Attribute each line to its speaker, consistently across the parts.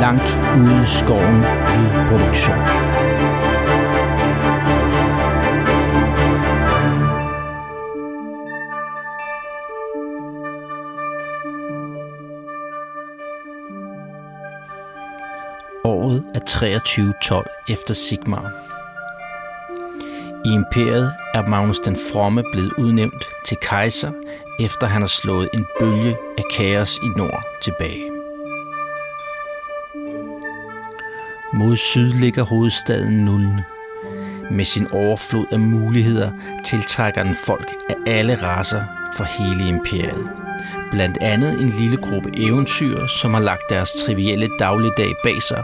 Speaker 1: langt ude i skoven lydproduktion. Året er 2312 efter Sigmar. I imperiet er Magnus den Fromme blevet udnævnt til kejser, efter han har slået en bølge af kaos i nord tilbage. Mod syd ligger hovedstaden Nuln. Med sin overflod af muligheder tiltrækker den folk af alle raser fra hele imperiet. Blandt andet en lille gruppe eventyr, som har lagt deres trivielle dagligdag bag sig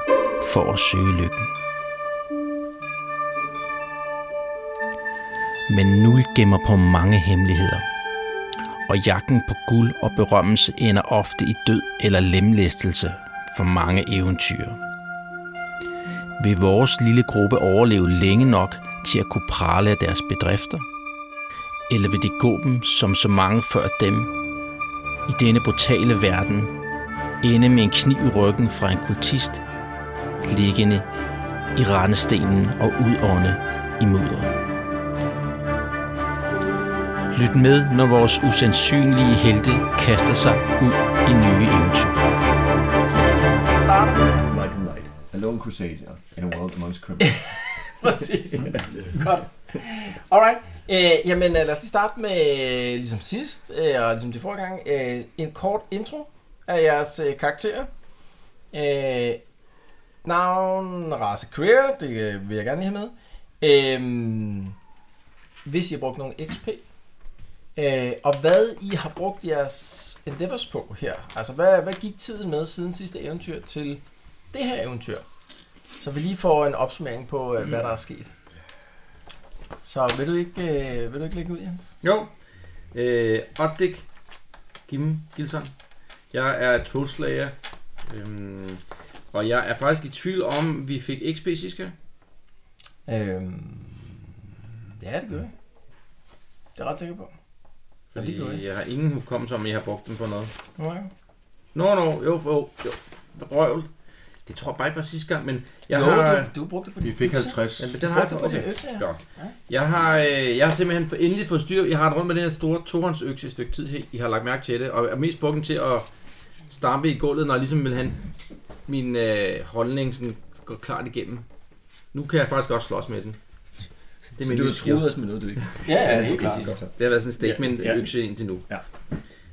Speaker 1: for at søge lykken. Men Nul gemmer på mange hemmeligheder. Og jagten på guld og berømmelse ender ofte i død eller lemlæstelse for mange eventyr vil vores lille gruppe overleve længe nok til at kunne prale af deres bedrifter? Eller vil det gå dem, som så mange før dem, i denne brutale verden, ende med en kniv i ryggen fra en kultist, liggende i rendestenen og udånde i mudderet? Lyt med, når vores usandsynlige helte kaster sig ud i nye eventyr.
Speaker 2: Light and light. Alone crusader in a world amongst criminals.
Speaker 3: Præcis. Godt. Alright. Øh, jamen, øh, lad os lige starte med, øh, ligesom sidst, øh, og ligesom det forrige gang, øh, en kort intro af jeres øh, karakterer. Øh, navn, race, career, det øh, vil jeg gerne lige have med. Øh, hvis I har brugt nogle XP, øh, og hvad I har brugt jeres endeavors på her. Altså, hvad, hvad gik tiden med siden sidste eventyr til det her eventyr? Så vi lige får en opsummering på, øh, hvad der er sket. Så vil du ikke, øh, vil du ikke lægge ud, Jens?
Speaker 4: Jo. Øh, Oddik Kim Gilson. Jeg er toadslayer. Øhm, og jeg er faktisk i tvivl om, vi fik XP sidste gang.
Speaker 3: Øhm, ja, det gør jeg. Det er jeg ret sikker på. Ja, det
Speaker 4: Fordi
Speaker 3: gjorde jeg.
Speaker 4: jeg har ingen hukommelse om, at jeg har brugt dem på noget.
Speaker 3: Nå ja.
Speaker 4: Nå, no, no, jo, jo, jo. Røvl. Det tror jeg bare ikke var sidste gang, men jeg
Speaker 3: jo,
Speaker 4: har...
Speaker 3: du, du brugte det på
Speaker 2: Vi
Speaker 3: din
Speaker 2: fik
Speaker 3: økse.
Speaker 2: 50.
Speaker 4: Jamen, den har jeg
Speaker 3: Hvorfor er det
Speaker 4: okay.
Speaker 3: økse her?
Speaker 4: Godt. Jeg har, øh, jeg har simpelthen for- endelig fået styr. Jeg har rundt med den her store torens økse i et stykke tid. her. I har lagt mærke til det. Og er mest brugt den til at stampe i gulvet, når jeg ligesom vil have min øh, holdning sådan går klart igennem. Nu kan jeg faktisk også slås med den. Det
Speaker 2: Så
Speaker 4: min
Speaker 2: du
Speaker 4: nye
Speaker 2: har
Speaker 4: skill.
Speaker 2: troet os med noget, du ikke.
Speaker 3: Ja, ja, helt klart.
Speaker 2: Godt.
Speaker 4: Det har været sådan en statement
Speaker 2: Ja,
Speaker 4: ja,
Speaker 2: ja.
Speaker 4: ja. økse indtil nu.
Speaker 2: Ja.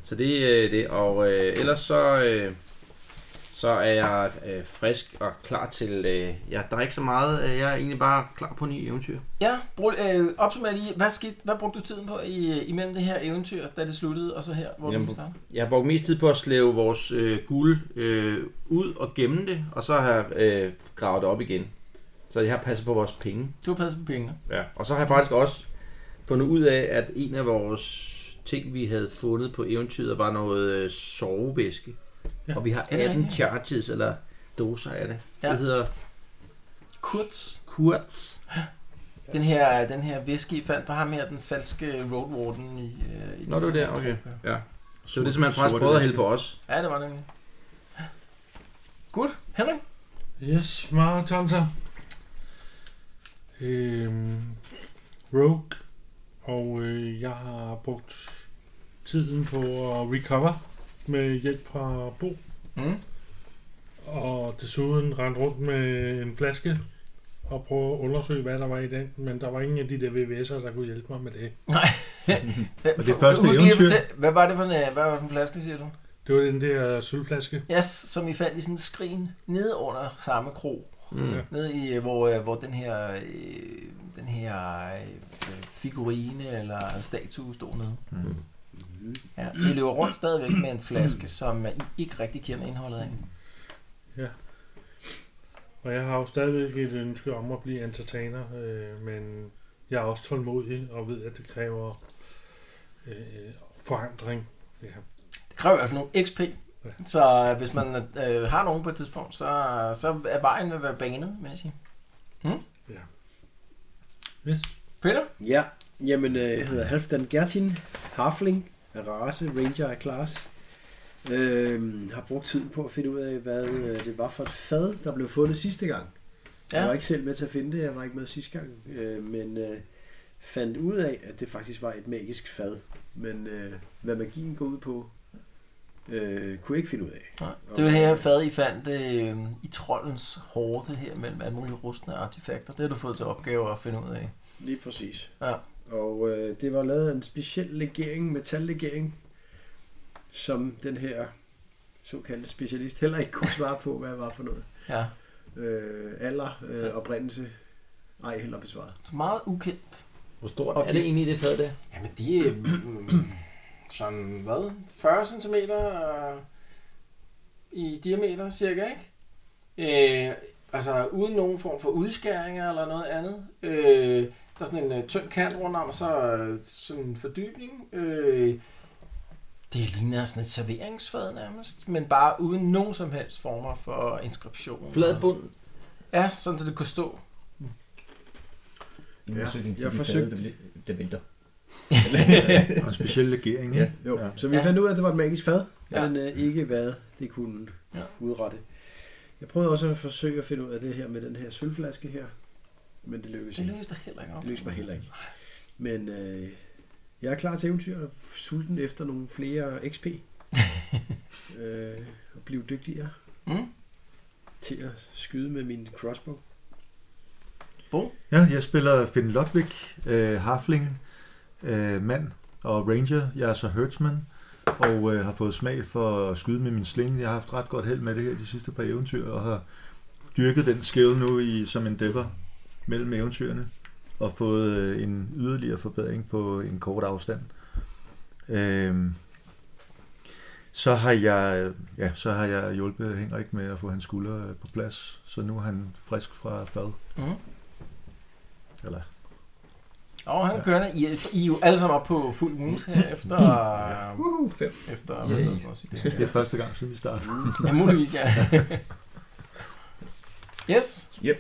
Speaker 4: Så det er øh, det, og øh, ellers så, øh, så er jeg øh, frisk og klar til, øh, ja, der er ikke så meget, øh, jeg er egentlig bare klar på nye eventyr.
Speaker 3: Ja, brug, øh, opsummer lige, hvad, skete, hvad brugte du tiden på i, øh, imellem det her eventyr, da det sluttede, og så her, hvor
Speaker 4: Jamen,
Speaker 3: du startede?
Speaker 4: Jeg har brugt mest tid på at slæve vores øh, guld øh, ud og gemme det, og så har jeg øh, gravet det op igen. Så jeg har passet på vores penge.
Speaker 3: Du har passet på pengene.
Speaker 4: Ja. Og så har jeg faktisk også fundet ud af, at en af vores ting, vi havde fundet på eventyret, var noget øh, sovevæske. Ja. Og vi har
Speaker 3: det er
Speaker 4: 18
Speaker 3: rigtigt,
Speaker 4: charges, eller doser af det.
Speaker 3: Ja.
Speaker 4: Ja. Det hedder
Speaker 3: Kurz,
Speaker 4: Kurz.
Speaker 3: den her, den her whisky, I fandt på ham her, den falske road warden i... Øh, i
Speaker 4: Nå, det var der, okay.
Speaker 3: Europa.
Speaker 4: Ja. Så det er simpelthen
Speaker 5: Sorte
Speaker 4: faktisk prøvet at
Speaker 5: væske.
Speaker 4: hælde på os.
Speaker 3: Ja, det var det nemlig. Godt, Henrik.
Speaker 5: Yes, maratonter. Øhm, rogue. Og øh, jeg har brugt tiden på at recover med hjælp fra Bo.
Speaker 3: Mm.
Speaker 5: Og desuden rendt rundt med en flaske og prøve at undersøge, hvad der var i den. Men der var ingen af de der VVS'er, der kunne hjælpe mig med det.
Speaker 3: Og
Speaker 2: det første eventyr?
Speaker 3: hvad var det for en, øh, hvad var det for en flaske, siger du?
Speaker 5: Det var den der sølvflaske.
Speaker 3: Ja, yes, som I fandt i sådan en skrin, nede under samme krog.
Speaker 4: Mm.
Speaker 3: Nede i, øh, hvor, øh, hvor den her, øh, den her øh, figurine eller statue stod nede.
Speaker 2: Mm.
Speaker 3: Ja, så I løber rundt stadigvæk med en flaske, som øh, I ikke rigtig kender indholdet af.
Speaker 5: Og jeg har jo stadigvæk et ønske om at blive entertainer, øh, men jeg er også tålmodig og ved, at det kræver øh, forandring. Ja.
Speaker 3: Det kræver i hvert fald nogle XP. Så øh, hvis man øh, har nogen på et tidspunkt, så, så er vejen ved at være banet, vil jeg sige.
Speaker 5: Yes.
Speaker 3: Peter?
Speaker 6: Ja, jamen øh, jeg hedder Halfdan Gertin, Harfling, race, ranger af class. øh, har brugt tid på at finde ud af, hvad øh, det var for et fad, der blev fundet sidste gang. Ja. Jeg var ikke selv med til at finde det, jeg var ikke med sidste gang, øh, men øh, fandt ud af, at det faktisk var et magisk fad. Men øh, hvad magien går ud på, øh, kunne jeg ikke finde ud af.
Speaker 3: Nej. Det var her fad, I fandt øh, i troldens hårde her mellem alle mulige rustne artefakter. Det har du fået til opgave at finde ud af.
Speaker 6: Lige præcis.
Speaker 3: Ja.
Speaker 6: Og øh, det var lavet af en speciel legering, metallegering, som den her såkaldte specialist heller ikke kunne svare på, hvad var for noget.
Speaker 3: Ja.
Speaker 6: Øh, alder,
Speaker 3: Så-
Speaker 6: øh, oprindelse, ej heller besvaret.
Speaker 3: Så meget ukendt.
Speaker 4: Hvor stort
Speaker 3: Objekt.
Speaker 4: er det egentlig, det fad der?
Speaker 3: Jamen de er mm, sådan, hvad? 40 cm i diameter cirka, ikke? Øh, altså uden nogen form for udskæringer eller noget andet. Øh, der er sådan en øh, tynd kant rundt om, og så øh, sådan en fordybning. Øh, det ligner sådan et serveringsfad nærmest, men bare uden nogen som helst former for inskription.
Speaker 4: Flad bund.
Speaker 3: Ja, sådan så det kunne stå.
Speaker 2: I
Speaker 6: Ja,
Speaker 2: modsætning til
Speaker 6: jeg
Speaker 2: de
Speaker 6: forsøgte-
Speaker 2: fade, der, vil- der vælter.
Speaker 7: Og en speciel legering, ikke?
Speaker 2: Ja.
Speaker 6: Jo,
Speaker 2: Ja.
Speaker 6: ja. så vi
Speaker 3: Ja.
Speaker 6: ja. fandt ud af, at det var et magisk fad,
Speaker 3: Ja.
Speaker 6: ja. men øh, ikke hvad det kunne
Speaker 3: Ja.
Speaker 6: ja. udrette. Jeg prøvede også at forsøge at finde ud af det her med den her sølvflaske her, men det lykkedes
Speaker 3: Det
Speaker 6: ikke.
Speaker 3: lykkedes der heller ikke op.
Speaker 6: Det lykkedes mig heller ikke. Men øh, jeg er klar til eventyr og sulten efter nogle flere XP. øh, og blive dygtigere
Speaker 3: Mm?
Speaker 6: til at skyde med min crossbow.
Speaker 7: Ja, jeg spiller Finn Ludwig, øh, Harfling, øh, mand og ranger. Jeg er så herdsman og øh, har fået smag for at skyde med min sling. Jeg har haft ret godt held med det her de sidste par eventyr, og har dyrket den skill nu i, som en dækker mellem eventyrene, og fået øh, en yderligere forbedring på en kort afstand. Øh, så har jeg ja, så har jeg hjulpet Henrik med at få hans skulder øh, på plads, så nu er han frisk fra fad.
Speaker 3: Mm.
Speaker 7: Eller
Speaker 3: Og han
Speaker 7: Ja.
Speaker 3: kører I, er- I er jo alle sammen oppe på fuld moons her efter... øh,
Speaker 6: Uh, fem.
Speaker 3: efter hvad hedder sådan noget,
Speaker 7: Det er
Speaker 3: sidste
Speaker 7: første gang, siden vi startede.
Speaker 3: Ja, muligvis, ja. yes.
Speaker 2: Ja,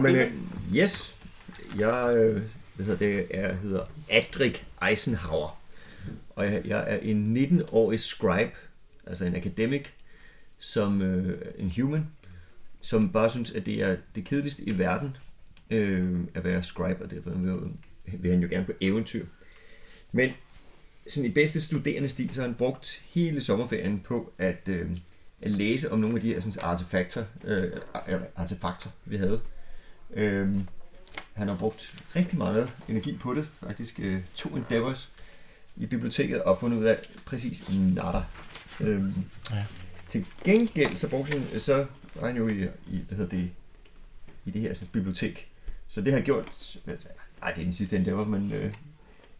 Speaker 2: men, øh, yes, jeg øh, hvad hedder det, jeg hedder Adrik Eisenhower, og jeg, jeg er en 19-årig scribe, altså en academic, som øh, en human, som bare synes, at det er det kedeligste i verden øh, at være scribe, og derfor vil, vil han jo gerne på eventyr. Men sådan i bedste studerende stil, så har han brugt hele sommerferien på at, øh, at læse om nogle af de her sådan, artefakter, øh, eller artefakter, vi havde. Øhm, han har brugt rigtig meget energi på det, faktisk øh, to endeavors i biblioteket og fundet ud af præcis natter. Øhm,
Speaker 3: Ja.
Speaker 2: ja. Til gengæld så brugte han, så var han jo i, i hvad hedder det, i det her altså, bibliotek. Så det har gjort, nej det er den sidste endeavor, men øh,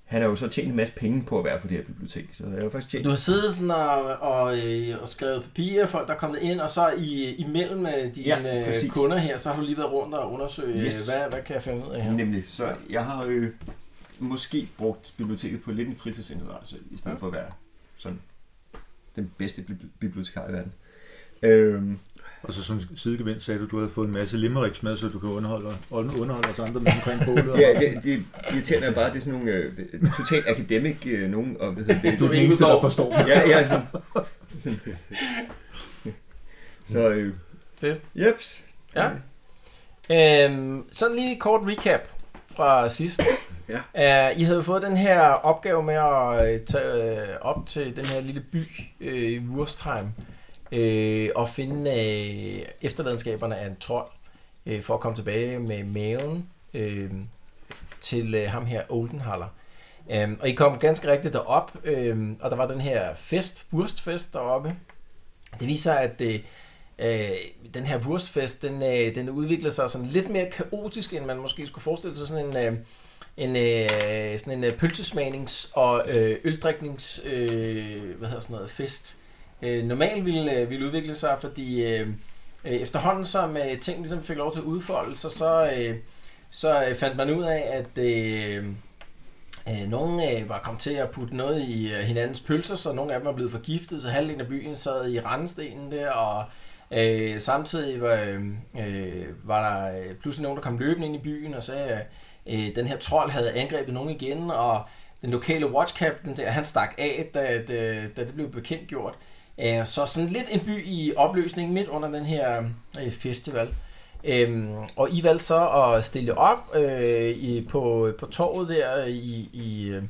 Speaker 2: han har jo så tjent en masse penge på at være på det her bibliotek. Så jeg har faktisk
Speaker 3: Så
Speaker 2: tjent
Speaker 3: du har siddet sådan og, og, øh, og skrevet papirer, folk der er kommet ind, og så i, imellem øh, dine
Speaker 2: Ja,
Speaker 3: ja,
Speaker 2: præcis.
Speaker 3: kunder her, så har du lige været rundt og undersøge, yes.
Speaker 2: Yes.
Speaker 3: hvad, hvad kan jeg finde ud af
Speaker 2: Ja.
Speaker 3: her?
Speaker 2: Nemlig, så jeg har jo måske brugt biblioteket på lidt en fritidsenhed, altså, i stedet for at være sådan den bedste bibli- bibliotekar i verden. Øhm,
Speaker 7: Og så som sidegevind sagde du, du havde fået en masse limericks med, så du kan underholde, underholde os andre med omkring bålet.
Speaker 2: ja, det, det irriterende er bare, at det er sådan nogle øh, totalt akademik øh, nogen, og hvad hedder det,
Speaker 7: Du er den eneste, der forstår mig.
Speaker 2: Ja, ja, sådan. sådan. Så, øh,
Speaker 3: Fedt.
Speaker 2: Jeps.
Speaker 3: Ja. Øhm, sådan lige et kort recap fra sidst.
Speaker 6: Ja.
Speaker 3: Uh, I havde fået den her opgave med at øh, tage øh, op til den her lille by øh, i Wurstheim øh, og finde øh, efterladenskaberne af en trold øh, for at komme tilbage med maven øh, til øh, ham her Oldenhaller. Um, og I kom ganske rigtigt derop, øhm, og der var den her fest, wurstfest deroppe. Det viser, at øh, øh, den her wurstfest, den, øh, den udvikler sig sådan lidt mere kaotisk, end man måske skulle forestille sig. Sådan en, øh, en, øh, sådan en øh, pølsesmagnings- og øh, øldriknings, øh, hvad hedder sådan noget, fest. Øh, normalt ville, øh, ville udvikle sig, fordi øh, øh, efterhånden som øh, ting ligesom fik lov til at udfolde sig, så, øh, så øh, fandt man ud af, at øh, øh, nogle øh, var kommet til at putte noget i øh, hinandens pølser, så nogle af dem var blevet forgiftet, så halvdelen af byen sad i randestenen der, og Øh, samtidig var, øh, øh, var der øh, pludselig nogen, der kom løbende ind i byen og sagde, at øh, den her trold havde angrebet nogen igen, og den lokale watchcaptain der, han stak af, da, da, da det blev bekendtgjort. Øh, Så sådan lidt en by i opløsning midt under den her øh, festival. Øhm, og I valgte så at stille op øh, i, på, på torvet der i, i, øh,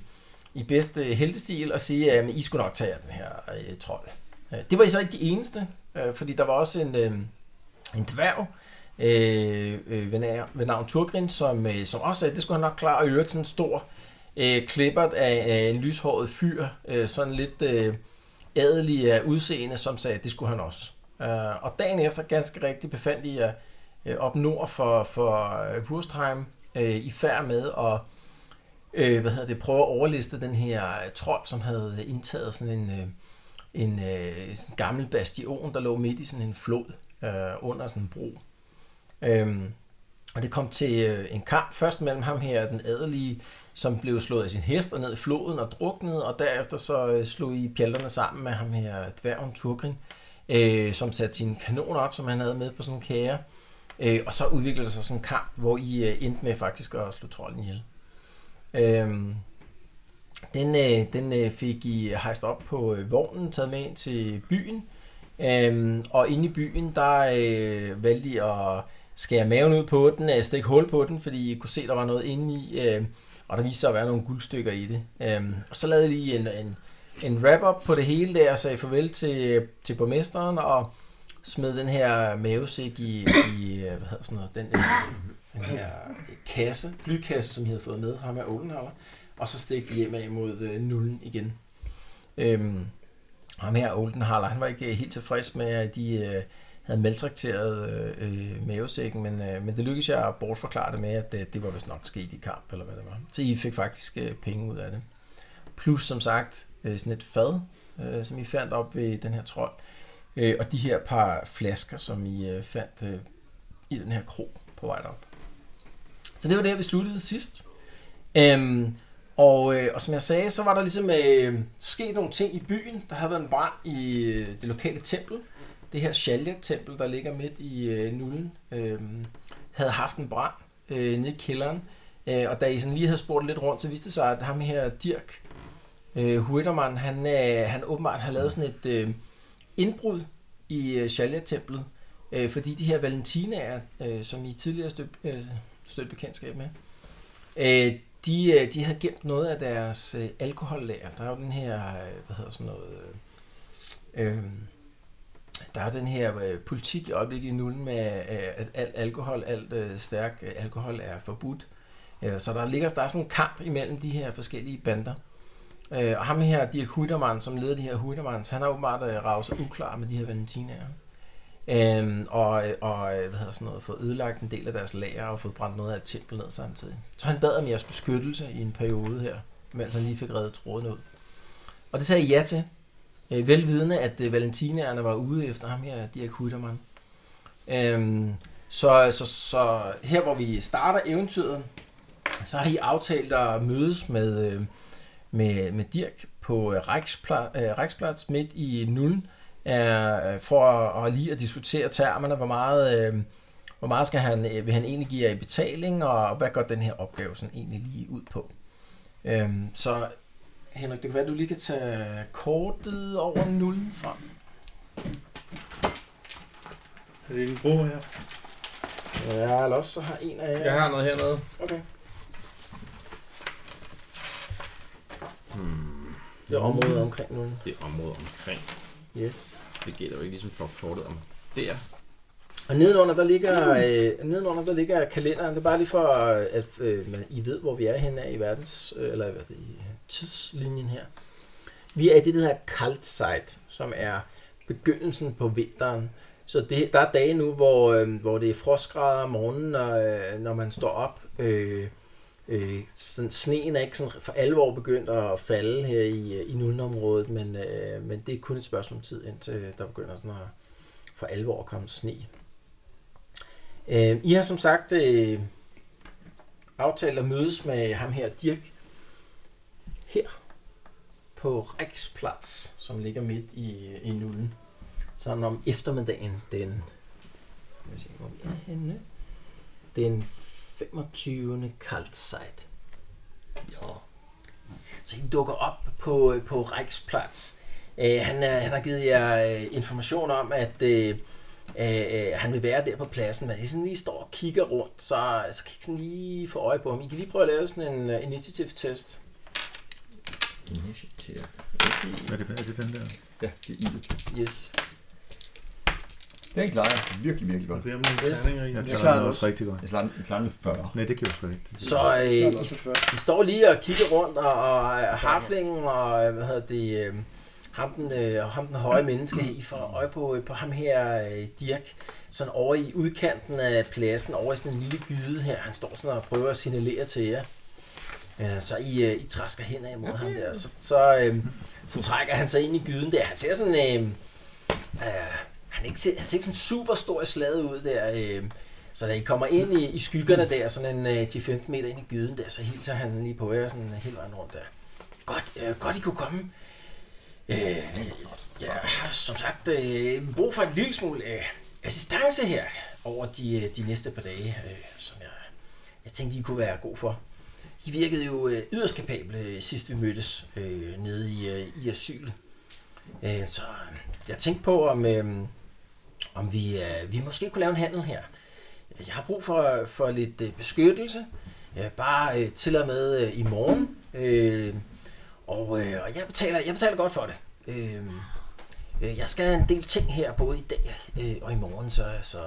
Speaker 3: i bedste heltestil og sige, at I skulle nok tage jer den her øh, trold. Øh, Det var I så ikke de eneste, øh, fordi der var også en, øh, en dværg øh, øh, ved, navn, ved navn Turgrin, som, øh, som også sagde, at det skulle han nok klare at øre til en stor øh, klippert af, af en lyshåret fyr, øh, sådan lidt øh, adelig af udseende, som sagde, at det skulle han også. Øh, og dagen efter, ganske rigtigt, befandt I jer øh, op nord for, for øh, Wurstheim øh, i færd med at øh, hvad hedder det, prøve at overliste den her øh, trold, som havde indtaget sådan en, øh, en øh, sådan gammel bastion, der lå midt i sådan en flod øh, under sådan en bro. Øhm, og det kom til øh, en kamp først mellem ham her, den adelige, som blev slået af sin hest og ned i floden og druknede, og derefter så øh, slog I pjalterne sammen med ham her, dværgen Turgrin, øh, som satte sine kanoner op, som han havde med på sådan nogle kager. Øh, og så udviklede der sig sådan en kamp, hvor I øh, endte med faktisk at slå trolden ihjel. Øhm, den, øh, den øh, fik I hejst op på øh, vognen, taget med ind til byen. Øhm, og inde i byen, der øh, valgte I at skære maven ud på den, øh, stikke hul på den, fordi I kunne se, der var noget inde i, øh, og der viste sig at være nogle guldstykker i det. Øhm, og så lavede I en, en, en wrap-up på det hele der, og sagde farvel til, til borgmesteren, og smed den her mavesæk i, i øh, hvad hedder sådan noget, den, øh, den her kasse, blykasse, som I havde fået med fra ham af Oldenhaller, og så stik hjem af mod øh, nullen igen. Øhm, ham her, Oldenhaller, han var ikke øh, helt tilfreds med, at de øh, havde maltrakteret øh, øh, mavesækken, men, øh, men det lykkedes jeg at bortforklare det med, at øh, det var vist nok sket i kamp, eller hvad det var. Så I fik faktisk øh, penge ud af det. Plus, som sagt, øh, sådan et fad, øh, som I fandt op ved den her trold, øh, og de her par flasker, som I øh, fandt øh, i den her krog på vej op. Så det var det, vi sluttede sidst. Øhm, og, øh, og som jeg sagde, så var der ligesom øh, sket nogle ting i byen. Der havde været en brand i øh, det lokale tempel. Det her Shalya-tempel, der ligger midt i øh, Nullen, øh, havde haft en brand øh, nede i kælderen. Øh, og da I sådan lige havde spurgt lidt rundt, så viste det sig, at ham her Dirk øh, Huittermann, han, øh, han åbenbart har lavet sådan et øh, indbrud i øh, Shalya-templet. Øh, fordi de her valentinaer, øh, som I tidligere støb, øh, stødt bekendtskab med, Øh, de, øh, de havde gemt noget af deres øh, alkohollager. Der er jo den her, øh, hvad hedder sådan noget, øh, øh, der er den her øh, politik i øjeblikket i nullen med, øh, at alt alkohol, alt øh, stærk øh, alkohol er forbudt. Øh, så der ligger der er sådan en kamp imellem de her forskellige bander. Øh, og ham her, Dirk Hudermann, som leder de her Hudermanns, han har åbenbart øh, ravet sig uklar med de her valentinaer. Øhm, og, og øh, hvad hedder sådan noget, fået ødelagt en del af deres lager og fået brændt noget af et tempel ned samtidig. Så han bad om jeres beskyttelse i en periode her, mens han lige fik reddet tråden ud. Og det sagde I ja til, øh, velvidende at øh, valentinerne var ude efter ham her, Dirk Huttermann. Øhm, så, så, så her hvor vi starter eventyret, så har I aftalt at mødes med, øh, med, med Dirk på øh, Reichspla- øh, Reichsplatz midt i Nullen, øh, for at, at lige at diskutere termerne, hvor meget, øh, hvor meget skal han, øh, vil han egentlig give jer i betaling, og hvad går den her opgave sådan egentlig lige ud på. Øh, så Henrik, det kan være, du lige kan tage kortet over nullen frem.
Speaker 5: Er det en bro her?
Speaker 3: Ja, eller også så har en af
Speaker 4: Jeg har noget hernede.
Speaker 3: Okay. Det er området omkring nullen.
Speaker 4: Hmm. Det område omkring.
Speaker 3: Yes.
Speaker 4: Det gælder jo ikke ligesom for kortet om der.
Speaker 3: Og nedenunder der, ligger, øh, nedenunder, der ligger kalenderen. Det er bare lige for, øh, at øh, man, I ved, hvor vi er henne af i verdens, øh, eller hvad er det, i tidslinjen her. Vi er i det, der hedder Kaltzeit, som er begyndelsen på vinteren. Så det, der er dage nu, hvor, øh, hvor det er frostgrader om morgenen, når, øh, når man står op. Øh, øh, sådan, sneen er ikke sådan for alvor begyndt at falde her i, øh, i Nullenområdet, men, øh, men det er kun et spørgsmål om tid, indtil der begynder sådan at for alvor at komme sne. Øh, I har som sagt øh, aftalt at mødes med ham her, Dirk, her på Riksplatz, som ligger midt i, øh, i Nullen. Sådan om eftermiddagen den... Lad mig se, hvor vi er henne. Den 25. kaldsejt. Ja. Så I dukker op på, på Riksplatz. Øh, han, er, han har givet jer øh, information om, at øh, øh, øh, han vil være der på pladsen, men I sådan lige står og kigger rundt, så, så kan I ikke sådan lige få øje på ham. I kan lige prøve at lave sådan en uh, initiativ-test.
Speaker 2: Initiativ.
Speaker 7: Er det, er det den der?
Speaker 2: Ja, det er Ibe.
Speaker 3: Yes.
Speaker 2: Den klarer jeg virkelig, virkelig godt.
Speaker 5: Det er nogle
Speaker 3: Yes.
Speaker 5: terninger i.
Speaker 7: Jeg
Speaker 6: klarer
Speaker 7: klarer
Speaker 6: den
Speaker 7: den
Speaker 6: også.
Speaker 7: også rigtig godt.
Speaker 2: Jeg klarer den, jeg klarer den med 40.
Speaker 7: Nej, det gjorde jeg sgu ikke.
Speaker 3: Så øh,
Speaker 6: Jeg
Speaker 3: I,
Speaker 6: er også før.
Speaker 3: I står lige og kigger rundt, og, og harflingen og øh, hvad hedder det, øh, ham, den, øh, ham den høje menneske, I får øje på, øh, på ham her, øh, Dirk, sådan over i udkanten af pladsen, over i sådan en lille gyde her. Han står sådan og prøver at signalere til jer. Øh, så I, øh, I træsker henad imod ham der, så, så, øh, så trækker han sig ind i gyden der. Han ser sådan... Øh, øh, han, er ikke, se- han ser ikke sådan super stor i slaget ud der. Øh, så da I kommer ind i, i skyggerne der, sådan en øh, 10-15 meter ind i gyden der, så hilser han lige på jer sådan hele vejen rundt der. Godt, øh, godt I kunne komme. Øh, jeg har som sagt øh, brug for et lille smule øh, assistance her over de, øh, de næste par dage, øh, som jeg, jeg tænkte, I kunne være god for. I virkede jo øh, yderst kapable, øh, sidst vi mødtes øh, nede i, øh, i asyl. Øh, så øh, jeg tænkte på, om, øh, om vi, øh, vi måske kunne lave en handel her. Jeg har brug for, for lidt øh, beskyttelse, øh, bare øh, til og med øh, i morgen. Øh, og øh, og jeg, betaler, jeg betaler godt for det. Øh, øh, jeg skal have en del ting her, både i dag øh, og i morgen, så, så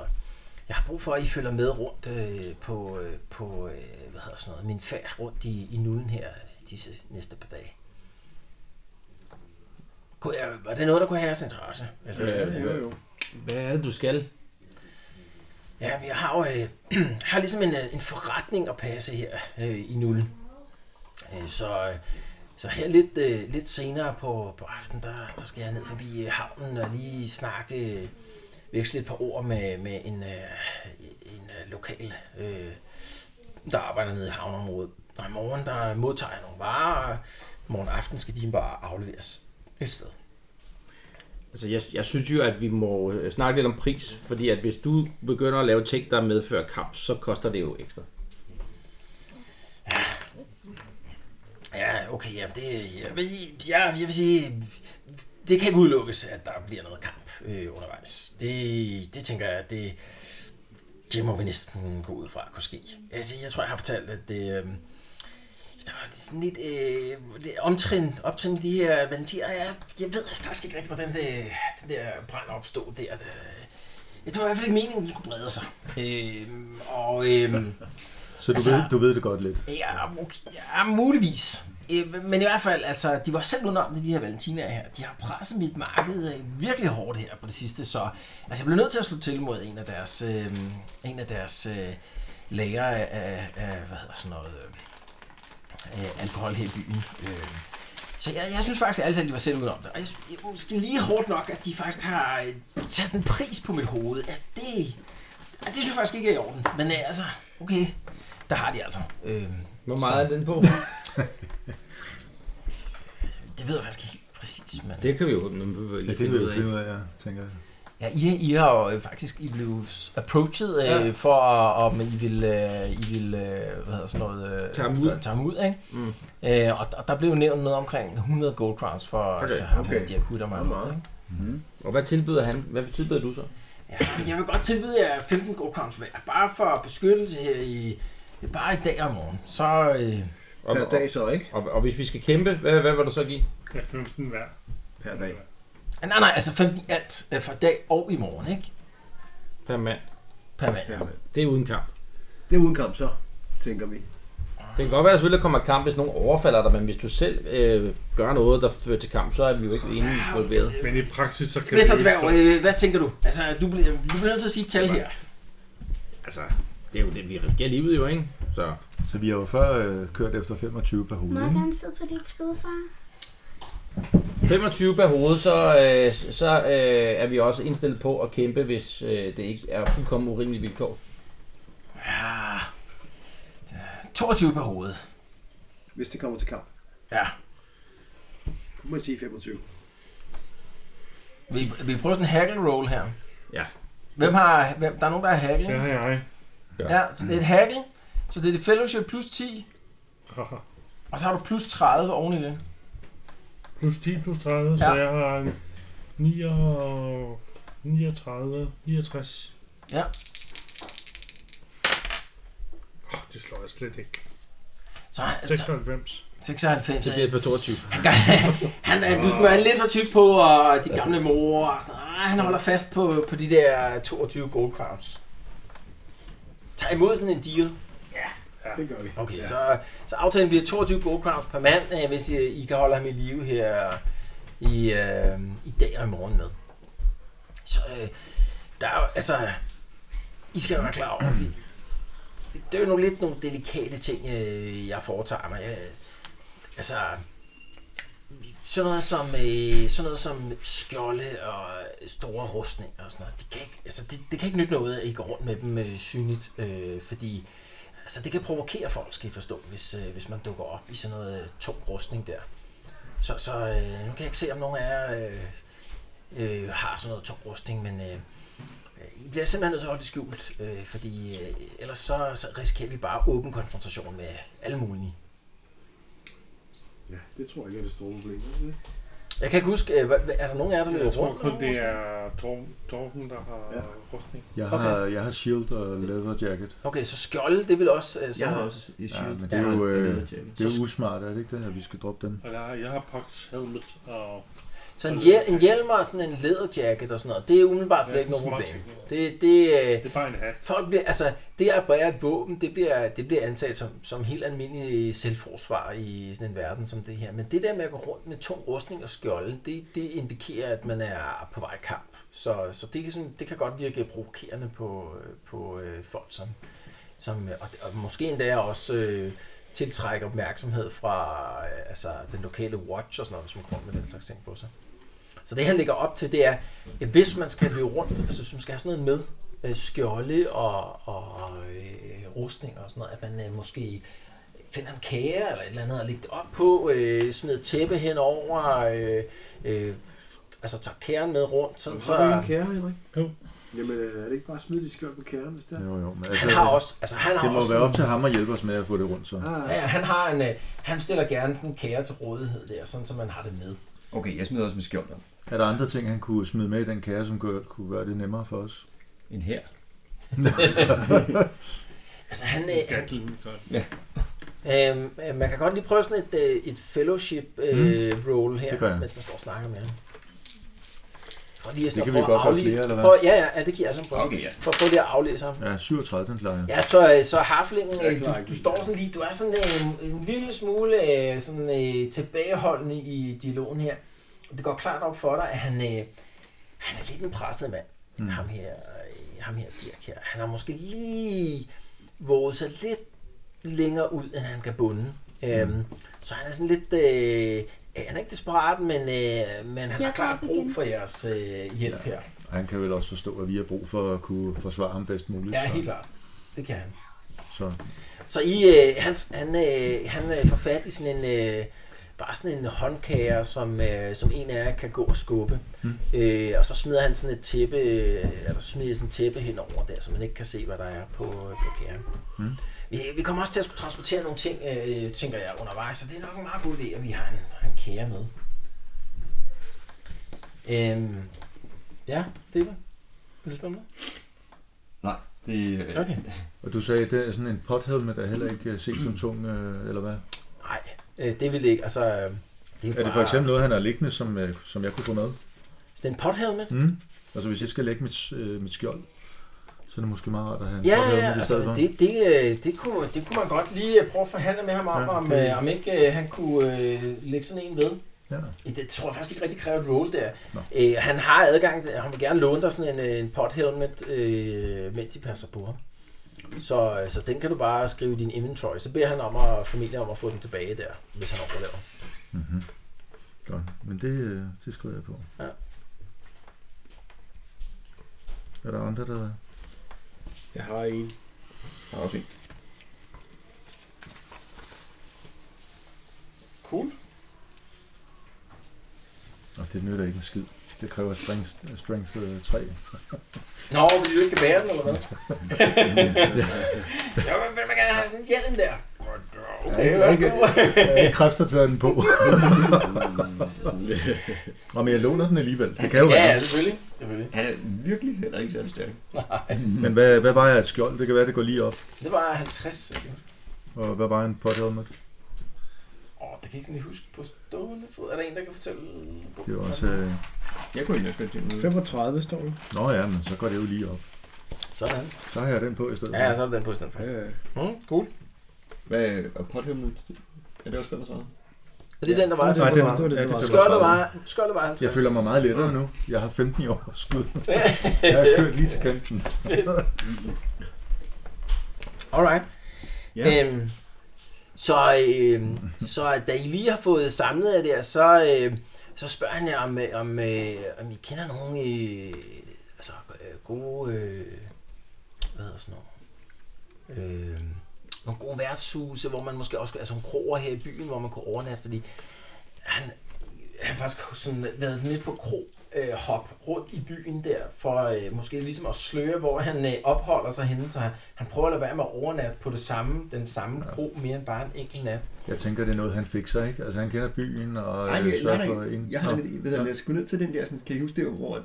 Speaker 3: jeg har brug for, at I følger med rundt øh, på, øh, på øh, hvad hedder sådan noget, min færd rundt i, i nullen her disse næste par dage. Kunne jeg, var det noget, der kunne have jeres interesse? Eller?
Speaker 6: Jo, jo.
Speaker 4: Hvad er det, du skal?
Speaker 3: Ja, men jeg har jo øh, jeg har ligesom en, øh, en forretning at passe her øh, i nullen. Øh, så, øh, så her lidt, øh, lidt senere på, på aftenen, der, der skal jeg ned forbi øh, havnen og lige snakke, øh, veksle et par ord med, med en, øh, en øh, lokal, øh, der arbejder nede i havneområdet. Og i morgen, der modtager jeg nogle varer, og i morgen aften skal de bare afleveres et sted.
Speaker 4: Altså, jeg, jeg synes jo, at vi må øh, snakke lidt om pris, fordi at hvis du begynder at lave ting, der medfører kamp, så koster det jo ekstra.
Speaker 3: Ja, okay, jamen det, jeg, vil, jeg, jeg vil sige, det kan ikke udelukkes, at der bliver noget kamp øh, undervejs. Det, det tænker jeg, det, det må vi næsten gå ud fra, kunne ske. Altså, jeg tror, jeg har fortalt, at det, øh, der var sådan lidt øh, det omtrin, optrin i de her valentier. Jeg, jeg ved faktisk ikke rigtig, hvordan det, den der brand opstod der. Det, jeg tror i hvert fald ikke meningen, at den skulle brede sig. Øh, og øh,
Speaker 7: Så du,
Speaker 3: Altså-
Speaker 7: altså, ved, du ved det godt lidt.
Speaker 3: Ja, okay. ja muligvis. Øh, Men i hvert fald, altså, de var selv udenom det, de her Valentina her. De har presset mit marked øh, virkelig hårdt her på det sidste, så altså, jeg blev nødt til at slå til mod en af deres, øh, en af deres øh, lager af, af, af, hvad hedder sådan noget, øh, øh, alkohol her i byen. Øh, så jeg, jeg synes faktisk altid, at de var selv udenom det. Og jeg, sy- jeg, måske lige hårdt nok, at de faktisk har øh, sat en pris på mit hoved. Altså, det, ej, det synes jeg faktisk ikke er i orden. Men øh, altså, okay, der har de altså. Øh,
Speaker 4: Hvor
Speaker 3: meget
Speaker 4: er den på?
Speaker 3: Det ved jeg faktisk ikke helt præcis, men...
Speaker 4: det kan vi jo lige
Speaker 7: Ja, det
Speaker 4: finde
Speaker 7: vil
Speaker 4: ud
Speaker 7: jeg finde
Speaker 4: af.
Speaker 7: ud af, ja, tænker jeg.
Speaker 3: Ja, I, I har jo øh, faktisk I blev s- approached øh, ja.
Speaker 4: Ja.
Speaker 3: for, om I vil, øh, I vil øh, hvad hedder sådan noget... Øh,
Speaker 4: Tage ham ud.
Speaker 3: Tage ham ud, ikke?
Speaker 4: Mm.
Speaker 3: Øh, og, og der blev nævnt noget omkring 100 gold crowns for okay, at
Speaker 4: Okay,
Speaker 3: tage ham okay.
Speaker 2: okay.
Speaker 3: her, Dirk Huttermann.
Speaker 2: Meget,
Speaker 3: ud,
Speaker 2: meget.
Speaker 3: ikke?
Speaker 4: Og hvad tilbyder han? Hvad tilbyder du så?
Speaker 3: Ja, men jeg vil godt tilbyde jer 15 gold crowns hver, bare for beskyttelse her i... Bare i dag og i morgen. Så... Øh,
Speaker 4: Og,
Speaker 2: Per dag så, ikke?
Speaker 4: og, og, og hvis vi skal kæmpe, hvad, hvad vil du så give?
Speaker 5: Ja, 15 hver.
Speaker 2: Per dag.
Speaker 3: nej, nej, altså 15 i alt øh, for dag og i morgen, ikke?
Speaker 4: Per mand.
Speaker 3: Per mand.
Speaker 2: Per dag.
Speaker 4: Det er uden kamp.
Speaker 6: Det er uden kamp, så tænker vi.
Speaker 4: Det kan godt være, at der selvfølgelig kommer et kamp, hvis nogen overfalder dig, men hvis du selv øh, gør noget, der fører til kamp, så er vi jo ikke enige involveret.
Speaker 5: Men i praksis, så kan
Speaker 3: Mester
Speaker 5: det jo
Speaker 3: Dværg,
Speaker 5: ikke
Speaker 3: øh, hvad tænker du? Altså, du bliver, du bliver nødt til at sige et tal her.
Speaker 4: Altså, det er jo det, vi risikerer livet jo, ikke? Så
Speaker 7: Så vi har jo før øh, kørt efter 25 per
Speaker 8: Må
Speaker 7: hoved,
Speaker 8: jeg
Speaker 7: ikke?
Speaker 8: gerne sidde på dit skud, far?
Speaker 4: 25 per hoved, så, øh, så øh, er vi også indstillet på at kæmpe, hvis øh, det ikke er fuldkommen urimelige vilkår.
Speaker 3: Ja, 22 på hovedet.
Speaker 6: Hvis det kommer til kamp.
Speaker 3: Ja.
Speaker 6: Kunne man sige 25.
Speaker 3: Vi, vi prøver sådan en haggle roll her.
Speaker 4: Ja.
Speaker 3: Hvem har, hvem, der er nogen, der har haggle.
Speaker 5: stå. Det
Speaker 3: Ja,
Speaker 5: har jeg.
Speaker 3: ja så det er et haggle. Så det er det fellowship plus 10. Og så har du plus 30 oven i det.
Speaker 5: plus 10 plus 30, ja. så jeg har en 9 og 39, 69.
Speaker 3: Ja.
Speaker 5: Oh, det slår jeg slet ikke.
Speaker 3: Så, så
Speaker 5: 96.
Speaker 3: 96.
Speaker 4: Det
Speaker 3: øh,
Speaker 4: bliver på 22.
Speaker 3: Han er, du smager lidt for tyk på, og de gamle mor, og sådan, ah, han holder fast på, på de der 22 gold crowns. Tag imod sådan en deal.
Speaker 6: Det gør vi.
Speaker 3: Okay, ja. så, så aftalen bliver 22 gold crowns per mand, øh, hvis I, I kan holde ham i live her i, øh, i dag og i morgen med. Så øh, der er jo, altså, I skal jo være klar over, at vi- det er jo nogle lidt nogle delikate ting, øh, jeg foretager mig. Jeg, altså, sådan noget som, øh, sådan noget som skjolde og øh, store rustninger og sådan noget, det kan ikke, altså, det, det kan ikke nytte noget, at I går rundt med dem øh, synligt, øh, fordi Altså, det kan provokere folk, skal I forstå, hvis, øh, hvis man dukker op i sådan noget øh, tung rustning der. Så, så øh, nu kan jeg ikke se, om nogen af jer øh, øh, har sådan noget tung rustning, men øh, øh, I bliver simpelthen nødt til at holde det skjult, øh, fordi øh, ellers så, så risikerer vi bare åben konfrontation med alle mulige.
Speaker 6: Ja, det tror jeg ikke er det store problem. er det det?
Speaker 3: Jeg kan ikke huske, øh, hvad- hvad- er der nogen af jer, der løber
Speaker 5: Jeg tror
Speaker 3: rundt?
Speaker 5: kun, det er Tor- Torben, der har
Speaker 6: Ja.
Speaker 5: rustning.
Speaker 7: Jeg har, okay. jeg har shield og leather jacket.
Speaker 3: Okay, så skjold, det vil også... Øh, så,
Speaker 2: Jeg har også et
Speaker 7: Ja,
Speaker 2: shield.
Speaker 7: men det er jo, øh, Det er
Speaker 3: Så-
Speaker 7: jo usmart, er det ikke det, at vi skal droppe den?
Speaker 5: Og jeg har, jeg har pakket helmet og...
Speaker 3: så en, hjel, en hjelm og sådan en læderjacket og sådan noget, det er umiddelbart slet
Speaker 5: Ja,
Speaker 3: ikke noget
Speaker 5: små
Speaker 3: problem.
Speaker 5: ting.
Speaker 3: Det, det, øh,
Speaker 5: Det er bare en hat.
Speaker 3: Folk bliver, altså, det at bære et våben, det bliver, det bliver antaget som, som helt almindelig selvforsvar i sådan en verden som det her. Men det der med at gå rundt med tung rustning og skjolde, det, det indikerer, at man er på vej i kamp. Så, så det, kan sådan, det kan godt virke provokerende på, øh, på øh, folk, som, som øh, og, og måske endda også øh, tiltrække opmærksomhed fra øh, altså, den lokale watch og sådan noget, hvis man kommer med den slags ting på sig. Så det, han lægger op til, det er, at hvis man skal løbe rundt, altså hvis man skal have sådan noget med, øh, skjolde og, og øh, rustning og sådan noget, at man øh, måske finder en kage eller et eller andet at lægge det op på, øh, smider et tæppe henover, øh, øh, altså tager kæren med rundt, sådan,
Speaker 6: Har du
Speaker 3: så...
Speaker 6: en kære, Henrik?
Speaker 5: Jo.
Speaker 6: Jamen, øh, er det ikke bare at smide de skjold på kæren, hvis det er?
Speaker 7: Jo, jo. Men altså,
Speaker 3: Han har også, altså han har
Speaker 7: det må
Speaker 3: også
Speaker 7: være op til ham at hjælpe os med at få det rundt, så.
Speaker 6: Ah,
Speaker 3: Ja, han, har en, øh, han stiller gerne sådan en kære til rådighed der, sådan så man har det med.
Speaker 2: Okay, jeg smider også med skjold op.
Speaker 7: Er der andre ting, han kunne smide med i den kære, som kunne, kunne gøre det nemmere for os?
Speaker 2: En her.
Speaker 3: Altså han, øh, han,
Speaker 5: Gatling godt.
Speaker 3: Øhm, øh, man kan godt lige prøve sådan et, øh, et fellowship øh, mm. roll her,
Speaker 7: det gør jeg.
Speaker 3: mens man står og snakker med ham. For lige at
Speaker 7: Det kan
Speaker 3: for
Speaker 7: vi
Speaker 3: at
Speaker 7: godt få
Speaker 3: aflæse-
Speaker 7: flere, eller hvad?
Speaker 3: Prøv, ja, ja, ja, det giver jeg sådan på.
Speaker 2: Okay, ja.
Speaker 3: For at prøve lige at aflæse ham.
Speaker 7: Ja, 37, den plejer.
Speaker 3: Ja, så, øh, så harflingen,
Speaker 6: Jeg
Speaker 3: øh, du,
Speaker 6: klarer ikke
Speaker 3: du
Speaker 6: det.
Speaker 3: står sådan lige, du er sådan øh, en lille smule øh, sådan, øh, tilbageholdende i dialogen her. Og det går klart op for dig, at han, øh, han er lidt en presset mand. Mm. Ham her, øh, ham her Dirk her. Han har måske lige våget sig lidt længere ud, end han kan bunde. Mm. Øhm, så han er sådan lidt... Øh, han er ikke desperat, men, øh, men han har
Speaker 8: Jeg går
Speaker 3: klart
Speaker 8: op
Speaker 3: brug
Speaker 8: igen.
Speaker 3: for jeres øh, hjælp her.
Speaker 7: Og han kan vel også forstå, at vi har brug for at kunne forsvare ham bedst muligt.
Speaker 3: Ja,
Speaker 7: så-
Speaker 3: helt klart. Det kan han.
Speaker 7: Så
Speaker 3: Så I, øh, han, han, øh, han øh, får fat i sådan en, øh, bare sådan en håndkager, som, øh, som en af jer kan gå og skubbe. Mm. Øh, og så smider han sådan et tæppe, øh, eller smider sådan et tæppe henover der, så man ikke kan se, hvad der er på, øh, på kæren. Mm. Vi, vi kommer også til at skulle transportere nogle ting, øh, tænker jeg, undervejs, så det er nok en meget god idé, at vi har en, har en kære med. Øhm, ja, Stefan? Vil du spørge om noget?
Speaker 2: Nej, det øh, er...
Speaker 3: Okay.
Speaker 7: Og du sagde, at det er sådan en pothelmet, der heller ikke øh, ses som tung, øh, eller hvad?
Speaker 3: Nej, øh, det vil det ikke. Altså, øh, det
Speaker 7: Er det for eksempel noget, han har liggende, som, øh, som jeg kunne få med?
Speaker 3: Sådan en pothelmet?
Speaker 7: Mm. Altså, hvis jeg skal lægge mit, øh, mit skjold, så er det måske meget rart at have en
Speaker 3: Ja,
Speaker 7: pothelmet
Speaker 3: ja,
Speaker 7: i
Speaker 3: altså,
Speaker 7: stedet for.
Speaker 3: det, det, øh, det, kunne, det kunne man godt lige øh, prøve at forhandle med ham om,
Speaker 7: Ja,
Speaker 3: om,
Speaker 7: det-
Speaker 3: øh, om ikke øh, han kunne øh, lægge sådan en ved.
Speaker 7: Ja.
Speaker 3: Det tror jeg faktisk ikke rigtig kræver et roll der.
Speaker 7: Nå.
Speaker 3: Øh, han har adgang, til- han vil gerne låne dig sådan en, øh, en pothelmet, øh, mens de passer på ham. Så, øh, så den kan du bare skrive i din inventory. Så beder han om at, familien om at få den tilbage der, hvis han overlever.
Speaker 7: Mm-hmm. Godt. Men det, øh, det skriver jeg på.
Speaker 3: Ja.
Speaker 7: Er der andre, der...
Speaker 6: jeg har en.
Speaker 2: Der er også en.
Speaker 5: Cool.
Speaker 7: Nå, det nytter ikke en skid. Det kræver strength, strength øh, 3.
Speaker 3: Nå, fordi du ikke kan bære den, eller hvad? jeg vil fandme gerne have sådan en hjelm der.
Speaker 7: Okay, jeg, ikke, jeg kræfter tager den på. Nå, men jeg låner den alligevel. Det kan jo
Speaker 3: Ja,
Speaker 7: være.
Speaker 3: ja, selvfølgelig. selvfølgelig.
Speaker 2: Han er virkelig heller ikke særlig stærk.
Speaker 7: Men hvad, hvad var jeg et skjold? Det kan være, det går lige op.
Speaker 3: Det var 50. ikke?
Speaker 7: Og hvad var en pot helmet?
Speaker 3: Åh, det kan jeg ikke lige huske på stående fod. Er der en, der kan fortælle?
Speaker 7: Det var også... Øh...
Speaker 2: Jeg kunne ikke næsten tænke mig.
Speaker 6: 35 står der.
Speaker 7: Nå ja, men så går det jo lige op.
Speaker 3: Sådan.
Speaker 7: Så har jeg den på i stedet.
Speaker 3: Ja, ja, så er det den på i stedet for.
Speaker 6: Ja, ja.
Speaker 3: Mm, cool.
Speaker 2: Hvad er pothemmel? Er det også 35?
Speaker 3: Er det den, der var?
Speaker 6: Nej,
Speaker 7: Nej,
Speaker 6: det
Speaker 7: den,
Speaker 6: var- det var det,
Speaker 7: ja,
Speaker 6: det var.
Speaker 3: Skjoldet var, skjoldet var 50.
Speaker 7: Jeg føler mig meget lettere nu. Jeg har 15 i overskud. Jeg har kørt lige til kanten.
Speaker 3: Alright.
Speaker 2: Ja.
Speaker 3: Øhm, så, øhm, så da I lige har fået samlet jer der, så, øhm, så spørger han jer, om, øh, om, øh, om I kender nogen øh, altså, øh, gode... Øh, hvad hedder sådan noget? Øh, nogle gode værtshuse, hvor man måske også... Altså nogle kroer her i byen, hvor man kunne overnatte, fordi han, han har faktisk sådan været lidt på kro øh, hop rundt i byen der, for øh, måske ligesom at sløre, hvor han øh, opholder sig henne, så han, han prøver at lade være med at overnatte på det samme, den samme kro mere end bare en enkelt nat.
Speaker 7: Jeg tænker, det er noget, han fikser, ikke? Altså, han kender byen og
Speaker 2: Nej,
Speaker 7: øh,
Speaker 2: jeg, nej,
Speaker 7: sørger for
Speaker 2: nej,
Speaker 7: en.
Speaker 2: jeg har
Speaker 7: Nå.
Speaker 2: lidt, ved jeg, jeg skulle ned til den der, sådan, kan I huske det, hvor at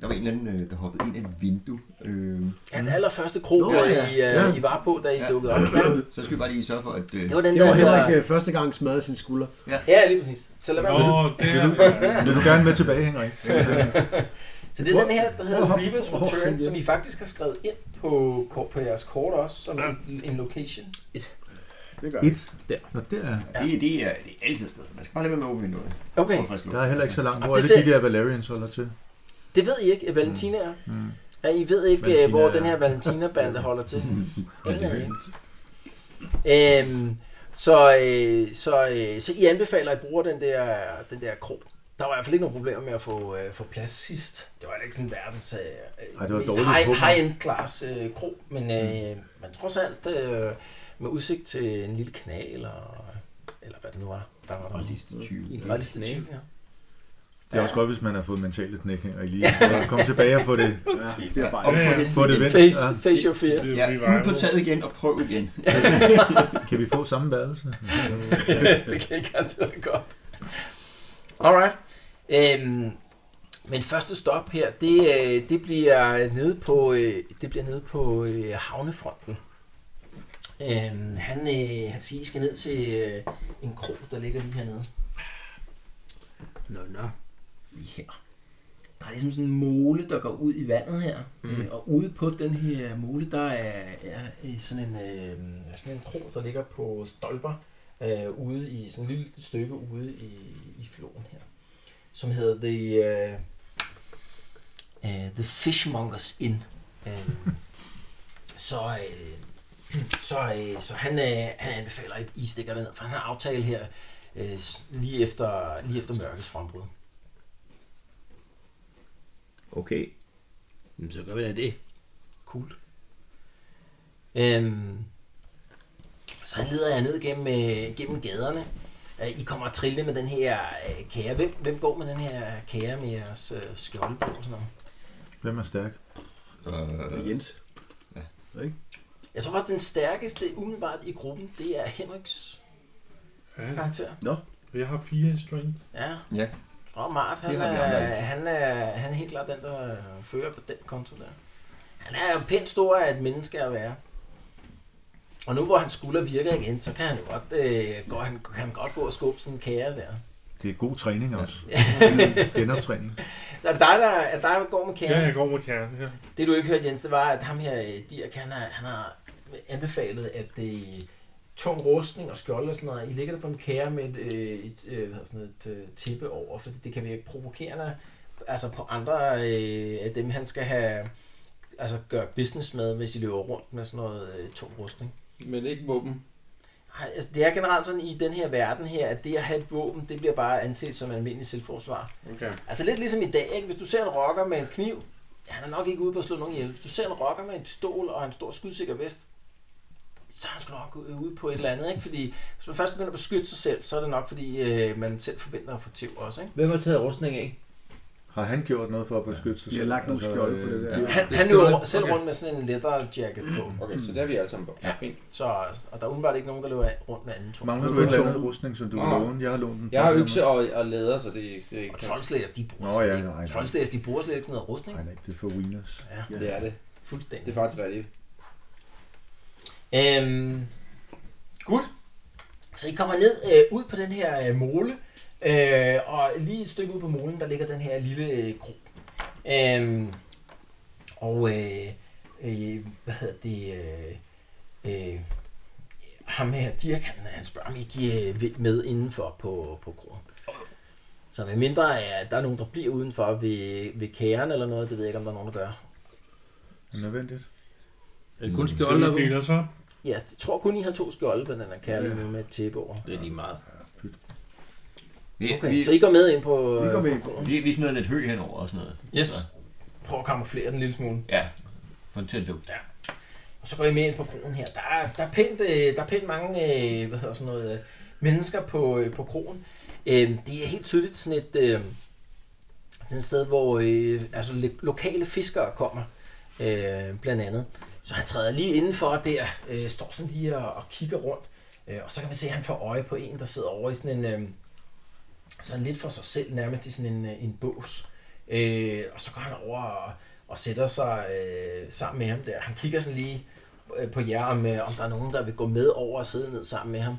Speaker 2: der var en eller anden, øh, der hoppede ind af et vindue. Øh,
Speaker 3: Ja, den allerførste kro,
Speaker 2: Nå,
Speaker 3: hvor
Speaker 2: ja.
Speaker 3: I, øh,
Speaker 7: Ja.
Speaker 3: I var på, da I
Speaker 2: Ja.
Speaker 3: dukkede op. Ja,
Speaker 2: så skal vi bare lige sørge for, at... Øh,
Speaker 3: det var den
Speaker 6: Det
Speaker 3: der,
Speaker 6: var heller
Speaker 3: hedder-
Speaker 6: ikke øh, første gang smadret sin skulder.
Speaker 3: Ja, lige præcis. Så lad
Speaker 5: Nå,
Speaker 3: være med.
Speaker 5: det er...
Speaker 7: Vil du gerne med tilbage, Henrik?
Speaker 3: Så det er den her, der hedder
Speaker 6: Hvor-
Speaker 3: Reapers
Speaker 6: hvor-
Speaker 3: Return,
Speaker 6: hvor-
Speaker 3: som I faktisk har skrevet ind på, kort- på jeres kort også, som en, en location.
Speaker 6: Det gør
Speaker 7: Et. Der. Nå, der. er-
Speaker 2: det, det, er, det er altid et sted. Man skal bare lade være med at åbne vinduet.
Speaker 3: Okay,
Speaker 2: For frisk luft.
Speaker 7: Der er heller ikke så langt. Hvor
Speaker 3: Og
Speaker 7: er
Speaker 3: det
Speaker 7: det,
Speaker 3: ser-
Speaker 7: de der Valerians holder til?
Speaker 3: det ved I ikke, Valentina er.
Speaker 7: Mm.
Speaker 3: Ja, I ved ikke, Valentina,
Speaker 7: Valentina- Mm.
Speaker 3: hvor den her Valentina-bande holder til. Ingen af jer. øhm, så, øh, så, øh, så I anbefaler, at I bruger den der, den der krog. Der var i hvert fald ikke nogen problemer med at få, øh, få plads sidst. Det var heller ikke sådan verdens øh,
Speaker 7: Ej,
Speaker 3: Ej,
Speaker 7: det var
Speaker 3: mest
Speaker 7: dårligt Mm.
Speaker 3: high,
Speaker 7: håbet.
Speaker 3: high-end class øh, krog, men, øh, men trods alt øh, med udsigt til en lille kanal, og, eller hvad det nu var. Der var der.
Speaker 2: Og liste 20.
Speaker 3: Og liste 20, ja.
Speaker 7: Det er også godt, hvis man har fået mentale knæk, Henrik, lige at komme tilbage og få det,
Speaker 2: Ja,
Speaker 6: bare-
Speaker 2: op på
Speaker 5: Ja, ja.
Speaker 2: hesten
Speaker 7: få det
Speaker 2: igen.
Speaker 7: vendt.
Speaker 3: Face,
Speaker 7: Ja.
Speaker 3: face your fears.
Speaker 5: Det
Speaker 2: Ja,
Speaker 5: er jo lige
Speaker 2: ud på
Speaker 5: vejen.
Speaker 2: taget igen og prøv igen.
Speaker 7: Kan vi få samme badelse?
Speaker 3: det kan ikke garanteret godt. Alright. Øhm, men første stop her, det, øh, det bliver nede på, øh, det bliver nede på øh, havnefronten. Øhm, han, øh, han siger, I skal ned til øh, en krog, der ligger lige hernede.
Speaker 4: Nå, nå.
Speaker 3: Lige her. Der er ligesom sådan en mole, der går ud i vandet her. Mm. Øh, og ude på den her mole, der er, er øh, sådan, en, øh, sådan en krog, der ligger på stolper øh, ude i sådan et lille stykke ude i, i floden her. Som hedder The, øh, øh, the Fishmongers Inn. Øh, så øh, så, øh, så han, øh, han anbefaler, at I stikker derned, for han har aftale her øh, s- lige, efter, lige efter mørkets frembrud.
Speaker 2: Okay.
Speaker 4: Jamen, så gør vi da det.
Speaker 3: Cool. Øhm, så han leder jeg ned gennem, øh, gennem gaderne. Øh, I kommer trille med den her øh, kære. Hvem, hvem går med den her kære med jeres øh, skjolde på? og Sådan noget?
Speaker 7: Hvem er stærk?
Speaker 2: Øh,
Speaker 6: Jens.
Speaker 3: Jeg tror faktisk, den stærkeste umiddelbart i gruppen, det er Henriks
Speaker 5: Ja,
Speaker 3: karakter.
Speaker 5: jeg har fire i strength.
Speaker 3: Ja.
Speaker 2: Ja.
Speaker 3: Og Mart, han,
Speaker 2: Det har vi
Speaker 3: er,
Speaker 2: andre ikke.
Speaker 3: han, er, han er helt klart den, der øh, fører på den konto der. Han er jo pænt stor af et menneske at være. Og nu hvor hans skulder virker igen, så kan han jo godt, øh, gå, han, kan han godt gå og skubbe sådan en kære der.
Speaker 7: Det er god træning også. Genoptræning.
Speaker 3: Er det dig, der, er det dig, der går med kæren?
Speaker 5: Ja, jeg går med kernen her.
Speaker 3: Det du ikke hørte, Jens, det var, at ham her, øh, Dirk, han har, han har anbefalet, at det øh, tung rustning og skjold og sådan noget, I ligger der på en kære med et, øh, et, øh, hvad hedder sådan noget, et øh, tippe over, fordi det kan virke provokerende altså på andre øh, af dem, han skal have altså gøre business med, hvis I løber rundt med sådan noget øh, tung rustning.
Speaker 4: Men ikke våben.
Speaker 3: Ej, Altså, det er generelt sådan i den her verden her, at det at have et våben, det bliver bare anset som almindelig selvforsvar.
Speaker 5: Okay.
Speaker 3: Altså lidt ligesom i dag, ikke? hvis du ser en rocker med en kniv, han er nok ikke ude på at slå nogen ihjel. Hvis du ser en rocker med en pistol og en stor skudsikker vest, så er han sgu nok ude på et eller andet. Ikke? Fordi hvis man først begynder at beskytte sig selv, så er det nok fordi, øh, man selv forventer at få tæv også. Ikke?
Speaker 4: Hvem har taget rustning af?
Speaker 7: Har han gjort noget for at beskytte sig
Speaker 6: Vi har lagt nogle skjolde på det der.
Speaker 7: øh,
Speaker 3: Han, han løber okay. selv rundt med sådan en leather jacket på.
Speaker 4: Okay, så der er vi alle sammen på. Mm. Ja. Fint.
Speaker 3: Så, og der er udenbart ikke nogen, der løber rundt med anden tro.
Speaker 7: Mangler
Speaker 3: Og
Speaker 7: du et eller andet rustning, som du vil
Speaker 4: Nå.
Speaker 7: låne? Jeg har lånt den.
Speaker 4: Jeg har økse og, og læder, så det, det er ikke...
Speaker 3: troldslægers, de bruger
Speaker 7: Nå, ja,
Speaker 3: slet ikke-
Speaker 7: nej, nej.
Speaker 3: troldslægers, de bruger slet ikke sådan noget rustning.
Speaker 7: Nej, nej, det er for wieners.
Speaker 3: Ja,
Speaker 4: Det er det. Det
Speaker 3: fuldstændig.
Speaker 4: er faktisk rigtigt.
Speaker 3: Øhm, Godt. Så I kommer ned øh, ud på den her øh, mole, øh, og lige et stykke ud på molen, der ligger den her lille øh, kro. Øhm, og øh, øh, hvad hedder det? Øh, øh, ham her, Dirk, han, han spørger, om I ikke øh, vil med indenfor på, på kroen. Så med mindre, at der er nogen, der bliver udenfor ved, ved kæren eller noget, det ved jeg ikke, om der er nogen, der gør.
Speaker 7: Er det nødvendigt?
Speaker 4: Er det kun
Speaker 5: Skal
Speaker 4: skjolde, der er
Speaker 5: vi dele os op?
Speaker 3: Ja, jeg tror kun, I har to skjolde på den her kære ja. med et tæppe over.
Speaker 4: Det er lige meget.
Speaker 2: Vi,
Speaker 3: Okay,
Speaker 2: vi,
Speaker 3: så I går med ind på...
Speaker 6: Vi går med
Speaker 3: øh,
Speaker 6: ind på.
Speaker 2: vi, vi smider lidt hø henover og sådan noget. Så,
Speaker 3: Yes. Prøv at kamuflere den en lille smule.
Speaker 2: ja, få den til at lugte.
Speaker 3: Og så går I med ind på kronen her. Der er, der er, pænt, øh, der er pænt mange øh, hvad hedder sådan noget, øh, mennesker på, øh, på kronen. Øh, Det er helt tydeligt sådan et, øh, sådan et sted, hvor øh, altså, lo- lokale fiskere kommer, øh, blandt andet. Så han træder lige indenfor der, øh, står sådan lige og, og kigger rundt. Øh, Og så kan man se, at han får øje på en, der sidder over i sådan en... Øh, sådan lidt for sig selv, nærmest i sådan en, øh, en bås. Øh, og så går han over og, og sætter sig øh, sammen med ham der. Han kigger sådan lige øh, på jer, om, øh, om der er nogen, der vil gå med over og sidde ned sammen med ham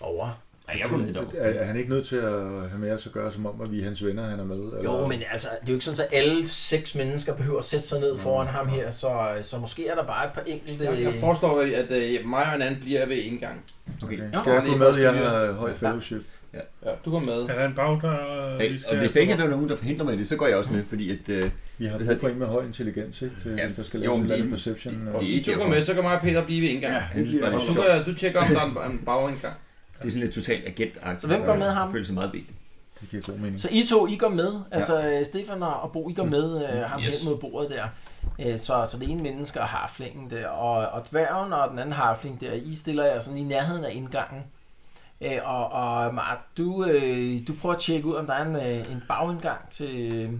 Speaker 3: over.
Speaker 2: Ja, jeg kunne ned
Speaker 7: Er, er han ikke nødt til at have med os at gøre, som om, at vi er hans venner, han er med? Eller?
Speaker 3: Jo, men altså, det er jo ikke sådan, at alle seks mennesker behøver at sætte sig ned foran ham her, så, øh, så måske er der bare et par enkelte...
Speaker 4: Jeg, jeg forstår, at, at øh, mig og en anden bliver ved en gang.
Speaker 2: Okay.
Speaker 7: Okay. Skal jeg
Speaker 4: Nå,
Speaker 7: gå
Speaker 4: det er
Speaker 7: med?
Speaker 4: først
Speaker 7: Jeg
Speaker 4: lige-
Speaker 7: har høj fellowship.
Speaker 4: Ja, du går med.
Speaker 5: Er der en bagdør? øh,
Speaker 2: Hey,
Speaker 5: vi
Speaker 2: og
Speaker 5: skal-
Speaker 2: hvis ikke der er nogen, der forhindrer mig i det, så går jeg også med, fordi at, øh,
Speaker 7: Vi har
Speaker 2: Hvad
Speaker 7: brug
Speaker 2: hedder
Speaker 7: for en med høj intelligens, ikke? Til,
Speaker 2: Ja,
Speaker 7: hvis der skal
Speaker 2: jo,
Speaker 7: laves en
Speaker 2: men
Speaker 7: eller anden
Speaker 2: det-
Speaker 7: perception. og-
Speaker 2: det er
Speaker 4: I
Speaker 2: ikke
Speaker 4: to går med, så kan mig og Peter blive ved en gang.
Speaker 6: Ja,
Speaker 2: han synes bare, det
Speaker 4: Og
Speaker 2: er
Speaker 4: du,
Speaker 2: sjovt.
Speaker 4: kan, du tjekker, om der er en- en bag en gang.
Speaker 2: Det er sådan lidt totalt agent
Speaker 3: Så hvem går med ham?
Speaker 2: Jeg føler sig meget vigtig.
Speaker 7: Det giver god mening.
Speaker 3: Så I to, I går med. Altså, ja. Stefan og og Bo, I går med øh, ham yes. hen mod bordet der. Øh, Så, så det ene menneske og harflingen der, og, og dværgen og den anden harfling der, I stiller jer sådan i nærheden af indgangen. Øh, Og, og Mart, du, øh, du prøver at tjekke ud, om der er en, øh, en bagindgang til... øh,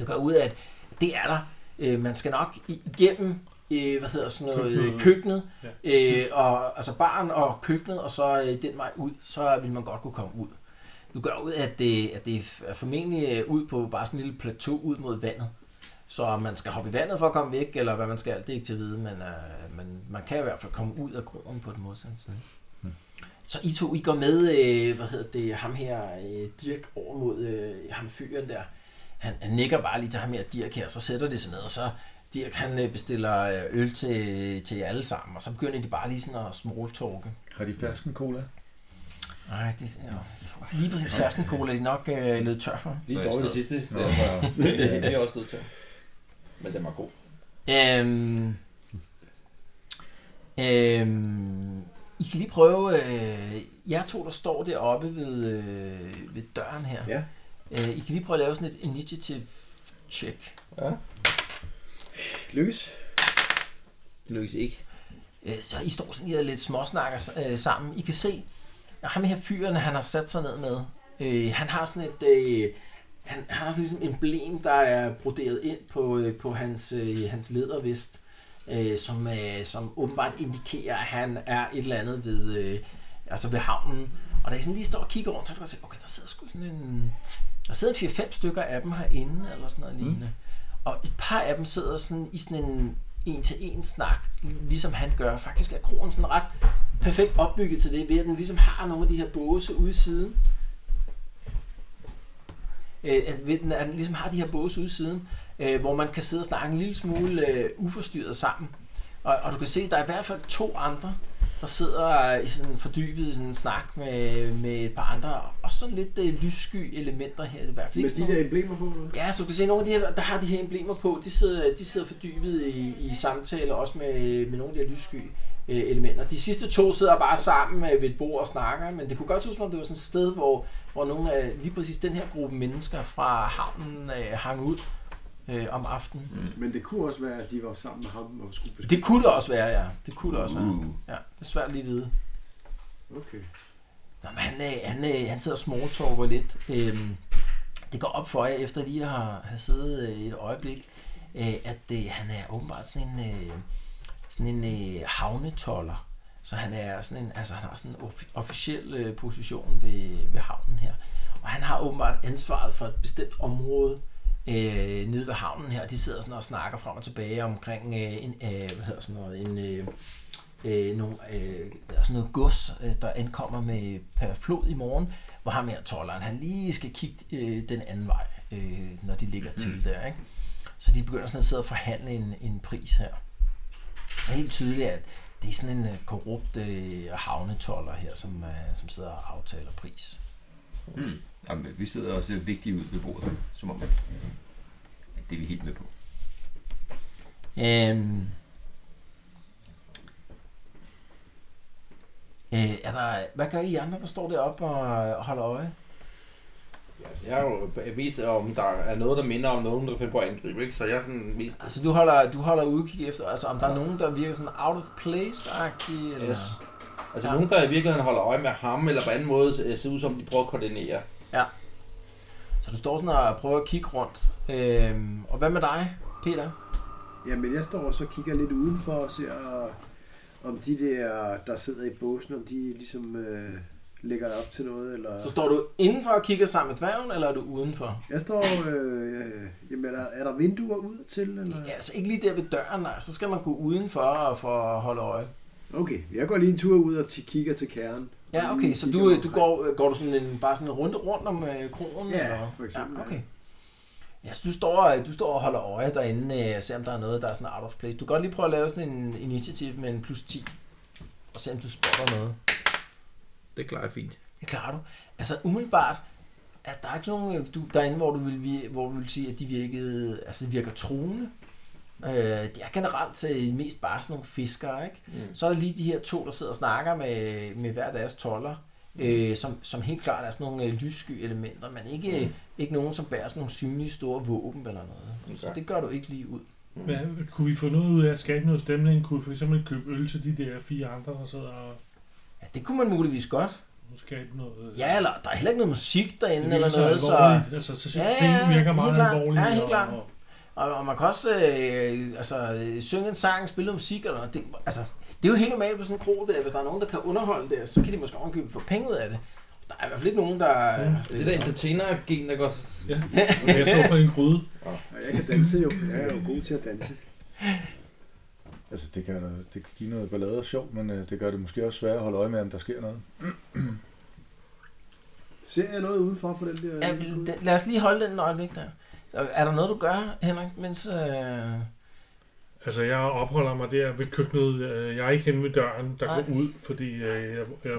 Speaker 3: Du går ud af, at det er der. Øh, Man skal nok i- igennem øh, hvad hedder sådan noget, køkkenet, køkkenet øh, og, altså baren og køkkenet, og så øh, den vej ud, så vil man godt kunne komme ud. Du gør ud, at det, at det er formentlig øh, ud på bare sådan en lille plateau ud mod vandet. Så om man skal hoppe i vandet for at komme væk, eller hvad man skal, det er ikke til at vide, men øh, man, man kan i hvert fald komme ud af grunden på den modsatte side. Så I to, I går med, øh, hvad hedder det, ham her, øh, Dirk, over mod øh, ham fyren der. Han, han nikker bare lige til ham her, Dirk her, så sætter det sig ned, og så Dirk, han øh, bestiller øh, øl til, til jer alle sammen, og så begynder de bare lige sådan at smalltalke.
Speaker 7: Har de fersken cola?
Speaker 3: Nej, det er lige præcis fersken cola, de er nok øh, lidt tør for.
Speaker 4: Lige dårligt det sidste. Det er, det er også nødt til. Men den var god.
Speaker 3: Øhm, øhm, I kan lige prøve, øh, jer to, der står deroppe ved, øh, ved døren her.
Speaker 2: Ja.
Speaker 3: Øh, I kan lige prøve at lave sådan et initiative check.
Speaker 6: Lykkes.
Speaker 4: Det lykkes ikke.
Speaker 3: Øh, så I står sådan lige og lidt småsnakker øh, sammen. I kan se, at ham her fyren, han har sat sig ned med, øh, han har sådan et... Øh, han, han har sådan ligesom et emblem, der er broderet ind på, øh, på hans, øh, hans ledervest, øh, som, øh, som åbenbart indikerer, at han er et eller andet ved, øh, altså ved havnen. Og da I sådan lige står og kigger rundt, så kan du godt se, okay, der sidder sgu sådan en... Der sidder 4-5 stykker af dem herinde, eller sådan noget lignende. Og et par af dem sidder sådan i sådan en en-til-en snak, ligesom han gør. Faktisk er kronen sådan ret perfekt opbygget til det, ved at den ligesom har nogle af de her båse ude i siden. Øh, at ved den, at den ligesom har de her båse ude i siden, øh, hvor man kan sidde og snakke en lille smule øh, uforstyrret sammen. Og, og du kan se, at der er i hvert fald to andre, der sidder i sådan fordybet i sådan en snak med, med et par andre, og sådan lidt øh, lyssky elementer her. Det er i hvert fald
Speaker 6: Med
Speaker 3: ikke sådan
Speaker 6: de der emblemer på, eller?
Speaker 3: Ja, så du kan se, nogle af de her, der har de her emblemer på, de sidder, de sidder fordybet i, i samtaler, også med, med nogle af de her lyssky øh, elementer. De sidste to sidder bare sammen øh, ved et bord og snakker, men det kunne godt se ud som om, det var sådan et sted, hvor, hvor nogle af lige præcis den her gruppe mennesker fra havnen øh, hang ud øh, om aftenen.
Speaker 6: Men det kunne også være, at de var sammen med ham og skulle beskytte.
Speaker 3: Det kunne det også være, ja. Det kunne det også være.
Speaker 2: Uh.
Speaker 3: Ja, det er svært lige at vide.
Speaker 6: Okay.
Speaker 3: Nå, men han, øh, han, øh, han sidder og smalltalker lidt. Øhm, Det går op for jer, efter lige at have, have siddet øh, et øjeblik, øh, at øh, han er åbenbart sådan en, øh, sådan en øh, havnetoller. Så han er sådan en, altså han har sådan en offi- officiel øh, position ved, ved havnen her. Og han har åbenbart ansvaret for et bestemt område øh, nede ved havnen her. De sidder sådan og snakker frem og tilbage omkring øh, en, øh, hvad hedder sådan noget, en, øh, øh, nogle, øh, der er sådan noget gods, øh, der ankommer med per flod i morgen, hvor ham her tolleren, han lige skal kigge øh, den anden vej, øh, når de ligger til der. Ikke? Så de begynder sådan at sidde og forhandle en, en pris her. Så helt tydeligt, at det er sådan en øh, korrupt øh, havnetoller her, som, øh, som sidder og aftaler pris.
Speaker 2: Hmm. Jamen, vi sidder og ser vigtige ud ved bordet, som om at at det er vi helt med på.
Speaker 3: Øhm. Øh, er der, hvad gør I andre, der står deroppe og øh, holder øje?
Speaker 4: Ja, altså, jeg er jo mest om, der er noget, der minder om nogen, der finder på at angribe, ikke? Så jeg er sådan mest...
Speaker 3: Altså, du holder, du holder udkig efter, altså om der er nogen, der virker sådan out of place-agtige? Eller?
Speaker 4: Yes. Altså
Speaker 3: Ja.
Speaker 4: ja. nogen, der i virkeligheden holder øje med ham, eller på anden måde øh, ser ud som, de prøver at koordinere.
Speaker 3: Så du står sådan og prøver at kigge rundt. Øhm, og hvad med dig, Peter?
Speaker 6: Jamen, jeg står og så kigger lidt udenfor og ser, om de der, der sidder i båsen, om de ligesom øh, lægger op til noget, eller...
Speaker 3: Så står du indenfor og kigger sammen med dværgen, eller er du udenfor?
Speaker 6: Jeg står... Øh, øh, jamen, er der, er der vinduer ud til, eller...
Speaker 3: Ja, altså ikke lige der ved døren, nej. Så skal man gå udenfor og for at holde øje.
Speaker 6: Okay, jeg går lige en tur ud og t- kigger til kernen.
Speaker 3: Ja, okay, så du, øh, du går, øh, går du sådan en, bare sådan en runde rundt om øh, kronen?
Speaker 6: Ja,
Speaker 3: eller?
Speaker 6: for eksempel,
Speaker 3: Ja,
Speaker 6: ja.
Speaker 3: okay. Ja, så du står, øh, du står og holder øje derinde øh, og ser, om der er noget, der er sådan out of place. Du kan godt lige prøve at lave sådan en initiativ med en plus 10, og se, om du spotter noget.
Speaker 4: Det klarer jeg fint.
Speaker 3: Det klarer du. Altså umiddelbart, at der er ikke nogen øh, du, derinde, hvor du, vil, vi- hvor du vil sige, at de virkede, altså, de virker truende. Øh, det er generelt til mest bare sådan nogle fiskere, ikke? Mm.
Speaker 4: Mm.
Speaker 3: Så er der lige de her to, der sidder og snakker med, med hver deres toller, øh, som, som helt klart er sådan nogle øh, lyssky elementer, men ikke, mm. ikke nogen, som bærer sådan nogle synlige store våben eller noget. Okay. Så
Speaker 4: Okay.
Speaker 3: det gør du ikke lige ud.
Speaker 5: Hvad, kunne vi få noget ud af at skabe noget stemning? Kunne vi for eksempel købe øl til de der fire andre, der sidder og
Speaker 3: Ja, det kunne man muligvis godt.
Speaker 5: skabe noget... øh,
Speaker 3: Ja, eller der er heller ikke noget musik
Speaker 5: det
Speaker 3: derinde
Speaker 5: virker
Speaker 3: eller
Speaker 5: så
Speaker 3: noget, så...
Speaker 5: alvorligt. Altså, så
Speaker 3: Ja,
Speaker 5: ja,
Speaker 3: ja,
Speaker 5: scenen virker
Speaker 3: helt
Speaker 5: meget
Speaker 3: klart.
Speaker 5: alvorlig.
Speaker 3: Ja, helt klart.
Speaker 5: Og,
Speaker 3: Og, og man kan også øh, altså, øh, synge en sang, spille noget musik eller noget. Det, altså, det er jo helt normalt på sådan en kro der. Hvis der er nogen, der kan underholde det, så kan de måske ovenkøbe for penge ud af det. Der er i hvert fald ikke nogen, der...
Speaker 5: Ja,
Speaker 3: Mm,
Speaker 4: Det der entertainer-gen, der går...
Speaker 5: ja. Okay, jeg står på en gryde.
Speaker 6: Og jeg kan danse jo. Jeg er jo god til at danse.
Speaker 7: Altså, det kan, øh, det kan give noget ballade og sjov, men øh, det gør det måske også svært at holde øje med, om der sker noget.
Speaker 6: Ser jeg noget udenfor på den der...
Speaker 3: Ja,
Speaker 6: vinduet?
Speaker 3: lad os lige holde den en øjeblik der. Er der noget, du gør, Henrik, mens... Øh...
Speaker 5: Altså, jeg opholder mig der ved køkkenet. Øh, Jeg er ikke henne ved døren, der
Speaker 3: Nej.
Speaker 5: går ud, fordi øh, jeg, jeg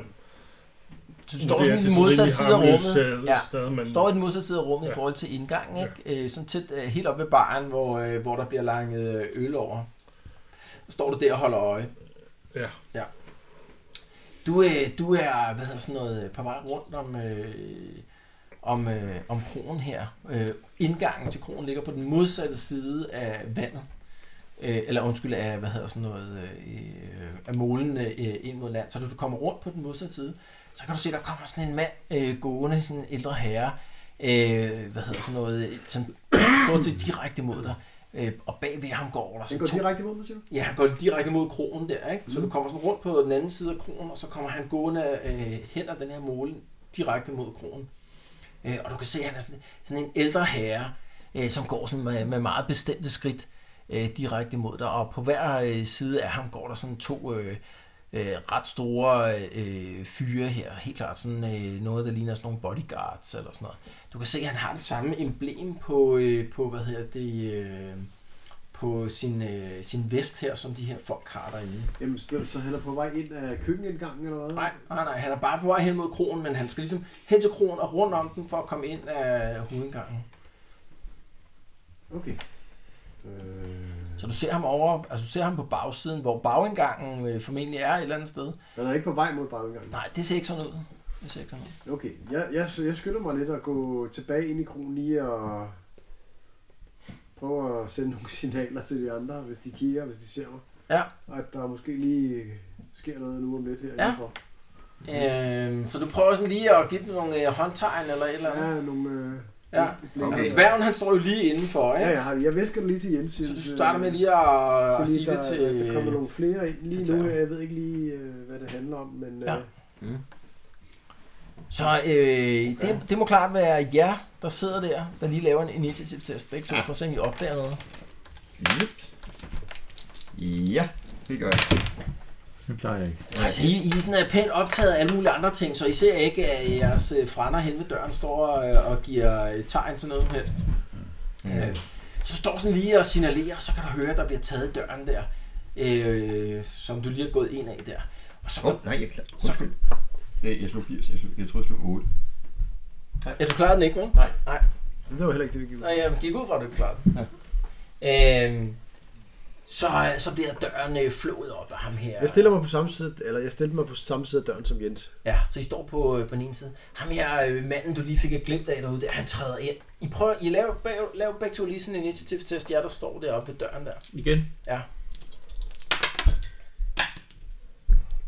Speaker 3: Så du står sådan i den modsatte side af rummet.
Speaker 5: Ja.
Speaker 3: Ja.
Speaker 5: Sted, øh, men
Speaker 3: Står i den modsatte side af rummet ja. i
Speaker 5: Ja.
Speaker 3: forhold til indgangen, ikke? Øh, sådan tæt, øh, helt op ved baren, hvor, øh, hvor der bliver langet øh, øl over. Står du der og holder øje.
Speaker 5: Ja.
Speaker 3: Ja. Du, øh, du er, hvad hedder sådan noget, øh, på vej rundt om, øh, om, øh, om kronen her. Øh, indgangen til kronen ligger på den modsatte side af vandet. Øh, eller undskyld, af, hvad hedder sådan noget, øh, af målen øh, ind mod land. Så når du kommer rundt på den modsatte side, så kan du se, der kommer sådan en mand øh, gående, sådan en ældre herre, øh, hvad hedder sådan noget, øh, sådan stort set direkte mod dig. Øh, og bagved ham går der
Speaker 6: Den
Speaker 3: sådan
Speaker 6: går
Speaker 3: to
Speaker 6: direkte mod mig, siger du?
Speaker 3: Ja, han går direkte mod kronen der, ikke? Så du kommer sådan rundt på den anden side af kronen, og så kommer han gående øh, hen ad den her måle direkte mod kronen. Øh, og du kan se, at han er sådan, sådan en ældre herre, øh, som går sådan med, med meget bestemte skridt øh, direkte mod dig. Og på hver øh, side af ham går der sådan to øh, øh, ret store øh, fyre her. Helt klart sådan øh, noget, der ligner sådan nogle bodyguards eller sådan noget. Du kan se, at han har det samme emblem på, øh, på hvad hedder det... Øh, på sin, øh, sin vest her, som de her folk har derinde.
Speaker 6: Jamen, så, så han er på vej ind af køkkenindgangen, eller hvad?
Speaker 3: Nej, nej, nej, han er bare på vej hen mod kronen, men han skal ligesom hen til kronen og rundt om den for at komme ind af hovedgangen.
Speaker 6: Okay. Øh,
Speaker 3: Så du ser ham over, altså du ser ham på bagsiden, hvor bagindgangen øh, formentlig er et eller andet sted.
Speaker 6: han er ikke på vej mod bagindgangen?
Speaker 3: Nej, det ser ikke sådan ud. Det ser ikke sådan ud.
Speaker 6: Okay, jeg, jeg, jeg skynder mig lidt at gå tilbage ind i krogen lige og prøve at sende nogle signaler til de andre, hvis de kigger, hvis de ser mig.
Speaker 3: Ja.
Speaker 6: Og at der måske lige sker noget nu om lidt her.
Speaker 3: Ja.
Speaker 6: indenfor.
Speaker 3: Øhm, Øh, så du prøver sådan lige at give dem nogle øh, håndtegn eller et eller andet.
Speaker 6: Der er nogle, øh,
Speaker 3: Ja. Okay. Altså, dværgen, han står jo lige indenfor, ikke?
Speaker 6: Ja, jeg, har, jeg væsker det lige til Jens. øh,
Speaker 3: Så du starter med lige at, at sige
Speaker 6: der,
Speaker 3: det til...
Speaker 6: Der kommer nogle flere ind
Speaker 3: til
Speaker 6: lige nu.
Speaker 3: Terje.
Speaker 6: Jeg ved ikke lige, øh, hvad det handler om, men...
Speaker 3: Ja.
Speaker 6: øh,
Speaker 3: Så øh, okay. det, det må klart være jer, der sidder der, der lige laver en initiativtest. Begge to, for at se, om I opdager noget.
Speaker 2: Yep. Ja, det gør jeg.
Speaker 7: Det klarer jeg ikke.
Speaker 3: Altså, I, I er sådan er pænt optaget af alle mulige andre ting, så I ser ikke, at jeres øh, frænder hen ved døren står og, og giver øh, tegn til noget som helst. Ja. Så står sådan lige og signalerer, og så kan du høre, at der bliver taget i døren der, øh, som du lige har gået ind af der. Og så
Speaker 2: Åh, oh, nej, jeg klar. Undskyld. Øh, Jeg slog 80, jeg, slog, jeg troede, jeg slog 8.
Speaker 3: Ja, du klarede den ikke, vel?
Speaker 2: Nej.
Speaker 3: Nej,
Speaker 6: Men det var heller ikke det, vi gjorde.
Speaker 3: Nej jeg gik ud fra, at du ikke klarede den. Ja. Øhm, så, så bliver døren øh, flået op af ham her.
Speaker 6: Jeg stiller mig på samme side, eller jeg stillede mig på samme side af døren som Jens.
Speaker 3: Ja, så I står på, øh, på den ene side. Ham her, øh, manden, du lige fik et glimt af derude, der, han træder ind. I, prøver, I laver, bag, laver begge to lige sådan en initiativtest, jer der står deroppe ved døren der.
Speaker 4: Igen.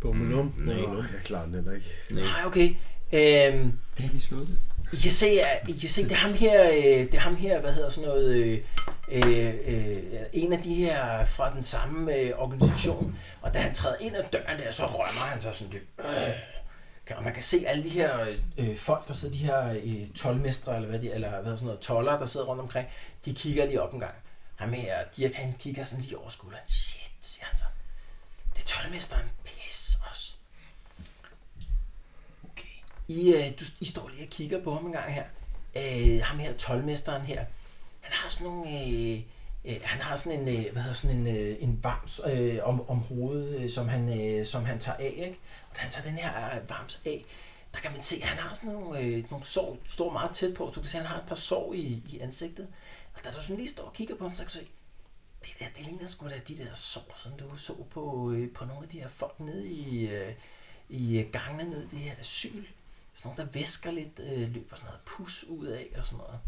Speaker 5: Bummelum. Mm.
Speaker 6: Åh, jeg klarer den heller ikke.
Speaker 3: Nej, okay. Øhm,
Speaker 2: Hvad har vi slået det?
Speaker 3: I kan se, at- I kan se det, er ham her, øh, det er ham her, hvad hedder sådan noget, øh, øh, øh, en af de her fra den samme øh, organisation, og da han træder ind ad døren der, så rømmer han sig sådan dybt. Øh. Kan- Og man kan se alle de her øh, folk, der sidder, de her øh, tolvmestre, eller hvad, de, eller hvad hedder sådan noget, toller, der sidder rundt omkring, de kigger lige op en gang. Ham her, Dirk, han kigger sådan lige over skulderen. Shit, siger han så. Det er tolvmesteren. Pis os. Okay. I, øh, du, I står lige og kigger på ham en gang her. Øh, ham her, tolvmesteren her. Han har sådan nogle... Øh, øh, han har sådan en, øh, hvad hedder sådan en, øh, en vams øh, om, om hovedet, øh, som han, øh, som han tager af. Ikke? Og da han tager den her øh, vams af, der kan man se, at han har sådan nogle, øh, nogle sår, du står meget tæt på, så du kan se, at han har et par sår i, i ansigtet. Og da du sådan lige står og kigger på ham, så kan du se, det der, det ligner sgu da de der sår, som du så på, øh, på nogle af de her folk nede i, øh, i øh, gangene nede i det her asyl. Sådan nogle, der væsker lidt, øh, løber sådan noget pus ud af og sådan noget.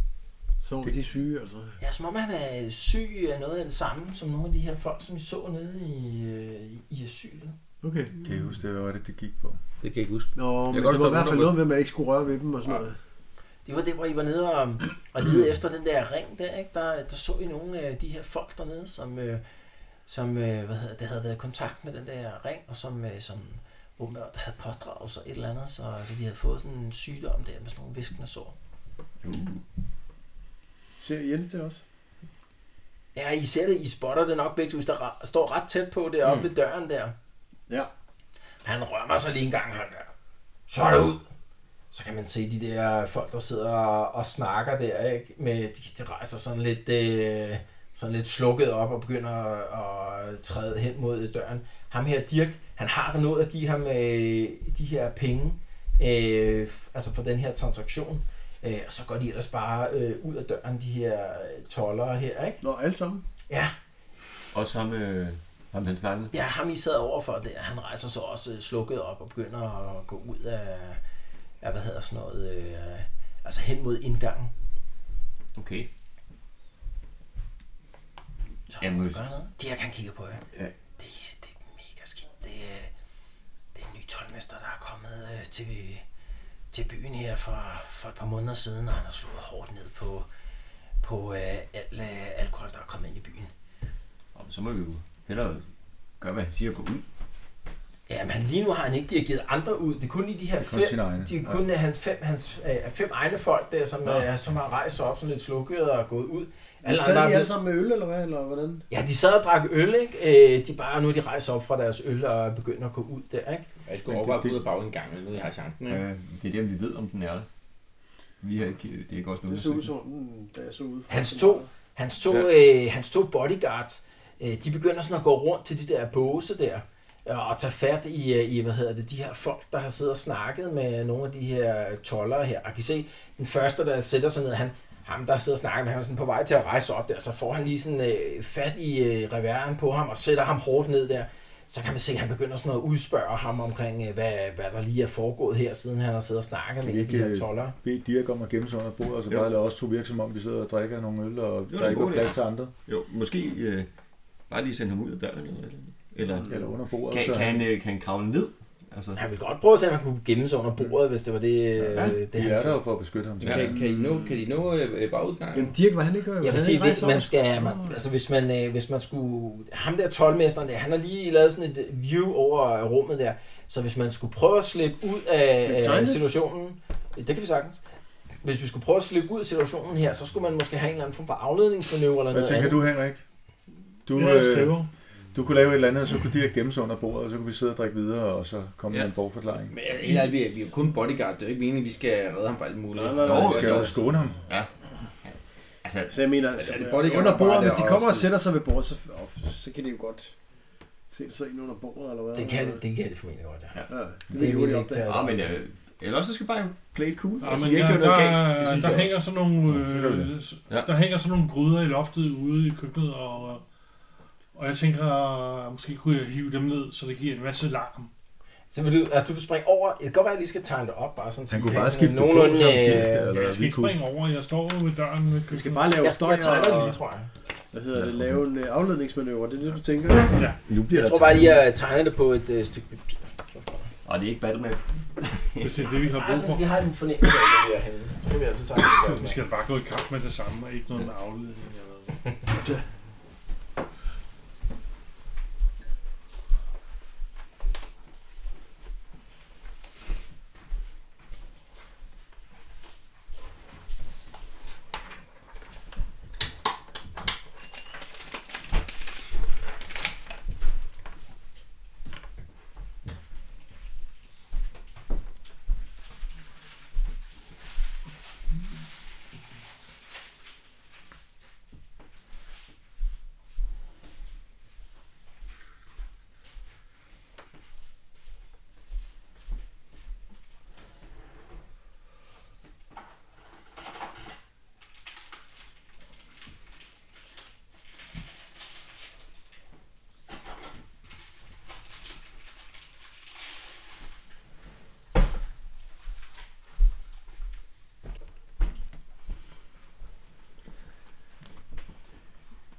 Speaker 6: Så det er de syge, altså.
Speaker 3: Ja, som om han er syg af noget af det samme, som nogle af de her folk, som vi så nede i, øh, i asylet.
Speaker 6: Okay.
Speaker 7: Kan I huske, det var det, det gik på?
Speaker 4: Det kan jeg ikke huske.
Speaker 6: Nå, men
Speaker 4: godt
Speaker 6: det var
Speaker 4: forstå,
Speaker 6: i hvert fald
Speaker 4: hvorfor-
Speaker 6: noget med, at man ikke skulle røre ved dem og sådan noget.
Speaker 3: Det var det, hvor I var nede og, og lede efter den der ring der, ikke? Der, der så I nogle af de her folk dernede, som, øh, som øh, hvad hedder, det, havde været i kontakt med den der ring, og som, øh, som åbenbart havde pådraget sig et eller andet, så altså, de havde fået sådan en sygdom der med sådan nogle viskende sår.
Speaker 6: Ser Jens det også?
Speaker 3: Ja, I ser det, I spotter det nok begge to, der ra- står ret tæt på det oppe mm. ved døren der.
Speaker 6: Ja.
Speaker 3: Han rømmer sig lige en gang, han der. Så er det ud. Så kan man se de der folk, der sidder og snakker der, ikke? Med, de, de rejser sådan lidt, øh, sådan lidt slukket op og begynder at, at træde hen mod døren. Ham her, Dirk, han har nået at give ham øh, de her penge, øh, f- altså for den her transaktion. Øh, og så går de ellers bare øh, ud af døren, de her øh, tollere her, ikke?
Speaker 6: Nå, alle sammen.
Speaker 3: Ja,
Speaker 2: Og så ham, øh, ham han snakkede.
Speaker 3: Ja, ham I sad overfor der, han rejser sig også øh, slukket op og begynder at gå ud af, af hvad hedder sådan noget, øh, altså hen mod indgangen.
Speaker 2: Okay.
Speaker 3: Så
Speaker 2: Jamen,
Speaker 3: Jamen,
Speaker 2: hvis-
Speaker 3: gør noget. De her kan kigge på jer.
Speaker 2: Ja.
Speaker 3: Det, er- det er mega skidt. Det er, det er en ny tolvmester, der er kommet øh, til, til byen her for, for et par måneder siden, og han har slået hårdt ned på, på øh, al øh, alkohol, der er kommet ind i byen.
Speaker 2: Og så må vi jo hellere gøre, hvad han siger og gå ud.
Speaker 3: Ja, men lige nu har han ikke dirigeret andre ud. Det er kun i de her
Speaker 8: kun
Speaker 3: fem,
Speaker 8: sine egne.
Speaker 3: de er kun ja. hans fem, hans, øh, fem egne folk der, som,
Speaker 2: Nå.
Speaker 3: ja. øh, som har rejst sig op sådan lidt slukket og er gået ud.
Speaker 6: Alle
Speaker 3: Alle
Speaker 6: sad
Speaker 3: andre er
Speaker 6: I alle
Speaker 3: blevet...
Speaker 6: sammen med øl, eller hvad? Eller hvordan?
Speaker 3: Ja, de sad og drak øl, ikke? Øh, de bare, nu er de rejst op fra deres øl og begynder at gå ud der, ikke?
Speaker 4: Jeg skulle overveje at gå ud og bage en gang, men nu jeg har chancen. ikke?
Speaker 2: Øh, det er det, om vi ved, om den er der. Vi har ikke, øh, det er ikke også
Speaker 6: Det
Speaker 2: noget
Speaker 6: så ud som om, den, da jeg så ud fra.
Speaker 3: Hans to, hans to, ja. øh, hans to bodyguards, øh, de begynder sådan at gå rundt til de der båse der, øh, og tage fat i, øh, i, hvad hedder det, de her folk, der har siddet og snakket med nogle af de her tollere her. Og kan I se, den første, der sætter sig ned, han, ham, der sidder og snakker med ham, er sådan på vej til at rejse sig op der, så får han lige sådan øh, fat i øh, reværen på ham, og sætter ham hårdt ned der. Så kan man se, at han begynder sådan noget at udspørge ham omkring, øh, hvad, hvad der lige er foregået her, siden han har siddet og snakket
Speaker 7: Kan
Speaker 3: med
Speaker 7: vi
Speaker 3: de her
Speaker 7: ikke, øh,
Speaker 3: tollere.
Speaker 7: Bed Dirk om at gemme sig under bordet, og så
Speaker 2: Jo.
Speaker 7: bare lade os to virke, som om vi sidder og drikker nogle øl, og
Speaker 2: en
Speaker 7: der ikke
Speaker 2: god
Speaker 7: er
Speaker 2: idé.
Speaker 7: plads til andre.
Speaker 2: Jo, måske øh, bare lige sende ham ud af døren eller noget. Eller,
Speaker 7: Eller under bordet.
Speaker 2: kan,
Speaker 7: så
Speaker 2: kan, han, øh, kan han kravle ned? Altså,
Speaker 3: Han vil godt prøve at se, om han kunne gemme sig under bordet, hvis det var det, ja, det
Speaker 7: De
Speaker 3: han
Speaker 7: er der jo for at beskytte ham.
Speaker 4: Ja. Kan, kan, I nå, kan I nå øh, øh, bagudgangen?
Speaker 6: Jamen Dirk, var han ikke? var
Speaker 3: Jeg
Speaker 6: han
Speaker 3: vil sige,
Speaker 6: ikke
Speaker 3: hvis
Speaker 6: rejst
Speaker 3: man
Speaker 6: over?
Speaker 3: skal, man,
Speaker 7: Mm.
Speaker 3: altså hvis man, øh, hvis man skulle, ham der tolvmesteren der, han har lige lavet sådan et øh, view over rummet der, så hvis man skulle prøve at slippe ud
Speaker 6: Kan
Speaker 3: af
Speaker 6: vi tegne
Speaker 3: øh,
Speaker 6: det?
Speaker 3: situationen, det kan vi sagtens, hvis vi skulle prøve at slippe ud af situationen her, så skulle man måske have en eller anden form for afledningsmanøvre eller
Speaker 7: Hvad
Speaker 3: noget
Speaker 7: tænker
Speaker 3: andet.
Speaker 7: du, Henrik? Du,
Speaker 5: Jeg er
Speaker 7: øh,
Speaker 5: skriver.
Speaker 7: du kunne lave et eller andet, og så kunne de have gemme sig under bordet, og så kunne vi sidde og drikke videre, og så komme
Speaker 2: Ja.
Speaker 7: med en borgforklaring.
Speaker 4: Men jeg- helt ærligt, vi er, vi er jo kun bodyguard. Det er jo ikke meningen, at vi skal redde ham fra alt muligt.
Speaker 6: Nej, nej, nej.
Speaker 7: Og
Speaker 6: Nå,
Speaker 7: vi skal jo skåne ham.
Speaker 4: Altså,
Speaker 6: Så jeg mener,
Speaker 4: Er
Speaker 6: altså,
Speaker 4: det bodyguard,
Speaker 6: under
Speaker 4: der
Speaker 6: bordet,
Speaker 4: bare
Speaker 6: hvis de
Speaker 4: der
Speaker 6: kommer og
Speaker 4: også-
Speaker 6: sætter sig ved bordet, så, åh, så kan de jo godt se det så ind under bordet, eller hvad?
Speaker 3: Det kan det, det kan det formentlig godt, ja.
Speaker 6: Ja, det,
Speaker 3: Det
Speaker 6: er
Speaker 3: er
Speaker 6: jo
Speaker 3: min
Speaker 6: ikke
Speaker 3: ikke
Speaker 6: opdaget.
Speaker 2: ah, men, øh, eller så skal vi bare play it cool.
Speaker 5: Ja,
Speaker 2: altså,
Speaker 5: men
Speaker 2: vi har
Speaker 5: der,
Speaker 2: ikke gjort noget galt. Det
Speaker 5: der,
Speaker 2: synes
Speaker 5: der
Speaker 2: jeg
Speaker 5: hænger
Speaker 2: også.
Speaker 5: sådan nogle,
Speaker 7: så gør vi
Speaker 5: øh,
Speaker 2: Ja.
Speaker 5: der hænger sådan nogle gryder i loftet ude i køkkenet, og, og jeg tænker, måske kunne jeg hive dem ned, så det giver en masse larm.
Speaker 3: Så vil du, altså du vil springe over, det kan godt være, at jeg lige skal tegne det op, bare sådan, så
Speaker 7: Han
Speaker 3: vi
Speaker 7: kunne
Speaker 3: har
Speaker 7: bare
Speaker 3: sådan
Speaker 7: skifte
Speaker 3: nogenlunde,
Speaker 7: på, så han gik der.
Speaker 3: øh,
Speaker 7: Eller
Speaker 5: jeg skal
Speaker 7: vi
Speaker 5: ikke
Speaker 7: kunne-
Speaker 5: springe over, jeg står ude ved døren ved
Speaker 6: Jeg skal
Speaker 5: køkkenet.
Speaker 6: bare lave
Speaker 3: jeg,
Speaker 6: støj
Speaker 3: jeg tegner det
Speaker 6: og,
Speaker 3: lige, tror jeg.
Speaker 6: hvad hedder det, lave en øh, afledningsmanøvre. Det er det, du tænker?
Speaker 7: Nu bliver
Speaker 3: Jeg
Speaker 7: der
Speaker 3: tror bare lige, jeg tegner det på et øh, stykke papir.
Speaker 2: Og det er ikke Batman.
Speaker 5: Hvis det er det, vi har brug
Speaker 3: Altså,
Speaker 5: for.
Speaker 3: vi har en fornemmelse af, at det er henne. Så kan vi altså tegne det.
Speaker 5: Vi skal da bare gå i kamp med det samme, og ikke noget med afledning eller noget.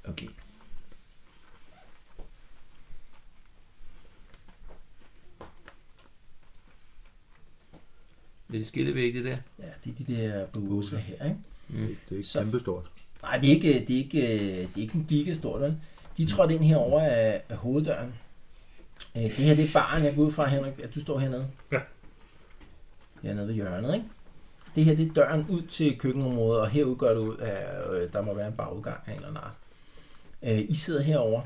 Speaker 2: Okay.
Speaker 4: Det er skillevæg, det der.
Speaker 3: Ja, det er de der båser her, ikke?
Speaker 7: Mm, Det er ikke
Speaker 3: Så-
Speaker 7: kæmpe stort.
Speaker 3: Nej, det er ikke, det er ikke, det er ikke en bikke stor, vel? De trådte ind herovre af, af hoveddøren. Øh, Det her, det er baren, jeg går ud fra, Henrik, at du står hernede.
Speaker 5: Ja.
Speaker 3: Hernede ved hjørnet, ikke? Det her, det er døren ud til køkkenområdet, og herud gør det ud af, øh, der må være en bagudgang af en eller anden art. Øh, I sidder herover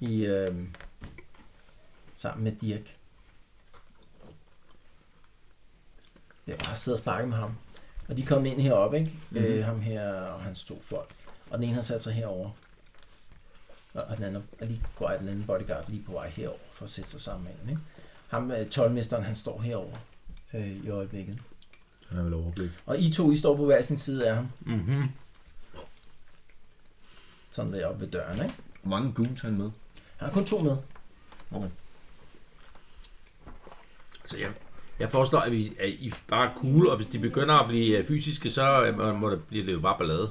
Speaker 3: i, øh, sammen med Dirk. Jeg har siddet og snakket med ham. Og de kom ind heroppe, ikke? Mm-hmm. Øh, ham her og hans to folk. Og den ene har sat sig herover. Og, og den anden er lige på vej, den anden bodyguard er lige på vej herover for at sætte sig sammen med hende, ikke? Ham, øh, tolvmesteren, han står herover øh, i øjeblikket.
Speaker 7: Han har vel overblik.
Speaker 3: Og I to, I står på hver sin side af ham.
Speaker 4: Mm-hmm.
Speaker 3: Sådan der oppe ved døren, ikke?
Speaker 2: Hvor mange goons har han med?
Speaker 3: Han har kun to med.
Speaker 4: Så jeg, jeg foreslår, at, vi, at I bare er cool, og hvis de begynder at blive øh, fysiske, så øh, må det, bliver det jo bare ballade.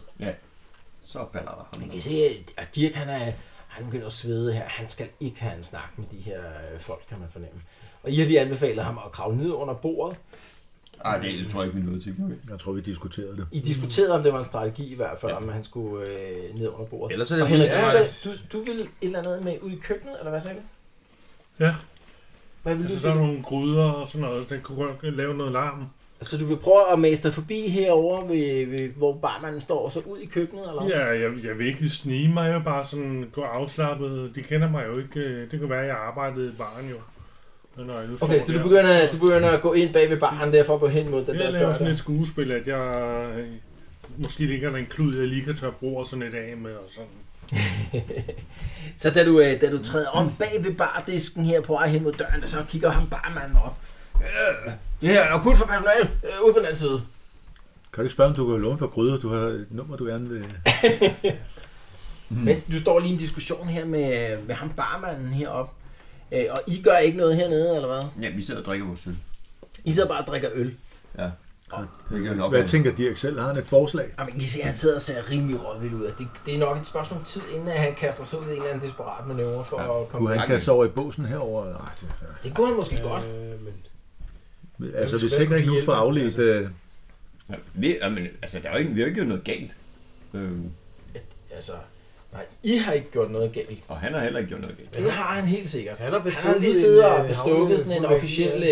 Speaker 2: Så falder der ham.
Speaker 3: Man kan se, at Dirk han er, han begynder at svede her. Han skal ikke have en snak med de her øh, folk, kan man fornemme. Og I har lige anbefalet ham at kravle ned under bordet.
Speaker 2: Ej, det tror jeg ikke, vi nåede til.
Speaker 7: Jeg tror, vi diskuterede det.
Speaker 5: Mm.
Speaker 3: I diskuterede, om det var en strategi i hvert fald, ja. om han skulle øh, ned under bordet.
Speaker 4: Ellers er det
Speaker 3: Og Henrik,
Speaker 4: Ja,
Speaker 3: du, sagde, du, du ville et eller andet med ud i køkkenet, eller hvad sagde du?
Speaker 5: Ja.
Speaker 3: Hvad vil
Speaker 5: Altså,
Speaker 3: du
Speaker 5: der er
Speaker 3: sige?
Speaker 5: nogle gryder og sådan noget, den kunne godt lave noget larm.
Speaker 3: Altså, du vil prøve at mase dig forbi herover, ved, ved, hvor barmanden står, og så ud i køkkenet, eller
Speaker 5: Ja, jeg, jeg vil ikke snige mig, jeg vil bare sådan gå afslappet. De kender mig jo ikke. øh, Det kan være, at jeg arbejdede i baren jo. Men Når jeg nu
Speaker 3: Okay,
Speaker 5: står
Speaker 3: så du
Speaker 5: der.
Speaker 3: begynder, du begynder at gå ind bag ved baren der, for at gå hen mod den
Speaker 5: Jeg
Speaker 3: der
Speaker 5: laver
Speaker 3: dør.
Speaker 5: sådan
Speaker 3: Der.
Speaker 5: et skuespil, at jeg... øh, Måske ligger der en klud, jeg lige kan tørre bruger sådan et af med og sådan.
Speaker 3: Så da du, øh, da du træder om bag ved bardisken her på vej hen mod døren, så kigger ham barmanden op. Øh, det her er jo kun for personal, øh, ude på den anden side.
Speaker 7: Kan du ikke spørge, om du kan låne et par gryder? Du har et nummer, du gerne vil...
Speaker 3: Mm. Mens du står lige i en diskussion her med, med ham barmanden heroppe. Øh, og I gør ikke noget hernede, eller hvad?
Speaker 2: Ja, vi sidder og drikker vores søl.
Speaker 3: I sidder bare og drikker øl.
Speaker 2: Ja. Det kan nok
Speaker 7: Hvad
Speaker 2: være.
Speaker 7: tænker Dirk selv? Har han et forslag?
Speaker 3: Og man kan se, at han sidder og ser rimelig rådvild ud. og Det, det er nok et spørgsmål om tid, inden at han kaster sig ud i en eller anden desperat manøvre for ja, at komme
Speaker 7: Kunne han
Speaker 3: væk.
Speaker 7: kaste over i båsen herover? Nej, det
Speaker 3: Det kunne han måske øh, godt.
Speaker 8: Øh, men
Speaker 7: er... Altså,
Speaker 8: hvis
Speaker 7: hvis
Speaker 8: hvad
Speaker 7: ikke
Speaker 8: skulle
Speaker 7: nu
Speaker 8: de
Speaker 7: får
Speaker 8: hjælpe?
Speaker 7: afledt...
Speaker 8: Altså-
Speaker 7: øh,
Speaker 2: Ja, vi, jamen, altså, der er jo ikke, vi har ikke gjort noget galt. Øh,
Speaker 3: Altså, nej, I har ikke gjort noget galt.
Speaker 2: og han har heller ikke gjort noget galt.
Speaker 3: Det har han helt sikkert.
Speaker 8: Han har
Speaker 3: Han har
Speaker 8: bestukket
Speaker 3: lige siddet
Speaker 8: en,
Speaker 3: og
Speaker 8: øh,
Speaker 3: bestukket sådan en
Speaker 8: havne-
Speaker 3: officiel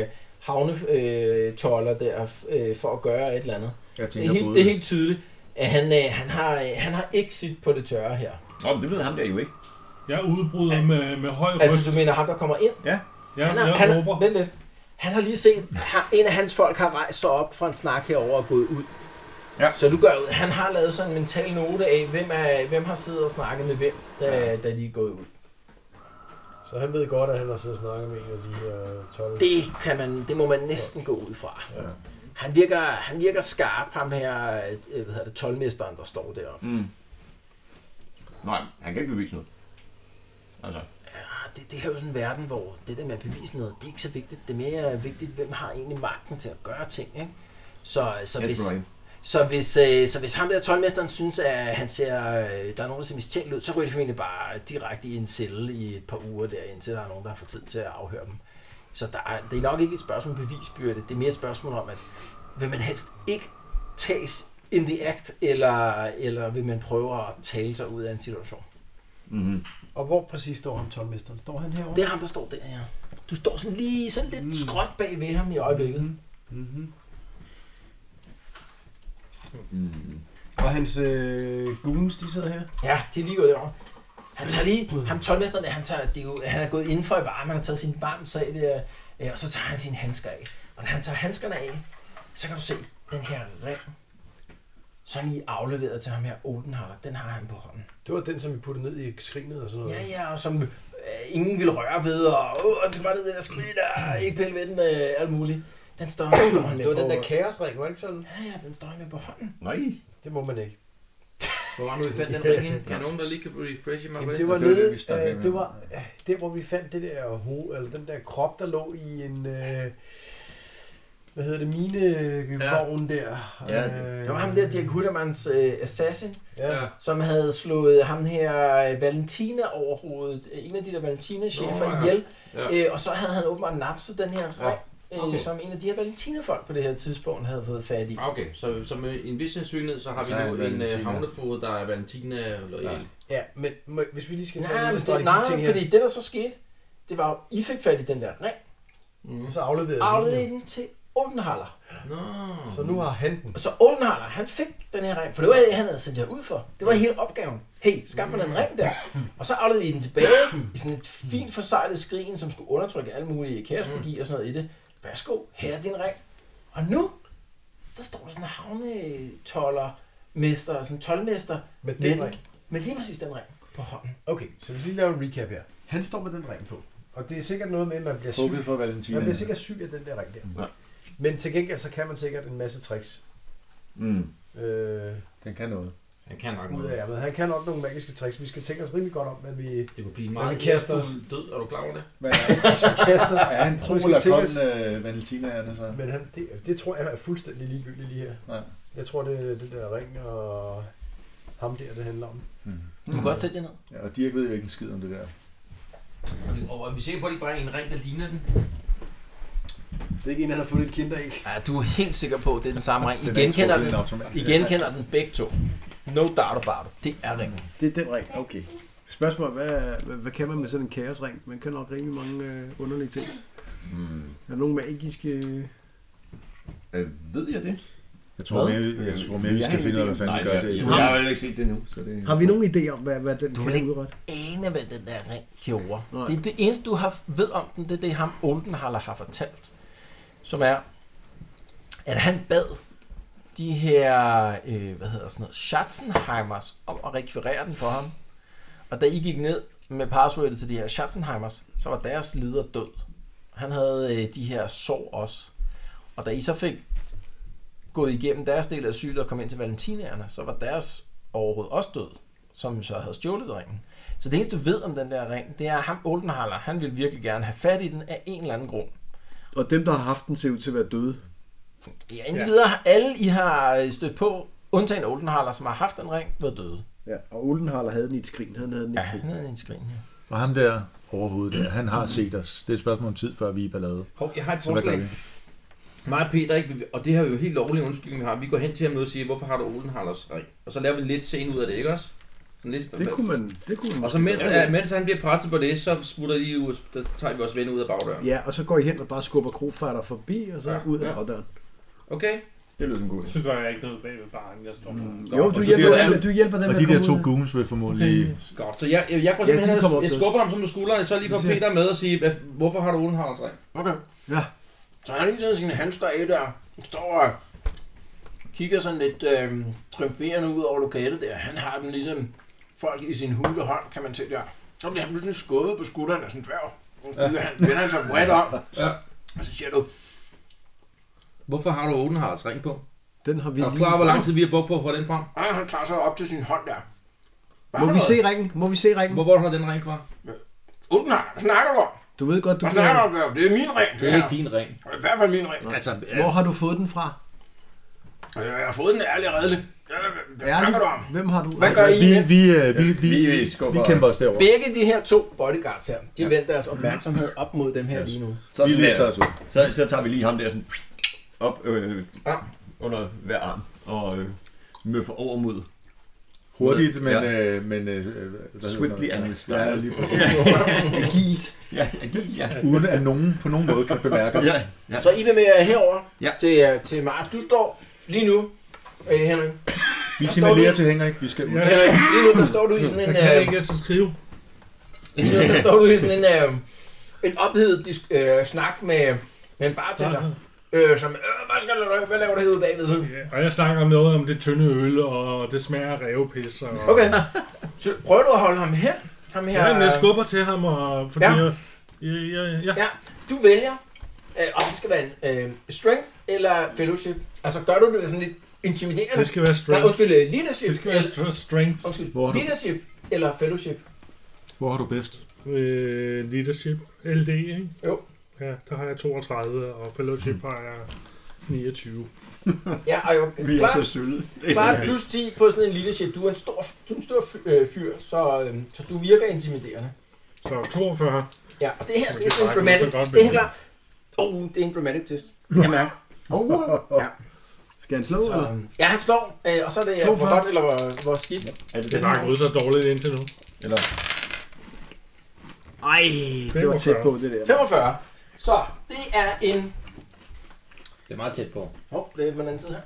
Speaker 3: øh, havnetoller der øh, for at gøre et eller andet.
Speaker 7: Jeg
Speaker 3: Det er
Speaker 7: tænker
Speaker 3: helt,
Speaker 7: både...
Speaker 3: det er helt tydeligt, at han, øh, han, har, øh, han har exit på det tørre her.
Speaker 2: Nå, men det ved ham der jo ikke.
Speaker 5: Jeg udbryder med, med høj
Speaker 3: Altså,
Speaker 5: ryst.
Speaker 3: du mener ham, der kommer ind?
Speaker 5: Jeg,
Speaker 3: Han
Speaker 5: jeg
Speaker 3: har, han,
Speaker 5: råber.
Speaker 3: har- vent lidt. Han har lige set, har- en af hans folk har rejst sig op fra en snak herover og gået ud.
Speaker 2: Ja.
Speaker 3: Så du gør ud. Han har lavet sådan en mental note af, hvem, er, hvem har siddet og snakket med hvem, da, ja. da de er gået ud.
Speaker 8: så han ved godt, at han har siddet og snakket med en af de øh, her 12.
Speaker 3: Det, kan man, det må man næsten gå ud fra. Ja. Han, virker, han virker skarp, ham her, øh, hvad hedder det, tolvmesteren, der står deroppe.
Speaker 2: Mm. Nej, han kan ikke bevise noget. Altså,
Speaker 3: Ah, Det, det her er jo sådan en verden, hvor det der med at bevise noget, det er ikke så vigtigt. Det er mere vigtigt, hvem har egentlig magten til at gøre ting, ikke? Så, så
Speaker 2: yes,
Speaker 3: hvis,
Speaker 2: Brian.
Speaker 3: Så hvis, øh, så hvis ham der tolvmesteren synes, at han ser, øh, der er nogen, der ser mistænkt ud, så ryger de formentlig bare direkte i en celle i et par uger der, indtil der er nogen, der har fået tid til at afhøre dem. Så der er, det er nok ikke et spørgsmål om bevisbyrde. Det er mere et spørgsmål om, at vil man helst ikke tages in the act, eller, eller vil man prøve at tale sig ud af en situation?
Speaker 2: Mm-hmm.
Speaker 8: Og hvor præcis står ham, tolvmesteren? Står han herovre?
Speaker 3: Det er ham, der står der, ja. Du står sådan lige sådan lidt skråt bag ved ham i øjeblikket.
Speaker 8: Mm. Mm-hmm.
Speaker 2: Mm.
Speaker 8: Mm-hmm. Og hans øh, goons, de sidder her.
Speaker 3: Ja, det er lige gået derovre. Han tager lige, ham tolvmesteren, der, han, tager, det er jo, han er gået indenfor i varmen, han har taget sin varme sag der, øh, og så tager han sine handsker af. Og da han tager handskerne af, så kan du se den her ring, som I afleverede til ham her, Oldenhar, den har han på hånden.
Speaker 8: Det var den, som vi puttede ned i skrinet og sådan noget.
Speaker 3: Ja, ja, og som øh, ingen vil røre ved, og åh, han skal bare ned i den der skridt, og ikke pille ved den, øh, alt muligt. Den står, den står han med
Speaker 8: Det var den der
Speaker 3: på.
Speaker 8: kaosring, var det ikke sådan?
Speaker 3: Ja, ja, den står han med på hånden.
Speaker 2: Nej.
Speaker 8: Det må man ikke.
Speaker 4: Hvor var nu, vi fandt den ring ind? Er nogen, der lige kan refreshe mig på
Speaker 8: Jamen,
Speaker 4: det?
Speaker 8: det var
Speaker 7: det var det,
Speaker 8: nede,
Speaker 7: vi snakkede om.
Speaker 8: øh, det var øh, der, hvor vi fandt det der hoved, eller den der krop, der lå i en, øh, hvad hedder det, minevogn ja. der. Øh,
Speaker 2: Ja,
Speaker 8: det,
Speaker 3: Det var ham der, Dirk Huttermans øh, assassin,
Speaker 8: Ja.
Speaker 4: Ja.
Speaker 3: som havde slået ham her øh, Valentina over hovedet, øh, en af de der Valentina-chefer
Speaker 4: Nå, ja.
Speaker 3: ja. ihjel,
Speaker 4: Ja.
Speaker 3: ja. Øh, og så havde han åbenbart napset den her
Speaker 4: Ja.
Speaker 3: ring, ja.
Speaker 4: Okay.
Speaker 3: øh, som en af de her Valentina-folk på det her tidspunkt havde fået fat i.
Speaker 4: Ah, Okay, så, så med en vis sandsynlighed, så har
Speaker 7: Så er
Speaker 4: vi nu en
Speaker 7: Valentina.
Speaker 4: øh, havnefod, der er Valentina loyal.
Speaker 8: ja, men må, hvis vi lige skal tage
Speaker 3: Nej,
Speaker 8: en
Speaker 3: men det,
Speaker 8: strategi ting
Speaker 3: nej
Speaker 8: her,
Speaker 3: fordi det der så skete, det var jo, I fik fat i den der ring,
Speaker 4: Mm.
Speaker 8: så afleverede
Speaker 3: afleverede I
Speaker 8: den.
Speaker 3: den til Oldenhaller.
Speaker 4: Nå.
Speaker 8: Så nu har han den.
Speaker 3: Og så Oldenhaller, han fik den her ring, for det var det, han havde sendt jer ud for. Det var hele opgaven. Hey, skaf mig den ring der. Og så afleverede I den tilbage i sådan et fint forsejlet skrin, som skulle undertrykke alle mulige kaosmagi og sådan noget i det. Værsgo, her er din ring. Og nu, der står der sådan en havnetollermester, sådan en tolvmester,
Speaker 8: Med den
Speaker 3: med,
Speaker 8: ring.
Speaker 3: med lige præcis den ring på hånden.
Speaker 8: Okay, så vi lige laver en recap her. Han står med den ring på. Og det er sikkert noget med, at man bliver syg.
Speaker 7: Hugget for Valentina.
Speaker 8: Man bliver sikkert syg af den der ring der.
Speaker 2: Ja.
Speaker 8: Men til gengæld, så kan man sikkert en masse tricks.
Speaker 2: Mm.
Speaker 8: Øh,
Speaker 7: Den kan noget.
Speaker 4: Han kan nok
Speaker 8: ud af
Speaker 4: noget.
Speaker 8: ærmet. Han kan nok nogle magiske tricks. Vi skal tænke os rimelig godt om, hvad vi,
Speaker 4: Det kunne blive en
Speaker 8: Men
Speaker 4: meget
Speaker 8: vi kaster os.
Speaker 4: ærefuld død. Er du klar over det?
Speaker 7: Hvad
Speaker 8: hvis vi kaster.
Speaker 7: er han tro
Speaker 8: Tror, vi skal
Speaker 7: eller
Speaker 8: tænke
Speaker 7: kon,
Speaker 8: os-
Speaker 7: øh, Valentinaerne så?
Speaker 8: Men han, det, det tror jeg er fuldstændig ligegyldigt lige her.
Speaker 7: Nej.
Speaker 8: Jeg tror, det er det der ring og ham der, det handler om.
Speaker 7: Hmm.
Speaker 3: Du kan godt sætte jer ned.
Speaker 7: Ja, og Dirk ved jo ikke en skid om det der.
Speaker 4: Og er vi sikre på, at det ikke bare er en ring, der ligner den?
Speaker 8: Det er ikke en, han har fundet et kinderæg.
Speaker 3: Ja, du er helt sikker på, at det er den samme ring. I
Speaker 7: Den er ikke
Speaker 3: genkender
Speaker 7: trukket i
Speaker 3: den,
Speaker 7: en automat.
Speaker 3: I genkender den begge to. No doubt about it. Det er ringen.
Speaker 6: Det er den ring, okay. Spørgsmål, hvad, hvad, hvad kan man med sådan en kaosring? Man kan nok rimelig mange øh, underlige ting.
Speaker 2: Mm.
Speaker 6: Er der nogle magiske...
Speaker 2: Øh, ved jeg det?
Speaker 7: Jeg tror
Speaker 3: Hvad?
Speaker 7: mere, vi- jeg tror mere, vi skal
Speaker 2: har
Speaker 7: finde ud af, hvad
Speaker 2: ingen idé om-
Speaker 7: fanden vi
Speaker 2: Nej,
Speaker 7: gør det.
Speaker 2: Jeg, jeg, jeg har jo ikke set det nu, så det...
Speaker 6: Har vi nogen idé om, hvad, hvad den
Speaker 3: Du
Speaker 6: kan
Speaker 3: vil ikke-
Speaker 6: udrette?
Speaker 3: Ane, hvad den der ring gjorde.
Speaker 6: Nej.
Speaker 3: Det er det eneste, du har ved om den, det er det, ham Oldenhaller har fortalt. Som er, at han bad de her, øh, hvad hedder sådan noget, Schatzenheimers om at rekvirere den for ham. Og da I gik ned med passwordet til de her Schatzenheimers, så var deres leder død. Han havde øh, de her sår også. Og da I så fik gået igennem deres del af asyl og kom ind til valentinerne, så var deres overhoved også død, som så havde stjålet ringen. Så det eneste, du ved om den der ring, det er, at ham Oldenhaller, han ville virkelig gerne have fat i den af en eller anden grund.
Speaker 6: Og dem, der har haft den, ser ud til at være døde.
Speaker 3: Ja, indtil videre har alle, I har øh, stødt på, undtagen Oldenhaler, som har haft den ring, været døde.
Speaker 6: Ja, og Oldenhaler havde den i et skrin. Han havde den i
Speaker 3: Ja,
Speaker 6: et skrin.
Speaker 3: han havde en skrin. Ja.
Speaker 7: Og ham der overhovedet der, han har set os. Det er et spørgsmål om tid, før vi er i ballade.
Speaker 4: Hov, jeg har et
Speaker 7: Så hvad gør
Speaker 4: forslag.
Speaker 7: vi?
Speaker 4: Mig og Peter, ikke? og det har vi jo helt lovlig undskyldning, vi har. Vi går hen til ham nu og siger, hvorfor har du Olenhallers ring? Og så laver vi en lidt scene ud af det, ikke også? Sådan lidt,
Speaker 6: Det kunne man, det kunne man
Speaker 4: og så
Speaker 6: måske
Speaker 4: mens,
Speaker 6: godt.
Speaker 4: ja, mens han bliver presset på det, så smutter de ud, der tager vi også ven ud af bagdøren.
Speaker 6: Ja, og så går I hen og bare skubber krofatter forbi, og så
Speaker 4: Ja.
Speaker 6: ja. ud af
Speaker 4: Ja.
Speaker 6: bagdøren.
Speaker 4: Okay?
Speaker 2: Det lyder som godt.
Speaker 5: Så gør jeg ikke noget bag ved baren, jeg står mm.
Speaker 6: Jo,
Speaker 7: Og
Speaker 6: du
Speaker 7: de
Speaker 6: hjælper,
Speaker 7: der-
Speaker 6: alle, du hjælper dem
Speaker 7: Og
Speaker 6: med
Speaker 7: de
Speaker 6: at
Speaker 7: der
Speaker 6: komme
Speaker 7: to
Speaker 6: ud.
Speaker 7: goons vil formodentlig...
Speaker 4: Godt, så jeg, jeg går
Speaker 6: Ja,
Speaker 4: simpelthen
Speaker 6: de
Speaker 4: hen
Speaker 6: kommer
Speaker 4: og
Speaker 6: op
Speaker 4: jeg
Speaker 6: til
Speaker 4: skubber ham som du skulderen, så lige får
Speaker 6: Vi ser.
Speaker 4: Peter med og sige, "Hvad- hvorfor har du Olenhallers ring?
Speaker 3: Okay.
Speaker 6: Ja.
Speaker 3: Så han har lige taget sin hamster af der. Han står og kigger sådan lidt øh, triumferende ud over lokalet der. Han har den ligesom folk i sin hule hånd, kan man se der. Så bliver han pludselig skubbet på skulderen af sådan en dværg. Så kigger han, vender han sig bredt om.
Speaker 4: Ja.
Speaker 3: Og så siger du,
Speaker 4: Hvorfor har du Olenhallers ring på?
Speaker 6: Den har vi
Speaker 4: Er du klar, over, hvor lang tid vi har brugt på at få den frem?
Speaker 3: nej, han tager sig op til sin hånd der. Hvad
Speaker 6: Må
Speaker 3: for
Speaker 6: vi
Speaker 3: noget?
Speaker 6: se ringen? Må vi se ringen?
Speaker 4: Hvor, hvor har den ring fra?
Speaker 3: Åbn her, hvad snakker du om?
Speaker 6: Du ved godt, du
Speaker 3: Hvad
Speaker 6: kan...
Speaker 3: snakker du om? dværg? Det er min ring,
Speaker 4: Det
Speaker 3: det
Speaker 4: er
Speaker 3: her.
Speaker 4: ikke din ring.
Speaker 3: I hvert fald min ring.
Speaker 4: Altså,
Speaker 6: Hvor har du fået den fra?
Speaker 3: Og Øh, Jeg har fået den ærlig og redelig. Hvad hvad snakker du om?
Speaker 6: Hvem har du? Altså,
Speaker 3: Hvad gør I?
Speaker 7: Vi,
Speaker 3: mens-
Speaker 7: vi, øh, vi, vi,
Speaker 2: Ja, vi
Speaker 7: vi,
Speaker 2: skubber-
Speaker 7: vi kæmper os derover.
Speaker 3: Begge de her to bodyguards her, de ja. vendte deres opmærksomhed op mod dem her lige nu.
Speaker 2: Så,
Speaker 7: Vi
Speaker 2: sådan
Speaker 7: lister
Speaker 2: der,
Speaker 7: os ud.
Speaker 2: så, så tager vi lige ham der sådan op øh,
Speaker 3: Ja.
Speaker 2: under hver arm og øh, møffer over mod
Speaker 7: Hurtigt, men...
Speaker 2: Ja.
Speaker 7: øh, men øh, hvad hedder det?
Speaker 2: Swiftly and with style.
Speaker 7: Ja, lige præcis.
Speaker 6: Agilt.
Speaker 2: Ja, ja,
Speaker 7: Uden at nogen på nogen måde kan bemærke os.
Speaker 2: ja, ja.
Speaker 3: Så I bevæger jer herover
Speaker 2: Ja.
Speaker 3: til, øh, til Mart. Du står lige nu, øh, Henrik.
Speaker 7: Vi signalerer til Henrik, vi skal ud.
Speaker 5: Ja.
Speaker 3: Henrik, lige nu der står du i sådan en,
Speaker 5: Jeg kan
Speaker 3: øh,
Speaker 5: ikke altså skrive.
Speaker 3: lige nu, der står du i sådan en, øh, en ophedet disk, øh, snak med, med en bartender, øh, som, øh, hvad skal du lave, hvad laver du herude bagved?
Speaker 5: Ja, og jeg snakker om noget om det tynde øl, og det smager af revpis. Og...
Speaker 3: Okay, så prøver du at holde ham hen? Ham her,
Speaker 5: Ja, men jeg skubber til ham, og fordi
Speaker 3: Ja.
Speaker 5: ja. jeg, jeg, jeg, jeg,
Speaker 3: Ja, du vælger, øh, om det skal være en øh, strength eller fellowship. Altså gør du det sådan lidt intimiderende?
Speaker 5: det skal være
Speaker 3: Nej,
Speaker 5: strength.
Speaker 3: undskyld, øh, leadership,
Speaker 5: Det skal være
Speaker 3: eller,
Speaker 5: str- strength
Speaker 3: undskyld,
Speaker 7: Hvor er du?
Speaker 3: leadership eller fellowship.
Speaker 7: Hvor har du bedst?
Speaker 5: øh, leadership, LD, ikke?
Speaker 3: Jo.
Speaker 5: Ja, der har jeg 32, og fellowship har jeg 29.
Speaker 3: Ja, og jo,
Speaker 2: Vi er
Speaker 3: klart,
Speaker 2: så sølle.
Speaker 3: klart plus 10 på sådan en leadership. Du er en stor, du er en stor fyr, øh, fyr så, øh, så du virker intimiderende.
Speaker 5: Så 42.
Speaker 3: Ja, og det her, det er
Speaker 5: Det
Speaker 3: sådan
Speaker 5: er
Speaker 3: en
Speaker 5: så
Speaker 3: dramatic,
Speaker 5: godt,
Speaker 3: det er
Speaker 5: men-
Speaker 3: helt klart. Oh, det er en dramatic test. Jeg mærker.
Speaker 6: Skal han slå, eller?
Speaker 3: Så, øh, ja, han slår, øh, og så er det øh, hvor godt eller hvor, hvor skidt.
Speaker 2: Er det
Speaker 5: Det
Speaker 2: den
Speaker 5: er bare
Speaker 2: her?
Speaker 5: gået så dårligt indtil nu.
Speaker 2: Eller
Speaker 6: Ej, det var tæt på, det der.
Speaker 3: 45. Så det er en...
Speaker 4: Det er meget tæt på.
Speaker 3: Åh, oh, det er på den anden side her.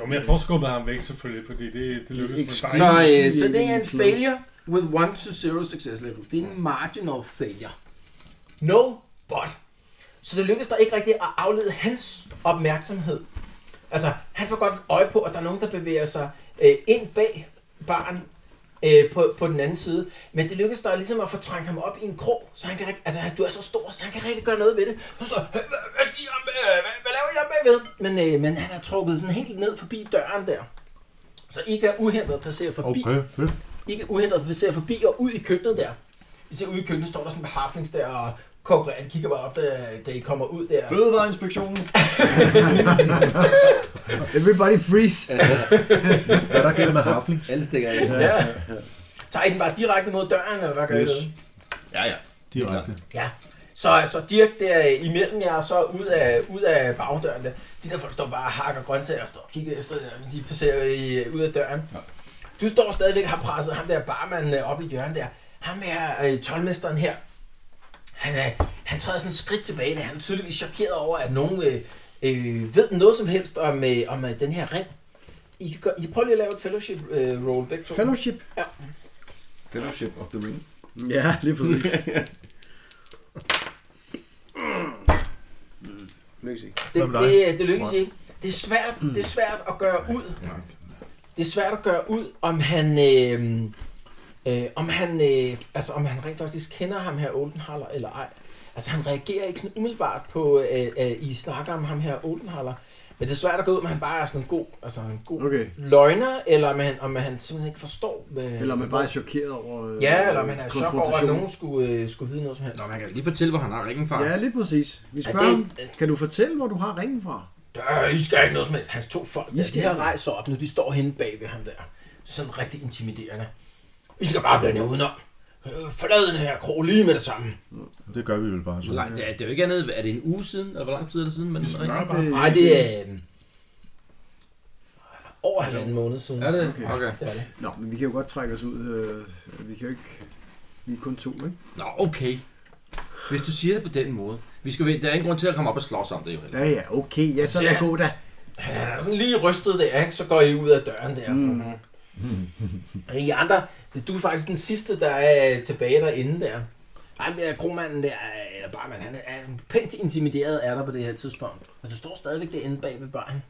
Speaker 5: Jo, men jeg får skubbet ham væk selvfølgelig, fordi det, det lykkedes
Speaker 6: Ikke
Speaker 5: mig
Speaker 3: Så,
Speaker 5: bare.
Speaker 3: øh, så det er en failure with 1 to 0 success level. Det er en marginal failure. No, but. Så det lykkedes dig ikke rigtigt at aflede hans opmærksomhed. Altså, han får godt øje på, at der er nogen, der bevæger sig øh, ind bag baren øh, på, på den anden side. Men det lykkedes dig ligesom at få trængt ham op i en krog, så han kan rigtig, altså du er så stor, så han kan rigtig gøre noget ved det. Så står "Hvad- hvad skal I om, øh, hvad, hvad laver I om bagved? Men, øh, men han er trukket sådan helt ned forbi døren der. Så I kan uhindret passere forbi
Speaker 7: Okay, fedt.
Speaker 3: ikke uhindret passere forbi og ud i køkkenet der. Vi ser ude i køkkenet, står der sådan en beharflings der og konkurrerer. De kigger bare op, da, da I kommer ud der.
Speaker 2: fødevareinspektionen.
Speaker 6: Everybody freeze.
Speaker 7: Hvad er der galt med Harflings?
Speaker 9: Alle stikker af.
Speaker 3: Ja. Tager I den bare direkte mod døren, eller hvad gør yes.
Speaker 7: Yes.
Speaker 3: I det?
Speaker 2: Ja, ja.
Speaker 7: Direkte.
Speaker 3: Ja. Så, så Dirk der imellem jer, så ud af, ud af bagdøren der. De der folk står bare og hakker grøntsager og står og kigger efter der, men de passerer i, ud af døren. Ja. Du står stadigvæk og har presset ham der barmanden øh, op i hjørnet der. Ham her, øh, tolvmesteren her, han, øh, han træder sådan et skridt tilbage, da han er tydeligvis chokeret over, at nogen øh, øh, ved noget som helst om, øh, om øh, den her ring. I kan, gøre, I kan prøve lige at lave et fellowship øh, roll begge to.
Speaker 6: Fellowship.
Speaker 2: Fellowship of the Ring.
Speaker 6: Ja, lige præcis. Lykkes ikke.
Speaker 3: Det,
Speaker 7: Hvad med
Speaker 3: det, det lykkes ikke. Det er svært, det er svært at gøre ud. Det er svært at gøre ud, om han, øh, øh, om han, øh, altså om han rent faktisk kender ham her Oldenhaller eller ej. Altså han reagerer ikke sådan umiddelbart på, øh, øh, I snakker om ham her Oldenhaller. Men det er svært at gå ud, om han bare er sådan en god, altså en god okay.
Speaker 6: Okay.
Speaker 3: løgner, eller om han, om han simpelthen ikke forstår. Hvad,
Speaker 6: Eller man bare er chokeret over øh,
Speaker 3: Ja, eller om han er i chok over, at
Speaker 6: konfrontation.
Speaker 3: nogen skulle, øh, skulle vide noget som helst.
Speaker 4: Nå, man kan lige fortælle, hvor han har ringen fra.
Speaker 6: Ja, lige præcis. Vi
Speaker 3: Ja,
Speaker 6: spørger
Speaker 3: det-
Speaker 6: ham, kan du fortælle, hvor du har ringen fra?
Speaker 3: Der, I skal ikke noget som helst. Hans to folk,
Speaker 6: I
Speaker 3: der,
Speaker 6: skal
Speaker 3: de har
Speaker 6: ikke.
Speaker 3: rejst sig op nu. De står henne bag ved ham der. Sådan rigtig intimiderende. I skal bare blande jer udenom. Øh, Forlad den her krog lige med det samme.
Speaker 7: Det gør vi jo bare
Speaker 4: Hvor langt, det,
Speaker 7: sådan.
Speaker 4: er, det er jo ikke andet, er det en uge siden, eller hvor lang tid er det siden? Men,
Speaker 6: det-
Speaker 3: Nej, det er øh, over halvanden måned siden.
Speaker 4: er det?
Speaker 6: Okay.
Speaker 4: Okay.
Speaker 3: Ja, det.
Speaker 6: Nå, men vi kan jo godt trække os ud. Øh, vi kan jo ikke... Vi er kun to, ikke?
Speaker 4: Nå, okay. Hvis du siger det på den måde. Vi skal, ved- der er ingen grund til at komme op og slås om det jo heller.
Speaker 6: Ja, ja, okay. Ja, så er det
Speaker 3: Ja.
Speaker 6: god da.
Speaker 3: Han er sådan lige rystet der, ikke? så går I ud af døren der. Mm. I andre, du er faktisk den sidste, der er øh, tilbage derinde der. Han der kromanden der, øh, eller barmand, han er pænt intimideret af dig på det her tidspunkt. Men du står stadigvæk derinde bag ved baren.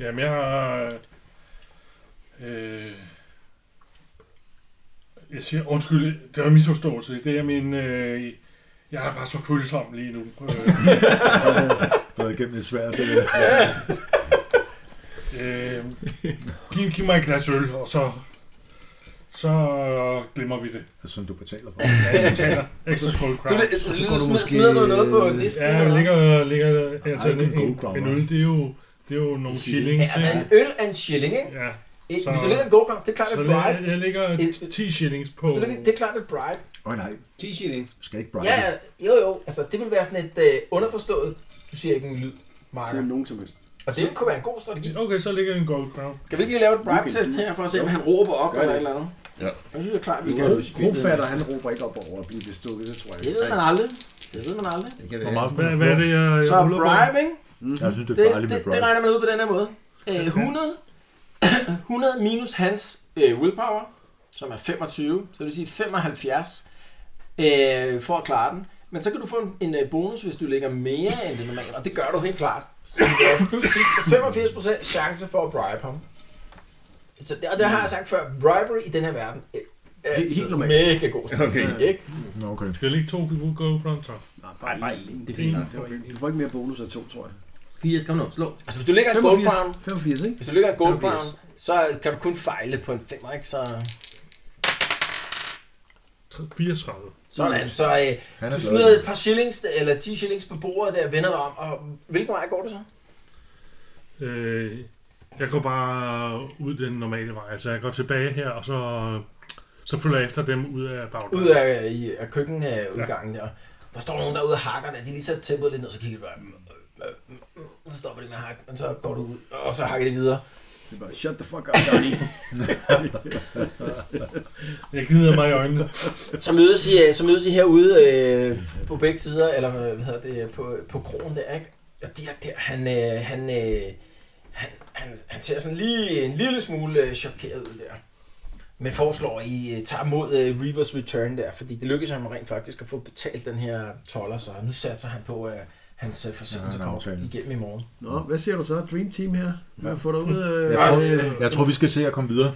Speaker 5: Jamen, jeg har... Øh, jeg siger, undskyld, det var en misforståelse. Det er min... Øh, jeg er bare så følsom lige nu. Øh,
Speaker 7: Gået igennem et svært... Øh,
Speaker 5: øh, giv, giv mig et glas øl, og så... Så glemmer vi det.
Speaker 7: som du betaler for.
Speaker 5: Ja, jeg betaler ekstra gold
Speaker 3: Du,
Speaker 5: crown.
Speaker 3: du,
Speaker 6: så
Speaker 3: du,
Speaker 6: går
Speaker 3: du
Speaker 6: du
Speaker 3: smider,
Speaker 6: måske-
Speaker 3: smider du noget på disken?
Speaker 5: Ja,
Speaker 3: eller?
Speaker 5: jeg ligger... ligger altså,
Speaker 7: ikke en
Speaker 5: en,
Speaker 7: gold crown,
Speaker 5: en,
Speaker 7: hva'?
Speaker 5: øl, det er jo, det er jo nogle
Speaker 3: Ja,
Speaker 5: shillings.
Speaker 3: altså en
Speaker 5: ikke?
Speaker 3: øl er en shilling, ikke?
Speaker 5: Ja,
Speaker 3: Hvis
Speaker 5: Så-
Speaker 3: du lægger en gold det er klart
Speaker 5: så
Speaker 3: et
Speaker 5: jeg,
Speaker 3: bribe.
Speaker 5: jeg ligger
Speaker 3: Et-
Speaker 5: 10 shillings på...
Speaker 3: Hvis du lægger, det er klart et bribe.
Speaker 7: Åh oh, nej,
Speaker 4: T-shirting.
Speaker 7: du skal ikke bribe.
Speaker 3: Ja, ja, jo jo, altså det vil være sådan et øh, underforstået, du siger ikke en lyd,
Speaker 6: Til
Speaker 3: Marker.
Speaker 6: nogen som helst.
Speaker 3: Og det kunne være en god strategi.
Speaker 5: Okay, så ligger jeg en gold crown.
Speaker 3: Skal vi ikke lige lave et bribe-test her, for at se, om han råber op
Speaker 6: Gør
Speaker 3: eller et
Speaker 6: det.
Speaker 3: eller andet?
Speaker 2: Ja.
Speaker 3: Jeg synes, det er klart, vi skal.
Speaker 6: Krofatter, han råber ikke op over at blive bestukket, det tror jeg
Speaker 3: Det
Speaker 6: ikke.
Speaker 3: ved man aldrig. Det ved man aldrig.
Speaker 2: Det kan
Speaker 7: Hvor
Speaker 2: være.
Speaker 7: meget skal
Speaker 5: Hvad,
Speaker 7: du
Speaker 5: hvad er
Speaker 7: slå?
Speaker 5: det, jeg, jeg
Speaker 3: Så
Speaker 5: ruller på?
Speaker 3: bribing,
Speaker 7: Jeg synes, det
Speaker 3: det,
Speaker 7: er farligt med
Speaker 3: det, det
Speaker 7: bribe.
Speaker 3: regner man ud på den her måde. Øh, 100, 100 minus hans øh, willpower, som er 25, så det vil sige 75, øh, for at klare den. Men så kan du få en, en øh, bonus, hvis du lægger mere end det normale, og det gør du helt klart. Så du laver plus 10, så 85% chance for at bribe ham. Så det, og det har jeg sagt før, bribery i den her verden øh, er
Speaker 6: Helt-
Speaker 3: altid
Speaker 6: helt normalt.
Speaker 3: mega god strategi,
Speaker 2: Okay.
Speaker 3: ikke?
Speaker 7: Nå, okay.
Speaker 5: Skal jeg lægge to gold crown, så?
Speaker 6: Nej, bare
Speaker 4: Nej,
Speaker 6: en.
Speaker 4: det er fint nok.
Speaker 6: Det var ikke- Du får ikke mere bonus af to, tror jeg.
Speaker 4: 80, kom nu, slå.
Speaker 3: Altså hvis du lægger en gold
Speaker 6: 85,
Speaker 3: crown,
Speaker 6: 85 ikke?
Speaker 3: hvis du lægger en gold
Speaker 4: 85.
Speaker 3: crown, så kan du kun fejle på en femmer, ikke? Så...
Speaker 5: 34.
Speaker 3: Sådan, så øh,
Speaker 7: Mm. Han er
Speaker 3: du
Speaker 7: glad.
Speaker 3: smider et par shillings, eller 10 shillings på bordet der, vender dig om, og hvilken vej går det så?
Speaker 5: Øh, jeg går bare ud den normale vej. Altså, jeg går tilbage her, og så, så følger jeg efter dem ud af bagdøren.
Speaker 3: Ud af, i, af køkkenudgangen der. Der står nogen derude og hakker der, de lige sætter tempoet lidt ned, så kigger du bare, øh, øh, øh, så stopper de med at hakke, men så går du ud, og så hakker de videre.
Speaker 6: Det er bare, shut the fuck up, Johnny.
Speaker 5: Jeg gnider mig i øjnene.
Speaker 3: Så mødes I, øh, så mødes I herude øh, på begge sider, eller øh, hvad hedder det, på, på krogen der, ikke? Og de her der, han, øh, han, øh, han, han, han ser sådan lige en lille smule øh, chokeret ud der. Men foreslår, at I øh, tager mod øh, Reavers Return der, fordi det lykkedes ham rent faktisk at få betalt den her toller, så nu satser han på, at hans øh, forsøgelse
Speaker 7: Ja, en
Speaker 3: kommer
Speaker 7: aftale.
Speaker 3: igennem i morgen.
Speaker 6: Nå, hvad siger du så? Dream Team her? Hvad får du ud? Øh,
Speaker 7: Jeg tror,
Speaker 6: øh,
Speaker 7: jeg tror, vi skal se at komme videre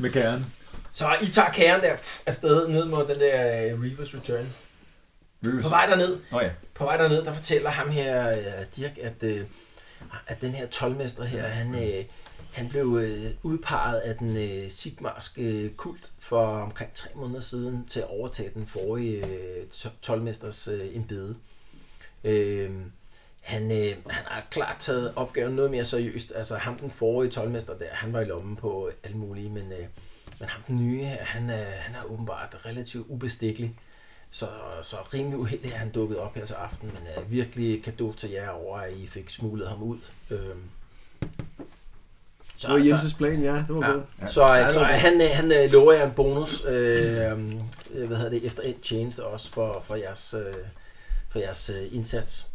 Speaker 7: med kæren.
Speaker 3: Så I tager kæren der afsted ned mod den der øh, Reavers Return. På vej derned,
Speaker 2: Nå ja.
Speaker 3: På vej derned, der fortæller ham her, øh, Dirk, at, øh, at den her tolvmester her, han, øh, han blev øh, udpeget af den øh, sigmarske øh, kult for omkring tre måneder siden til at overtage den forrige øh, to- tolvmesters øh, embede. Øh, han, øh, han har klart taget opgaven noget mere seriøst. Altså ham den forrige tolvmester der, han var i lommen på alt muligt, men, øh, men ham den nye her, han, øh, han er åbenbart relativt ubestikkelig. Så, så rimelig uheldig, at han dukkede op her til aften, men er virkelig kado til jer over, at I fik smuglet ham ud. Øhm. Så,
Speaker 6: det var
Speaker 3: så, altså,
Speaker 6: Jenses plan, ja. Det var
Speaker 3: Ja.
Speaker 6: godt.
Speaker 3: så, så, så han, øh, han øh, lover jer en bonus, øh, øhm, øh, hvad hedder det, efter en tjeneste også for, for jeres, øh, for jeres øh, indsats.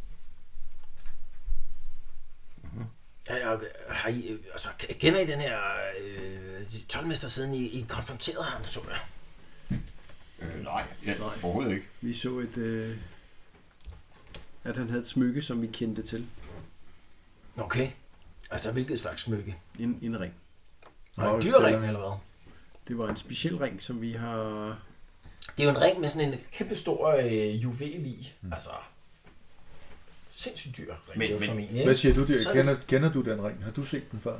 Speaker 3: Mhm. Ja, ja, har I, øh, altså, kender I den her øh, tolvmester siden I, I konfronterede ham, så jeg?
Speaker 2: Øh, nej, ja, overhovedet ikke.
Speaker 6: Vi så et... Øh, at han havde et smykke, som vi kendte til.
Speaker 3: Okay. Altså, hvilket slags smykke?
Speaker 6: En, en ring.
Speaker 3: Og en
Speaker 7: Nå,
Speaker 3: dyrring,
Speaker 7: tællerne.
Speaker 3: eller hvad?
Speaker 6: Det var en speciel ring, som vi har...
Speaker 3: Det er jo en ring med sådan en kæmpe stor øh, juvel i. Mm. Altså, sindssygt dyr ring,
Speaker 2: Men-
Speaker 3: men, men,
Speaker 2: men-
Speaker 3: formentlig.
Speaker 7: Hvad
Speaker 3: Ikke?
Speaker 7: siger du, Dirk?
Speaker 3: Så er det-
Speaker 7: Kender, kender du den ring? Har du set den før?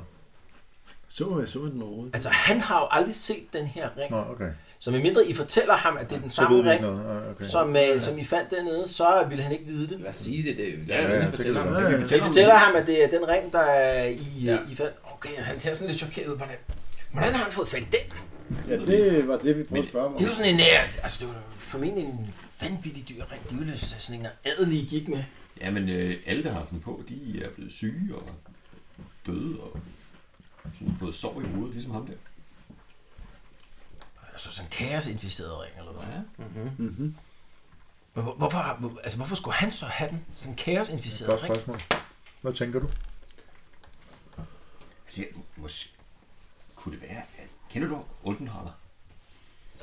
Speaker 6: Så jeg så den overhovedet.
Speaker 3: Altså, han har jo aldrig set den her ring.
Speaker 7: Nå, okay.
Speaker 3: Så medmindre I fortæller ham, at det er den
Speaker 7: Så ved
Speaker 3: samme
Speaker 7: vi ikke
Speaker 3: ring,
Speaker 7: noget. Ah, Okay.
Speaker 3: som, øh, som I fandt dernede, så ville han ikke vide det.
Speaker 4: Lad os sige det. det lad
Speaker 7: Ja,
Speaker 4: os
Speaker 7: ja,
Speaker 4: ja,
Speaker 7: det kan
Speaker 4: fortælle
Speaker 7: vi
Speaker 4: ham.
Speaker 7: godt.
Speaker 6: Ja,
Speaker 3: Vi fortæller, fortæller ham, at det er den ring, der er i,
Speaker 4: Ja.
Speaker 3: ja. i fandt. Okay, han ser sådan lidt chokeret ud på det. Hvordan har han fået fat i den?
Speaker 6: Ja, det var det, vi prøvede at spørge om.
Speaker 3: Det er jo sådan en, øh, altså det er jo formentlig en vanvittig dyr ring. Det ville sådan en adelige gik med.
Speaker 2: Ja, men øh, alle, der har haft den på, de er blevet syge og døde og sådan fået sår i hovedet, ligesom ham der.
Speaker 3: Altså sådan en kaosinficeret ring eller hvad.
Speaker 2: Ja.
Speaker 3: Men hvor- hvorfor, har- hvor- altså, hvorfor skulle han så have den? Sådan en kaosinficeret
Speaker 7: Godt
Speaker 3: ring?
Speaker 7: spørgsmål. Hvad tænker du?
Speaker 2: Altså, måske kunne det være, at... Kender du Oldenhaller?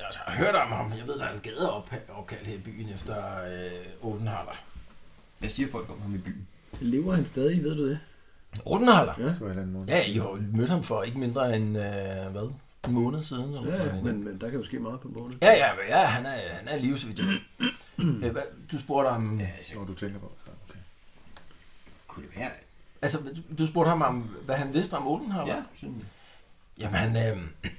Speaker 3: Altså, jeg har hørt om ham. Jeg ved, der er en gadeopkald her i byen efter øh, Odenhaller.
Speaker 2: Hvad siger folk om ham i byen?
Speaker 6: Lever han stadig, ved du det?
Speaker 3: Odenhaller?
Speaker 6: Ja.
Speaker 7: På en eller anden måde.
Speaker 3: Ja, I har jo mødt ham for ikke mindre end, øh, hvad, en måned siden? Eller
Speaker 6: Ja,
Speaker 3: sådan
Speaker 6: ja
Speaker 3: noget.
Speaker 6: men, men der kan jo ske meget på en måned.
Speaker 3: Ja, ja, men ja, han er, han er i live, så vidt jeg ved. Øh, hvad- Du spurgte ham,
Speaker 2: Ja, altså,
Speaker 7: Når du tænker på. Ja, Okay.
Speaker 2: kunne det være...
Speaker 3: altså, du- du spurgte ham om, hvad han vidste om Odenhaller?
Speaker 2: Ja, sådan...
Speaker 3: Jamen, han,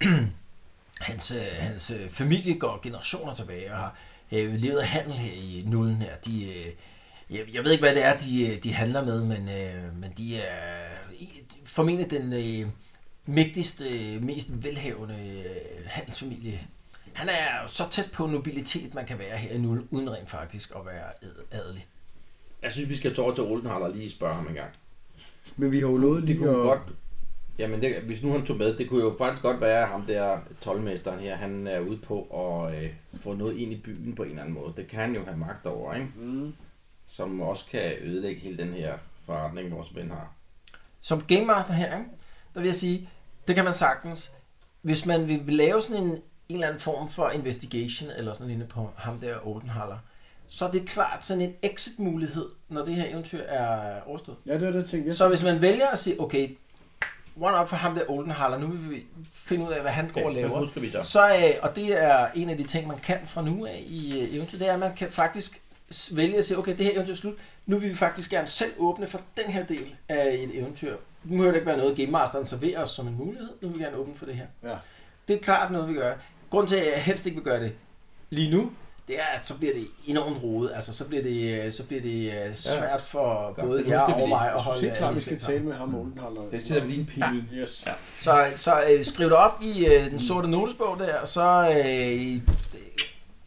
Speaker 3: øh, hans, øh, hans øh, familie går generationer tilbage og har øh, levet af handel her i nullen her. De, øh, jeg, jeg ved ikke, hvad det er, de, øh, de handler med, men, øh, men de er i- formentlig den øh, mægtigste, øh, mest velhavende øh, handelsfamilie. Han er jo så tæt på nobilitet, man kan være her i nullen, uden rent faktisk at være ad- adelig.
Speaker 4: Jeg synes, vi skal tage over til Oldenhaller og lige spørge ham en gang.
Speaker 6: Men vi har jo lovet
Speaker 4: Det
Speaker 6: lige
Speaker 4: kunne
Speaker 6: at...
Speaker 4: godt... Jamen, det, hvis nu han tog med, det kunne jo faktisk godt være, at ham der tolvmesteren her, han er ude på at øh, få noget ind i byen på en eller anden måde. Det kan han jo have magt over, ikke?
Speaker 6: Mm.
Speaker 4: Som også kan ødelægge hele den her forretning, vores ven har.
Speaker 3: som Game Master her, ikke? der vil jeg sige, det kan man sagtens. Hvis man vil lave sådan en, en eller anden form for investigation, eller sådan noget lignende på ham der Oldenhaller, så er det klart sådan en exit-mulighed, når det her eventyr er overstået.
Speaker 6: Ja, det var det, jeg tænkte. Jeg
Speaker 3: Så hvis man vælger at sige, okay, one up for ham der Oldenhaller, nu vil vi finde ud af, hvad han går og
Speaker 4: men
Speaker 3: laver.
Speaker 4: husker vi så.
Speaker 3: Så, øh, og det er en af de ting, man kan fra nu af i øh, eventyr, det er, at man kan faktisk s- vælge at sige, okay, det her eventyr er slut. Nu vil vi faktisk gerne selv åbne for den her del af et eventyr. Nu må det ikke være noget, Game Masteren serverer os som en mulighed. Nu vil vi gerne åbne for det her.
Speaker 6: Ja.
Speaker 3: Det er klart noget, vi gør. Grunden til, at jeg helst ikke vil gøre det lige nu, det er, at så bliver det enormt rodet. Altså, så bliver det, øh, så bliver det øh, svært for
Speaker 4: Godt,
Speaker 3: både
Speaker 4: det
Speaker 3: jer
Speaker 4: husker vi
Speaker 3: og
Speaker 4: lige.
Speaker 3: mig at
Speaker 6: Jeg synes
Speaker 3: holde
Speaker 6: helt klart,
Speaker 3: alle
Speaker 6: vi
Speaker 3: de
Speaker 6: skal
Speaker 3: ting sammen.
Speaker 6: tale med ham, Oldenhaller.
Speaker 4: Det sætter vi lige en pille i.
Speaker 6: Yes.
Speaker 4: Ja.
Speaker 3: Så, så øh, skriv det op i øh, den sorte notesbog der, og så øh,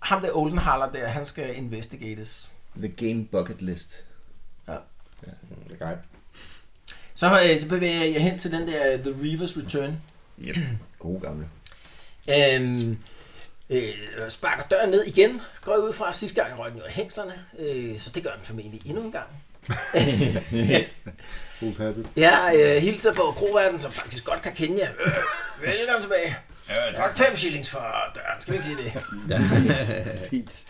Speaker 3: ham der Oldenhaller der, han skal investigates.
Speaker 2: The Game Bucket List.
Speaker 4: Det er godt.
Speaker 3: Så, øh, så bevæger jeg hen til den der øh, The Reavers Return.
Speaker 2: Gode gamle.
Speaker 3: Øhm, øh, sparker døren ned igen, går jeg ud fra sidste gang røg den jo af hængslerne, øh, så det gør den formentlig endnu en gang.
Speaker 7: Old habit.
Speaker 3: Ja, øh, hilser på Kroverden, som faktisk godt kan kende jer. Øh, velkommen tilbage. Ja, tak. Fem shillings for døren, skal vi ikke sige det?
Speaker 6: Fint.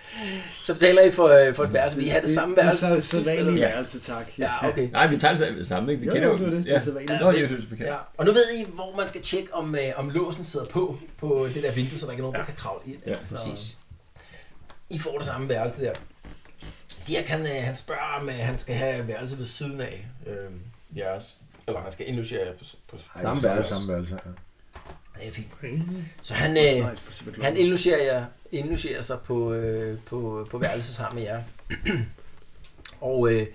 Speaker 3: Så betaler I for, øh, for et værelse. Vi har det samme værelse
Speaker 6: Det er
Speaker 3: som
Speaker 6: så,
Speaker 3: sidst,
Speaker 6: så
Speaker 3: eller
Speaker 6: vanligt
Speaker 3: hvad?
Speaker 6: værelse, tak.
Speaker 3: Ja, okay.
Speaker 2: Nej, vi tager det sammen, ikke? Vi
Speaker 6: Jo,
Speaker 2: kender
Speaker 6: jo, det er det. Det er så vanligt.
Speaker 2: Nå, det er det, vi kender.
Speaker 3: Ja. Og nu ved I, hvor man skal tjekke, om, øh, om låsen sidder på på det der vindue, så der ikke er nogen, der kan kravle ind.
Speaker 2: Ja,
Speaker 3: så, I får det samme værelse der. Dirk, han, øh, han spørger, om øh, han skal have værelse ved siden af øh, jeres. Eller han skal indlogere jer på, på, på
Speaker 7: Samme værelse. Samme værelse. ja.
Speaker 3: Ja, fint.
Speaker 5: Penge.
Speaker 3: Så han, øh, han indlogerer, jer, indlogerer sig på, øh, på, på værelset sammen med jer. og, øh,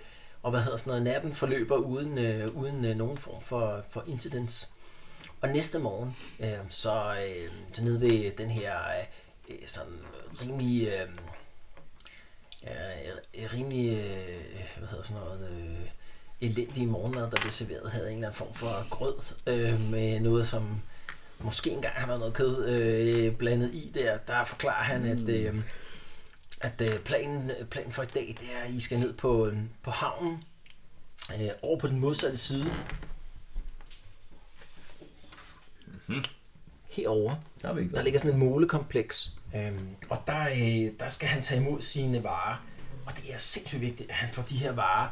Speaker 3: og hvad hedder sådan noget, natten forløber uden, øh, uden øh, nogen form for, for incidents. Og næste morgen, øh, så, øh, så nede ved den her øh, øh, sådan rimelig, øh, øh, rimelig, øh, hvad hedder sådan noget, øh, elendige morgenmad, der blev serveret, havde en eller anden form for grød øh, med noget, som måske engang har været noget kød øh, blandet i der, der forklarer han, mm. at, øh, at øh, planen, planen for i dag, det er, at I skal ned på, øh, på havnen, øh, over på den modsatte side. Mm-hmm. Herover
Speaker 2: Der er vi ikke
Speaker 3: Øhm, der ligger sådan et målekompleks, øhm, og der, øh, der skal han tage imod sine varer. Og det er sindssygt vigtigt, at han får de her varer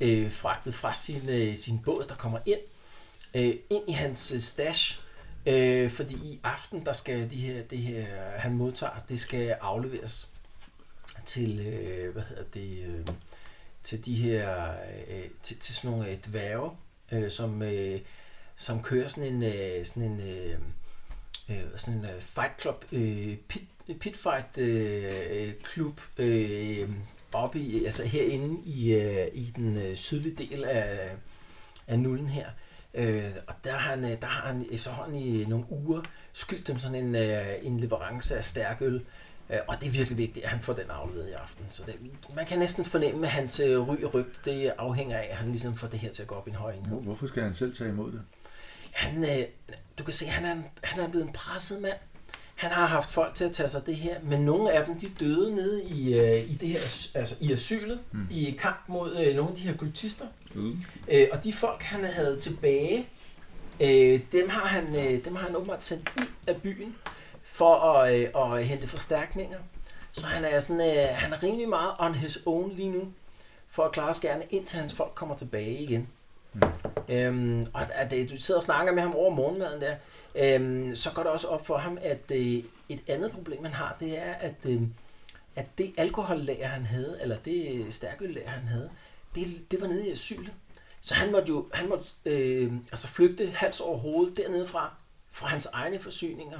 Speaker 3: øh, fragtet fra sin, øh, sin båd, der kommer ind, øh, ind i hans øh, stash. Øh, fordi i aften, der skal de her, det her, han modtager, det skal afleveres til, øh, hvad hedder det, øh, til de her, øh, til, til sådan nogle øh, dværge, øh, som, øh, som kører sådan en, øh, sådan en, øh, øh, sådan en øh, Fight Club øh, pit, pitfight øh, klub øh, oppe i, altså herinde i, øh, i den øh, sydlige del af, af nullen her. Øh, og der har, han, øh, der har han efterhånden i nogle uger skyldt dem sådan en, øh, en leverance af stærkøl. Øh, og det er virkelig vigtigt, at han får den afleveret i aften. Så det, man kan næsten fornemme, at hans øh, ry og ryg, det afhænger af, at han ligesom får det her til at gå op i en høj enhed.
Speaker 7: Hvor- Hvorfor skal han selv tage imod det?
Speaker 3: Han, øh, du kan se, han er, en- han er blevet en presset mand. Han har haft folk til at tage sig af det her, men nogle af dem, de døde nede i, øh, i det her, as- altså i asylet, mm. i kamp mod øh, nogle af de her kultister.
Speaker 2: Mm.
Speaker 3: Øh, og de folk, han havde tilbage, øh, dem, har han, øh, dem har han åbenbart sendt ud af byen for at, øh, at hente forstærkninger. Så han er, sådan, øh, han er rimelig meget on his own lige nu, for at klare skærne, indtil hans folk kommer tilbage igen. Øhm, og at, at, du sidder og snakker med ham over morgenmaden der, øhm, så går det også op for ham, at øh, et andet problem, han har, det er, at, øh, at det alkohollager, han havde, eller det stærkøllager, han havde, det, det var nede i asyl. Så han måtte jo han måtte, øh, altså flygte hals over hovedet dernede fra, fra hans egne forsyninger.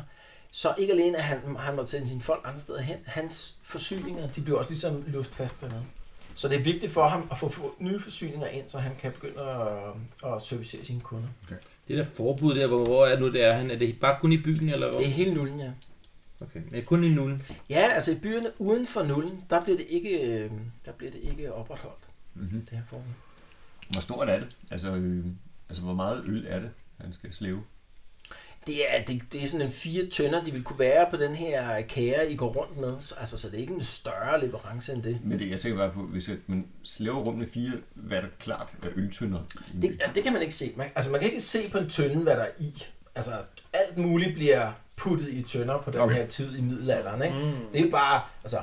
Speaker 3: Så ikke alene at han, han måtte sende sine folk andre steder hen, hans forsyninger, de blev også ligesom låst fast dernede. Så det er vigtigt for ham at få, få nye forsyninger ind, så han kan begynde at, at servicere sine kunder.
Speaker 4: Det der forbud der, hvor, hvor er nu det er han? Er det bare kun i byen, eller hvor?
Speaker 3: Det er hele nullen, ja.
Speaker 4: Okay, men kun i nullen.
Speaker 3: Ja, altså i byerne uden for nullen, der bliver det ikke, øh, der bliver det ikke opretholdt,
Speaker 2: Mm-hmm.
Speaker 3: det her form.
Speaker 2: Hvor stort er det? Altså, øh, altså, hvor meget øl er det, han skal slæve?
Speaker 3: Det er, det, det er sådan en fire tønder, de vil kunne være på den her kære, I går rundt med. Så, altså, så det er ikke en større leverance end det.
Speaker 2: Men det, jeg tænker bare på, hvis at man slæver rum med fire, hvad der klart er øltønder.
Speaker 3: Det, ja, det kan man ikke se. Man, altså, man kan ikke se på en tønde, hvad der er i. Altså, alt muligt bliver puttet i tønder på den okay. her tid i middelalderen. Ikke? Mm. Det er bare, altså,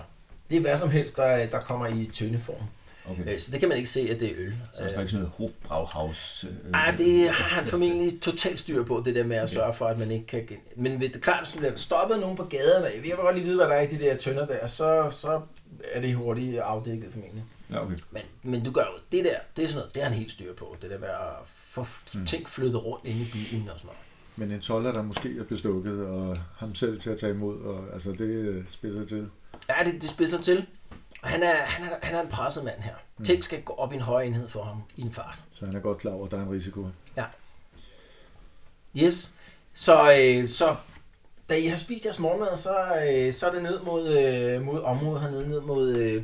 Speaker 3: det er hvad som helst, der, der kommer i tyndeform.
Speaker 2: Okay.
Speaker 3: Øh, Så det kan man ikke se, at det er øl.
Speaker 2: Mm. Så er der
Speaker 3: Øh,
Speaker 2: ikke sådan noget Hofbrauhaus? Øh,
Speaker 3: Ej, Ah, det har han formentlig totalt styr på, det der med at sørge for, at man ikke kan... Gen... Men hvis det er klart, hvis der bliver stoppet nogen på gaden, og jeg vil godt lige vide, hvad der er i de der tønder der, så, så er det hurtigt afdækket formentlig.
Speaker 2: Ja, okay.
Speaker 3: Men, men du gør jo det der, det er sådan noget, det har han helt styr på. Det der med at få
Speaker 2: Mm.
Speaker 3: f- ting flyttet rundt inde i byen og sådan noget.
Speaker 7: Men en toller, der måske er bestukket, og ham selv til at tage imod, og altså det øh, spiller til.
Speaker 3: Ja, det, det spidser til. Og han er, han, er, han er en presset mand her. Mm. Ting skal gå op i en høj enhed for ham i en fart.
Speaker 7: Så han er godt klar over, at der er en risiko.
Speaker 3: Yes. Så, øh, så da I har spist jeres morgenmad, så, øh, så er det ned mod, øh, mod området hernede, ned mod øh,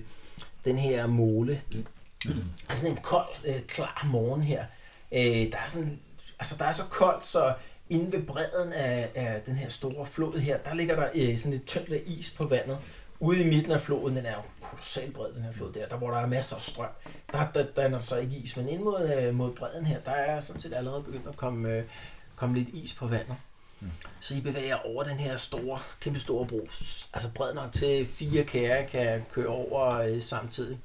Speaker 3: den her mole. Det er sådan en kold, øh, klar morgen her. Øh, der, er sådan, altså, der er så koldt, så inde ved bredden af, af den her store flod her, der ligger der øh, sådan et tyndt lag is på vandet. Ude i midten af floden, den er jo kolossalt bred, den her flod der, der hvor der er masser af strøm, der, der, der er der så ikke is. Men ind mod, øh, mod bredden her, der er sådan set allerede begyndt at komme, øh, komme lidt is på vandet. Så I bevæger jer over den her store, kæmpe store bro. Altså bred nok til fire kære kan køre over øh, samtidig.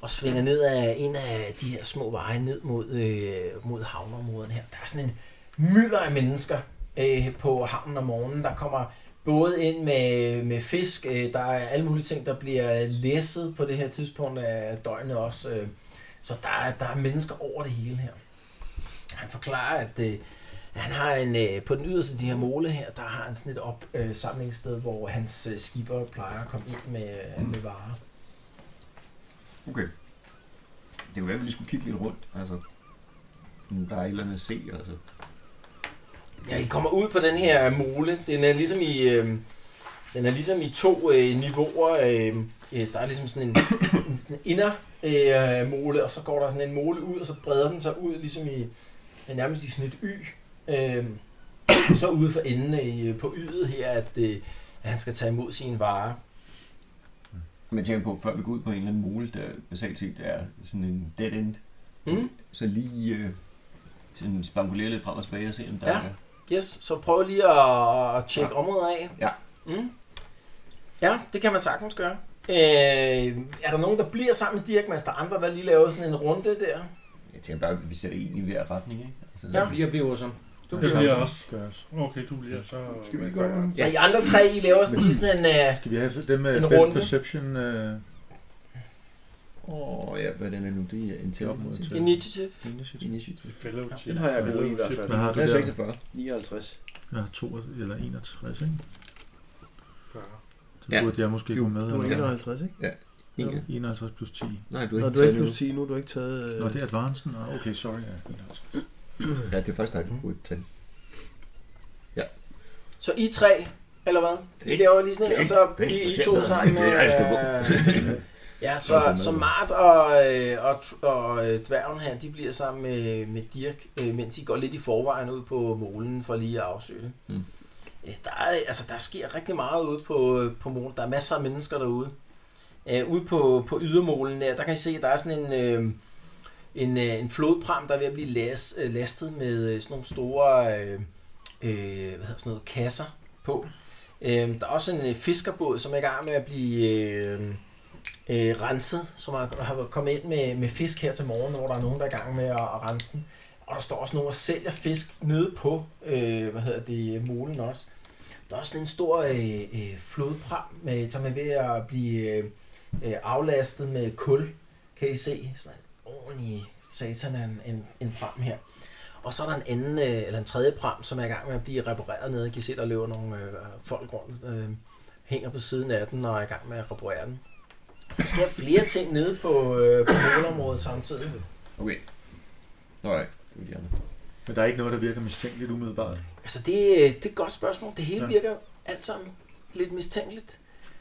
Speaker 3: Og svinger ned af en af de her små veje ned mod, øh, mod havneområden her. Der er sådan en mylder af mennesker øh, på havnen om morgenen. Der kommer både ind med, med fisk. Øh, der er alle mulige ting, der bliver læsset på det her tidspunkt af døgnet også. Øh. Så der er, der er mennesker over det hele her. Han forklarer, at... Øh, han har en, øh, på den yderste af de her mole her, der har han sådan et opsamlingssted, hvor hans øh, skibere plejer at komme ind med, øh, med varer.
Speaker 2: Okay. Det kunne være, at vi lige skulle kigge lidt rundt. Altså, om der er et eller andet at se. Altså.
Speaker 3: Ja, I kommer ud på den her mole. Den er ligesom i, øh, den er ligesom i to øh, niveauer. Øh, øh, der er ligesom sådan en, en sådan inder øh, mole, og så går der sådan en mole ud, og så breder den sig ud ligesom i øh, nærmest i sådan et y. Øh, så ude for enden øh, på ydet her, at, øh, at han skal tage imod sine varer.
Speaker 2: Men jeg tænker på, før vi går ud på en eller anden mole, der basalt set er sådan en dead end,
Speaker 3: Mm?
Speaker 2: så lige øh, sådan spankulere lidt frem og tilbage og se, om der
Speaker 3: Ja.
Speaker 2: er...
Speaker 3: Yes, så prøv lige at, at tjekke ja. området af.
Speaker 2: Ja.
Speaker 3: Mm. Ja, det kan man sagtens gøre. Øh, er der nogen, der bliver sammen med Dirkmans, der andre, der lige laver sådan en runde der?
Speaker 2: Jeg tænker bare, at vi sætter en i hver retning, ikke? Altså,
Speaker 3: Ja.
Speaker 4: Vi er blevet som.
Speaker 5: Du bliver
Speaker 2: Sørensen.
Speaker 5: også.
Speaker 7: Gør os.
Speaker 5: Okay, du bliver så...
Speaker 6: Skal vi gå over?
Speaker 3: Ja. Så I andre tre, I laver sådan lige sådan en... Øh,
Speaker 7: Skal vi have dem med
Speaker 3: En
Speaker 7: best
Speaker 3: runde.
Speaker 7: perception? Øh,
Speaker 2: Åh, oh, ja, hvordan er det nu? Det er intelligence.
Speaker 7: Intelligence.
Speaker 3: initiative.
Speaker 7: initiative?
Speaker 2: Initiative.
Speaker 5: Fellowship.
Speaker 6: Den har jeg god i hvert fald.
Speaker 7: Hvad har du
Speaker 2: Det er
Speaker 7: der?
Speaker 2: 46.
Speaker 6: 59.
Speaker 7: Jeg har 52 eller 61, ikke?
Speaker 5: 40.
Speaker 7: Det Den ja. burde jeg måske
Speaker 2: Du-
Speaker 7: gå med.
Speaker 2: du er
Speaker 7: eller hvad?
Speaker 2: 51, ikke? Ja.
Speaker 7: Jo,
Speaker 2: Ikke.
Speaker 7: 51 plus 10.
Speaker 2: Nej, du har
Speaker 7: Nå,
Speaker 2: ikke
Speaker 7: du har
Speaker 2: taget
Speaker 7: ikke øh-
Speaker 2: det
Speaker 7: plus
Speaker 2: nu.
Speaker 7: 10
Speaker 6: nu, du har ikke taget...
Speaker 7: Nå, det er advancen. Nå, Okay, sorry. Ja, 51.
Speaker 2: Ja, det er faktisk dig, du burde tage.
Speaker 3: Så I tre, eller hvad? I laver lige sådan en, og så
Speaker 2: Fedt.
Speaker 3: I, I
Speaker 2: Fedt.
Speaker 3: to
Speaker 2: Fedt.
Speaker 3: sammen.
Speaker 2: Det er sgu
Speaker 3: Øh, ja, så, så Mart og, øh, og, tr- og øh, dværgen her, de bliver sammen med, med Dirk, øh, mens I går lidt i forvejen ud på målen for lige at afsøge det.
Speaker 2: Mm.
Speaker 3: Øh, Der, er, altså, der sker rigtig meget ude på, øh, på målen. Der er masser af mennesker derude. Øh, ude på, på ydermålen der, der kan I se, at der er sådan en... Øh, en, øh, en flodpram, der er ved at blive las, øh, lastet med øh, sådan nogle store øh, øh, hvad hedder sådan noget, kasser på. Øh, der er også en øh, fiskerbåd, som er i gang med at blive øh, øh, renset, som har, har kommet ind med, med fisk her til morgen, hvor der er nogen, der er i gang med at, at rense den. Og der står også nogen og sælger fisk nede på, øh, hvad hedder det, øh, molen også. Der er også sådan en stor øh, øh, flodpram, med, som er ved at blive øh, øh, aflastet med kul, kan I se. Sådan en ordentlig satan af en, en, en pram her. Og så er der en anden, øh, eller en tredje pram, som er i gang med at blive repareret nede. I kan se, der løber nogle øh, folk rundt, øh, hænger på siden af den og er i gang med at reparere den. Så der sker flere ting nede på, øh, på målområdet samtidig.
Speaker 2: Okay. Nå ja, det var de andre.
Speaker 7: Men der er ikke noget, der virker mistænkeligt umiddelbart.
Speaker 3: Altså, det, øh, det er et godt spørgsmål. Det hele
Speaker 7: Ja.
Speaker 3: ja. virker alt sammen lidt mistænkeligt.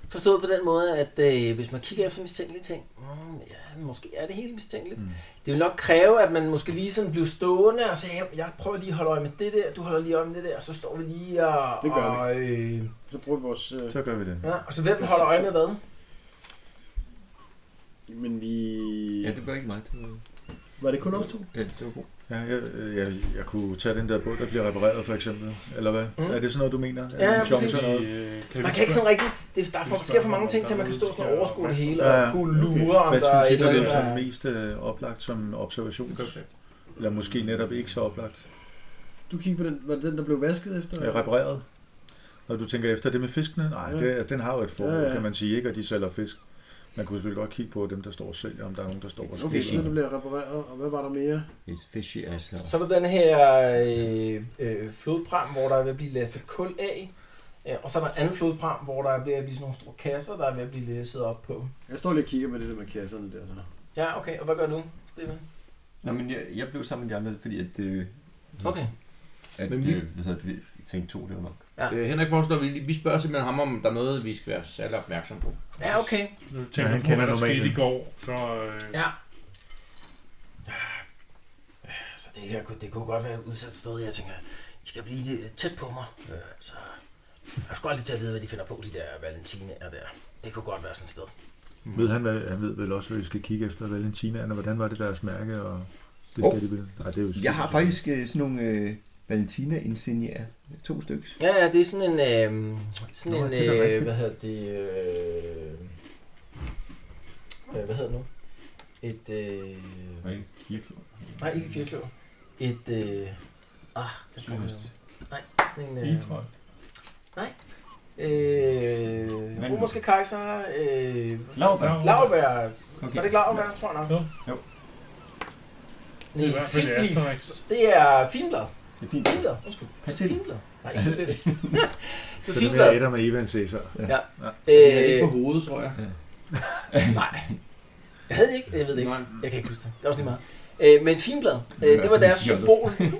Speaker 3: Forstået på den måde, at øh, hvis man kigger efter mistænkelige ting, mm, ja, måske er det hele mistænkeligt. Mm. Det vil nok kræve, at man måske lige sådan bliver stående og siger, jeg, jeg prøver lige at holde øje med det der, du holder lige øje med det der, og så står vi lige og...
Speaker 6: Det gør
Speaker 3: og, øh,
Speaker 6: Så bruger vi vores... Øh,
Speaker 7: Så gør vi det.
Speaker 3: ja, og så hvem holder øje med hvad?
Speaker 6: men vi...
Speaker 2: Ja, det var ikke mig. Det var,
Speaker 6: Var det kun os to?
Speaker 2: ja, det var god.
Speaker 7: Ja, jeg, jeg, jeg kunne tage den der båd, der bliver repareret for eksempel. Eller hvad?
Speaker 3: Mm.
Speaker 7: Mm. Er det sådan noget, du mener?
Speaker 3: Ja,
Speaker 7: er det en
Speaker 3: præcis.
Speaker 7: chance eller noget?
Speaker 5: øh,
Speaker 3: Man kan ikke sådan rigtig... Det, der er for, sker for mange ting til, at man kan stå sådan og overskue det hele og kunne lure, om
Speaker 7: Hvad
Speaker 3: der er et
Speaker 7: synes I,
Speaker 3: eller
Speaker 7: der er
Speaker 3: andet.
Speaker 7: sådan
Speaker 3: der-
Speaker 7: mest øh, oplagt som observation? Eller måske netop ikke så oplagt?
Speaker 6: Du kiggede på den, var det den, der blev vasket efter?
Speaker 7: Øh, repareret? Når du tænker efter det med fiskene? Nej,
Speaker 6: Ja.
Speaker 7: det, altså, den har jo et formål,
Speaker 6: Ja, ja.
Speaker 7: kan man sige, ikke? Og de sælger fisk. Man kunne selvfølgelig godt kigge på dem, der står og sælger, om der er nogen, der står og
Speaker 6: Okay, så
Speaker 7: sælger.
Speaker 6: den der blev repareret, og hvad var der mere?
Speaker 2: It's fishy ass her.
Speaker 3: Så er der den her øh, øh, flodpram, hvor der er ved at blive lastet kul af. Øh, Og så er der en anden flodpram, hvor der er ved at blive sådan nogle store kasser, der er ved at blive læsset op på.
Speaker 6: Jeg står lige og kigger på det der med kasserne der. Så.
Speaker 3: Ja, okay. Og hvad gør du? Steven?
Speaker 2: Nej, men jeg, jeg blev sammen med de andre, fordi at, øh,
Speaker 3: Okay.
Speaker 2: at
Speaker 4: Men
Speaker 2: men
Speaker 4: vi-
Speaker 2: vi... øh, hvad hedder det, jeg tænkte to, det var nok.
Speaker 4: Øh, Henrik foreslår, vi, vi spørger simpelthen ham, om der er noget, vi skal være særlig opmærksom på.
Speaker 3: Ja, okay.
Speaker 5: Nu
Speaker 7: Ja,
Speaker 5: tænker
Speaker 7: han
Speaker 5: jeg på,
Speaker 7: kender
Speaker 5: hvad der
Speaker 7: normalen.
Speaker 5: skete i går, så... Øh,
Speaker 3: Ja. Ah, Så det her kunne, det kunne godt være et udsat sted. Jeg tænker, I skal blive lidt tæt på mig. Øh, altså, jeg skulle aldrig til at vide, hvad de finder på, de der valentiner der. Det kunne godt være sådan et sted.
Speaker 7: Ved han, hvad, han ved vel også, hvad vi skal kigge efter Valentinaen, og hvordan var det deres mærke, og det
Speaker 2: Hov.
Speaker 7: skal de vel. Nej, det er jo
Speaker 2: Jeg har faktisk øh, sådan nogle øh, Valentina-insignier. To stykker.
Speaker 3: Ja, ja, det er sådan en, øh, sådan
Speaker 7: Nå,
Speaker 3: en,
Speaker 7: det er da
Speaker 3: øh,
Speaker 7: rigtigt.
Speaker 3: hvad hedder det, øh, øh, hvad hedder det nu? Et, øh, nej, ikke firkløver. Et, øh, ah, det skal jeg Nej, sådan en, øh, øh,
Speaker 2: Vandløb.
Speaker 3: romerske kejser, øh,
Speaker 2: Laurbær.
Speaker 3: Laurbær,
Speaker 2: Okay.
Speaker 3: var det Laurbær, tror jeg nok?
Speaker 5: Jo.
Speaker 2: Jo.
Speaker 5: Det er i hvert fald
Speaker 3: Fitleaf.
Speaker 5: Asterix.
Speaker 3: Det er finblad.
Speaker 2: Det er fint.
Speaker 3: Finblad, undskyld.
Speaker 2: Pas ind.
Speaker 3: Finblad. Nej, ikke se det. Det er
Speaker 7: Så det bliver
Speaker 3: finblad.
Speaker 7: Adam og Evan se sig.
Speaker 4: Det er ikke
Speaker 3: Øh,
Speaker 4: på hovedet, tror jeg.
Speaker 3: Nej. Jeg havde det ikke. Jeg ved det ikke.
Speaker 4: Nej.
Speaker 3: Jeg kan ikke huske det. Det er også lige meget. Øh, men finblad, øh, det var deres symbol. Øh,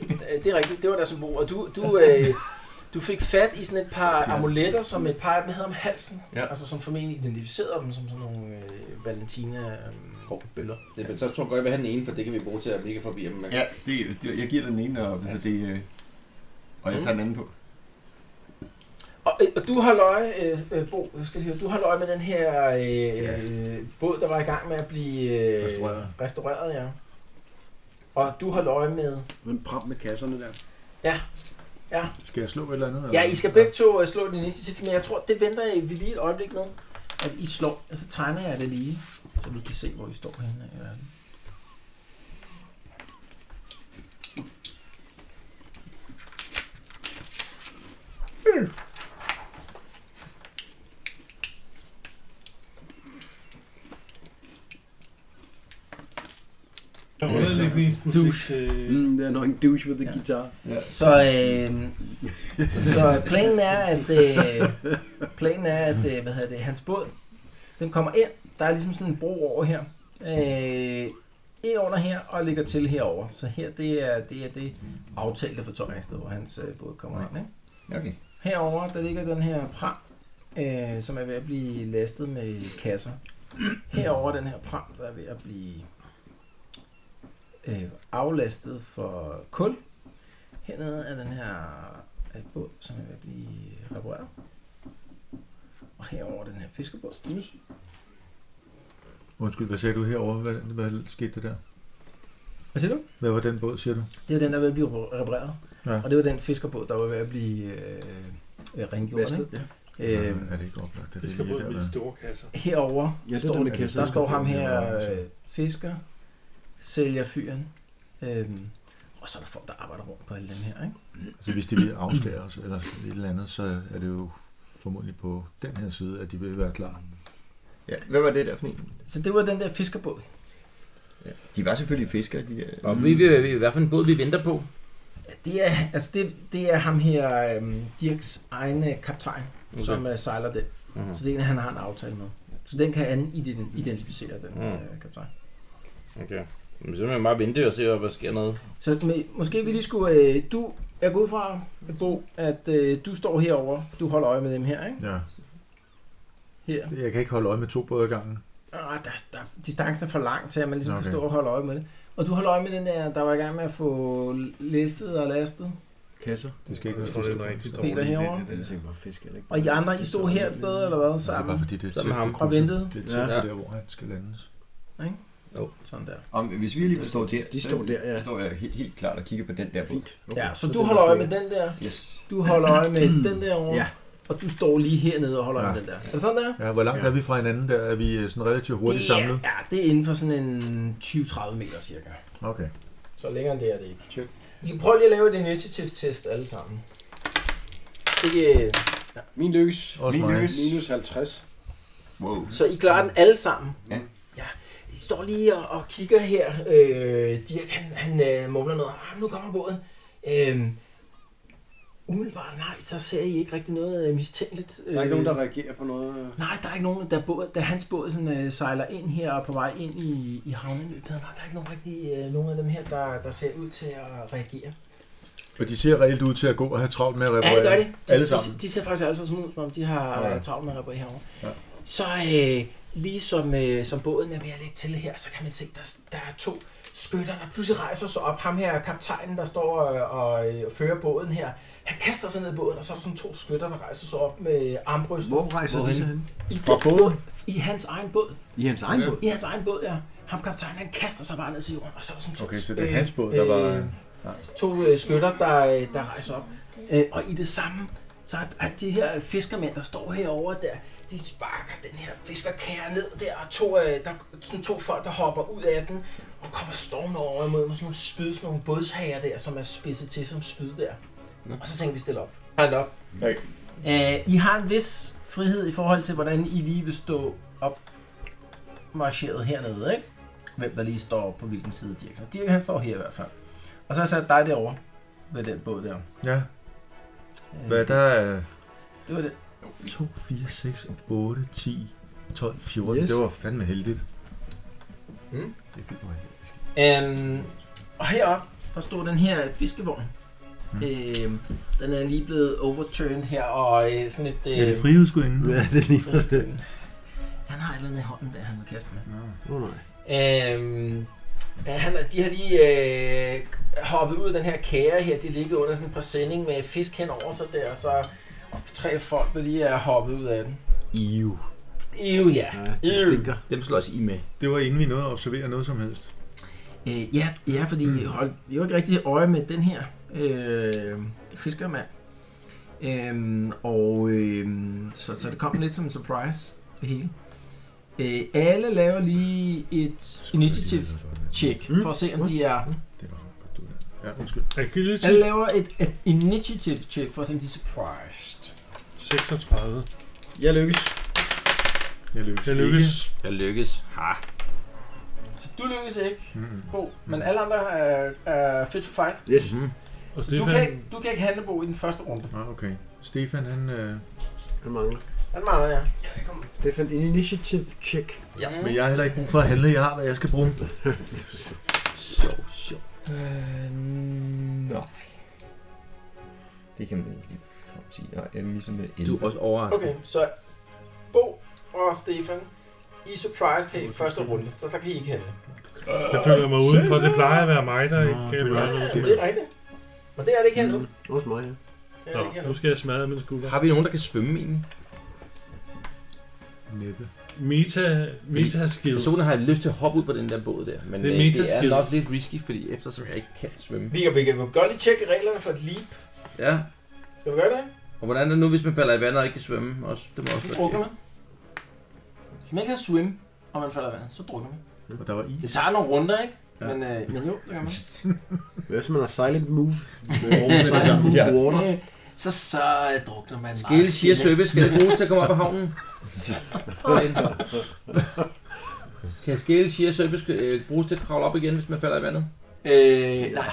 Speaker 3: det er rigtigt, det var deres symbol. Og du, du, øh, du fik fat i sådan et par amuletter, som et par af dem havde om halsen.
Speaker 2: Ja.
Speaker 3: Altså som formentlig identificerede dem som sådan nogle øh, Valentina-bøller.
Speaker 4: Det, er- så tror jeg godt, jeg vil have den ene, for det kan vi bruge til at mega forbi ham.
Speaker 2: Ja, det, det, jeg giver dig den ene, og, hvad hedder det, øh, og jeg tager den anden på.
Speaker 3: Og, øh, og du holder øje, øh, øh, Bo, jeg skal lige høre, du holder øje med den her øh, øh, båd, der var i gang med at blive øh,
Speaker 7: Restaureret.
Speaker 3: restaureret, ja. Og du holder øje med...
Speaker 6: Den pram med kasserne der.
Speaker 7: Skal jeg slå et eller andet?
Speaker 3: Ja, I skal begge to øh, slå din initiativ, men jeg tror, det venter I vi lige et øjeblik med, at I slår. Og så tegner jeg det lige, så vi kan se, hvor I står henne øh, i verden.
Speaker 5: Der er underlægningsmusik
Speaker 6: Douche.
Speaker 5: til...
Speaker 6: Mm, det er nok en douche with the guitar.
Speaker 3: Så, øh, så planen er, at, øh, planen er, at øh, hvad hedder det, hans båd, den kommer ind. Der er ligesom sådan en bro over her. Øh, ind under her og ligger til herover. Så her, det er det, er det aftalte fortøjningssted, hvor hans øh, båd kommer ind. Ikke?
Speaker 2: Okay.
Speaker 3: Herover der ligger den her pram, øh, som er ved at blive lastet med kasser. Herover den her pram, der er ved at blive øh, aflastet for kul. Hernede er den her øh, båd, som er ved at blive repareret. Og herover den her fiskebåd.
Speaker 7: Undskyld, hvad sagde du herovre? Hvad, hvad skete der der?
Speaker 3: Hvad siger du?
Speaker 7: Hvad var den båd, siger du?
Speaker 3: Det var den, der var ved at blive repareret.
Speaker 7: Ja.
Speaker 3: Og det var den fiskerbåd, der var ved at blive øh, øh, rengjort.
Speaker 2: Vasket,
Speaker 3: Ikke? Øh,
Speaker 7: Så er det ikke oplagt? Det er
Speaker 5: Det
Speaker 7: det,
Speaker 5: skal
Speaker 7: lige
Speaker 5: både
Speaker 7: der,
Speaker 5: med de
Speaker 7: der.
Speaker 5: store kasser.
Speaker 3: herover
Speaker 6: Ja, det er
Speaker 3: står,
Speaker 6: den med
Speaker 3: der,
Speaker 6: kassen.
Speaker 3: der står ham her, øh, fisker, sælger fyren. Øhm, og så er der folk, der arbejder rundt på alle dem her. Ikke?
Speaker 7: Altså, hvis de vil afskære os eller et eller andet, så er det jo formodentlig på den her side, at de vil være klar.
Speaker 2: Ja, hvad var det der for en?
Speaker 3: Så det var den der fiskerbåd.
Speaker 2: Ja. De var selvfølgelig fiskere, de øh. der.
Speaker 4: Og vi vil, hvad for en båd vi venter på?
Speaker 3: Ja, Det er, altså det, det er ham her, øhm, Dirks egne kaptajn, okay. som uh, sejler den.
Speaker 4: Mhm.
Speaker 3: Mm-hmm. Så det er en, han har en aftale med. Så den kan han iden- identificere, den
Speaker 4: Mhm.
Speaker 3: øh, kaptajn.
Speaker 4: Okay. Men så må jeg bare vente og se, hvad der sker noget.
Speaker 3: Så med, måske vi lige skulle... Øh, du, jeg går ud fra, Bo, at øh, du står herover. Du holder øje med dem her, ikke?
Speaker 7: Ja.
Speaker 3: Her.
Speaker 7: Jeg kan ikke holde øje med to både i gangen.
Speaker 3: Ah, der, der, distancen er for lang til, at man ligesom okay.
Speaker 7: Okay.
Speaker 3: kan stå og holde øje med det. Og du holder øje med den der, der var i gang med at få læstet og lastet.
Speaker 6: Kasser.
Speaker 7: Det skal ikke
Speaker 5: Jeg tror, det er en rigtig dårlig
Speaker 3: Peter herovre.
Speaker 5: idé, det der.
Speaker 6: bare fisk, eller ikke?
Speaker 3: Og I andre, I stod her et sted, eller hvad,
Speaker 7: Så er det bare
Speaker 3: sammen?
Speaker 7: fordi, det er
Speaker 4: Sammen med ham.
Speaker 7: tæt på
Speaker 3: Og
Speaker 7: krydset.
Speaker 3: ventede.
Speaker 7: Det er tæt
Speaker 6: Ja.
Speaker 7: på der, hvor han skal landes.
Speaker 3: Sådan der.
Speaker 2: Om, hvis vi alligevel står der,
Speaker 6: De står der, ja.
Speaker 2: så står jeg helt, helt klart og kigger på den der båd.
Speaker 6: Fint.
Speaker 3: Ja, så du holder øje med den der.
Speaker 2: Yes.
Speaker 3: Du holder øje med den der over,
Speaker 6: Mm. Ja.
Speaker 3: ja. og du står lige hernede og holder øje med
Speaker 7: Ja.
Speaker 3: den der. Er det sådan der?
Speaker 7: Ja, hvor langt er vi fra hinanden der? Er vi øh, sådan relativt hurtigt
Speaker 3: det
Speaker 7: samlet?
Speaker 3: er, ja, det er inden for sådan en 20-30 meter cirka.
Speaker 7: Okay.
Speaker 3: Så længere end det er det ikke. Tjek. I kan prøve lige at lave et initiative test alle sammen. Ikke, øh,
Speaker 6: Min lykkes.
Speaker 7: Også
Speaker 2: Min
Speaker 7: mig.
Speaker 2: lykkes.
Speaker 6: Minus 50.
Speaker 2: Wow.
Speaker 3: så I klarer den alle sammen.
Speaker 2: Ja.
Speaker 3: ja. I står lige og, og kigger her. Øh, Dirk, han, han øh, mumler noget. Ah, nu kommer båden. Øh, umiddelbart nej, så ser I ikke rigtig noget øh, mistænkeligt.
Speaker 6: Der er ikke nogen, der reagerer på noget. øh.
Speaker 3: Nej, der er ikke nogen, der båd, da hans båd sådan, øh, sejler ind her og er på vej ind i, i havneløbet. Nej, der er ikke nogen, rigtig, øh, nogen af dem her, der, der ser ud til at reagere.
Speaker 7: Og de ser reelt ud til at gå og have travlt med at
Speaker 3: Ja,
Speaker 7: reparere.
Speaker 3: det gør de. de
Speaker 7: Alle sammen.
Speaker 3: De, de ser faktisk alle sammen ud, som om de har
Speaker 7: Ja.
Speaker 3: ja. travlt med at reparere herovre.
Speaker 7: Ja.
Speaker 3: Ja. Så øh, lige som, øh, som båden er ved at lægge til her, så kan man se, der, der er to skytter, der pludselig rejser sig op. Ham her, kaptajnen, der står og, og øh, fører båden her, han kaster sig ned i båden, og så er der sådan to skytter, der rejser sig op med armbryster.
Speaker 6: Hvor rejser de
Speaker 4: Hvorhen?
Speaker 6: så hen?
Speaker 3: I,
Speaker 6: Fra båden?
Speaker 3: I hans egen båd.
Speaker 6: I hans egen båd.
Speaker 3: I hans egen båd, ja. Ham kaptajnen, han kaster sig bare ned til jorden, og så er der sådan to...
Speaker 7: Okay, så det er
Speaker 3: øh,
Speaker 7: hans båd, der var...
Speaker 3: øh, To øh, skytter, der, øh, der rejser op. Øh, og i det samme, så er- er de her fiskermænd, der står herovre der, de sparker den her fiskerkære ned der, og to, øh, der er sådan to folk, der hopper ud af den, og kommer stormende over imod med sådan nogle spyd, sådan nogle bådshager der, som er spidset til som spyd der. Og så tænker vi stille op. Hold op.
Speaker 2: Okay.
Speaker 3: Øh, I har en vis frihed i forhold til, hvordan I lige vil stå op marcheret hernede, ikke? Hvem der lige står på hvilken side Dirk. Så Dirk han står her i hvert fald. Og så har jeg sat dig derovre ved den båd der.
Speaker 7: Ja,
Speaker 3: Øh,
Speaker 7: hvad der er...
Speaker 3: Det var det.
Speaker 7: 2, 4, 6, 8, 10, 12, 14.
Speaker 6: Yes.
Speaker 7: Det var fandme heldigt.
Speaker 3: Øhm, og heroppe, der stod den her fiskevogn. Mm. Øhm, den er lige blevet overturned her, og øh, sådan et...
Speaker 7: Er det
Speaker 3: Øh,
Speaker 7: frihedsgudinde?
Speaker 6: Ja, det er lige for det.
Speaker 3: han har et eller andet i hånden, der han vil kaste med.
Speaker 6: Åh nej.
Speaker 3: Øhm, ja, han, er- de har lige øh, hoppet ud af den her kære her. De ligger under sådan en præsending med fisk hen over sig der, og så tre folk, der lige er hoppet ud af den.
Speaker 7: Iu.
Speaker 3: Ew, ja.
Speaker 6: Ja, det stinker.
Speaker 4: Dem slås I med.
Speaker 7: Det var inden vi nåede at observere noget som helst.
Speaker 3: Øh, ja, ja, fordi mm. hold, jeg var ikke rigtig øje med den her øh, fiskermand. Øhm, og øh, så, så det kom lidt som en surprise, det hele. Øh, alle laver lige et initiativ check for at se, om de er...
Speaker 7: Det var godt, du der. Ja, undskyld.
Speaker 5: Agility
Speaker 3: Alle laver et, et initiative check for at se, om de er surprised.
Speaker 5: 36.
Speaker 6: Jeg lykkes.
Speaker 7: Jeg lykkes.
Speaker 5: Jeg lykkes.
Speaker 4: Jeg lykkes. Ha.
Speaker 3: Så Du lykkes ikke, Bo, men alle andre er, er fit to fight.
Speaker 2: Yes. Mm.
Speaker 5: Og
Speaker 3: Du
Speaker 5: Stefan,
Speaker 3: kan, ikke, du kan ikke handle Bo i den første runde.
Speaker 7: Ah, okay. Stefan, han... Øh,
Speaker 3: Mm.
Speaker 6: Han mangler.
Speaker 3: Han mangler jeg.
Speaker 6: Stefan, en initiative check.
Speaker 3: Ja.
Speaker 7: men jeg har heller ikke brug for at handle. Jeg har, hvad jeg skal bruge.
Speaker 2: Øh, nå. Det kan man ikke lige fremsige. Nej, jeg misser med 11.
Speaker 4: Du er også overrasket.
Speaker 3: Okay, så Bo og Stefan, I er surprised her i første runde, så der kan I ikke handle.
Speaker 5: jeg føler mig udenfor. Det plejer at være mig, der
Speaker 7: Nå,
Speaker 5: ikke kan
Speaker 7: det var-
Speaker 5: gøre
Speaker 3: Ja,
Speaker 5: noget.
Speaker 3: det er rigtigt. Men det er det ikke her nu. Det
Speaker 6: Også mig,
Speaker 3: er
Speaker 6: ja.
Speaker 3: det ikke her
Speaker 5: Nå,
Speaker 3: nu.
Speaker 5: nu skal jeg smadre min skulder.
Speaker 4: Har vi nogen, der kan svømme egentlig?
Speaker 7: Næppe.
Speaker 5: Meta, meta skills.
Speaker 4: Personen har lyst til at hoppe ud på den der båd der, men det
Speaker 5: Det
Speaker 4: er,
Speaker 5: er
Speaker 4: øh, det er
Speaker 5: metaskills.
Speaker 4: nok lidt risky, fordi eftersom jeg ikke kan svømme.
Speaker 3: Vi kan, vi kan godt lige tjekke reglerne for et leap.
Speaker 4: Ja,
Speaker 3: Skal vi gøre det?
Speaker 4: og hvordan er det nu, hvis man falder i vandet og ikke kan svømme? Også, det må også
Speaker 3: Så
Speaker 4: være
Speaker 3: drukner
Speaker 4: tjekket.
Speaker 3: man. Hvis man ikke kan swim, og man falder i vandet, så drukner man.
Speaker 7: Og der var i.
Speaker 3: Det tager nogle runder, ikke?
Speaker 4: Ja.
Speaker 3: Men, øh, men jo, det gør man.
Speaker 6: Hvad hvis man har silent move?
Speaker 3: Silent
Speaker 6: move water.
Speaker 3: Øh, Så så øh, drukner man
Speaker 4: Skil siger service, skal det bruges til at komme op af havnen? kan skille siger service øh, bruges til at kravle op igen, hvis man falder i vandet?
Speaker 3: Øh, nej.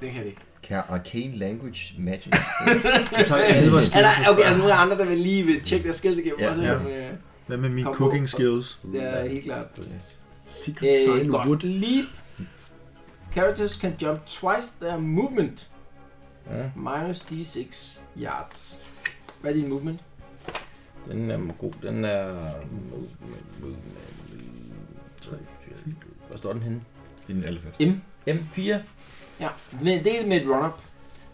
Speaker 3: Det kan det ikke.
Speaker 2: Kan arcane language magic?
Speaker 4: Jeg tager ikke alle vores
Speaker 3: Er
Speaker 4: skills.
Speaker 3: der, okay, er der nogle andre, der vil lige vil tjekke deres skills igennem?
Speaker 2: Ja,
Speaker 3: Ja,
Speaker 2: ja.
Speaker 3: ja. Øh,
Speaker 7: Hvad med mine
Speaker 3: Kom på.
Speaker 7: cooking skills?
Speaker 3: det er helt klart.
Speaker 6: Secret
Speaker 3: Øh,
Speaker 6: silent wood.
Speaker 3: godt. Leap. Characters can jump twice their movement.
Speaker 4: Ja.
Speaker 3: Minus d6 yards. Hvad er din movement?
Speaker 4: Den er god. Den er... Tre, fire. Hvor står den henne?
Speaker 2: Det er den allerførste.
Speaker 3: M.
Speaker 4: M4?
Speaker 3: Ja, men det er med et run-up.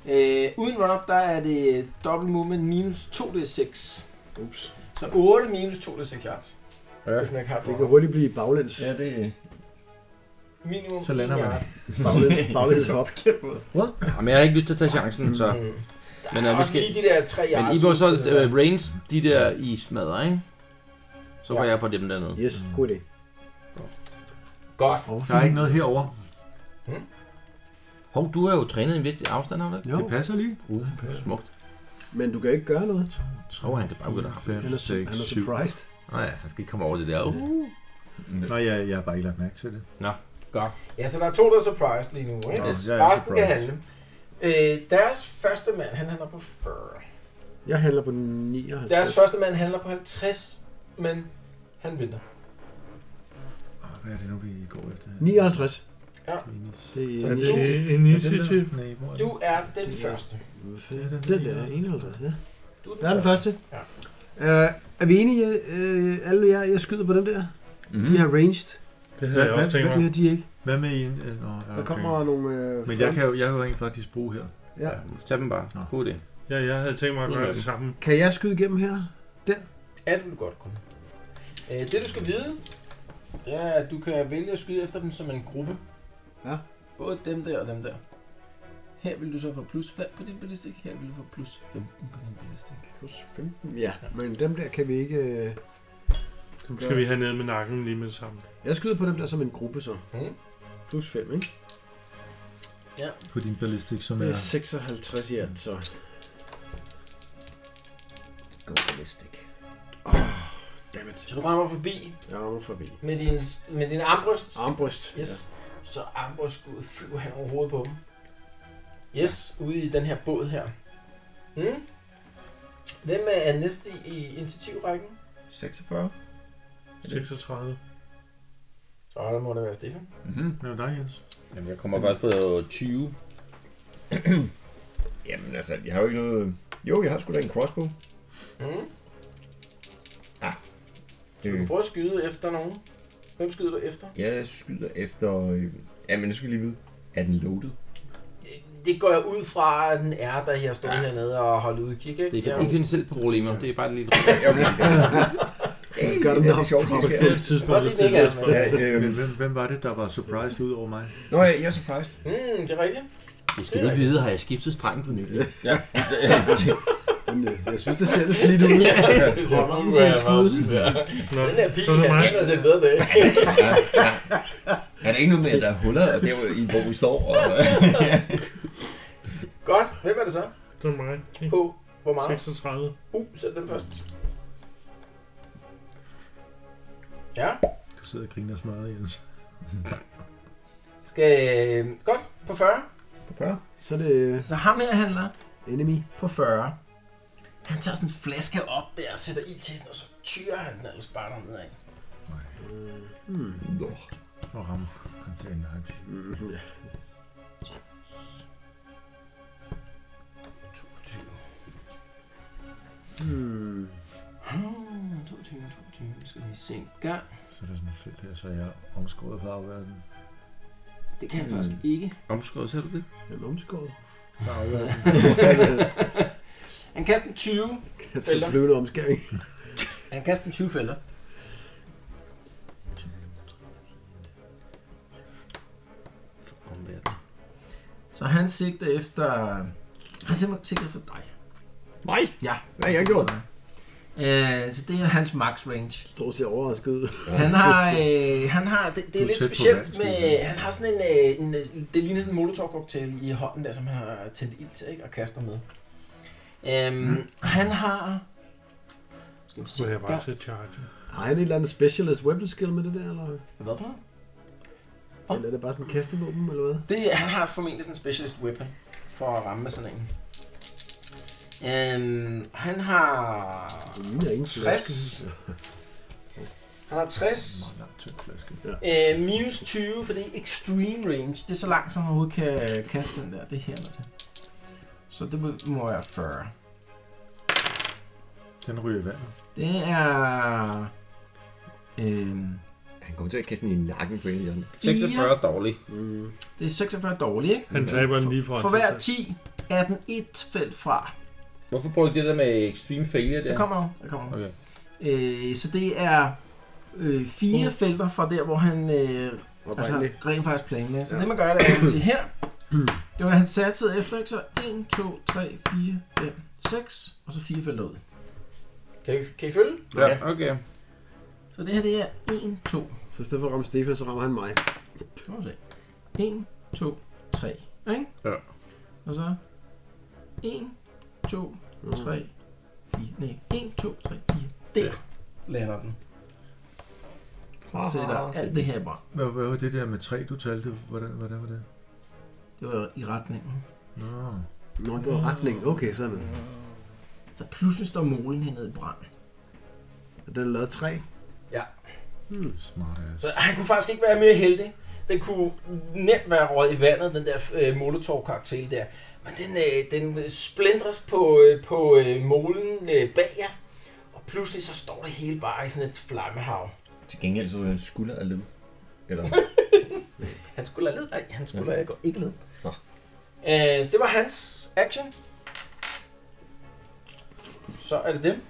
Speaker 3: Øh, uden run-up, der er det dobbelt movement minus 2d6.
Speaker 6: Ups.
Speaker 3: Så 8 minus 2d6 yards.
Speaker 4: Ja.
Speaker 3: Hvis man ikke har et
Speaker 6: Det kan
Speaker 3: run-up.
Speaker 6: hurtigt blive baglæns.
Speaker 2: Ja, det er...
Speaker 3: Minimum
Speaker 7: Så lander
Speaker 3: en
Speaker 7: man.
Speaker 3: yard.
Speaker 6: Baglæns, baglæns hop.
Speaker 4: Jamen, jeg har ikke lyst til at tage chancen, så...
Speaker 3: Mm.
Speaker 4: Men,
Speaker 3: Der
Speaker 4: øh,
Speaker 3: er
Speaker 4: vi
Speaker 3: også
Speaker 4: skal...
Speaker 3: lige de der 3 yards.
Speaker 4: Men I må så
Speaker 3: ud til det
Speaker 4: øh,
Speaker 3: der.
Speaker 4: range de der i smadrer, ikke? Så var
Speaker 3: Ja.
Speaker 4: jeg på dem dernede.
Speaker 6: Yes, god idé.
Speaker 3: Godt.
Speaker 7: Der er ikke noget herover.
Speaker 4: Hov, du har jo trænet en vis afstand, har du ikke?
Speaker 6: Jo,
Speaker 7: Det passer lige.
Speaker 4: Uh, smukt.
Speaker 6: men du kan ikke gøre noget.
Speaker 4: Tror han kan bare begynde at hoppe.
Speaker 6: Han er, su- han er surprised.
Speaker 4: Nej, han skal ikke komme over det der. Uh.
Speaker 3: Mm.
Speaker 7: Nå, jeg, jeg har bare ikke lagt mærke til det.
Speaker 3: Ja, så der er to, der er surprised lige nu, ikke?
Speaker 7: Nå,
Speaker 4: Yes.
Speaker 7: jeg er
Speaker 3: Resten kan
Speaker 7: surprised.
Speaker 3: handle. Øh, deres første mand, han handler på 40.
Speaker 6: Jeg handler på
Speaker 3: Deres
Speaker 6: 59.
Speaker 3: første mand handler på 50, men han vinder.
Speaker 7: Ah, Hvad er det nu, vi går efter?
Speaker 6: 59.
Speaker 3: Ja.
Speaker 6: Det
Speaker 3: Så
Speaker 5: Er
Speaker 6: er
Speaker 5: det
Speaker 3: du-
Speaker 6: initiativ.
Speaker 5: initiativ?
Speaker 7: Nej, hvor er det?
Speaker 3: Du er den
Speaker 6: Det er-
Speaker 3: første.
Speaker 6: Den der, 51, ja.
Speaker 3: Du
Speaker 6: Der er den første.
Speaker 3: Ja.
Speaker 6: Uh, er vi enige, uh, alle jer, jeg skyder på dem der?
Speaker 2: Mm.
Speaker 6: De Mhm. har ranged.
Speaker 5: Det havde jeg
Speaker 7: Hvad-
Speaker 5: også tænkt
Speaker 6: Det
Speaker 5: mig.
Speaker 6: har de ikke.
Speaker 7: Hvad med en? øh, Nå, ja,
Speaker 6: Der
Speaker 7: okay.
Speaker 6: kommer nogle... Uh,
Speaker 7: Men jeg kan jo, jeg kan jo rent faktisk bruge her.
Speaker 6: Ja.
Speaker 4: Tag dem bare.
Speaker 7: Nå.
Speaker 4: God idé.
Speaker 5: Ja, jeg havde tænkt mig at gøre
Speaker 4: Udmærket.
Speaker 5: det sammen.
Speaker 6: Kan jeg skyde igennem her?
Speaker 3: Ja, det vil du godt kunne. Øh, det du skal vide, det er, at du kan vælge at skyde efter dem som en gruppe.
Speaker 6: Ja.
Speaker 3: Både dem der og dem der. Her vil du så få plus 5 på din ballistik, her vil du få plus 15 på din ballistik.
Speaker 6: Plus 15. Ja, men dem der kan vi ikke... Uh,
Speaker 5: Nu skal vi have ned med nakken lige med det samme.
Speaker 6: Jeg skyder på dem der som en gruppe så.
Speaker 3: Mm.
Speaker 6: Plus 5, ikke?
Speaker 7: På din ballistik, som
Speaker 6: Det
Speaker 7: er...
Speaker 6: er 56 i alt, så.
Speaker 2: Go ballistic.
Speaker 6: Dammit.
Speaker 3: Så du rammer forbi
Speaker 6: Jeg rammer forbi.
Speaker 3: med din, med din armbryst.
Speaker 6: Armbryst.
Speaker 3: Yes. Ja. Så armbrystskuddet flyver hen over hovedet på dem. Yes, ude i den her båd her. Mm. Hvem er næste i, i initiativrækken?
Speaker 2: 46.
Speaker 5: 36.
Speaker 3: Så der må det være Stefan.
Speaker 2: Mm-hmm.
Speaker 7: Hvad med dig, Jens?
Speaker 4: Jamen, jeg kommer først på 20.
Speaker 2: Jamen altså, jeg har jo ikke noget... Jo, jeg har sgu da en crossbow.
Speaker 3: Mm.
Speaker 2: Det-
Speaker 3: Du kan prøve at skyde efter nogen. Hvem skyder du efter?
Speaker 2: Øh, Jeg skyder efter... øh, Jamen, nu skal jeg lige vide. Er den loaded?
Speaker 3: Det går jeg ud fra, at den er, der her står ja.
Speaker 2: Ja.
Speaker 3: hernede og holder udkig, ikke?
Speaker 4: Det kan
Speaker 3: Ja.
Speaker 4: ikke finde selv problemer. Det er bare et lille...
Speaker 2: Ja, okay. Hey,
Speaker 6: Gør den
Speaker 2: det er
Speaker 6: op.
Speaker 2: lidt sjovt, det
Speaker 5: På
Speaker 2: sker.
Speaker 5: et tidspunkt,
Speaker 3: Godt,
Speaker 5: hvis
Speaker 3: det
Speaker 5: det
Speaker 3: ikke
Speaker 5: er
Speaker 3: er,
Speaker 5: et
Speaker 3: men-
Speaker 5: spørgsmål.
Speaker 2: Ja, øh,
Speaker 7: Men hvem, hvem var det, der var surprised ud over mig?
Speaker 2: Nå, ja, jeg er surprised.
Speaker 3: Mm, det er rigtigt.
Speaker 4: Det skal du ikke vide, har jeg skiftet streng for nylig.
Speaker 2: Ja.
Speaker 6: Men, øh, Jeg synes, det ser lidt slidt ud.
Speaker 3: det er
Speaker 6: Rammen til et skud.
Speaker 5: Nå,
Speaker 3: Den her pige
Speaker 5: så er det
Speaker 3: her,
Speaker 5: mig.
Speaker 3: den har set bedre dage.
Speaker 2: Er der ikke noget med, at der er huller og der, hvor- i- hvor vi står? Og,
Speaker 3: Godt. Hvem er det så?
Speaker 5: Det er mig.
Speaker 3: På hvor meget?
Speaker 5: 36.
Speaker 3: Uh, sæt den først. Ja.
Speaker 7: Du sidder og griner smadret, Jens.
Speaker 3: Skal, øh, godt, på 40.
Speaker 2: På 40.
Speaker 6: Så er det øh,
Speaker 3: Så ham her handler
Speaker 6: enemy.
Speaker 3: på 40. Han tager sådan en flaske op der og sætter ild til den, og så tyrer han den ellers bare dernede af.
Speaker 6: Hmm,
Speaker 2: Nå.
Speaker 7: Og ramme. Han tager en hak.
Speaker 6: Hmm.
Speaker 3: 22, 22, vi skal lige se en gang.
Speaker 7: Så er der sådan en fedt her, så er jeg omskåret på afværden.
Speaker 3: Det kan han
Speaker 6: Mm.
Speaker 3: faktisk ikke.
Speaker 4: Omskåret, ser du det?
Speaker 6: Den er omskåret.
Speaker 3: Han kaster en 20.
Speaker 6: Det er en flyvende omskæring.
Speaker 3: Han kaster en 20 fælder.
Speaker 4: Omverden.
Speaker 3: Så han sigter efter... Han simpelthen sigter efter dig.
Speaker 2: Nej,
Speaker 3: Ja.
Speaker 2: hvad har jeg gjort?
Speaker 3: Øh, så det er hans max range.
Speaker 6: Står til overrasket ud.
Speaker 3: Han har, øh, han har det, det er
Speaker 7: Du er
Speaker 3: lidt
Speaker 7: tæt på
Speaker 3: specielt
Speaker 7: verdensmål,
Speaker 3: med,
Speaker 7: ja.
Speaker 3: han har sådan en, øh, en, øh, det ligner sådan en molotovcocktail i hånden der, som han har tændt ild til, ikke? Og kaster med. Øhm,
Speaker 7: Mm.
Speaker 3: han har... Skal vi
Speaker 5: Så
Speaker 3: se,
Speaker 5: jeg bare
Speaker 3: der,
Speaker 5: til at charge.
Speaker 6: Har han et eller andet specialist weapon skill med det der, eller,
Speaker 3: hvad for noget?
Speaker 6: eller er det bare sådan en kastevåben, eller hvad?
Speaker 3: Det, han har formentlig sådan en specialist weapon for at ramme med sådan en. Øhm, han har...
Speaker 6: Det ligner Mm, ingen Altså, flaske.
Speaker 3: 60. Han har 60.
Speaker 7: Meget lang tynd flaske.
Speaker 3: Øh, minus 20, for det er extreme range. Det er så langt, som man overhovedet kan øh, kaste den der. Det er her med til. Så det må- må være 40.
Speaker 7: Den ryger i vandet.
Speaker 3: Det er... Øhm,
Speaker 2: Han kommer til at kaste den i nakken på en eller anden.
Speaker 4: 46 dårlig.
Speaker 6: Mm.
Speaker 3: det er 46 dårligt, ikke?
Speaker 5: Han taber den lige foran
Speaker 3: For
Speaker 5: sig
Speaker 3: hver
Speaker 5: selv.
Speaker 3: 10 er den et felt fra.
Speaker 4: Hvorfor bruger du det der med extreme failure der?
Speaker 3: Der kommer hun. Der kommer hun.
Speaker 4: Okay.
Speaker 3: Øh, så det er øh, fire uh. felter fra der, hvor han øh, altså, rent faktisk planlagde. Så ja. det man gør, det er, at man siger her. Det var han satte efter, ikke? Så 1, 2, 3, 4, 5, 6, og så fire felter ud. Kan I, kan I følge?
Speaker 4: Ja, okay.
Speaker 3: Så det her, det er 1, 2,
Speaker 6: Så i stedet for at ramme Stefan, så rammer han mig.
Speaker 3: det må man se. 1, 2, 3, ikke?
Speaker 4: Ja.
Speaker 3: Og så 1, 2, 3, 4, nej, 1, 2, 3, 4, der
Speaker 4: Ja.
Speaker 3: lander den. Sætter alt det her i brand.
Speaker 7: Hvad, hvad var det der med tre, du talte? Hvordan, hvordan var det?
Speaker 3: Det var i retningen.
Speaker 7: Nå.
Speaker 6: Nå, det var retning. Okay, så er jeg med.
Speaker 3: Så pludselig står målen hernede i brand.
Speaker 6: Den er lavet af træ.
Speaker 7: Smart ass.
Speaker 3: Så han kunne faktisk ikke være mere heldig. Den kunne nemt være røget i vandet, den der øh, Molotov-cocktail der. Men den, øh, den splindres på, øh, på øh, målen øh, bag jer. Og pludselig så står det hele bare i sådan et flammehav.
Speaker 2: Til gengæld så er han skulder af led. Eller
Speaker 3: Han skulle have led. Nej, han skulle ja. ikke led.
Speaker 2: Nå.
Speaker 3: Øh, det var hans action. Så er det dem.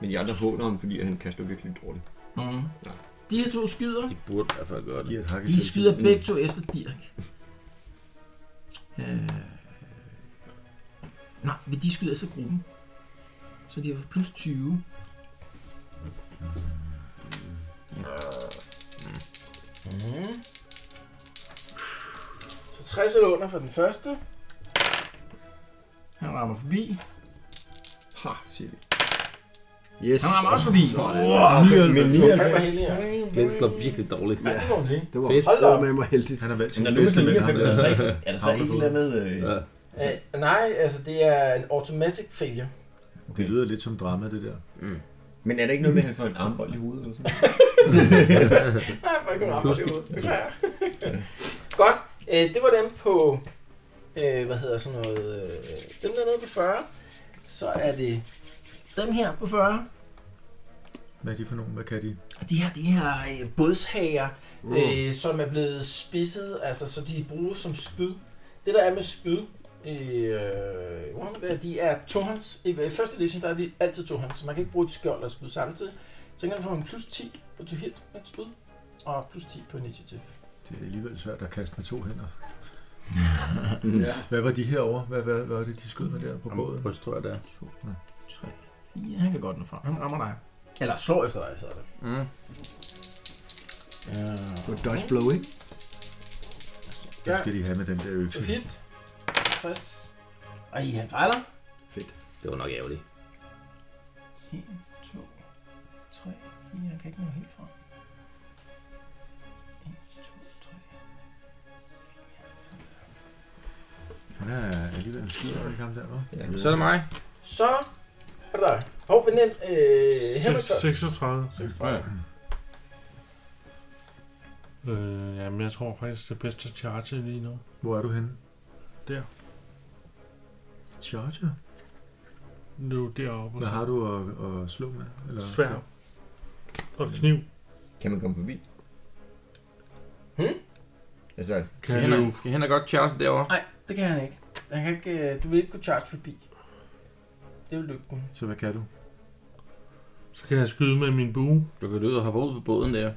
Speaker 2: Men de andre håner ham, fordi han kaster virkelig dårligt.
Speaker 3: Mm.
Speaker 2: Ja.
Speaker 3: De her to skyder.
Speaker 4: De burde i hvert fald gøre det.
Speaker 7: Giver et hak i
Speaker 3: De skyder
Speaker 2: Mm.
Speaker 3: begge to efter Dirk. Øh... Nej, men de skyder efter gruppen. Så de har fået plus 20. Så 60 eller under for den første. Han rammer forbi.
Speaker 2: Ha, siger vi.
Speaker 6: Yes.
Speaker 3: Han rammer også forbi.
Speaker 2: Men
Speaker 3: Det var fandme
Speaker 2: 99.
Speaker 3: heldig, ja.
Speaker 4: Glenn slår virkelig dårligt.
Speaker 3: Ja, det må man sige.
Speaker 6: Det var
Speaker 4: Fedt.
Speaker 6: Fedt.
Speaker 3: Hold da op.
Speaker 6: med mig heldigt.
Speaker 7: Mm. Han er valgt
Speaker 2: Men
Speaker 7: sin
Speaker 2: når nu er
Speaker 7: bedste
Speaker 2: det
Speaker 7: ven, ham
Speaker 2: 99, er der så
Speaker 7: der.
Speaker 2: ikke, er der så ikke et eller andet... Øh,
Speaker 4: Ja.
Speaker 3: Øh, nej, altså det er en automatic failure.
Speaker 7: Det lyder lidt som drama, det der.
Speaker 2: Men er der ikke noget med, at han får en armbold i hovedet? Eller sådan?
Speaker 3: Nej, jeg får ikke rammer det ud. Beklager. Godt. Øh, det var dem på, øh, hvad hedder sådan noget, øh, dem der nede på 40. Så er det dem her på 40.
Speaker 7: Hvad er de for nogen? Hvad kan de?
Speaker 3: Og de her, de her øh, bådshager, øh, som er blevet spidset, altså så de bruges som spyd. Det der er med spyd, i, øh, Warhammer, de er tohånds. I øh, første edition der er de altid tohånds, så man kan ikke bruge et skjold og et spyd samtidig. Så kan du få en plus 10 på to hit med et spyd, og plus 10 på initiativ.
Speaker 7: Det er alligevel svært at kaste med to hænder. Hvad var de herovre? Hvad, hvad, hvad var det, de skød med der på båden?
Speaker 4: Jamen, bryst tror jeg, det er.
Speaker 3: 3, 4. Han kan godt nå frem. Han rammer dig. Eller slår efter dig, hedder det.
Speaker 4: Mm.
Speaker 6: Det var dodge blow, ikke?
Speaker 7: Hvad skal de have med den der økse?
Speaker 3: Så hit. 60. Og I, han fejler.
Speaker 4: Det var nok ærgerligt.
Speaker 3: 1, 2, 3, 4. Han kan ikke nå helt frem. 1,
Speaker 7: skyder, er det ikke ham der, hva'?
Speaker 2: Ja.
Speaker 4: Så er det mig.
Speaker 3: Så er det dig. Hov, men nemt. Øh, Henrik først.
Speaker 5: 36.
Speaker 4: Ja.
Speaker 5: Øh, jamen, jeg tror faktisk, det er bedst at charge lige nu.
Speaker 7: Hvor er du henne?
Speaker 5: Der.
Speaker 7: Charger?
Speaker 5: Nu er deroppe.
Speaker 7: Hvad har du at, at slå med? Eller?
Speaker 5: Svær. Og kniv.
Speaker 2: Kan man komme forbi? Hm?
Speaker 3: Hmm?
Speaker 2: Altså,
Speaker 5: Kan
Speaker 4: Kan
Speaker 5: jeg løbe?
Speaker 4: Henrik, kan Henrik godt Charles derovre?
Speaker 3: Nej, det kan han ikke. Han kan ikke øh, du vil ikke kunne charge forbi. Det vil du ikke kunne.
Speaker 7: Så hvad kan du?
Speaker 5: Så kan jeg skyde med min bue.
Speaker 4: Du kan løbe og hoppe ud på båden der.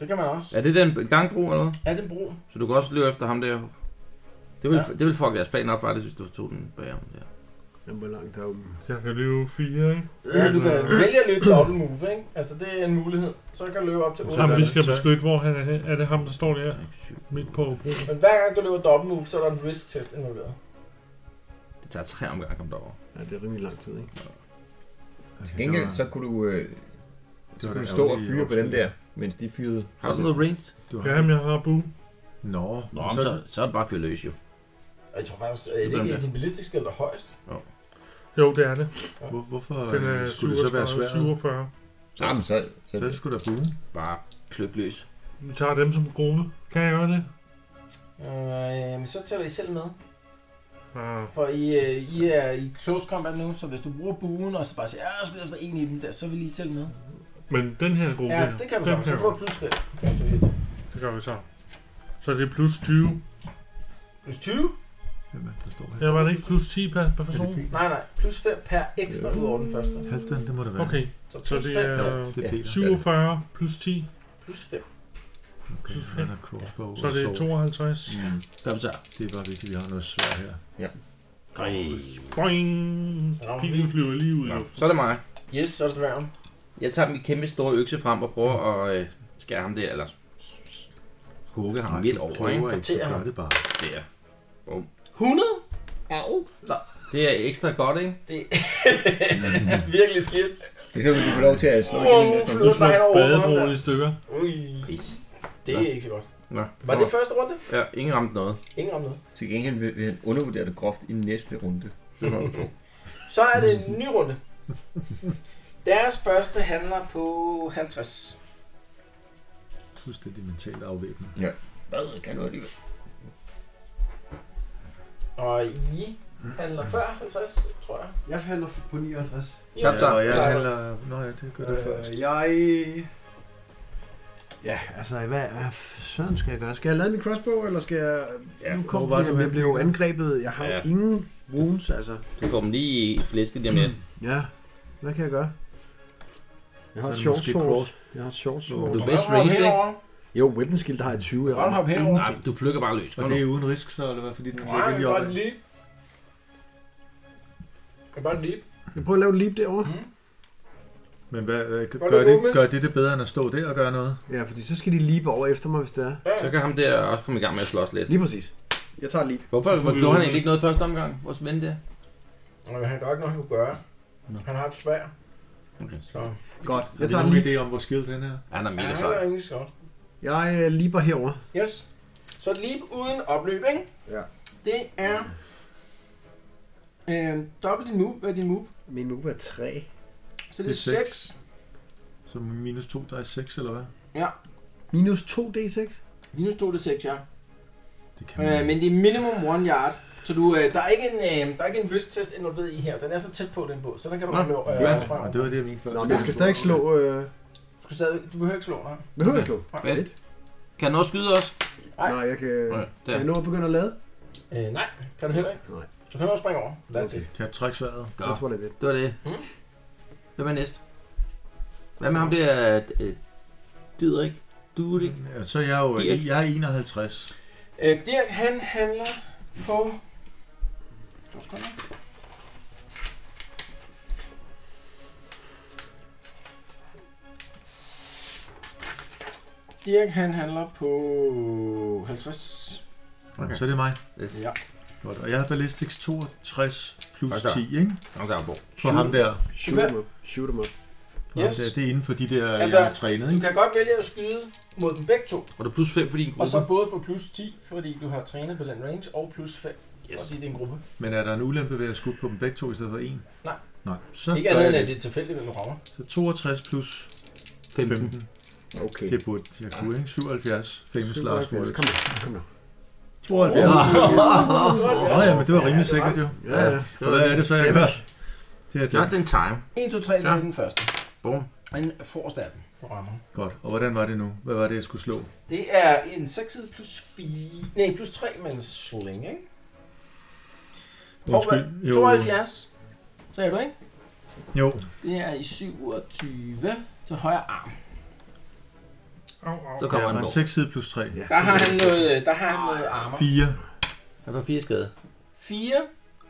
Speaker 3: Det kan man også.
Speaker 4: Er det den gangbro eller noget?
Speaker 3: Er det en brun?
Speaker 4: Så du kan også løbe efter ham der. Det vil,
Speaker 3: Ja.
Speaker 4: ja. det vil fuck deres plan op, faktisk, hvis du tog den bag ham der.
Speaker 9: Jamen, hvor langt har hun?
Speaker 5: Så jeg kan løbe 4, ikke?
Speaker 3: Ja, du kan vælge at løbe dobbelt move, ikke? Altså, det er en mulighed. Så kan du løbe op til 8.
Speaker 5: Ham, vi skal
Speaker 7: Så-
Speaker 5: beskytte, hvor han er hen. Er det ham, der står der? Midt på broen.
Speaker 3: Men hver gang du løber dobbelt move, så er der en risk test involveret.
Speaker 4: Det tager tre omgange at komme derover.
Speaker 9: Ja, det er rimelig lang tid, ikke?
Speaker 7: Okay,
Speaker 2: til gengæld, så kunne du, øh, så kunne
Speaker 7: var da
Speaker 2: du stå og
Speaker 7: ærgerlige
Speaker 2: fyre på dem der,
Speaker 7: opstilling.
Speaker 2: mens de fyrede.
Speaker 4: Har du sådan noget range?
Speaker 7: Du har...
Speaker 5: Jamen, jeg har bue.
Speaker 7: Nå,
Speaker 4: Nå, men så, så er det bare at fyre løs, jo.
Speaker 3: Og jeg tror faktisk, at det
Speaker 4: Hvordan
Speaker 3: ikke
Speaker 4: det?
Speaker 3: er din ballistisk skill, der er højst.
Speaker 5: Jo, det er det.
Speaker 7: Hvor, hvorfor
Speaker 5: Den er
Speaker 7: øh, skulle det så
Speaker 5: 37,
Speaker 7: være svært?
Speaker 5: 47.
Speaker 2: Så, Jamen, så, så,
Speaker 7: Så er det sgu da bue.
Speaker 4: Bare pløk løs.
Speaker 5: Vi tager dem som gruppe. Kan jeg gøre det?
Speaker 3: Øh, men så tæller I selv med.
Speaker 5: Ah,
Speaker 3: For I, øh, I er i close combat nu, så hvis du bruger buen, og så bare siger, ja, jeg spiller efter en i dem der, så vil I tælle med.
Speaker 5: men den her gruppe,
Speaker 3: Ja, det kan du
Speaker 5: den
Speaker 3: så. Så
Speaker 5: jeg
Speaker 3: får du
Speaker 5: godt.
Speaker 3: plus 5. Kan du hit.
Speaker 5: det gør vi så. Så det er plus 20.
Speaker 3: Plus 20?
Speaker 7: Hvem er det, der står her?
Speaker 5: Ja, var det ikke plus 10 per, per person?
Speaker 3: Nej, nej. Plus 5 per ekstra ud over den første.
Speaker 7: Halvdan, det må det være.
Speaker 5: Okay,
Speaker 3: Så
Speaker 5: så
Speaker 3: plus
Speaker 5: det
Speaker 3: 5.
Speaker 5: er
Speaker 7: Det er
Speaker 2: Ja.
Speaker 7: Peter.
Speaker 5: 47 plus 10.
Speaker 3: Plus 5.
Speaker 7: Okay,
Speaker 5: Plus
Speaker 7: han har crossbow
Speaker 5: Så det er
Speaker 7: og
Speaker 5: 52.
Speaker 7: Mm,
Speaker 4: Stop så.
Speaker 7: det er bare vigtigt, at vi har noget svært her.
Speaker 4: Ej.
Speaker 5: Boing!
Speaker 3: Rammer
Speaker 5: Pilen
Speaker 3: vi.
Speaker 5: flyver lige ud i
Speaker 4: Nå,
Speaker 5: luften.
Speaker 4: så er det mig.
Speaker 3: Yes, så er det dværgen.
Speaker 4: Jeg tager min kæmpe store økse frem og prøver at øh, skære ham der, eller hugge ham lidt over, ikke?
Speaker 7: prøver ikke, så
Speaker 3: Kvarterer
Speaker 7: gør
Speaker 3: ham.
Speaker 7: det bare.
Speaker 4: Der.
Speaker 3: 100?
Speaker 4: Det er ekstra godt, ikke?
Speaker 3: Virkelig skidt.
Speaker 2: det skal du få lov til at slå igen
Speaker 3: Wow,
Speaker 2: næste runde.
Speaker 5: Du
Speaker 3: flyver
Speaker 5: slår
Speaker 3: bare hen over
Speaker 5: badebroen
Speaker 3: der.
Speaker 5: i stykker.
Speaker 3: Ui,
Speaker 4: Pis.
Speaker 3: det er ikke så godt.
Speaker 4: Nå.
Speaker 3: Var det første runde?
Speaker 4: Ja, ingen ramte noget.
Speaker 3: Ingen om noget.
Speaker 2: Til gengæld vil, vil han undervurdere det groft i næste runde.
Speaker 4: Det var jo
Speaker 3: Så er det en ny runde. Deres første handler på 50.
Speaker 7: Fuldstændig mentalt afvæbnet.
Speaker 2: Hvad? Kan du alligevel?
Speaker 3: Og I handler før 50, tror jeg.
Speaker 6: Jeg handler på 59.
Speaker 3: I
Speaker 4: Ja,
Speaker 3: handler
Speaker 4: så
Speaker 7: Og jeg
Speaker 3: før.
Speaker 7: handler... Nå ja, det gør det først.
Speaker 6: Øh, jeg... Ja, altså, hvad, hvad sådan skal jeg gøre? Skal jeg lade min crossbow, eller skal jeg... Ja, nu
Speaker 7: hvor
Speaker 6: kommer
Speaker 7: var
Speaker 6: jeg,
Speaker 7: du
Speaker 6: jeg
Speaker 7: henne?
Speaker 6: blev jo angrebet. Jeg har ja.
Speaker 4: Ja.
Speaker 6: ingen wounds, altså.
Speaker 4: Du får dem lige i flæsket lige om lidt.
Speaker 6: Ja, hvad kan jeg gøre? Jeg har
Speaker 7: Så er det
Speaker 6: short
Speaker 7: måske
Speaker 6: sword.
Speaker 7: cross-
Speaker 6: Jeg har short
Speaker 4: Du
Speaker 6: sword.
Speaker 4: er
Speaker 3: Godt
Speaker 4: bedst
Speaker 3: hoppe
Speaker 4: ranged, ikke?
Speaker 3: herover.
Speaker 6: Jo, weapon skill, der har jeg 20. Jeg
Speaker 3: Godt
Speaker 6: rammer.
Speaker 3: hoppe herover.
Speaker 4: Nej, du plukker bare løs.
Speaker 7: Og
Speaker 4: Kom
Speaker 7: det
Speaker 4: nu.
Speaker 7: er uden risk, så eller hvad? Fordi den
Speaker 3: Nej,
Speaker 7: ligger
Speaker 3: jeg
Speaker 7: lige
Speaker 3: kan
Speaker 7: op.
Speaker 3: godt lide. Jeg kan godt lide.
Speaker 6: Jeg prøver at lave et leap derovre.
Speaker 7: Men hvad, øh, g-
Speaker 3: Godt
Speaker 7: gør,
Speaker 3: at
Speaker 7: det,
Speaker 3: åbne.
Speaker 7: gør det det bedre, end at stå der og gøre noget?
Speaker 6: Ja, fordi så skal de leap over efter mig, hvis det er.
Speaker 4: Så kan ham der også komme i gang med at slås lidt.
Speaker 6: Lige præcis. Jeg tager leap.
Speaker 4: Hvorfor
Speaker 5: Så får
Speaker 4: hvor
Speaker 5: vi
Speaker 4: gjorde
Speaker 5: jo
Speaker 4: han egentlig ikke noget første omgang? Vores ven der?
Speaker 3: Men han kan ikke noget, han kunne gøre.
Speaker 4: Nå.
Speaker 3: Han har et svær.
Speaker 4: Okay.
Speaker 3: Så
Speaker 6: Godt.
Speaker 7: Jeg
Speaker 6: Jeg
Speaker 7: har
Speaker 6: tager
Speaker 7: vi nogen
Speaker 6: leap.
Speaker 7: idé om, hvor skidt den er?
Speaker 4: Han er
Speaker 3: ja,
Speaker 4: mega
Speaker 3: han
Speaker 4: sej.
Speaker 3: er rimelig sjovt.
Speaker 6: Jeg øh, leaper herover.
Speaker 3: Yes. Så lige uden opløb, ikke?
Speaker 6: Ja.
Speaker 3: Det er... Øh, dobbelt din move. Hvad er din move?
Speaker 6: Min move er 3.
Speaker 3: Så det,
Speaker 7: Det
Speaker 3: det
Speaker 7: er
Speaker 3: er 6.
Speaker 7: seks. Så minus 2, der er 6, eller hvad?
Speaker 6: Minus 2d6.
Speaker 3: Lige nu stod det 6, ja.
Speaker 7: Det kan
Speaker 3: Øh,
Speaker 7: man.
Speaker 3: men det er minimum 1 yard. Så du, øh, der, er ikke en, øh, der er ikke en wrist test involveret i her. Den er så tæt på den på, så den kan du
Speaker 4: Nå,
Speaker 3: godt løbe. Øh,
Speaker 4: ja.
Speaker 3: overspringe
Speaker 7: Og
Speaker 3: over.
Speaker 7: det var det, jeg mente før.
Speaker 6: Nå, men jeg skal stadig ikke slå... Øh...
Speaker 3: du, skal stadig, du behøver ikke slå, nej.
Speaker 6: Behøver jeg slå?
Speaker 4: Fedt. Kan han også skyde os?
Speaker 3: Nej.
Speaker 6: Nej, jeg kan...
Speaker 4: Nej,
Speaker 6: Kan jeg
Speaker 4: der.
Speaker 6: nå at begynde at lade?
Speaker 3: Øh, nej, kan du heller ikke.
Speaker 6: Nej.
Speaker 3: Så kan du også springe over. That's okay. it.
Speaker 7: Kan jeg trække sværet?
Speaker 4: Gør.
Speaker 6: Jeg tror, det er lidt.
Speaker 4: Det var det.
Speaker 3: Mm.
Speaker 4: Hvem er næst? Hvad med ham der? Øh, Didrik? Dudik?
Speaker 7: Ja, så er jeg jo
Speaker 4: Dirk.
Speaker 7: jeg er 51.
Speaker 3: Øh, Dirk, han handler på... To sekunder. Dirk, han handler på 50.
Speaker 7: Okay. Så er det mig.
Speaker 3: Ja.
Speaker 7: Godt. Og jeg har ballistics 62 plus
Speaker 4: Hold da.
Speaker 7: 10, ikke?
Speaker 4: Nå, der er Bo.
Speaker 7: På ham der.
Speaker 6: Shoot
Speaker 3: Hvad?
Speaker 6: him up. Shoot him up.
Speaker 7: På
Speaker 3: Yes.
Speaker 7: ham der. Det er inden for de der,
Speaker 3: Altså-
Speaker 7: altså, jeg har trænet,
Speaker 3: Du
Speaker 7: ikke?
Speaker 3: kan godt vælge at skyde mod dem begge to,
Speaker 4: Og du er plus 5 for din
Speaker 3: og
Speaker 4: gruppe.
Speaker 3: så både få plus 10, fordi du har trænet på den range, og plus 5, Yes. Fordi det er en gruppe.
Speaker 7: Men er der en ulempe ved at skubbe på dem begge to i stedet for en?
Speaker 3: Nej.
Speaker 7: Nej. Så
Speaker 3: ikke
Speaker 7: gør
Speaker 3: andet
Speaker 7: jeg
Speaker 3: end, at det er tilfældigt, hvem du rammer.
Speaker 7: Så 62 plus 15. 15.
Speaker 2: Okay.
Speaker 7: Det burde jeg kunne, ikke? 77. Famous last
Speaker 9: 77.
Speaker 7: words.
Speaker 9: Kom nu, kom nu.
Speaker 7: 72.
Speaker 3: Åh.
Speaker 7: Nå ja, men det var rimelig
Speaker 3: Ja, det var-
Speaker 7: sikkert jo.
Speaker 4: Ja, ja. Det
Speaker 7: Og
Speaker 4: var
Speaker 7: hvad er det så, jeg gør?
Speaker 4: damage.
Speaker 7: Det er det.
Speaker 4: Just in time.
Speaker 3: 1, 2, 3, så er
Speaker 4: Ja.
Speaker 3: det den første.
Speaker 4: Bum.
Speaker 3: Og den forreste af dem, du rammer.
Speaker 7: Godt. Og hvordan var det nu? Hvad var det, jeg skulle slå?
Speaker 3: Det er en 6 plus 4... Nej, plus 3 med en sling, ikke?
Speaker 7: Undskyld.
Speaker 3: Undskyld. 72. Så er du, ikke?
Speaker 7: Jo.
Speaker 3: Det er i 27 til højre arm.
Speaker 5: Au, au.
Speaker 4: Så kommer
Speaker 7: Ja,
Speaker 4: han
Speaker 7: men
Speaker 4: på.
Speaker 7: 6 side plus 3.
Speaker 9: Ja,
Speaker 3: Der har han
Speaker 9: det er
Speaker 3: noget, øh, der har han noget armor.
Speaker 7: 4.
Speaker 4: Han får fire skade.
Speaker 3: 4,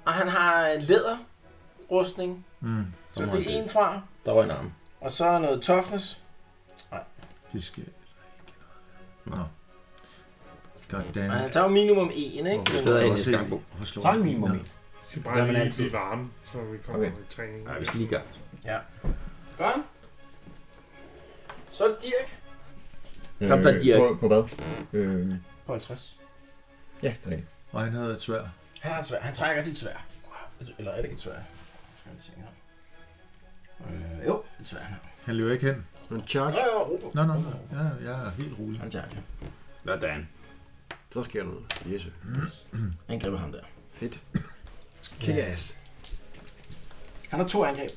Speaker 3: og han har en læderrustning.
Speaker 7: Mm.
Speaker 3: Så
Speaker 4: Nå,
Speaker 3: det
Speaker 4: okay.
Speaker 3: er en fra.
Speaker 4: Der var en arm.
Speaker 3: Og så er noget toughness.
Speaker 7: Det skal Nå. God damn.
Speaker 3: Og han tager jo minimum 1, ikke?
Speaker 4: Du skader
Speaker 7: Jeg
Speaker 4: en
Speaker 7: må
Speaker 4: næste
Speaker 7: se-
Speaker 4: gang, Bo.
Speaker 7: Hvorfor slår
Speaker 2: Så er
Speaker 7: jeg?
Speaker 2: det minimum
Speaker 7: Nå.
Speaker 2: en.
Speaker 5: Vi skal
Speaker 3: Gør
Speaker 5: bare
Speaker 3: man
Speaker 5: lige
Speaker 3: altid.
Speaker 5: blive varme, så vi kommer
Speaker 2: Okay.
Speaker 5: i træning.
Speaker 4: Nej, vi skal lige i gang.
Speaker 3: Godt. Så er det Dirk
Speaker 4: Kom der, Dirk.
Speaker 2: På, på hvad? Øh,
Speaker 3: på 50.
Speaker 2: ja, det er rigtigt.
Speaker 7: Og han havde et svær.
Speaker 3: Han har et svær. Han trækker sit svær. Eller er det ikke et svær? Skal vi se her. Øh, jo, et svær. han har.
Speaker 7: Han løber ikke hen.
Speaker 9: En charge,
Speaker 3: Jo, jo, ro på.
Speaker 7: Nå, nå, nå. Ja, jeg er helt rolig.
Speaker 3: Han tager det.
Speaker 4: Hvordan?
Speaker 9: så sker der noget. Yes.
Speaker 3: Han griber ham der.
Speaker 9: Fedt.
Speaker 3: Kick ass. Han har to angreb.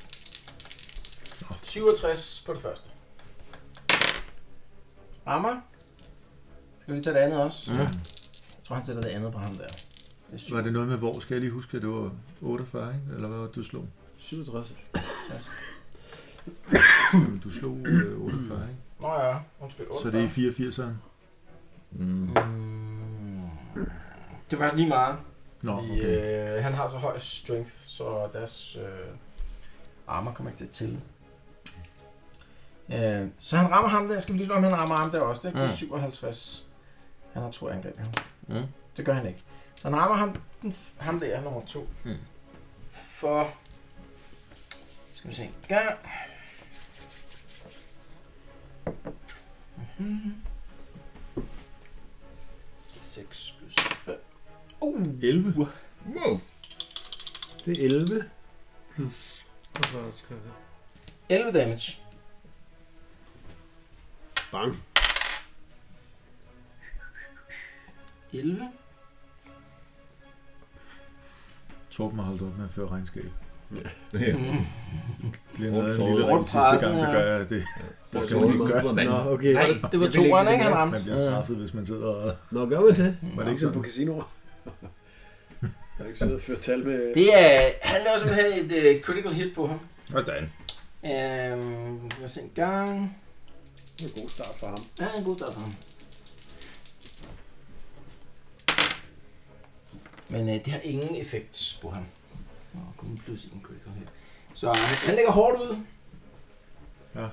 Speaker 3: 67 på det første. Rammer. Skal vi lige tage det andet også?
Speaker 4: Ja.
Speaker 3: Jeg tror, han sætter det andet på ham der. Det er syv.
Speaker 7: Var det noget med, hvor skal jeg lige huske, at det var 48, ikke? Eller hvad var det, du slog?
Speaker 9: 67.
Speaker 7: Jamen, du slog øh, 48, ikke?
Speaker 3: Nå ja, undskyld.
Speaker 7: Så det er i 84'eren.
Speaker 2: Mm.
Speaker 3: Mm. Det var lige meget.
Speaker 7: Nå,
Speaker 3: Fordi,
Speaker 7: okay.
Speaker 3: øh, han har så høj strength, så deres øh, armor kommer ikke til at tælle. Øh, så han rammer ham der. Skal vi lige slå, om han rammer ham der også? Det er, mm. det er
Speaker 4: Mm.
Speaker 3: 57. Han har to angreb. Han.
Speaker 4: Mm.
Speaker 3: Det gør han ikke. Så han rammer ham, den, f- ham der, nummer to.
Speaker 4: Mm.
Speaker 3: For... Skal vi se. Gør... Mhm. 6 plus 5. Uh,
Speaker 7: 11.
Speaker 2: Wow.
Speaker 9: Det er 11.
Speaker 5: Plus. Og så skal det.
Speaker 3: 11 damage.
Speaker 9: Bang.
Speaker 3: 11?
Speaker 7: Torben har holdt op med at føre regnskab.
Speaker 2: Ja.
Speaker 3: Mm.
Speaker 7: Glenn havde
Speaker 2: Rundt
Speaker 7: en lille
Speaker 2: såret.
Speaker 7: ring sidste gang, det
Speaker 3: Rundt
Speaker 7: gør jeg. Det,
Speaker 2: Det
Speaker 7: skal man ikke gøre.
Speaker 2: mand.
Speaker 9: Nå, okay.
Speaker 2: Nej,
Speaker 3: Det var
Speaker 2: jeg vil ikke
Speaker 3: toeren,
Speaker 2: det
Speaker 3: ikke? Han
Speaker 2: der.
Speaker 7: Man
Speaker 3: ramte.
Speaker 7: bliver straffet, hvis man sidder og...
Speaker 9: Nå, gør man det?
Speaker 7: Var det
Speaker 6: Ikke
Speaker 7: ikke
Speaker 6: sådan på
Speaker 7: sådan?
Speaker 6: casinoer. Jeg har ikke siddet og ført tal med...
Speaker 3: Det er... Han laver simpelthen et øh, critical hit på ham.
Speaker 4: Hvordan?
Speaker 3: Øhm, lad os se en gang.
Speaker 6: Det er en god start for ham.
Speaker 3: Ja, en god dag for ham. Men øh, det har ingen effekt på ham. Nå, kun plus en critical hit. Så øh, han, han lægger hårdt ud.
Speaker 7: Ja.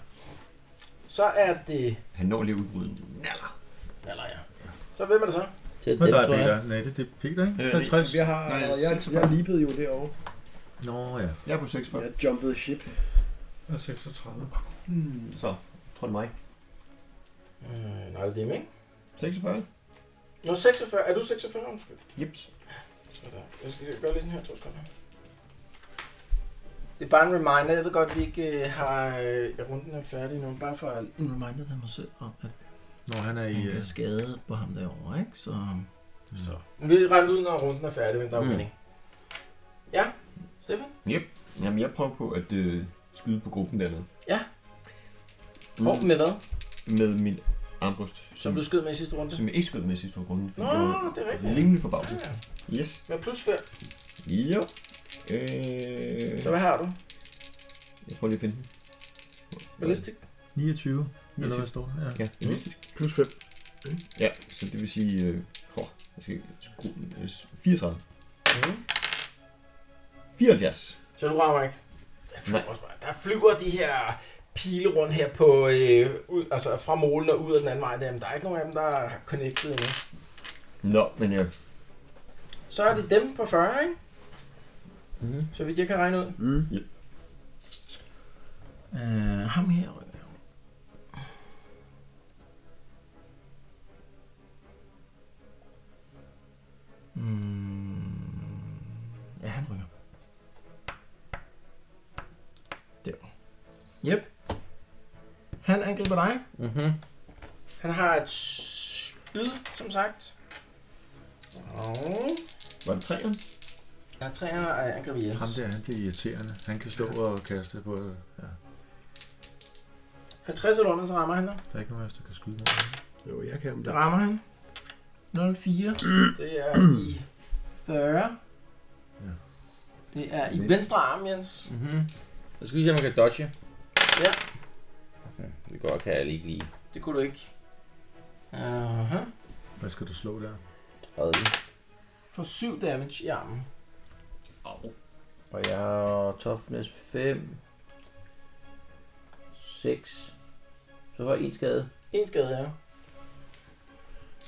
Speaker 3: Så er det...
Speaker 2: Han når lige udbruden. Naller.
Speaker 3: Eller ja. Så ved man det så.
Speaker 4: Til
Speaker 7: Men
Speaker 4: den,
Speaker 7: der er
Speaker 4: tror jeg.
Speaker 7: Peter. Nej, det, det er Peter, ikke?
Speaker 2: Øh,
Speaker 7: 50.
Speaker 6: Jeg har...
Speaker 2: Nej,
Speaker 6: jeg, jeg, jeg lippede jo derovre.
Speaker 7: Nå ja.
Speaker 2: Jeg er på 6 for.
Speaker 6: Jeg jumpede ship.
Speaker 5: Og 36.
Speaker 6: Hmm.
Speaker 2: Så, tror det mig.
Speaker 3: Øh, nej, det er mig.
Speaker 2: 46.
Speaker 3: Nå, 46. Er du 46? Undskyld.
Speaker 2: Jeps.
Speaker 3: Sådan. Jeg skal gøre lige sådan her to sekunder. Det er bare en reminder. Jeg ved godt, at vi ikke øh, har øh, runden er færdig nu. men Bare for en reminder til mig selv om, at
Speaker 7: Nå, han er i...
Speaker 3: han
Speaker 7: øh,
Speaker 3: bliver skadet på ham derovre, ikke? Så... Så. Vi regner ud, når runden er færdig, men der er
Speaker 4: Mm.
Speaker 3: mm. Ja, Stefan?
Speaker 2: Jamen, jeg prøver på at øh, skyde på gruppen dernede.
Speaker 3: Ja.
Speaker 2: Mm,
Speaker 3: Hvor med hvad?
Speaker 2: med min armbrust, som,
Speaker 3: Som du skød med i sidste runde?
Speaker 2: som jeg ikke skød med sidst på grunden. fordi
Speaker 3: Nå,
Speaker 2: det var
Speaker 3: det er rigtigt.
Speaker 2: Rimelig forbavset.
Speaker 3: Ja.
Speaker 2: Yes.
Speaker 3: Med plus 5.
Speaker 2: Jo. Øh,
Speaker 3: Så hvad har du?
Speaker 2: jeg prøver lige at finde den.
Speaker 3: Ballistic?
Speaker 7: 29. Eller hvad
Speaker 2: 29.
Speaker 7: står der? Ja.
Speaker 2: Ja, det vidste Plus 5. Ja, så det vil sige... Øh, hår, jeg skal skrue den, øh, 34.
Speaker 3: Mm.
Speaker 2: 74.
Speaker 3: Så du rammer ikke? Der flyver,
Speaker 2: Nej.
Speaker 3: også bare- der flyver de her pile rundt her på, øh, ud, altså fra målen og ud af den anden vej. Der, men der er ikke nogen af dem, der er connected endnu.
Speaker 2: Nå, men øh, jeg...
Speaker 3: Så er det dem på 40, ikke?
Speaker 4: Mhm.
Speaker 3: Så vidt jeg kan regne ud.
Speaker 9: Mm.
Speaker 3: Øh, ham her rykker jo. Mm. Yep. Han angriber dig.
Speaker 4: Mhm.
Speaker 3: Han har et spyd, som sagt. Og...
Speaker 2: Var det træerne?
Speaker 3: Ja, træerne er angriber yes.
Speaker 7: Ham der, han bliver irriterende. Han kan stå og kaste på... øh, Ja,
Speaker 3: 50 eller under, så rammer han dig.
Speaker 7: der er ikke nogen af os, der kan skyde mod ham.
Speaker 9: Jo, jeg kan. Men
Speaker 3: Der
Speaker 9: der...
Speaker 3: rammer han. 04. Det er i 40.
Speaker 7: Ja.
Speaker 3: Det er i venstre arm, Jens.
Speaker 4: Mhm. Jeg skal lige se, om man kan dodge.
Speaker 3: Ja.
Speaker 4: Okay, det går kan jeg ikke lige.
Speaker 3: Det kunne du ikke. Aha.
Speaker 7: Hvad skal du slå der?
Speaker 4: Fredelig.
Speaker 3: For 7 damage i armen.
Speaker 4: Og jeg har toughness 5, 6. Så var en skade.
Speaker 3: En skade, ja.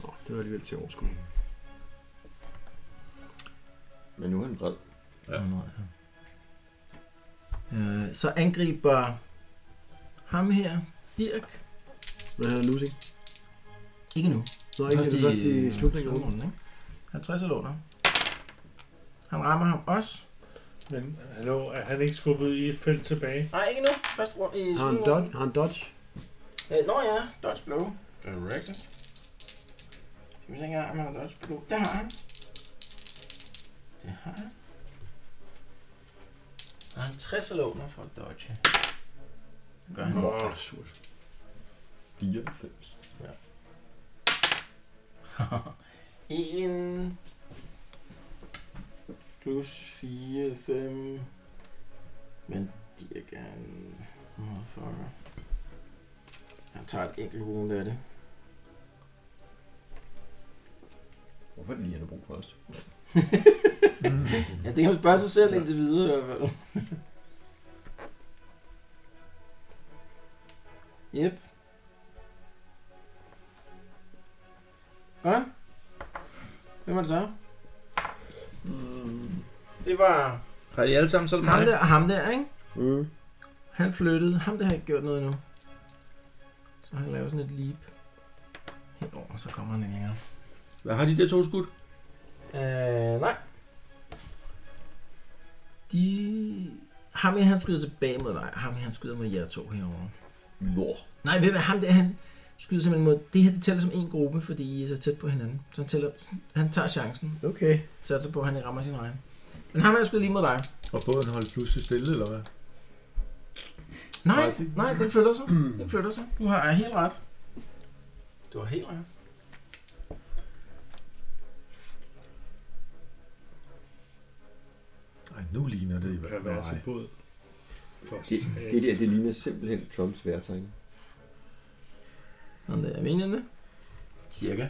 Speaker 9: Nå, det var alligevel til overskud.
Speaker 2: Men nu er han vred.
Speaker 4: Ja.
Speaker 3: Øh, så angriber ham her, Dirk.
Speaker 9: Hvad hedder Lucy?
Speaker 3: Ikke nu.
Speaker 9: Nå, ikke det er først i slutningen af runden.
Speaker 3: runden, ikke? 50 eller under. Han rammer ham også.
Speaker 5: Men hallo, er han ikke skubbet i et felt tilbage?
Speaker 3: Nej, ikke nu. Først rundt i
Speaker 9: Har han
Speaker 3: slutningen.
Speaker 9: dodge? Har han dodge?
Speaker 3: Øh, nå ja, dodge blow. Correct. Skal vi se engang, om han har dodge blow. Det har han. Det har han. Så er han 50 eller under for at dodge. Gør han.
Speaker 9: Åh, oh, surt.
Speaker 2: 94.
Speaker 3: En... Plus 4, 5... Men Dirk er en... Motherfucker. Han tager et enkelt wound af det.
Speaker 2: Hvorfor er det lige, han har brug for os?
Speaker 3: Ja, det kan man spørge sig selv indtil videre i hvert fald. Jep. Godt. Hvem var det så?
Speaker 9: Mm.
Speaker 3: Det var
Speaker 4: Har de alle sammen, så er det
Speaker 3: ham
Speaker 4: mig.
Speaker 3: der og ham der, ikke?
Speaker 9: Mm.
Speaker 3: Han flyttede. Ham der har ikke gjort noget endnu. Så han laver sådan et leap. Herover, og så kommer han ikke længere.
Speaker 4: Hvad har de der to skud?
Speaker 3: Øh, nej. De... Ham her, han skyder tilbage mod dig. Ham her, han skyder mod jer to herovre.
Speaker 2: Hvor?
Speaker 3: Nej, ved hvad, ham der, han skyder simpelthen mod... Det her, det tæller som en gruppe, fordi I er så tæt på hinanden. Så han, tæller, han tager chancen.
Speaker 9: Okay.
Speaker 3: Satser på, at han ikke rammer sin egen. Men ham her skyder lige mod dig.
Speaker 7: Og båden holdt pludselig stille, eller hvad?
Speaker 3: Nej, nej, den flytter sig. Den flytter sig. Du har helt ret. Du har helt ret.
Speaker 7: Nej, nu ligner det i hvert fald.
Speaker 5: Perverse
Speaker 7: Nej.
Speaker 5: båd. For
Speaker 2: Det,
Speaker 5: satan.
Speaker 2: det der, det ligner simpelthen Trumps vejrtegn.
Speaker 3: Sådan der er veninde. Cirka.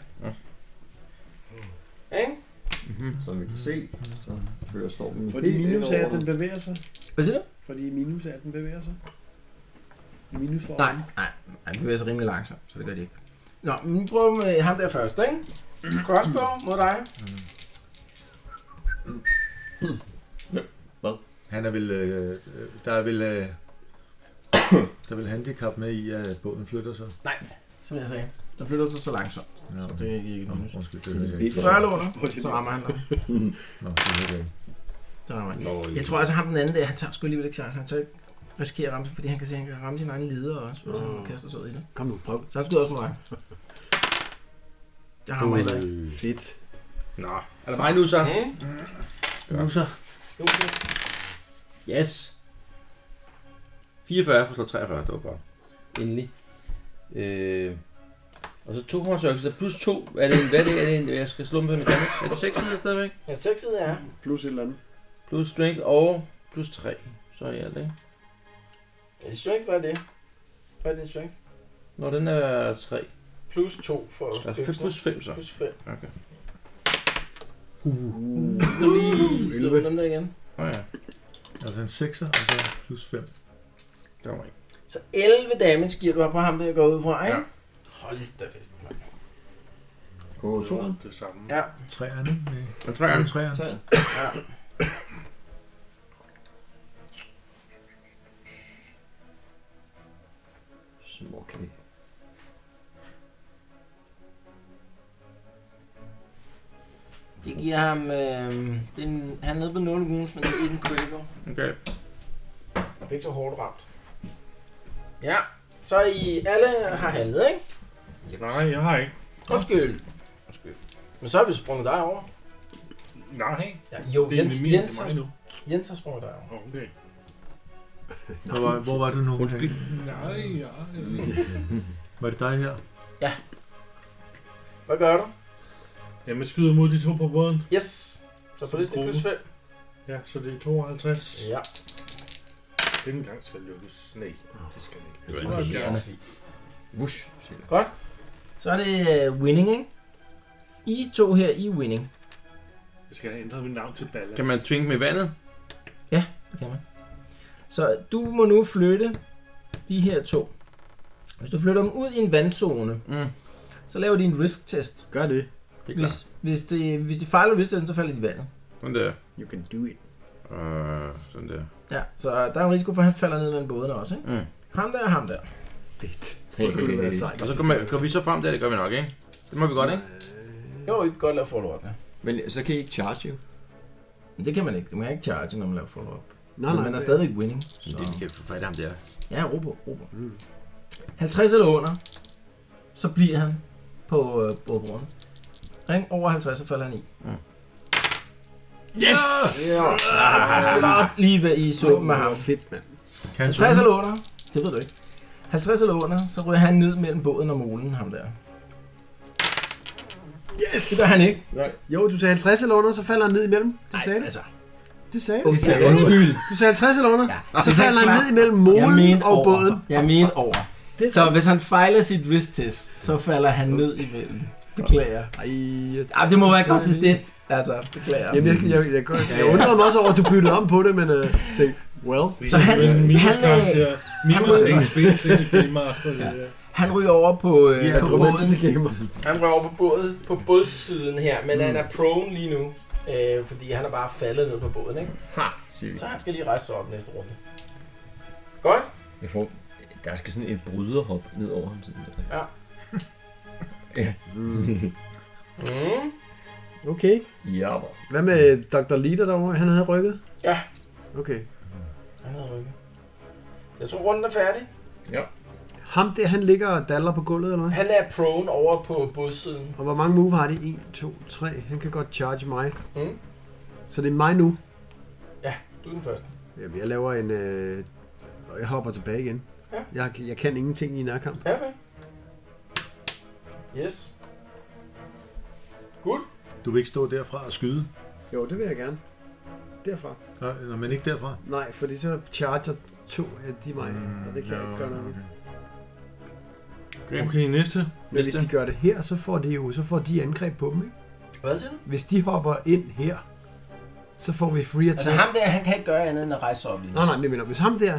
Speaker 4: Ja.
Speaker 3: Ikke?
Speaker 2: Som vi kan se, så fører stormen
Speaker 6: Fordi
Speaker 2: helt ind
Speaker 6: minus er,
Speaker 2: over
Speaker 6: at den
Speaker 2: dem.
Speaker 6: bevæger sig.
Speaker 3: Hvad siger du?
Speaker 6: Fordi minus er, at den bevæger sig. Minus for
Speaker 3: Nej, nej, nej, det bevæger sig rimelig langsomt, så det gør det ikke. Nå, men vi prøver med ham der først, ikke? Crossbow mod dig.
Speaker 7: Han er vel... Øh, øh, der er vel... Øh, der er vel handicap med i, at båden flytter sig.
Speaker 3: Nej, som jeg sagde. Den flytter sig så langsomt,
Speaker 7: Nå,
Speaker 3: så det er ikke
Speaker 7: Nå,
Speaker 3: noget nyt.
Speaker 7: undskyld, det hørte jeg ikke.
Speaker 3: 40 låner, så rammer han dig.
Speaker 7: Nå, det hørte jeg ikke.
Speaker 3: Så rammer han. Jeg tror altså, ham den anden der, han tager sgu alligevel ikke chancen. Han tør ikke risikere at ramme sig, fordi han kan se, at han kan ramme sin egen leder også, hvis han kaster sig ud i det.
Speaker 9: Kom nu, prøv.
Speaker 3: Så han skyder også mod dig. Jeg rammer heller ikke.
Speaker 9: Fedt.
Speaker 4: Nå, er det mig nu så?
Speaker 3: Okay.
Speaker 7: Nu så.
Speaker 4: Yes. 44 for slå 43, det var godt. Endelig. Øh, og så to håndstørkelser, så plus to. Er det en, hvad er det? Er det en, jeg skal slå med mit damage? Er det 6 sider stadigvæk?
Speaker 3: Ja, sexet er.
Speaker 6: Plus et eller andet.
Speaker 4: Plus strength og plus 3. Så er jeg det.
Speaker 3: Ja, strength, hvad er det? Hvad er din strength?
Speaker 4: Når den er 3.
Speaker 3: Plus 2 for
Speaker 4: Der er 5 plus 5 så.
Speaker 3: Plus 5.
Speaker 4: Okay.
Speaker 3: Nu lige slå dem der igen.
Speaker 4: Nå ja,
Speaker 7: Altså en 6'er, og så plus 5.
Speaker 4: det var mig.
Speaker 3: Så 11 damage giver du på ham, der går ud fra, ikke?
Speaker 4: Ja.
Speaker 3: Hold da fest, mand.
Speaker 2: På toren.
Speaker 5: Det samme.
Speaker 3: Ja.
Speaker 7: 3'erne. Nej.
Speaker 4: Og træerne.
Speaker 7: 3'erne.
Speaker 2: Træerne. Småknæ.
Speaker 3: Det giver ham... Øh, det er en, han er nede på 0 wounds, men det er ikke en critical.
Speaker 4: Okay.
Speaker 3: Han er ikke så hårdt ramt. Ja, så I alle har handlet, ikke?
Speaker 5: Nej, jeg har ikke.
Speaker 3: Undskyld. Undskyld. Men så har vi sprunget dig over.
Speaker 5: Nej.
Speaker 3: Ja, jo,
Speaker 5: Det er
Speaker 3: Jens,
Speaker 5: det meste
Speaker 3: Jens,
Speaker 5: mig
Speaker 3: har,
Speaker 5: nu.
Speaker 3: Jens har sprunget dig over.
Speaker 5: Okay.
Speaker 7: Hvor var, hvor var du nu? Undskyld.
Speaker 5: Nej, ja.
Speaker 7: Var det dig her?
Speaker 3: Hvad gør du?
Speaker 5: Jamen, skyder mod de to på båden.
Speaker 3: Yes. Så på
Speaker 5: Som
Speaker 3: det stik
Speaker 5: gruppe.
Speaker 3: plus 5.
Speaker 5: Ja, så det er 52.
Speaker 3: Ja.
Speaker 5: Den gang skal lykkes. Nej, det skal den ikke.
Speaker 2: Det var
Speaker 5: Det var
Speaker 2: imponerende.
Speaker 5: fint.
Speaker 2: Vush, siger det.
Speaker 3: Godt. Så er det øh, winning, ikke? I to her i winning.
Speaker 5: Jeg skal have ændret mit navn til Ballast.
Speaker 4: Kan man tvinge med vandet?
Speaker 3: Det kan man. Så du må nu flytte de her to. Hvis du flytter dem ud i en vandzone,
Speaker 4: Mm.
Speaker 3: så laver de en risk-test.
Speaker 6: Gør det.
Speaker 4: Det er klart.
Speaker 3: Hvis, hvis, de, hvis de fejler risk-testen, så falder de i vandet.
Speaker 4: Sådan der.
Speaker 6: You can do it.
Speaker 4: Øh, sådan der.
Speaker 3: Ja, så der er en risiko for, at han falder ned mellem bådene også, ikke?
Speaker 4: Mm.
Speaker 3: Ham der og ham der.
Speaker 2: Hey,
Speaker 6: Det kunne
Speaker 2: hey,
Speaker 6: være
Speaker 2: hey.
Speaker 6: sejt.
Speaker 4: Og så går, man, går vi så frem der, det gør vi nok, ikke? Det må vi godt, ikke?
Speaker 3: Jo, I kan godt lave follow-up, ja.
Speaker 2: Men så kan I ikke charge jo.
Speaker 3: Men det kan man ikke. Du kan ikke charge, når man laver follow-up.
Speaker 6: Nej,
Speaker 3: Men
Speaker 6: nej.
Speaker 3: man er stadigvæk winning.
Speaker 4: Så. Det, vi kan få fat i ham der.
Speaker 3: Ja, ro på, ro på.
Speaker 6: Mm.
Speaker 3: 50 eller under, så bliver han på øh, bådbroren. Ring over 50, så falder han i.
Speaker 7: Mm.
Speaker 6: Yes!
Speaker 3: Ah, Godt lige ved i suppen med ham.
Speaker 6: Fedt, mand.
Speaker 7: Kan han
Speaker 3: 50
Speaker 7: svømme?
Speaker 3: eller under, det ved du ikke. 50 eller under, så ryger han ned mellem båden og molen, ham der.
Speaker 6: Yes!
Speaker 3: Det gør han ikke.
Speaker 6: Jo, du sagde 50 eller under, så falder han ned imellem. Det sagde du.
Speaker 3: altså.
Speaker 6: Det sagde du.
Speaker 3: Okay, undskyld.
Speaker 6: Du sagde 50 eller under,
Speaker 3: Ja.
Speaker 6: så
Speaker 3: Hvis han
Speaker 6: falder han
Speaker 3: klar-
Speaker 6: ned imellem
Speaker 3: Jeg
Speaker 6: molen
Speaker 3: mente
Speaker 6: og
Speaker 3: over.
Speaker 6: båden.
Speaker 3: Jeg mente over.
Speaker 6: Det er
Speaker 3: Så hvis han fejler sit wrist test, så falder han ned imellem. Beklager.
Speaker 6: Ej, jeg-
Speaker 3: Ej, det må være konsistent. Altså, beklager.
Speaker 6: Jamen, jeg, jeg, jeg, jeg, jeg undrede mig også over, at du byttede om på det, men uh, tænkte, well.
Speaker 3: Så han,
Speaker 5: minus
Speaker 3: han, øh,
Speaker 5: karakter. Minus
Speaker 3: han-
Speaker 5: en spil til Game Master. det der.
Speaker 3: han ryger over på, øh,
Speaker 7: Ja,
Speaker 3: på
Speaker 6: Kom
Speaker 3: båden.
Speaker 6: ind til gamer.
Speaker 3: Han rører over på, båd, på bådsiden her, men mm. han er prone lige nu, øh, fordi han er bare faldet ned på båden. Ikke?
Speaker 2: Ha, siger vi.
Speaker 3: Så han skal lige rejse sig op næste runde. Godt.
Speaker 2: Jeg får, der skal sådan et bryderhop ned over ham. Sådan der.
Speaker 3: Mm.
Speaker 6: Okay.
Speaker 2: Ja, hvor.
Speaker 6: Hvad med Dr. Leader derovre? Han havde rykket?
Speaker 3: Ja.
Speaker 6: Okay.
Speaker 3: Han havde rykket. Jeg tror, runden er færdig.
Speaker 6: Ham der, han ligger og daller på gulvet, eller hvad?
Speaker 3: Han er prone over på bådsiden.
Speaker 6: Og hvor mange move har de? 1, 2, 3. Han kan godt charge mig.
Speaker 3: Mm.
Speaker 6: Så det er mig nu.
Speaker 3: Du er den første.
Speaker 6: Jamen, jeg laver en... Øh... og Jeg hopper tilbage igen.
Speaker 3: Ja.
Speaker 6: Jeg, jeg kan ingenting i nærkamp.
Speaker 3: Ja, okay. Yes. Good.
Speaker 7: Du vil ikke stå derfra og skyde,
Speaker 6: Jo, det vil jeg gerne. Derfra.
Speaker 7: Nej, når man ikke derfra.
Speaker 6: Nej, fordi så charger to af de mig,
Speaker 7: Mm,
Speaker 6: og det kan jeg ikke gøre noget. ved.
Speaker 5: Okay, næste.
Speaker 6: Men hvis de gør det her, så får de jo så får de angreb på dem, ikke?
Speaker 3: Hvad siger du?
Speaker 6: Hvis de hopper ind her, så får vi free attack.
Speaker 3: Altså ham der, han kan ikke gøre andet end at rejse sig op lige nu.
Speaker 6: Nej, nej, men jeg mener, hvis ham der,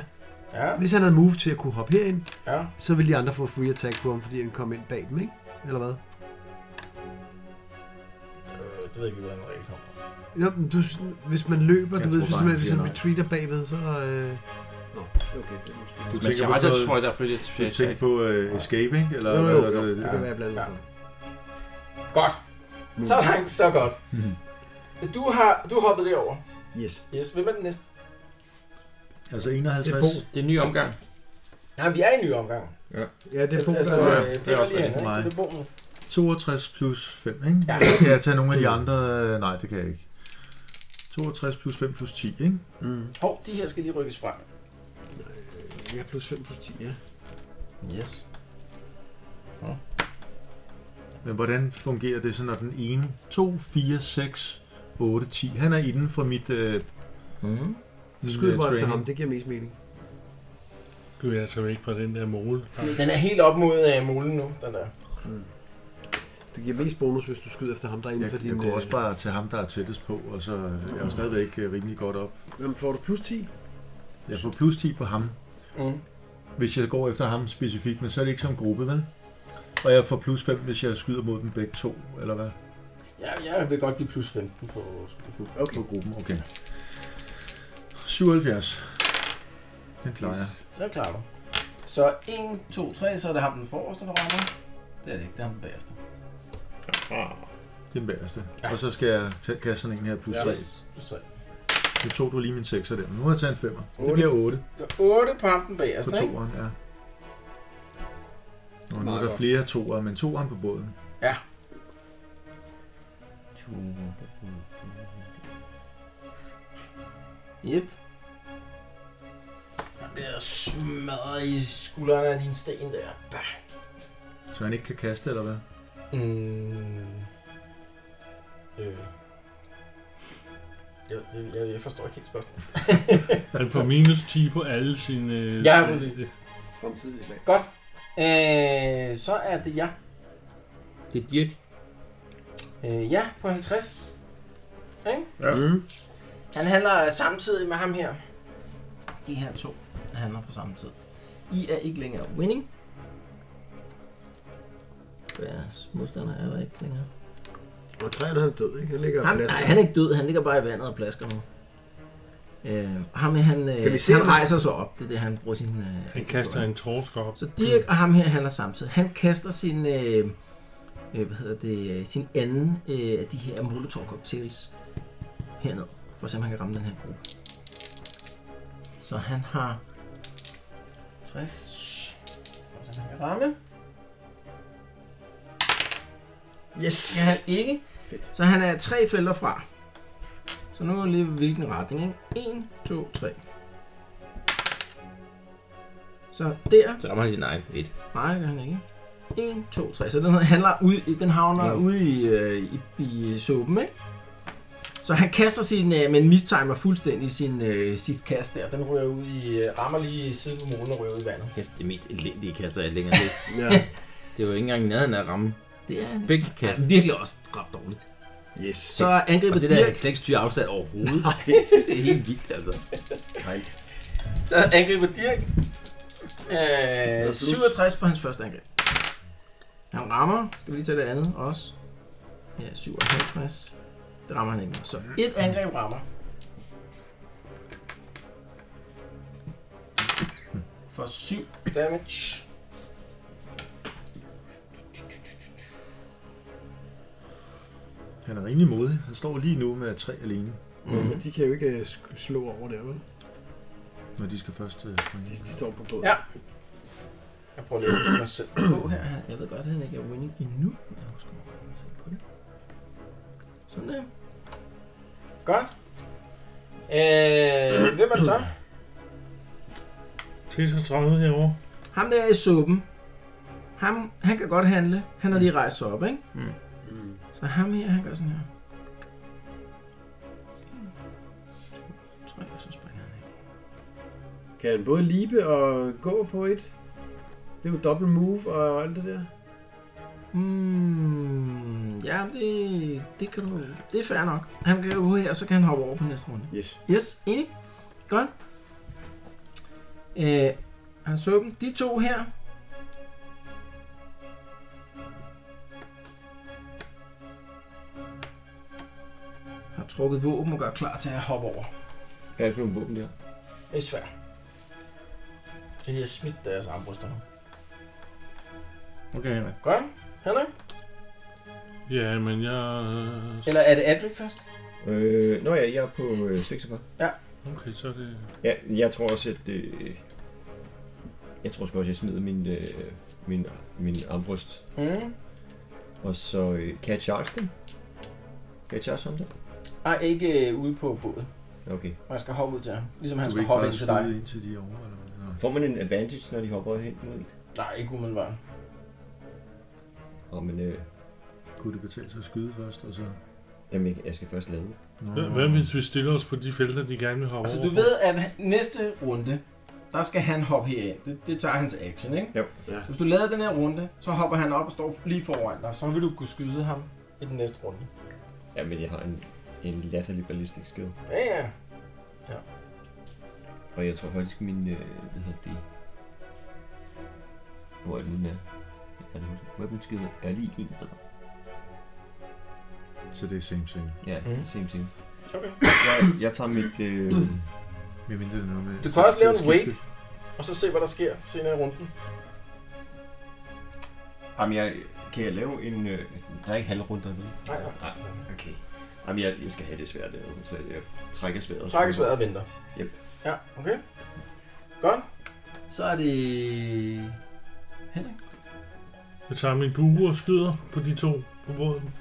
Speaker 3: Ja,
Speaker 6: hvis han havde move til at kunne hoppe herind,
Speaker 3: ja.
Speaker 6: så ville de andre få free attack på ham, fordi han kom ind bag dem, ikke? Eller hvad?
Speaker 3: Øh, det ved jeg ikke, hvordan regel kommer fra.
Speaker 6: Jo, men du, hvis man løber,
Speaker 7: Jeg
Speaker 6: du ved,
Speaker 7: tror
Speaker 6: hvis
Speaker 7: bare,
Speaker 6: man,
Speaker 7: han
Speaker 6: hvis
Speaker 7: siger
Speaker 6: man
Speaker 7: nej.
Speaker 6: retreater bagved, så... Øh...
Speaker 7: Du
Speaker 4: Men
Speaker 7: tænker på,
Speaker 4: charger,
Speaker 7: sådan
Speaker 4: tror
Speaker 7: noget,
Speaker 4: jeg, der er frit
Speaker 7: du
Speaker 4: et
Speaker 7: tænker på uh, escape, ikke? Eller,
Speaker 6: Jo, jo,
Speaker 7: hvad er
Speaker 6: jo,
Speaker 7: det?
Speaker 6: det kan være blandt
Speaker 3: Ja.
Speaker 6: andet.
Speaker 3: Godt. Så langt, så godt. Mm-hmm. Du har du hoppet derover.
Speaker 6: Yes.
Speaker 3: Yes, hvem er den næste?
Speaker 7: Altså
Speaker 6: Det
Speaker 7: 51.
Speaker 6: er Bo.
Speaker 4: Det er en ny omgang.
Speaker 3: Nej, vi er i en ny omgang.
Speaker 6: Ja, det er Bo,
Speaker 3: altså,
Speaker 6: der
Speaker 3: øh,
Speaker 6: er
Speaker 3: det er
Speaker 4: også
Speaker 3: lige henne,
Speaker 7: mig.
Speaker 3: ikke? Så det er bogen.
Speaker 7: 62 plus 5, ikke?
Speaker 3: Ja.
Speaker 7: Ja. Eller skal jeg tage nogle af de andre? Øh, Nej, det kan jeg ikke. 62 plus 5 plus 10, ikke?
Speaker 3: Hov, de her skal lige rykkes frem.
Speaker 6: Ja, plus 5 plus 10, ja.
Speaker 3: Yes.
Speaker 7: Men hvordan fungerer det så, når den ene... 2, 4, 6, 8, 10. Han er inden for mit... Øh,
Speaker 3: Mm.
Speaker 7: min,
Speaker 6: Skyd
Speaker 7: øh,
Speaker 6: bare efter Mhm. ham,
Speaker 7: training.
Speaker 6: det giver mest mening.
Speaker 5: Gud, jeg skal væk fra den der mole.
Speaker 3: Den er helt op mod uh, molen nu, den der.
Speaker 6: Det giver mest bonus, hvis du skyder efter ham, der er inden for
Speaker 7: Jeg, jeg
Speaker 6: din... øh,
Speaker 7: kunne også bare tage ham, der er tættest på, og så jeg er jo stadigvæk øh, rimelig godt op.
Speaker 6: Jamen, får du plus 10?
Speaker 7: Jeg får plus 10 på ham.
Speaker 3: Mm.
Speaker 7: Hvis jeg går efter ham specifikt, men så er det ikke som gruppe, vel? Og jeg får plus 5, hvis jeg skyder mod dem begge to, eller hvad?
Speaker 3: Ja, jeg vil godt give plus 15 på spil.
Speaker 7: Okay. På gruppen, okay. 77. Den klarer jeg.
Speaker 3: Så klarer du. Så 1, 2, 3, så er det ham den forreste, der rammer. Det er det ikke, det er ham den bagerste.
Speaker 7: Det er den bagerste.
Speaker 3: Ja.
Speaker 7: Ja. Og så skal jeg tage, kaste sådan en her plus 3.
Speaker 3: Yes, plus 3.
Speaker 7: Nu tog du lige min 6'er der, men nu har jeg taget en 5'er. Det bliver 8
Speaker 3: 8 på ham den
Speaker 7: på
Speaker 3: bagerste, ikke?
Speaker 7: toeren, ja. Og nu er der flere toer, men toeren på båden.
Speaker 3: Ja. Yep. Jeg bliver smadret i skuldrene af din sten der. Bah.
Speaker 7: Så han ikke kan kaste, eller hvad?
Speaker 3: Mm. Øh. Jeg, det- jeg, jeg forstår ikke helt spørgsmålet.
Speaker 5: Han får minus 10 på alle sine... øh,
Speaker 3: Ja,
Speaker 5: sine-
Speaker 3: præcis.
Speaker 6: Fremtidig slag.
Speaker 3: Godt. Øh, så er det jeg.
Speaker 4: Det er Dirk.
Speaker 3: Øh, ja, på 50.
Speaker 7: Ja. Mm.
Speaker 3: Han handler samtidig med ham her. De her to handler på samme tid. I er ikke længere winning. Deres modstander er der ikke længere.
Speaker 9: Og træerne han er død, ikke? Han ligger
Speaker 3: Ham,
Speaker 9: plads.
Speaker 3: nej, han er ikke død. Han ligger bare i vandet og plasker nu. Øh, ham her, han, øh,
Speaker 9: Kan vi se
Speaker 3: han
Speaker 9: ham?
Speaker 3: rejser sig op. Det er det, han bruger sin... Øh,
Speaker 5: Han kaster en torsk op.
Speaker 3: Så Dirk og ham her handler samtidig. Han kaster sin, øh, øh, hvad hedder det, øh, sin anden øh, af de her molotov cocktails herned, for at se, om han kan ramme den her gruppe. Så han har 60, for at se, om han kan ramme.
Speaker 9: Yes!
Speaker 3: Det er han ikke.
Speaker 6: Fedt.
Speaker 3: Så han er tre felter fra. Så nu er lige hvilken retning, ikke? 1, 2, 3. Så der.
Speaker 4: Så rammer han sin egen. Et.
Speaker 3: Nej, det gør han ikke. 1, 2, 3. Så den handler ud, i- den havner ja. ude i, øh, i, i suppen, ikke? Så han kaster sin, øh, men mistimer fuldstændig sin, øh, sit kast der. Den rører ud i, øh, rammer lige siden på målen og rører ud i vandet.
Speaker 4: Kæft, det mest elendige kaster jeg længere set.
Speaker 9: Ja.
Speaker 4: Det var ikke engang i nærheden af at ramme.
Speaker 3: Det er en,
Speaker 4: Begge
Speaker 3: ja,
Speaker 4: kast.
Speaker 3: virkelig også ret dårligt.
Speaker 6: Yes.
Speaker 3: Så er
Speaker 4: Og
Speaker 3: angrebet
Speaker 4: det der
Speaker 3: Dirk.
Speaker 4: knækstyr afsat overhovedet. Nej. det er helt vildt, altså.
Speaker 3: Så angriber Dirk. Øh, 67 på hans første angreb. Han rammer. Skal vi lige tage det andet også? Ja, 57. Det rammer han ikke. med. Så et angreb rammer. For 7 damage.
Speaker 7: Han er rimelig modig. Han står lige nu med tre alene,
Speaker 9: Men de kan jo ikke øh, sk- slå over der, vel?
Speaker 7: når de skal først øh, springe.
Speaker 9: De, de står på båden.
Speaker 3: Ja. Jeg prøver lige at huske mig selv på her. Jeg ved godt, at han ikke er winning endnu. men Jeg husker mig selv på det. Sådan der. Godt. Øh, hvem er det så?
Speaker 5: 36 herovre.
Speaker 3: Ham der er i suppen. Ham, han kan godt handle. Han har lige rejst sig op, ikke?
Speaker 4: Mm.
Speaker 3: Så ham her, han gør sådan her. 1, 2, 3, og så springer han af.
Speaker 6: Kan han både libe og gå på et? Det er jo dobbelt move og alt det der.
Speaker 3: Hmm, ja, det, det kan du... Det er fair nok. Han kan gå her, og så kan han hoppe over på næste runde.
Speaker 6: Yes.
Speaker 3: Yes, enig. Godt. Øh, han så dem. De to her. Har trukket våben og gør klar til at hoppe over.
Speaker 2: Hvad er det for nogle våben der?
Speaker 3: Det er svært. Fordi jeg har smidt deres armbryster nu.
Speaker 4: Okay, Henrik.
Speaker 3: Godt. Henrik?
Speaker 5: Ja, men jeg... øh,
Speaker 3: Eller er det Adric først?
Speaker 2: Øh, nå ja, jeg er på øh, 46.
Speaker 5: Okay, så er det...
Speaker 2: Ja, jeg tror også, at... Øh, jeg tror sgu også, jeg smider min, øh, min, min armbryst.
Speaker 3: Mm.
Speaker 2: Og så øh, kan jeg charge den? Kan jeg charge ham der?
Speaker 3: Ej, ikke øh, ude på båden.
Speaker 2: Okay.
Speaker 3: Og jeg skal hoppe ud til ham. Ligesom han
Speaker 7: Du
Speaker 3: skal
Speaker 7: vil ikke
Speaker 3: hoppe
Speaker 7: bare
Speaker 3: ind til dig.
Speaker 7: skyde ind til de over, eller hvad? Nå.
Speaker 2: Får man en advantage, når de hopper hen mod en?
Speaker 3: Nej, ikke umiddelbart.
Speaker 2: Og men, øh,
Speaker 7: Kunne det betale sig at skyde først, og så...
Speaker 2: jamen, jeg- jeg skal først lade.
Speaker 7: Nå.
Speaker 5: Hvad- Hvad hvis vi stiller os på de felter, de gerne vil hoppe
Speaker 3: Altså,
Speaker 5: over?
Speaker 3: du ved, at han- næste runde, der skal han hoppe herind. Det, det tager hans action, ikke?
Speaker 2: Jo.
Speaker 9: Ja.
Speaker 3: Så hvis du lader den her runde, så hopper han op og står lige foran dig. Så vil du kunne skyde ham i den næste runde.
Speaker 2: Jamen, jeg har en, en latterlig ballistisk skill.
Speaker 3: Ja, ja.
Speaker 2: Og jeg tror faktisk, min... Øh, hvad hedder det? Hvor er det nu, den er? Jeg kan ikke huske. Weapon skill er lige en bedre.
Speaker 7: Så det er same same.
Speaker 2: Ja,
Speaker 3: Mhm.
Speaker 2: mm. same ting.
Speaker 3: Okay.
Speaker 2: Jeg, jeg tager mit... Øh,
Speaker 7: Med mindre det er noget med...
Speaker 3: Du kan også lave en
Speaker 7: skifte.
Speaker 3: wait, og så se, hvad der sker senere i runden.
Speaker 2: jamen, jeg, kan jeg lave en... Øh, der er ikke halvrunder ved.
Speaker 3: Nej, nej.
Speaker 2: Nej, okay. Jamen, jeg, jeg skal have det svært, øh, så jeg trækker sværet.
Speaker 3: Trækker sværet og venter.
Speaker 2: Yep.
Speaker 3: Ja, okay. Godt. Så er det... Henrik.
Speaker 5: Jeg tager min bue og skyder på de to på båden.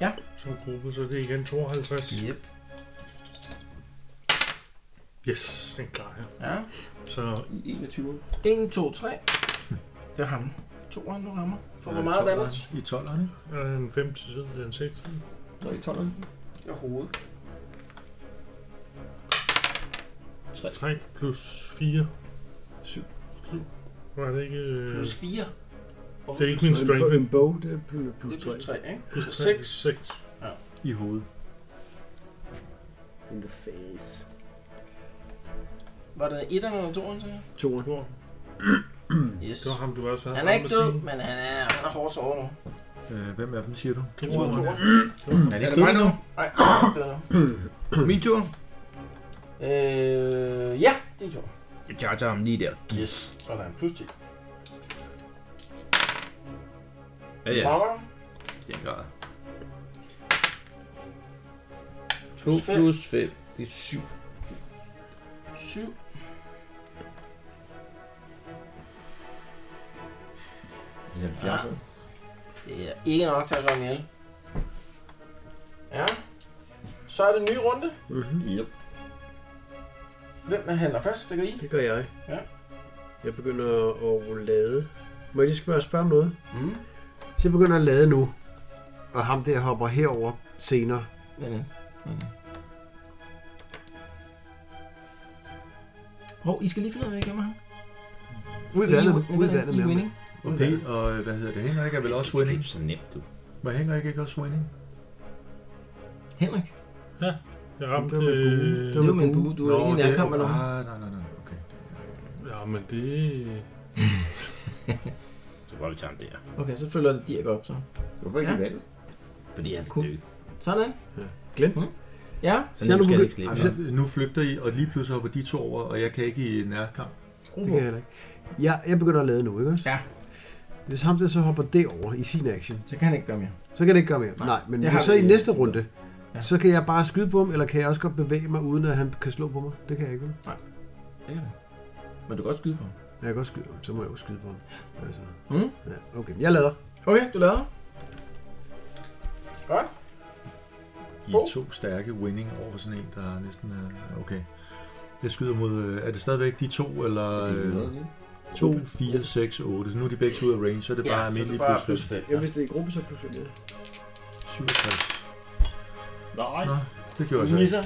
Speaker 3: Ja.
Speaker 5: Så er gruppe, så det er igen 52.
Speaker 3: Yep.
Speaker 5: Yes, den klarer jeg.
Speaker 3: Ja.
Speaker 5: Så
Speaker 2: I 21.
Speaker 3: 1, 2, 3. Det er ham. Toeren, du rammer. For hvor meget damage?
Speaker 7: Øh, I 12'erne.
Speaker 5: er det en 5 til siden, en 6.
Speaker 2: Nå, i 12'eren.
Speaker 8: Det er hovedet.
Speaker 5: 3 plus 4.
Speaker 2: Syv.
Speaker 5: Var det ikke... øh,
Speaker 3: Plus 4.
Speaker 5: Det er ikke min strength.
Speaker 9: En bog, det er plus,
Speaker 3: Det er plus 3, ikke?
Speaker 5: Plus
Speaker 3: Så
Speaker 5: 3,
Speaker 3: 6.
Speaker 5: 6.
Speaker 7: I hovedet.
Speaker 6: In the face.
Speaker 3: Var det 1'eren eller 2'eren, sagde jeg?
Speaker 9: Toren.
Speaker 3: Yes.
Speaker 5: Det var ham, du også havde.
Speaker 3: Han er ikke død,
Speaker 5: Armbestigen.
Speaker 3: men han er, han er hårdt såret nu.
Speaker 7: Øh, hvem af dem, siger du?
Speaker 5: Toeren.
Speaker 7: Er
Speaker 4: Er
Speaker 7: det
Speaker 4: det mig nu?
Speaker 3: Nej, han er ikke død nu.
Speaker 4: Min tur?
Speaker 3: Øh, ja, det er to.
Speaker 4: Jeg charger ham lige der.
Speaker 3: Yes. Sådan, plus 10.
Speaker 4: Ja, ja.
Speaker 3: Rammer.
Speaker 4: Jeg gør det.
Speaker 3: Plus
Speaker 4: 2
Speaker 3: fem.
Speaker 4: plus 5. Det er 7.
Speaker 3: 7.
Speaker 2: I 70'erne.
Speaker 3: Det er ikke nok til at slå ham ihjel. Ja. Så er det en ny runde.
Speaker 9: Mhm.
Speaker 2: Yep.
Speaker 3: Hvem er handler først? Det går I.
Speaker 9: Det gør jeg.
Speaker 3: Ja.
Speaker 9: Jeg begynder at lade. Må jeg lige spørge, spørge om noget?
Speaker 3: Mm.
Speaker 9: Så jeg begynder at lade nu. Og ham der hopper herover senere.
Speaker 3: Men, øh, men. Hov, I skal lige finde ud af, hvad jeg gemmer ham.
Speaker 9: Ud i vandet. Ud i vandet
Speaker 3: I
Speaker 9: med ham.
Speaker 3: winning.
Speaker 7: Og P, og øh, hvad hedder det? Henrik er vel også
Speaker 2: Det
Speaker 7: winning?
Speaker 2: er så nemt, du.
Speaker 7: Var Henrik ikke også winning?
Speaker 3: Henrik,
Speaker 5: Jeg ramte...
Speaker 9: Det var med buen. Det var med
Speaker 3: det er min bue.
Speaker 5: øh,
Speaker 3: Du er ikke i
Speaker 7: det-
Speaker 3: nærkamp eller noget.
Speaker 7: Ah, nej, nej, nej. Okay.
Speaker 5: Ja, men det...
Speaker 4: Så var vi tager ham der.
Speaker 3: Okay, så følger det Dirk op så.
Speaker 2: Hvorfor ikke
Speaker 3: Ja.
Speaker 2: i vandet?
Speaker 4: Fordi han er
Speaker 3: Cool.
Speaker 4: død.
Speaker 3: Sådan.
Speaker 9: Ja. Glenn?
Speaker 3: Mm. Ja.
Speaker 4: Så
Speaker 9: Så nu
Speaker 4: nu
Speaker 9: begy-
Speaker 4: skal jeg ikke slippe
Speaker 7: Ej,
Speaker 4: ham.
Speaker 7: så- Nu flygter I, og lige pludselig hopper de to over, og jeg kan ikke i nærkamp.
Speaker 9: Det kan jeg heller ikke. Jeg, jeg begynder at lade nu, ikke også?
Speaker 3: Ja.
Speaker 9: Hvis ham der så hopper derover i sin action,
Speaker 3: Så kan han ikke gøre mere.
Speaker 9: så kan det ikke gøre mere. Nej, men
Speaker 3: det
Speaker 9: hvis
Speaker 3: har
Speaker 9: så
Speaker 3: vi
Speaker 9: i
Speaker 3: i
Speaker 9: næste
Speaker 3: princippet.
Speaker 9: runde,
Speaker 3: Ja.
Speaker 9: ja. så kan jeg bare skyde på ham, eller kan jeg også godt bevæge mig, uden at han kan slå på mig? Det kan jeg ikke, vel?
Speaker 3: Men du kan godt skyde på ham.
Speaker 9: Jeg kan godt skyde, så må jeg jo skyde på ham. Altså.
Speaker 7: Hmm?
Speaker 3: Mm.
Speaker 9: Ja, okay, jeg lader.
Speaker 3: Okay, du lader. Godt.
Speaker 7: I
Speaker 3: Bo.
Speaker 7: er to stærke winning over for sådan en, der er næsten er... Okay. Jeg skyder mod... øh, Er det stadigvæk de to, eller... Øh, 2, 4, 6, 8. Så nu er de begge to ud af range, så er det bare
Speaker 3: så er det
Speaker 7: almindelig
Speaker 3: bare
Speaker 7: plus
Speaker 3: plus
Speaker 7: 5.
Speaker 3: 5.
Speaker 6: Ja, hvis det er i gruppe, så plus
Speaker 7: 67.
Speaker 2: Nej,
Speaker 7: Nå, det gjorde jeg så ikke.
Speaker 3: Nisser.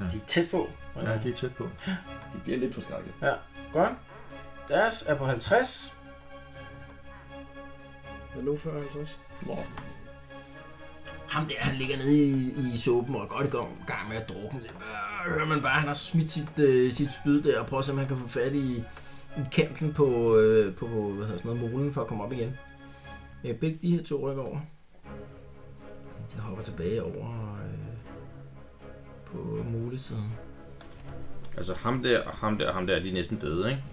Speaker 7: Ja.
Speaker 3: De er tæt på.
Speaker 7: Ja, de er tæt på.
Speaker 2: de bliver lidt forskrækket.
Speaker 3: Godt. Deres er på 50.
Speaker 6: Er nogen før 50?
Speaker 2: Nå,
Speaker 3: Ham der, han ligger nede i, i såben og er godt i gang gang med at drukne. Øh, hører man bare, han har smidt sit, øh, sit spyd der og prøver at se, om han kan få fat i, i kanten på, øh, på hvad hedder sådan noget, molen for at komme op igen. Øh, begge de her to rykker over. De hopper tilbage over øh, på molesiden.
Speaker 4: Altså ham der, og ham der, og ham der, de er næsten døde, ikke?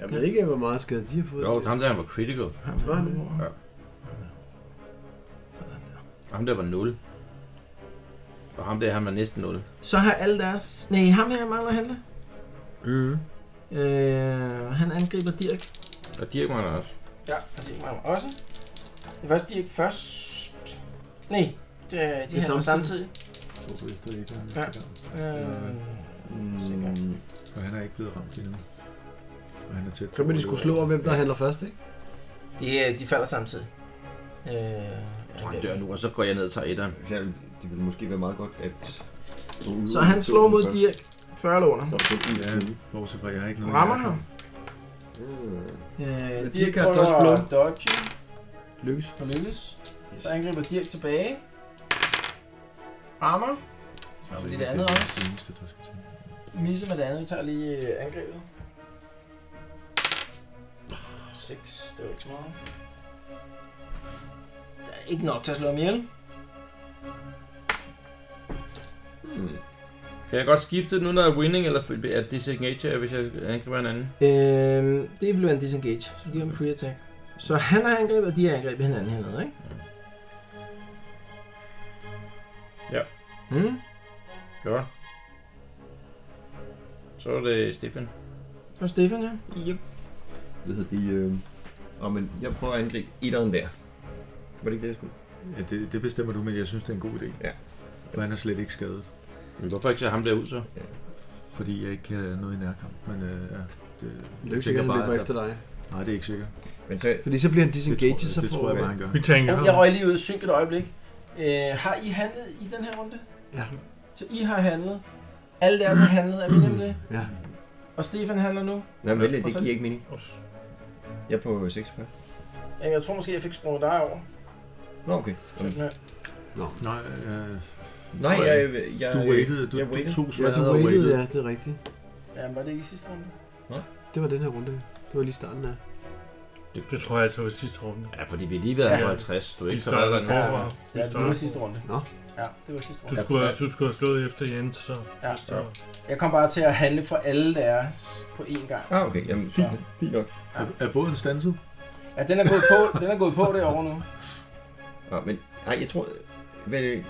Speaker 9: Jeg ved ikke, hvor meget skade de har fået.
Speaker 4: Jo, ham der han var critical.
Speaker 3: Ham her
Speaker 9: Var det?
Speaker 3: over.
Speaker 4: Ja.
Speaker 3: Sådan der.
Speaker 4: Og ham der var 0. Og ham der, han var næsten 0.
Speaker 3: Så har alle deres... Nej, ham her mangler at handle.
Speaker 7: Mm.
Speaker 3: Øh, han angriber Dirk.
Speaker 4: Og Dirk var han også.
Speaker 3: Ja, og det mangler også. Det er faktisk Dirk først. Nej, det, er- de
Speaker 9: er
Speaker 3: handler samtidig.
Speaker 9: samtidig.
Speaker 7: Hvorfor ikke det ikke er
Speaker 3: Ja.
Speaker 7: næste gang?
Speaker 3: Øh, sikkert.
Speaker 2: mm,
Speaker 7: Og han er ikke blevet ramt endnu. Og han er tæt.
Speaker 9: Så må de skulle slå om, hvem der handler først, ikke?
Speaker 3: de, er- de falder samtidig. Øh,
Speaker 4: Jeg tror, han dør nu, og så går jeg ned og tager etteren.
Speaker 2: ja, det ville måske være meget godt, at...
Speaker 3: Så han slår mod Dirk. 40 låner.
Speaker 2: Så er det kun en
Speaker 7: Ja,
Speaker 2: tyve.
Speaker 7: bortset fra, jeg har ikke noget...
Speaker 3: Rammer
Speaker 7: nærkamp.
Speaker 3: ham.
Speaker 2: Øh,
Speaker 3: Øh, Dirk
Speaker 9: Dirk har
Speaker 3: prøver
Speaker 9: dodge blow.
Speaker 3: at dodge
Speaker 9: Lykkes.
Speaker 3: og lykkes. Så angriber Dirk tilbage. Rammer. Så
Speaker 7: Altså,
Speaker 3: fordi det andet også.
Speaker 7: Det eneste, der skal til.
Speaker 3: Misse med det andet. Vi tager lige øh, angrebet. 6, det var ikke så meget. Der er ikke nok til at slå ham ihjel.
Speaker 4: Hmm. Kan jeg godt skifte nu, når jeg er winning, eller er disengage, hvis jeg angriber en anden?
Speaker 3: Øhm, det blev en disengage, så du giver ham free attack. Så han har angrebet, og de har angrebet hinanden hernede, ikke?
Speaker 4: Ja.
Speaker 3: Mm.
Speaker 4: Godt. Så er det Stefan.
Speaker 3: Og Stefan, ja.
Speaker 2: Hvad hedder det? Øh, Og men jeg prøver at angribe etteren der. Var det ikke det, jeg skulle?
Speaker 7: Ja, det, det bestemmer du, men jeg synes, det er en god idé.
Speaker 2: Ja.
Speaker 7: For han er slet ikke skadet.
Speaker 4: Men hvorfor ikke tage ham der ud så?
Speaker 7: Fordi jeg ikke kan noget i nærkamp, men øh, ja, det,
Speaker 9: Det er jo ikke sikkert, han løber
Speaker 7: at-
Speaker 9: efter dig.
Speaker 7: Nej, det er ikke sikkert.
Speaker 2: Men så,
Speaker 9: Fordi så bliver han
Speaker 7: det tror,
Speaker 9: disengaget, så
Speaker 7: det
Speaker 9: får-
Speaker 7: tror jeg bare, han gør.
Speaker 5: Vi tænker,
Speaker 3: Jeg, jeg røg lige ud af synk et øjeblik. Øh, har I handlet i den her runde?
Speaker 9: Ja. Mm.
Speaker 3: Så I har handlet. Alle deres har handlet, er vi nemlig det?
Speaker 9: Ja.
Speaker 3: Og Stefan handler nu.
Speaker 2: nej, men vent lidt, det
Speaker 3: Procent.
Speaker 2: giver ikke mening. Jeg er på 46.
Speaker 3: Jamen, jeg tror måske, jeg fik sprunget dig over.
Speaker 2: Nå, okay. Jamen,
Speaker 3: Sådan her.
Speaker 7: Nej, øh,
Speaker 2: Nej, jeg, jeg, jeg,
Speaker 7: du waited, du,
Speaker 2: jeg waited.
Speaker 7: du tog
Speaker 9: Ja,
Speaker 7: sværet
Speaker 9: du
Speaker 7: og
Speaker 9: waited,
Speaker 7: waited.
Speaker 9: ja, det er rigtigt.
Speaker 3: Jamen, var det ikke i sidste runde?
Speaker 9: Det var den her runde. Det var lige starten af.
Speaker 5: det tror jeg altså var sidste runde.
Speaker 4: Ja, fordi vi har lige været ja.
Speaker 5: Ja.
Speaker 4: på 50. Du er
Speaker 5: Vi
Speaker 4: ikke så
Speaker 5: starter
Speaker 4: meget
Speaker 5: forfra. Vi
Speaker 3: Ja, det var i
Speaker 5: starter-
Speaker 3: sidste runde.
Speaker 9: Nå.
Speaker 3: Ja, det var i sidste
Speaker 5: Du
Speaker 3: runde.
Speaker 5: skulle, have- du skulle have slået efter Jens, så...
Speaker 3: Ja.
Speaker 5: så-
Speaker 3: Jeg kom bare til at handle for alle deres på én gang.
Speaker 2: Ah, okay. Jamen, fint, fint nok.
Speaker 7: Er båden stanset?
Speaker 3: Ja, den er gået på, den er gået på derovre nu.
Speaker 2: Nå, men nej, jeg tror... Hvad,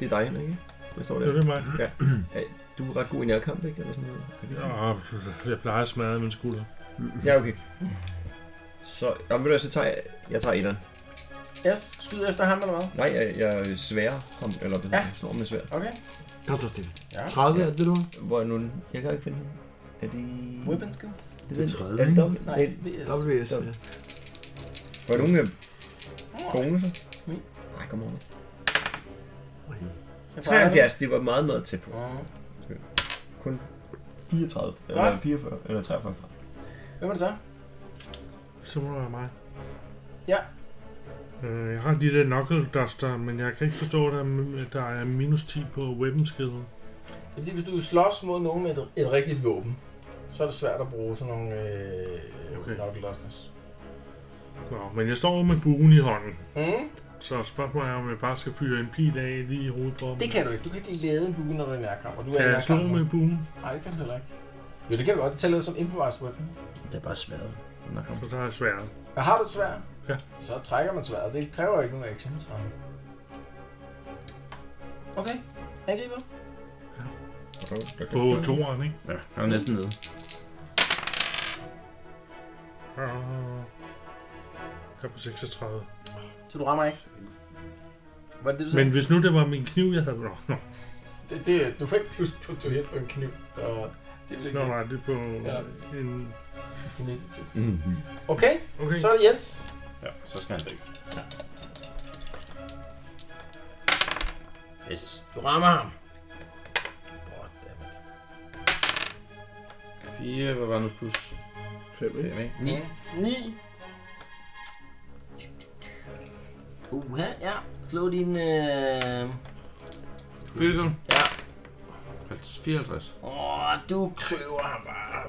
Speaker 2: det er dig, Henrik, ikke? Der står
Speaker 5: Det er
Speaker 2: der.
Speaker 5: det mig.
Speaker 2: Du er ret god i nærkamp, ikke? Eller sådan noget.
Speaker 5: Ja, jeg plejer at smadre min skulder.
Speaker 2: Ja, okay. Så, jamen, ved du, hvad, så tager jeg, jeg tager etteren.
Speaker 3: Yes, skyd efter ham eller hvad?
Speaker 2: Nej, jeg, jeg sværer ham, eller hvad
Speaker 3: Ja.
Speaker 2: ja. jeg slår ham med svær.
Speaker 3: Okay.
Speaker 9: Kom så stille.
Speaker 3: Ja.
Speaker 9: 30 er det, du har?
Speaker 2: Hvor er nu? Jeg kan ikke finde den. Er det...
Speaker 3: Weapon skill?
Speaker 2: Det
Speaker 7: Det er
Speaker 2: er
Speaker 7: 30,
Speaker 2: 30, Er det
Speaker 7: ikke?
Speaker 2: dobbelt?
Speaker 3: Nej,
Speaker 2: Nej.
Speaker 9: WS,
Speaker 3: VS.
Speaker 9: ja.
Speaker 2: Var der nogen øh, bonusser?
Speaker 3: Min.
Speaker 2: Nej, kom over.
Speaker 9: Oj.
Speaker 3: Jeg fejrer den.
Speaker 2: 73, det var meget, meget tæt på.
Speaker 3: Mhm.
Speaker 2: Kun 34,
Speaker 3: Godt.
Speaker 2: eller 44, eller 43 fra.
Speaker 3: Hvad var det så?
Speaker 5: Så må det være mig.
Speaker 3: Ja.
Speaker 5: Øh, jeg har de der knuckle duster, men jeg kan ikke forstå, at der er- at der er minus 10 på weapon skillet.
Speaker 3: Det er fordi, hvis du slås mod nogen med et, et rigtigt våben, så er det svært at bruge sådan nogle øh, okay.
Speaker 5: Okay.
Speaker 3: knuckle dusters.
Speaker 5: Nå, men jeg står med buen i hånden,
Speaker 3: Mm.
Speaker 5: så spørgsmålet er, om jeg bare skal fyre en pil af lige i hovedet på dem.
Speaker 3: Det kan du ikke. Du kan ikke lade en bue, når du er i nærkamp. Og du er i
Speaker 5: Kan jeg slå
Speaker 3: nærkamp. nu.
Speaker 5: med buen?
Speaker 3: Nej, det kan du heller ikke. Jo, det kan du godt. Det tæller som improvised weapon.
Speaker 4: Det er bare sværet. Nå, kom.
Speaker 5: Så tager jeg sværet.
Speaker 3: Men har du et svær,
Speaker 5: Ja.
Speaker 3: så trækker man sværet. Det kræver ikke nogen action. Så. Okay. Angriber.
Speaker 5: På toeren, ikke?
Speaker 4: Ja, han er næsten nede.
Speaker 5: Ah. Jeg er på 36.
Speaker 3: Så du rammer ikke. Var det det, du sagde?
Speaker 5: Men hvis nu det var min kniv, jeg havde... Nå, nå,
Speaker 3: Det, det, du fik plus på to hit på en kniv, så det vil ikke
Speaker 5: nå nej, det er på
Speaker 3: Ja. din
Speaker 5: en...
Speaker 3: initiativ.
Speaker 2: Mm-hmm.
Speaker 3: Okay,
Speaker 5: Okay.
Speaker 3: så er det Jens.
Speaker 4: Ja, så skal han dø. Yes.
Speaker 3: Du rammer ham. Goddammit.
Speaker 4: 4, hvad var nu plus?
Speaker 9: 5,
Speaker 4: 5,
Speaker 9: ikke?
Speaker 4: ikke? 9.
Speaker 3: 9. 9. Uha, ja. Slå din... Øh...
Speaker 4: Critical?
Speaker 3: Ja.
Speaker 4: 54.
Speaker 3: Åh, du kløver ham bare.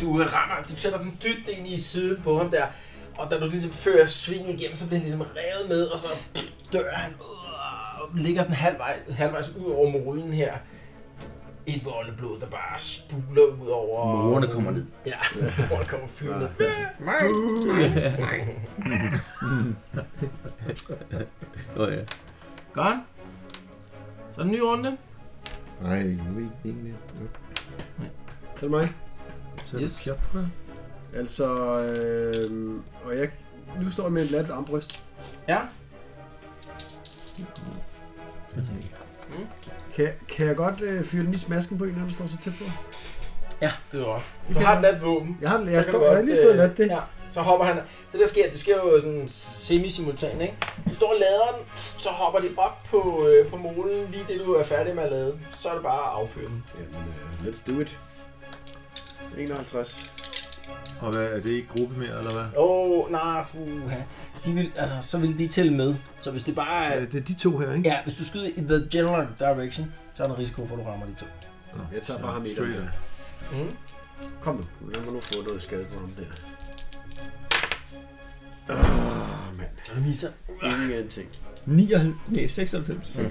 Speaker 3: Du rammer ham. Du sætter den dybt ind i siden på ham der. Og da du ligesom fører svinget igennem, så bliver han ligesom revet med, og så dør han. Øh, og ligger sådan halvvej, halvvejs ud over morulen her. Et voldeblod, der bare spuler ud over...
Speaker 4: Morerne kommer ned.
Speaker 3: Ja, morerne kommer flyvende.
Speaker 4: Nå ja.
Speaker 3: Godt. Så er den nye runde.
Speaker 2: Nej, nu er ikke ikke mere. Jo.
Speaker 9: Er det mig?
Speaker 7: Så er det
Speaker 9: Yes.
Speaker 7: Kjapka.
Speaker 9: Altså, øh, og jeg, nu står jeg med en lat armbryst.
Speaker 3: Ja. Mm.
Speaker 9: Kan, jeg- kan jeg godt øh, fyre den i smasken på en, når du står så tæt på?
Speaker 3: Ja, det er godt. Du har et lat våben.
Speaker 9: Jeg har, jeg
Speaker 3: Så kan
Speaker 9: står,
Speaker 3: du
Speaker 9: jeg
Speaker 3: godt,
Speaker 9: har lige stået
Speaker 3: øh,
Speaker 9: lat det.
Speaker 3: Ja, så hopper han. Så der sker, det sker jo sådan semi-simultan, ikke? Du står og lader den, så hopper det op på, øh, på molen, lige det du er færdig med at lade. den. Så er det bare at affyre den.
Speaker 6: Jamen, uh, let's do it. 51.
Speaker 7: Og hvad, er det ikke gruppe mere, eller hvad?
Speaker 3: Åh, oh, nej, uha. De vil, altså, så vil de tælle med. Så hvis det bare
Speaker 9: Ja,
Speaker 6: Øh,
Speaker 3: er...
Speaker 9: det er de to her, ikke?
Speaker 3: Ja, hvis du skyder i the general direction, så er der en risiko for, at du rammer de to.
Speaker 6: Jeg tager bare ham i
Speaker 7: Straight
Speaker 6: den.
Speaker 7: up.
Speaker 3: Mm.
Speaker 6: Kom nu. Lad mig nu få noget skade på ham der. Åh, mand.
Speaker 3: Så du misser.
Speaker 6: Ingen af en ting.
Speaker 2: 99, nej, 96.
Speaker 4: Mhm.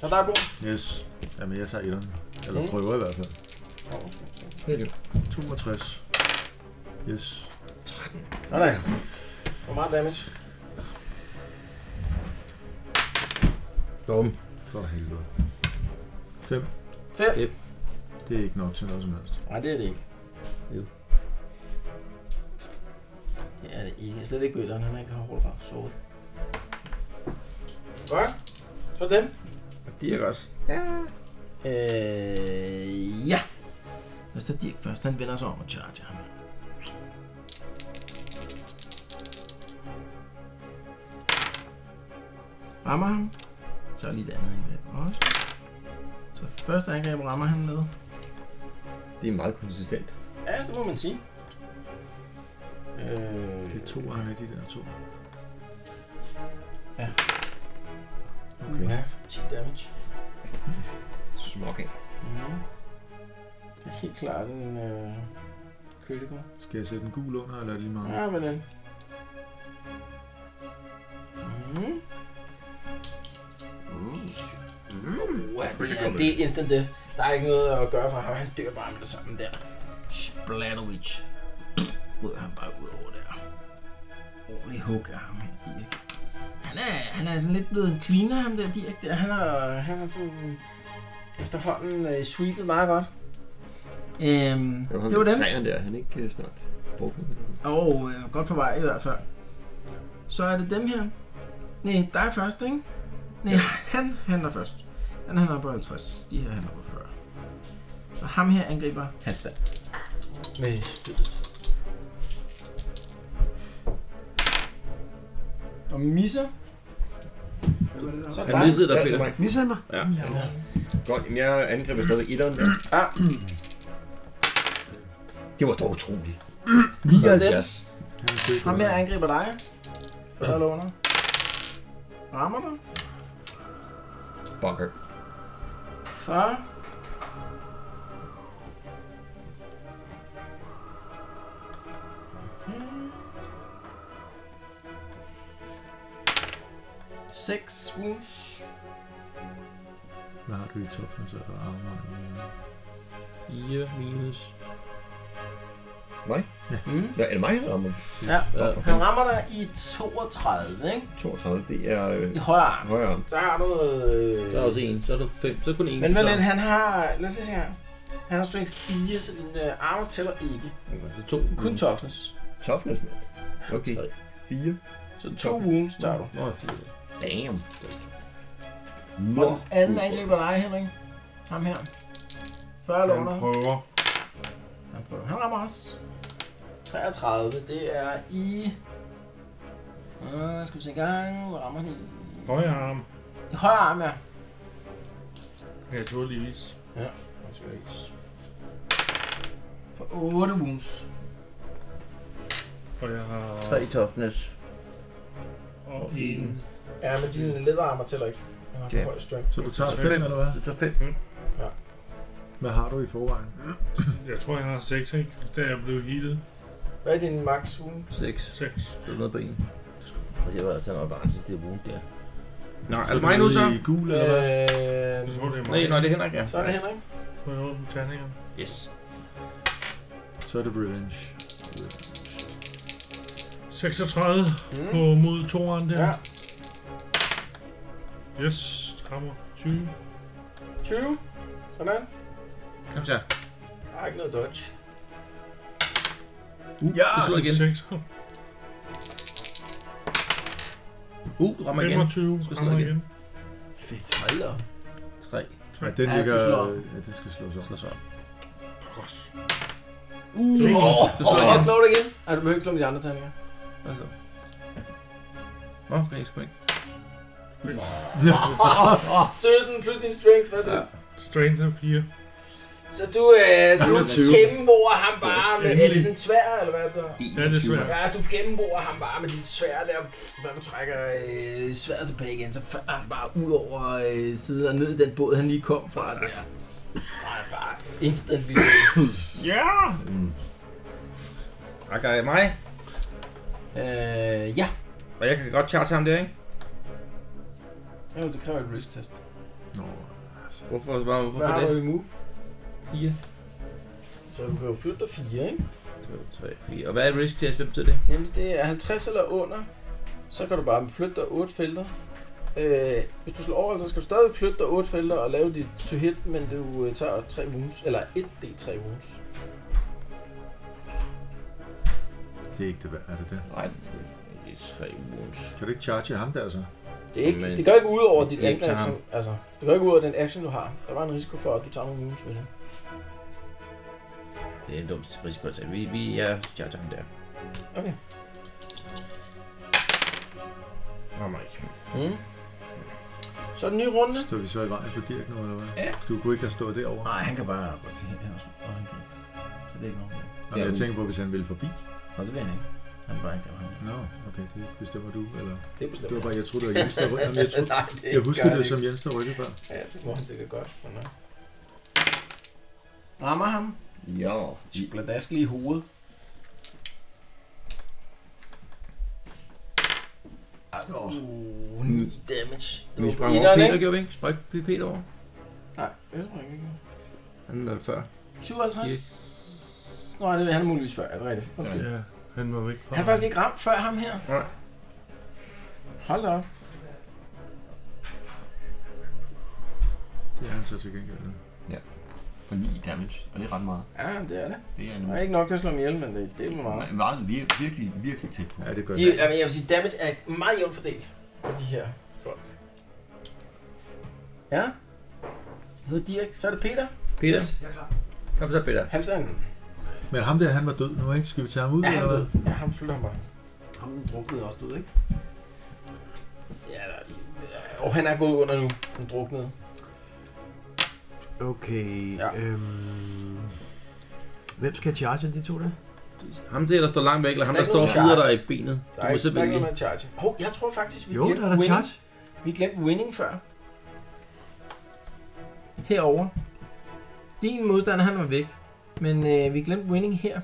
Speaker 3: Så der er brug.
Speaker 7: Yes. Jamen, jeg tager etteren. Eller
Speaker 3: Mm.
Speaker 7: prøver i hvert fald.
Speaker 2: Det er det.
Speaker 7: 62. Yes.
Speaker 3: Nej, nej. Hvor meget damage?
Speaker 2: Dum.
Speaker 7: For helvede.
Speaker 3: 5.
Speaker 7: Det er ikke nok til noget som helst.
Speaker 3: Nej, det er det ikke.
Speaker 4: Jo.
Speaker 3: Det er det ikke. Slet ikke bødleren, han er ikke hårdt bare sovet. Godt. Så dem.
Speaker 4: Og Dirk også.
Speaker 3: Ja. Øh, ja. Lad os tage Dirk først. Han vender sig om og charger ham. Rammer ham. Så er lige det andet angreb også. Så første angreb rammer han med.
Speaker 2: Det er meget konsistent.
Speaker 3: Ja, det må man sige. Øh,
Speaker 7: Det er to af de der to.
Speaker 3: Okay. Ja, 10 damage.
Speaker 2: Smoking.
Speaker 3: Mm. Det er helt klart en øh, critical.
Speaker 7: Skal jeg sætte en gul under, eller er det lige meget?
Speaker 3: Ja, men den. Mm. Mm. Mm. Ja, det, er, det er instant death. Der er ikke noget at gøre for ham. Han dør bare med det samme der. Splatterwitch. Rød han bare ud over der. Ordentlig hug af ham her, Dirk. Han er, han er sådan lidt blevet en cleaner, ham der Dirk. Der. Han har, han har sådan efterhånden øh, sweepet meget godt. Øhm,
Speaker 2: Det var,
Speaker 3: det var dem.
Speaker 2: Træerne der, han er ikke øh, snart brugt med det.
Speaker 3: Og øh, godt på vej i hvert fald. Så er det dem her. Nej, dig først, ikke? Nej, han handler først. Han handler på 50. De her handler på 40. Så ham her angriber Halvdan. Med spillet. Og misser. Så er
Speaker 4: Han
Speaker 3: dig.
Speaker 4: missede dig,
Speaker 2: Ja, så
Speaker 4: Peter.
Speaker 2: mig.
Speaker 9: Misser han mig?
Speaker 4: Ja.
Speaker 2: Godt, jamen jeg angriber stadig etteren.
Speaker 3: Ah.
Speaker 2: Det var dog utroligt.
Speaker 3: Så er det dem.
Speaker 7: Han er født
Speaker 3: Ham
Speaker 7: under.
Speaker 3: her angriber dig. 40 eller under. Rammer dig.
Speaker 2: Bunker.
Speaker 3: 40. Hmm. Seks wounds.
Speaker 7: Hvad har du i toppen, så er armor?
Speaker 4: 4 minus.
Speaker 3: Mm.
Speaker 2: Nå, er det mig, han rammer?
Speaker 3: Ja,
Speaker 2: Nå, for
Speaker 3: han rammer dig i 32, ikke?
Speaker 2: 32, det er øh,
Speaker 3: I højre arm.
Speaker 2: højre arm.
Speaker 3: Så har du noget...
Speaker 4: Der er også en. Så er der fem. Så er der kun en.
Speaker 3: Men vent lidt, han har... Lad os lige se her. Han har strength 4, så din øh, armor tæller ikke.
Speaker 4: Okay, så to.
Speaker 3: Kun toughness.
Speaker 2: Toughness, mand. Okay, 4.
Speaker 3: Så to wounds tager du.
Speaker 4: Nå, fire.
Speaker 2: Damn.
Speaker 3: Og den anden angriber dig, Henrik. Ham her. 40 eller under.
Speaker 5: Han prøver.
Speaker 3: Han prøver. Han rammer os. 33, det er i... Uh, skal vi se i gang. Hvor rammer han i?
Speaker 5: Højre arm.
Speaker 3: I højre arm, ja.
Speaker 5: Naturligvis.
Speaker 3: For 8 wounds.
Speaker 5: Og jeg har...
Speaker 4: Tre i toughness.
Speaker 5: Og en.
Speaker 3: Ja, men din læderarmer tæller ikke. Han har
Speaker 4: Ja.
Speaker 3: høj strength.
Speaker 7: Så du tager fem, eller hvad?
Speaker 4: Du tager fem.
Speaker 7: Hvad har du i forvejen?
Speaker 5: Jeg tror, jeg har seks, ikke? Da jeg blev healet.
Speaker 3: Hvad er din max wound?
Speaker 4: Seks.
Speaker 5: Seks.
Speaker 4: Så er du nede på en.
Speaker 10: Og det var altså en advantage, det wound der.
Speaker 4: Nå, er det mig nu så?
Speaker 7: I gul, eller hvad?
Speaker 3: Øh,
Speaker 5: Jeg tror, det er mig.
Speaker 4: Nej, nej, det er Henrik, ja.
Speaker 3: så er det Henrik.
Speaker 5: Må jeg åbne terningerne?
Speaker 4: Yes.
Speaker 7: Så er det revenge.
Speaker 5: 36
Speaker 3: Mm.
Speaker 5: på mod toeren der.
Speaker 3: Ja,
Speaker 5: Yes, rammer 20.
Speaker 3: 20. Sådan.
Speaker 4: Kom så.
Speaker 3: Der er ikke noget dodge.
Speaker 4: Du
Speaker 7: Ja!
Speaker 4: Uh, sidder igen.
Speaker 5: 6.
Speaker 4: Uh, du rammer igen.
Speaker 5: 25.
Speaker 4: Skal sidde
Speaker 5: Rammer
Speaker 4: igen.
Speaker 5: igen.
Speaker 3: Hold da op.
Speaker 4: Tre.
Speaker 7: Ja, den
Speaker 3: Ja, jeg skal
Speaker 7: ligger...
Speaker 3: slå op.
Speaker 7: Ja, det skal slås op.
Speaker 4: Slå så op.
Speaker 5: Seks.
Speaker 4: Du slår
Speaker 3: Jeg
Speaker 4: igen.
Speaker 3: slår det igen. Ej, du behøver ikke slå med de andre terninger.
Speaker 4: Hvad så? Nå, okay, sgu ikke.
Speaker 3: 17 Ah, plus din strength, hvad er det?
Speaker 4: Ja.
Speaker 5: Strength er 4.
Speaker 3: Så du, øh, du gennemborer ham bare med... Er det sådan en svær, eller hvad er det?
Speaker 5: Ja, det er svært.
Speaker 3: Ja, du gennemborer ham bare med din svær der. Når du trækker øh, sværet tilbage igen, så falder han bare ud over øh, siden og ned i den båd, han lige kom fra der. Og han bare instantly...
Speaker 4: Tak, Mm. er mig.
Speaker 3: øh, ja.
Speaker 4: Og jeg kan godt charge ham der, ikke?
Speaker 3: Jo, det kræver et wrist test.
Speaker 7: Nå,
Speaker 4: Hvorfor, hvor,
Speaker 3: Hvad
Speaker 4: hvorfor
Speaker 3: har
Speaker 4: det?
Speaker 3: du i move?
Speaker 4: Fire.
Speaker 3: Så du kan jo flytte dig fire, ikke?
Speaker 4: 2, 3, 4. Og hvad er risk test? Hvad betyder det?
Speaker 3: Nemlig det er 50 eller under, så kan du bare flytte dig 8 felter. Øh, hvis du slår over, så skal du stadig flytte dig 8 felter og lave dit to hit, men du øh, tager 3 wounds, eller 1d3 wounds.
Speaker 7: Det er ikke det værd, er det det?
Speaker 2: Nej,
Speaker 7: det er tre wounds. Kan du ikke charge ham der så?
Speaker 3: Det, er ikke, det går ikke ud over dit
Speaker 7: Det er ikke
Speaker 3: angreb,
Speaker 7: til ham.
Speaker 3: som, altså, det går ikke ud over den action, du har. Der var en risiko for, at du tager nogle wounds ved det.
Speaker 4: Det er en dum risiko at tage. Vi, vi er charger ham der.
Speaker 3: Okay.
Speaker 4: Nå, Mike.
Speaker 3: Mm. Så er den nye runde.
Speaker 7: Står vi så i vejen for Dirk nu, eller hvad? Ja. Du kunne ikke have stået derovre?
Speaker 4: Nej, han kan bare gå til her og så. Og han kan. Så det er ikke noget.
Speaker 7: Jamen, jeg tænker på, hvis han ville forbi.
Speaker 4: Nå, det vil han ikke. Han vil bare ikke ham.
Speaker 7: Nå, okay, det bestemmer du, eller?
Speaker 3: Det bestemmer
Speaker 7: Det var bare,
Speaker 3: jeg.
Speaker 7: jeg troede, det var Jens, der rykkede. Jamen, Jeg, troede,
Speaker 3: Nej, det
Speaker 7: jeg husker
Speaker 3: gør
Speaker 7: det,
Speaker 3: det
Speaker 7: som
Speaker 3: ikke.
Speaker 7: Jens, der rykkede før.
Speaker 3: Ja, det må han sikkert godt. Men, ja. Rammer ham.
Speaker 2: Ja.
Speaker 3: Spladask lige i hovedet. Uh, 9 damage.
Speaker 11: Vi
Speaker 3: var
Speaker 11: sprang over
Speaker 3: etteren,
Speaker 11: Peter,
Speaker 3: ikke?
Speaker 11: gjorde vi ikke? Sprang vi Peter over?
Speaker 3: Nej, det tror jeg ikke.
Speaker 11: Han er før.
Speaker 3: 57. Nej, det er han er muligvis før. Er det rigtigt? Undskyld.
Speaker 5: Ja, han var væk fra
Speaker 3: Han er faktisk ikke ramt før ham her.
Speaker 11: Nej.
Speaker 3: Hold da op.
Speaker 7: Det er han så til gengæld. nu.
Speaker 2: Ja. For 9 damage, og det er ret meget.
Speaker 3: Ja, det er det.
Speaker 2: Det er nu.
Speaker 3: Der er ikke nok til at slå mig ihjel, men det, det er meget.
Speaker 2: Meget, vir- virkelig, virkelig tæt på.
Speaker 7: Ja, det gør
Speaker 3: De,
Speaker 7: det.
Speaker 3: altså, jeg vil sige, damage er meget jævnt fordelt på de her folk. Ja. Nu er Dirk, så er det Peter.
Speaker 11: Peter?
Speaker 3: Yes.
Speaker 11: Kom så, Peter.
Speaker 3: Han er
Speaker 7: Men ham der, han var død nu, ikke? Skal vi tage ham ud,
Speaker 3: Ja, han
Speaker 7: eller
Speaker 3: er
Speaker 7: hvad?
Speaker 3: død. Ja, ham flytter han bare.
Speaker 12: Ham den druknede også død, ikke?
Speaker 3: Ja, der, ja, og han er gået under nu. Han druknede.
Speaker 6: Okay,
Speaker 3: Ja.
Speaker 6: øhm, hvem skal charge de to der?
Speaker 11: Ham der, der står langt væk, eller ham,
Speaker 3: Der er
Speaker 11: der står og
Speaker 3: ikke nogen
Speaker 11: bider dig
Speaker 3: charge.
Speaker 11: i benet.
Speaker 3: Der
Speaker 11: Du
Speaker 3: er
Speaker 11: må
Speaker 3: ikke, der er
Speaker 11: simpelthen
Speaker 3: ikke noget
Speaker 11: lige...
Speaker 3: med at charge. Hov, jeg tror faktisk, vi
Speaker 6: Jo,
Speaker 3: glemte
Speaker 6: der er der
Speaker 3: winning.
Speaker 6: charge.
Speaker 3: Vi glemte winning før. Herover. Din modstander, han var væk. Men øh, vi glemte winning her.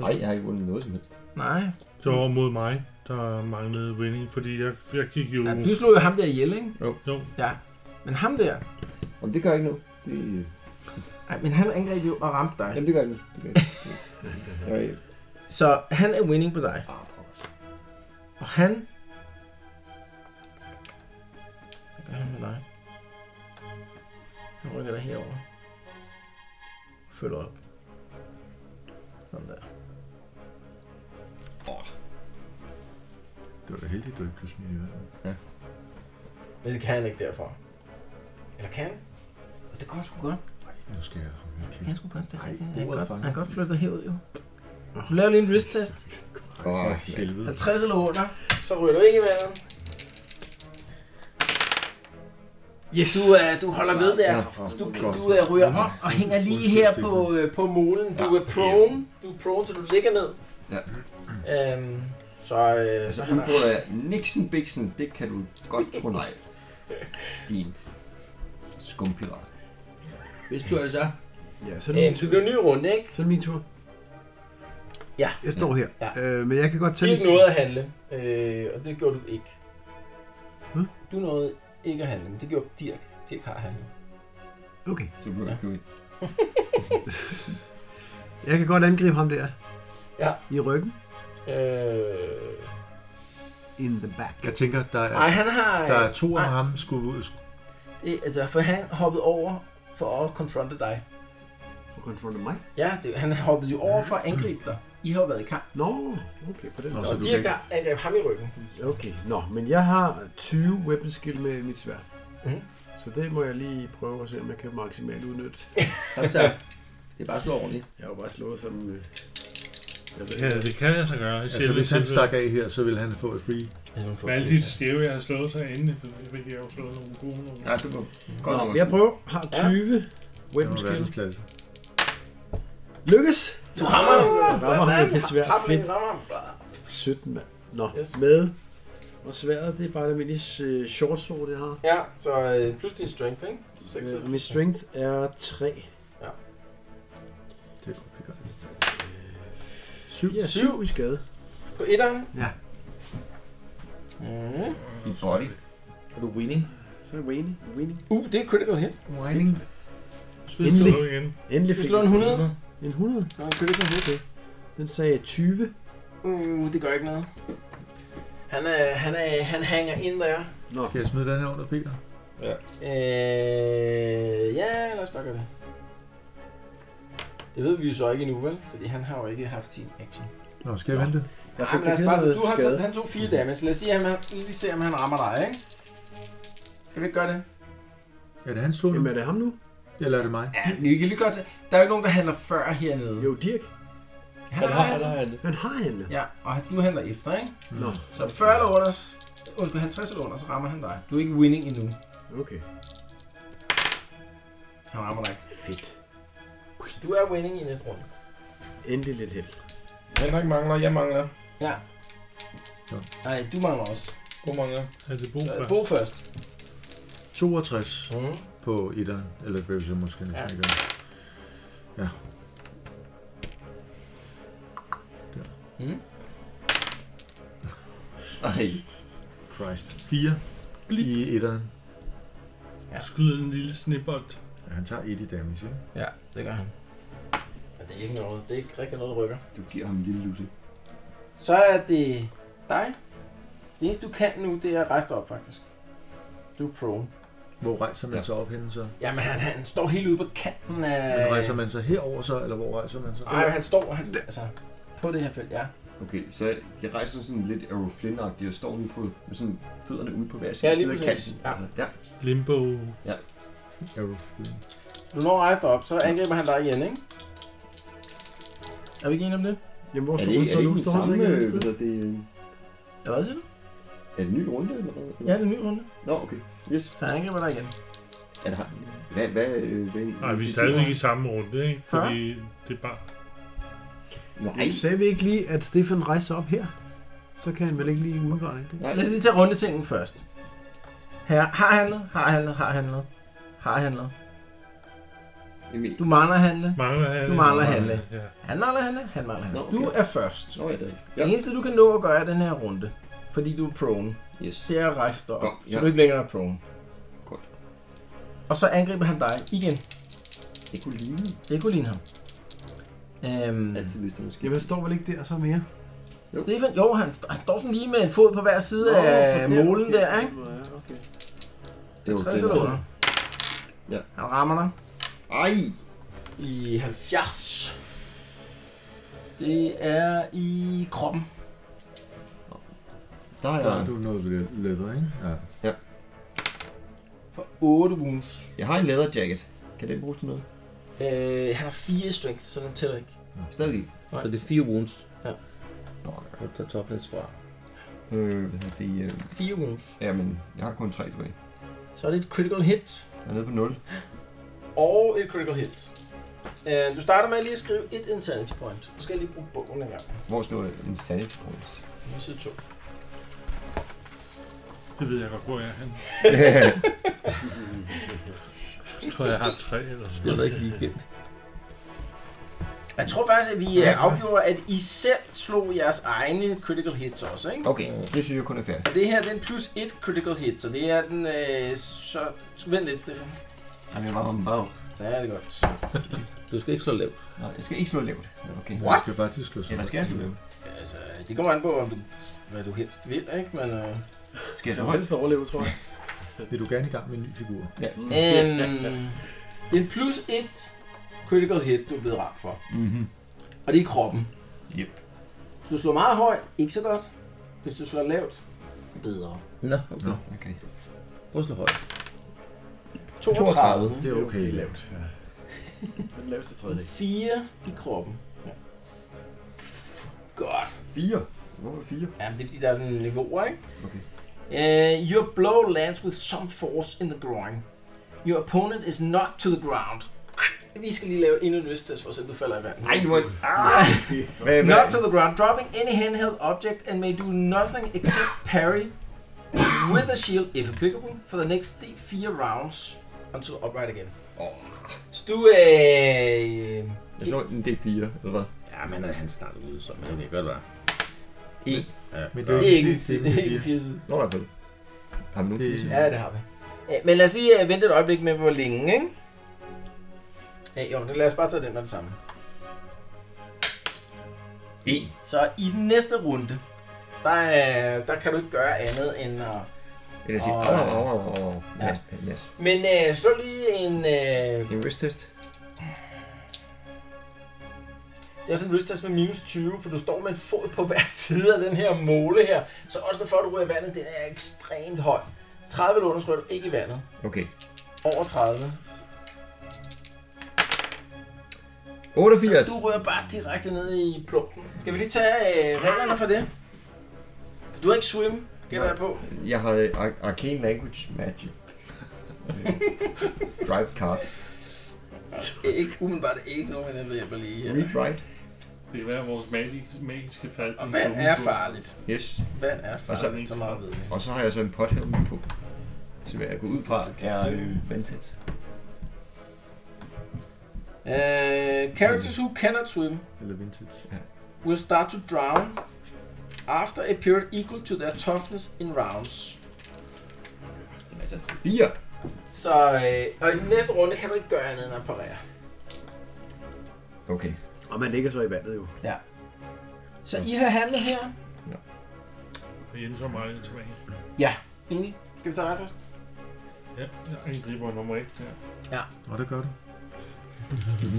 Speaker 2: Nej, jeg har ikke vundet noget som helst.
Speaker 3: Nej.
Speaker 5: Det var mod mig, der manglede winning, fordi jeg, jeg gik jo...
Speaker 3: Ja, du slog jo ham der ihjel, ikke?
Speaker 5: Mm. Jo,
Speaker 3: Ja. Men ham der,
Speaker 2: Jamen, det gør ikke noget. Det,
Speaker 3: ej, men han angreb jo og ramte dig.
Speaker 2: jamen, det gør ikke noget. Det gør ikke noget. Jeg-
Speaker 3: Så han er winning på dig.
Speaker 2: Ah, pokkers.
Speaker 3: Og han... Hvad gør han med dig? Han rykker dig herover. Følger op. Sådan der.
Speaker 7: Det var da heldigt, du ikke blev smidt i vandet.
Speaker 3: Men det kan han ikke derfra. Eller kan han? Og det kan han sgu godt.
Speaker 7: Nu skal jeg...
Speaker 3: Det kan han sgu godt. Det
Speaker 7: Ej,
Speaker 3: kan han. Han kan godt,
Speaker 7: bordet fanger
Speaker 3: han kan godt flytte dig herud, jo. Du laver lige en wrist test.
Speaker 2: Åh,
Speaker 7: For helvede.
Speaker 3: 50 eller under, så ryger du ikke i vandet.
Speaker 6: Yes!
Speaker 3: Du, øh, du holder ved der. Så du, du øh, ryger op og
Speaker 7: Mm.
Speaker 3: hænger lige her på, øh, på molen. Du er prone. Du er prone, så du ligger ned.
Speaker 2: Ja.
Speaker 3: Øhm, så, øh,
Speaker 2: Altså,
Speaker 3: så han er...
Speaker 2: udbrud af Nixon Bixen, det kan du godt tro nej. Din skumpirat.
Speaker 11: Hvis du altså...
Speaker 6: Ja, så er det,
Speaker 3: Øhm,
Speaker 6: min,
Speaker 3: så det
Speaker 6: tur.
Speaker 3: bliver en ny runde, ikke?
Speaker 6: så er det min tur.
Speaker 3: Ja.
Speaker 6: Jeg står her,
Speaker 3: Ja.
Speaker 6: øh, men jeg kan godt tælle...
Speaker 3: Dirk nåede at handle, øh, og det gjorde du ikke.
Speaker 6: Hvad?
Speaker 3: Du nåede ikke at handle, men det gjorde Dirk. Dirk har handlet.
Speaker 6: Okay,
Speaker 2: Du behøver ikke købe ind.
Speaker 6: jeg kan godt angribe ham der.
Speaker 3: Ja.
Speaker 6: I ryggen.
Speaker 3: Øh...
Speaker 6: In the back.
Speaker 7: Jeg tænker, der er,
Speaker 3: Nej, han har... øh,
Speaker 7: der er to af
Speaker 3: nej,
Speaker 7: ham, skulle ud.
Speaker 3: det, altså, for han hoppede over for at confronte dig.
Speaker 6: For konfronte mig.
Speaker 3: Ja, det, han hoppede jo over for at angribe dig. I har jo været i kamp.
Speaker 6: Nå, okay, på den
Speaker 7: Nå,
Speaker 6: måde.
Speaker 7: så
Speaker 3: Og
Speaker 7: du
Speaker 3: Dirk,
Speaker 7: kan-
Speaker 3: der angreb ham i ryggen.
Speaker 6: Okay, nå, men jeg har 20 weapon skill med mit sværd.
Speaker 3: Mhm.
Speaker 6: Så det må jeg lige prøve at se, om jeg kan maksimalt udnytte.
Speaker 4: Kom så. Det er bare at slå ordentligt.
Speaker 6: Jeg har jo bare slået som... øh, Jeg ved
Speaker 5: ja,
Speaker 6: ikke.
Speaker 5: det kan jeg så gøre.
Speaker 7: Altså, hvis han stak af her, så ville han få et free.
Speaker 5: Med alle de skæve, jeg har slået sig inden, fik jeg jo slået nogle gode nogle.
Speaker 2: Nej, du må godt
Speaker 6: Nå,
Speaker 2: nok.
Speaker 6: men jeg prøver. Har 20
Speaker 7: Det
Speaker 6: weapon
Speaker 7: var
Speaker 6: skill.
Speaker 7: verdensklasse.
Speaker 6: Lykkes!
Speaker 3: Du rammer ham.
Speaker 6: Der rammer ham med sværd. Fedt.
Speaker 3: Hafling rammer ham.
Speaker 6: 17, mand. Nå,
Speaker 3: Yes.
Speaker 6: med. Og sværet, det er bare det almindelige øh, short sword, jeg har.
Speaker 3: Ja, så øh, plus din strength, ikke? Så seks
Speaker 6: Øh, og min strength er 3.
Speaker 7: Det er godt, det gør.
Speaker 6: 7. Øh, Ja,
Speaker 3: Syv.
Speaker 6: 7 i skade.
Speaker 3: På etteren?
Speaker 6: Ja.
Speaker 3: Mm.
Speaker 2: I body.
Speaker 4: Er du winning?
Speaker 6: Så er det winning. winning.
Speaker 3: Uh, det er critical hit.
Speaker 6: Winning.
Speaker 5: Skal vi
Speaker 6: Endelig.
Speaker 5: slå igen?
Speaker 3: Skal
Speaker 6: Endelig
Speaker 3: vi
Speaker 6: fik
Speaker 3: slå en
Speaker 6: jeg
Speaker 3: 100?
Speaker 6: En 100.
Speaker 3: Nå, en critical hit.
Speaker 6: Den sagde 20.
Speaker 3: Uh, det gør ikke noget. Han, er, han, er, han hænger ind der.
Speaker 6: Nå.
Speaker 7: Skal jeg smide den her under, Peter?
Speaker 3: Øh, ja, lad os bare gøre det. Det ved vi jo så ikke endnu, vel? Fordi han har jo ikke haft sin action.
Speaker 7: Nå, skal jeg vente?
Speaker 3: Jeg fik Ej, men bare, så du har taget, han tog 4 damage. Lad os sige, at han, lige se, om han rammer dig, ikke? Skal vi ikke gøre det?
Speaker 7: Er det hans tur nu?
Speaker 6: Jamen, er det ham nu?
Speaker 3: Mm.
Speaker 7: Eller er det mig?
Speaker 3: Ja, vi kan lige godt tage. Der er jo ikke nogen, der handler før hernede.
Speaker 6: Jo, Dirk.
Speaker 3: Han har handlet.
Speaker 9: handlet.
Speaker 6: Han har handlet.
Speaker 3: Ja, og han- du handler efter, ikke?
Speaker 6: Nå,
Speaker 3: Så 40 eller under, undskyld, 50 eller under, så rammer han dig. Du er ikke winning endnu.
Speaker 6: okay.
Speaker 3: Han rammer dig ikke.
Speaker 6: Fedt.
Speaker 3: Du er winning i næste runde.
Speaker 6: Endelig lidt held.
Speaker 4: Henrik mangler, jeg mangler.
Speaker 3: Ja. Nej, du mangler også.
Speaker 4: Du mangler.
Speaker 5: Er det Bo
Speaker 3: Så,
Speaker 5: først?
Speaker 3: Bo først.
Speaker 7: 62
Speaker 3: Mm.
Speaker 7: på etteren. Eller det vil jeg måske næsten
Speaker 3: Ja.
Speaker 7: Mhm. ja. ikke. gøre. Ja. Der.
Speaker 3: Mm.
Speaker 2: Ej,
Speaker 7: Christ. 4 i etteren.
Speaker 5: Skyd en lille snibbold.
Speaker 7: Ja, han tager et i damage, ikke?
Speaker 3: Ja, det gør han. Men det er ikke noget. Det er ikke rigtig noget, der rykker.
Speaker 2: du giver ham en lille lusse.
Speaker 3: Så er det dig. Det eneste, du kan nu, det er at rejse dig op, faktisk. Du er prone.
Speaker 7: Hvor rejser man sig op henne så?
Speaker 3: Jamen, han, han står helt ude på kanten af...
Speaker 7: Men rejser man sig herover så, eller hvor rejser man sig?
Speaker 3: Nej, han står han, altså, på det her felt, ja.
Speaker 2: Okay, så jeg rejser sådan lidt Errol flynn og står nu på, med sådan fødderne ude på hver
Speaker 3: Ja,
Speaker 2: side
Speaker 3: lige
Speaker 2: af
Speaker 3: præcis.
Speaker 2: kanten. Ja.
Speaker 5: Limbo.
Speaker 3: Du når at rejse dig op, så angriber han dig igen, ikke? Er vi ikke enige om det?
Speaker 6: Jamen, hvor
Speaker 2: Er
Speaker 6: står
Speaker 2: det,
Speaker 6: hun
Speaker 2: ikke- er
Speaker 6: så
Speaker 2: det ikke
Speaker 6: nu?
Speaker 2: den
Speaker 6: Står hun så
Speaker 2: samme,
Speaker 6: ikke et andet
Speaker 2: øh,
Speaker 6: sted?
Speaker 2: hvad hedder det, øh,
Speaker 3: Ja, hvad siger du?
Speaker 2: er det en ny runde eller hvad?
Speaker 3: Ja, det er en ny runde.
Speaker 2: Nå, okay. Yes.
Speaker 3: Så han angriber dig igen.
Speaker 2: Er det, har- hvad, hvad, øh, hvad,
Speaker 5: Nej, vi er stadigvæk i samme runde, ikke? Fordi det er bare...
Speaker 2: Nej,
Speaker 9: Sagde vi ikke lige, at Stefan rejser sig op her? Så kan han vel ikke lige umiddelbart angribe?
Speaker 2: nej.
Speaker 3: Lad os lige tage rundetingen først. Her, har handlet, har handlet, har handlet, har handlet.
Speaker 2: Jamen,
Speaker 3: Du mangler at handle.
Speaker 5: Mangler han?
Speaker 3: Du mangler handle.
Speaker 5: Ja.
Speaker 3: Han mangler at handle, han mangler at handle.
Speaker 2: Nå, okay.
Speaker 3: Du er først.
Speaker 2: Så er det.
Speaker 3: Det
Speaker 2: Ja,
Speaker 3: eneste, du kan nå at gøre i den her runde, fordi du er prone,
Speaker 2: yes.
Speaker 3: det er at rejse dig op,
Speaker 2: Godt,
Speaker 3: så
Speaker 2: ja.
Speaker 3: du ikke længere er prone.
Speaker 2: Godt.
Speaker 3: Og så angriber han dig igen.
Speaker 2: Det kunne ligne
Speaker 3: Det kunne ligne ham. Øhm,
Speaker 2: altid, hvis der var skidt.
Speaker 9: Jamen, han står vel ikke der så mere?
Speaker 3: Stefan, jo, han, st- han står sådan lige med en fod på hver side Nå, af målen okay. der, ikke?
Speaker 6: Ja, okay.
Speaker 2: Det var
Speaker 3: 60
Speaker 2: fedt.
Speaker 3: eller under.
Speaker 2: Ja.
Speaker 3: Han rammer dig
Speaker 2: Ej,
Speaker 3: i 70. Det er i kroppen.
Speaker 2: der er
Speaker 7: Der er
Speaker 2: jeg.
Speaker 7: du noget ved det leather, ikke? Ja.
Speaker 3: For 8 wounds.
Speaker 2: Jeg har en leatherjacket. Kan den bruges til noget?
Speaker 3: Øh, han har 4 strength, så den tæller ikke.
Speaker 2: Stadig.
Speaker 4: Så det er fire wounds.
Speaker 3: Ja.
Speaker 2: Nå,
Speaker 4: Du tager topless fra.
Speaker 2: øh, hvad hedder det, øh,
Speaker 3: 4 wounds.
Speaker 2: jamen, jeg har kun tre tilbage.
Speaker 3: Så er det et critical hit.
Speaker 2: Så jeg er nede på 0.
Speaker 3: Og et critical hit. Øh, du starter med lige at skrive et insanity point. Så skal jeg lige bruge bogen en gang.
Speaker 2: Hvor står det? En sanity points.
Speaker 3: På Side 2.
Speaker 5: Det ved jeg godt, hvor jeg er henne. Jeg tror, jeg har tre eller sådan
Speaker 4: Det var ikke lige kendt.
Speaker 3: Jeg tror faktisk, at vi øh, afgjorde, at I selv slog jeres egne critical hits også, ikke?
Speaker 2: Okay, Øh, det synes jeg kun er fair.
Speaker 3: Og Det her det er en plus 1 critical hit, så det er den... Øh, så... Vent lidt, Stefan.
Speaker 2: Jamen, jeg var om bag.
Speaker 3: Ja, det er godt.
Speaker 4: Du skal ikke slå lavt.
Speaker 2: Nå, jeg skal ikke slå lavt. Okay.
Speaker 7: What? Jeg skal faktisk slå
Speaker 2: Eller skal jeg slå lavt?
Speaker 3: Altså, det kommer an på, om du, hvad du helst vil, ikke? Men, øh,
Speaker 2: Skal jeg slå
Speaker 6: Jeg vil
Speaker 2: højt?
Speaker 6: helst overleve, tror jeg.
Speaker 7: Vil du gerne i gang med en ny figur?
Speaker 2: Ja.
Speaker 3: øhm, det er en plus 1 critical hit, du er blevet ramt for.
Speaker 2: Mhm.
Speaker 3: Og det er i kroppen.
Speaker 2: Yep.
Speaker 3: Hvis du slår meget højt, ikke så godt. Hvis du slår lavt, bedre.
Speaker 4: Nå, okay.
Speaker 7: Nå.
Speaker 2: Okay.
Speaker 4: Prøv at slå højt.
Speaker 3: 32.
Speaker 7: Det er okay.
Speaker 6: lavt. Ja. Den laveste tredje.
Speaker 3: 4 i kroppen. Ja. Godt.
Speaker 2: 4. Hvorfor 4?
Speaker 3: Ja, men det er fordi, der er sådan en niveau, ikke?
Speaker 2: Okay.
Speaker 3: Uh, your blow lands with some force in the groin. Your opponent is knocked to the ground. Vi skal lige lave endnu en lysttest for at se, om du falder i vandet.
Speaker 2: Ej, nu er... Ah! Hvad, hvad?
Speaker 3: Knocked to the ground, dropping any handheld object and may do nothing except parry with a shield, if applicable, for the next d4 rounds until upright again. øh,
Speaker 2: Åh.
Speaker 3: Så du øh...
Speaker 2: Jeg slår en D4, eller hvad?
Speaker 4: Ja, men er han snart ude, så men det kan godt være.
Speaker 2: En.
Speaker 4: Ja,
Speaker 7: Men
Speaker 4: men
Speaker 7: det er
Speaker 4: det
Speaker 7: jo
Speaker 3: Ikke en
Speaker 7: det er
Speaker 3: side,
Speaker 7: min
Speaker 3: ikke en
Speaker 7: fire.
Speaker 3: fire side.
Speaker 2: Nå, i hvert fald. Har man nogen
Speaker 7: Det-
Speaker 2: fuse?
Speaker 3: Ja, det har vi. Ja, men lad os lige øh, vente et øjeblik med, hvor længe, ikke? Ja, jo, det lad os bare tage den med det samme.
Speaker 2: En.
Speaker 3: Så i den næste runde, der, er- der kan du ikke gøre andet end at...
Speaker 2: Eller sige,
Speaker 3: Åh.
Speaker 2: au, au, au, au, au.
Speaker 3: Ja.
Speaker 2: Ja, yes.
Speaker 3: Men øh, slå lige en... Øh,
Speaker 2: En wrist test.
Speaker 3: Det er sådan en ristast med minus 20, for du står med en fod på hver side af den her måle her. Så også før du ryger i vandet, den er ekstremt høj. 30 eller under du ikke i vandet.
Speaker 2: Okay.
Speaker 3: Over 30.
Speaker 2: 88.
Speaker 3: Så du ryger bare direkte ned i plumpen. Skal vi lige tage øh, reglerne for det? Du har ikke swim, gætter jeg på.
Speaker 2: Jeg har øh, Ar- Arcane Language Magic. Øh, Drive Cards.
Speaker 3: Ikke umiddelbart ikke nogen, der hjælper lige. øh.
Speaker 2: Read
Speaker 3: her.
Speaker 2: Write.
Speaker 5: Det kan være, at vores magiske, magiske fald...
Speaker 3: Og vand er farligt.
Speaker 2: Yes.
Speaker 3: Vand er
Speaker 2: Og så,
Speaker 3: farligt, så meget ved jeg.
Speaker 2: og så har jeg så en pothelm på. Så hvad jeg går ud fra er øh, vandtæt.
Speaker 3: Uh, characters who cannot swim
Speaker 7: Eller vintage.
Speaker 3: will start to drown after a period equal to their toughness in rounds.
Speaker 2: Altså 4.
Speaker 3: Så øh, og i den næste runde kan du ikke gøre andet end at parere.
Speaker 2: Okay.
Speaker 6: Og man ligger så i vandet jo.
Speaker 3: Ja. Så I har handlet her.
Speaker 5: Jens og mig er tilbage.
Speaker 3: Ja. Enig. Skal vi tage dig først?
Speaker 5: Ja, jeg angriber nummer 1 der.
Speaker 7: Og det gør du.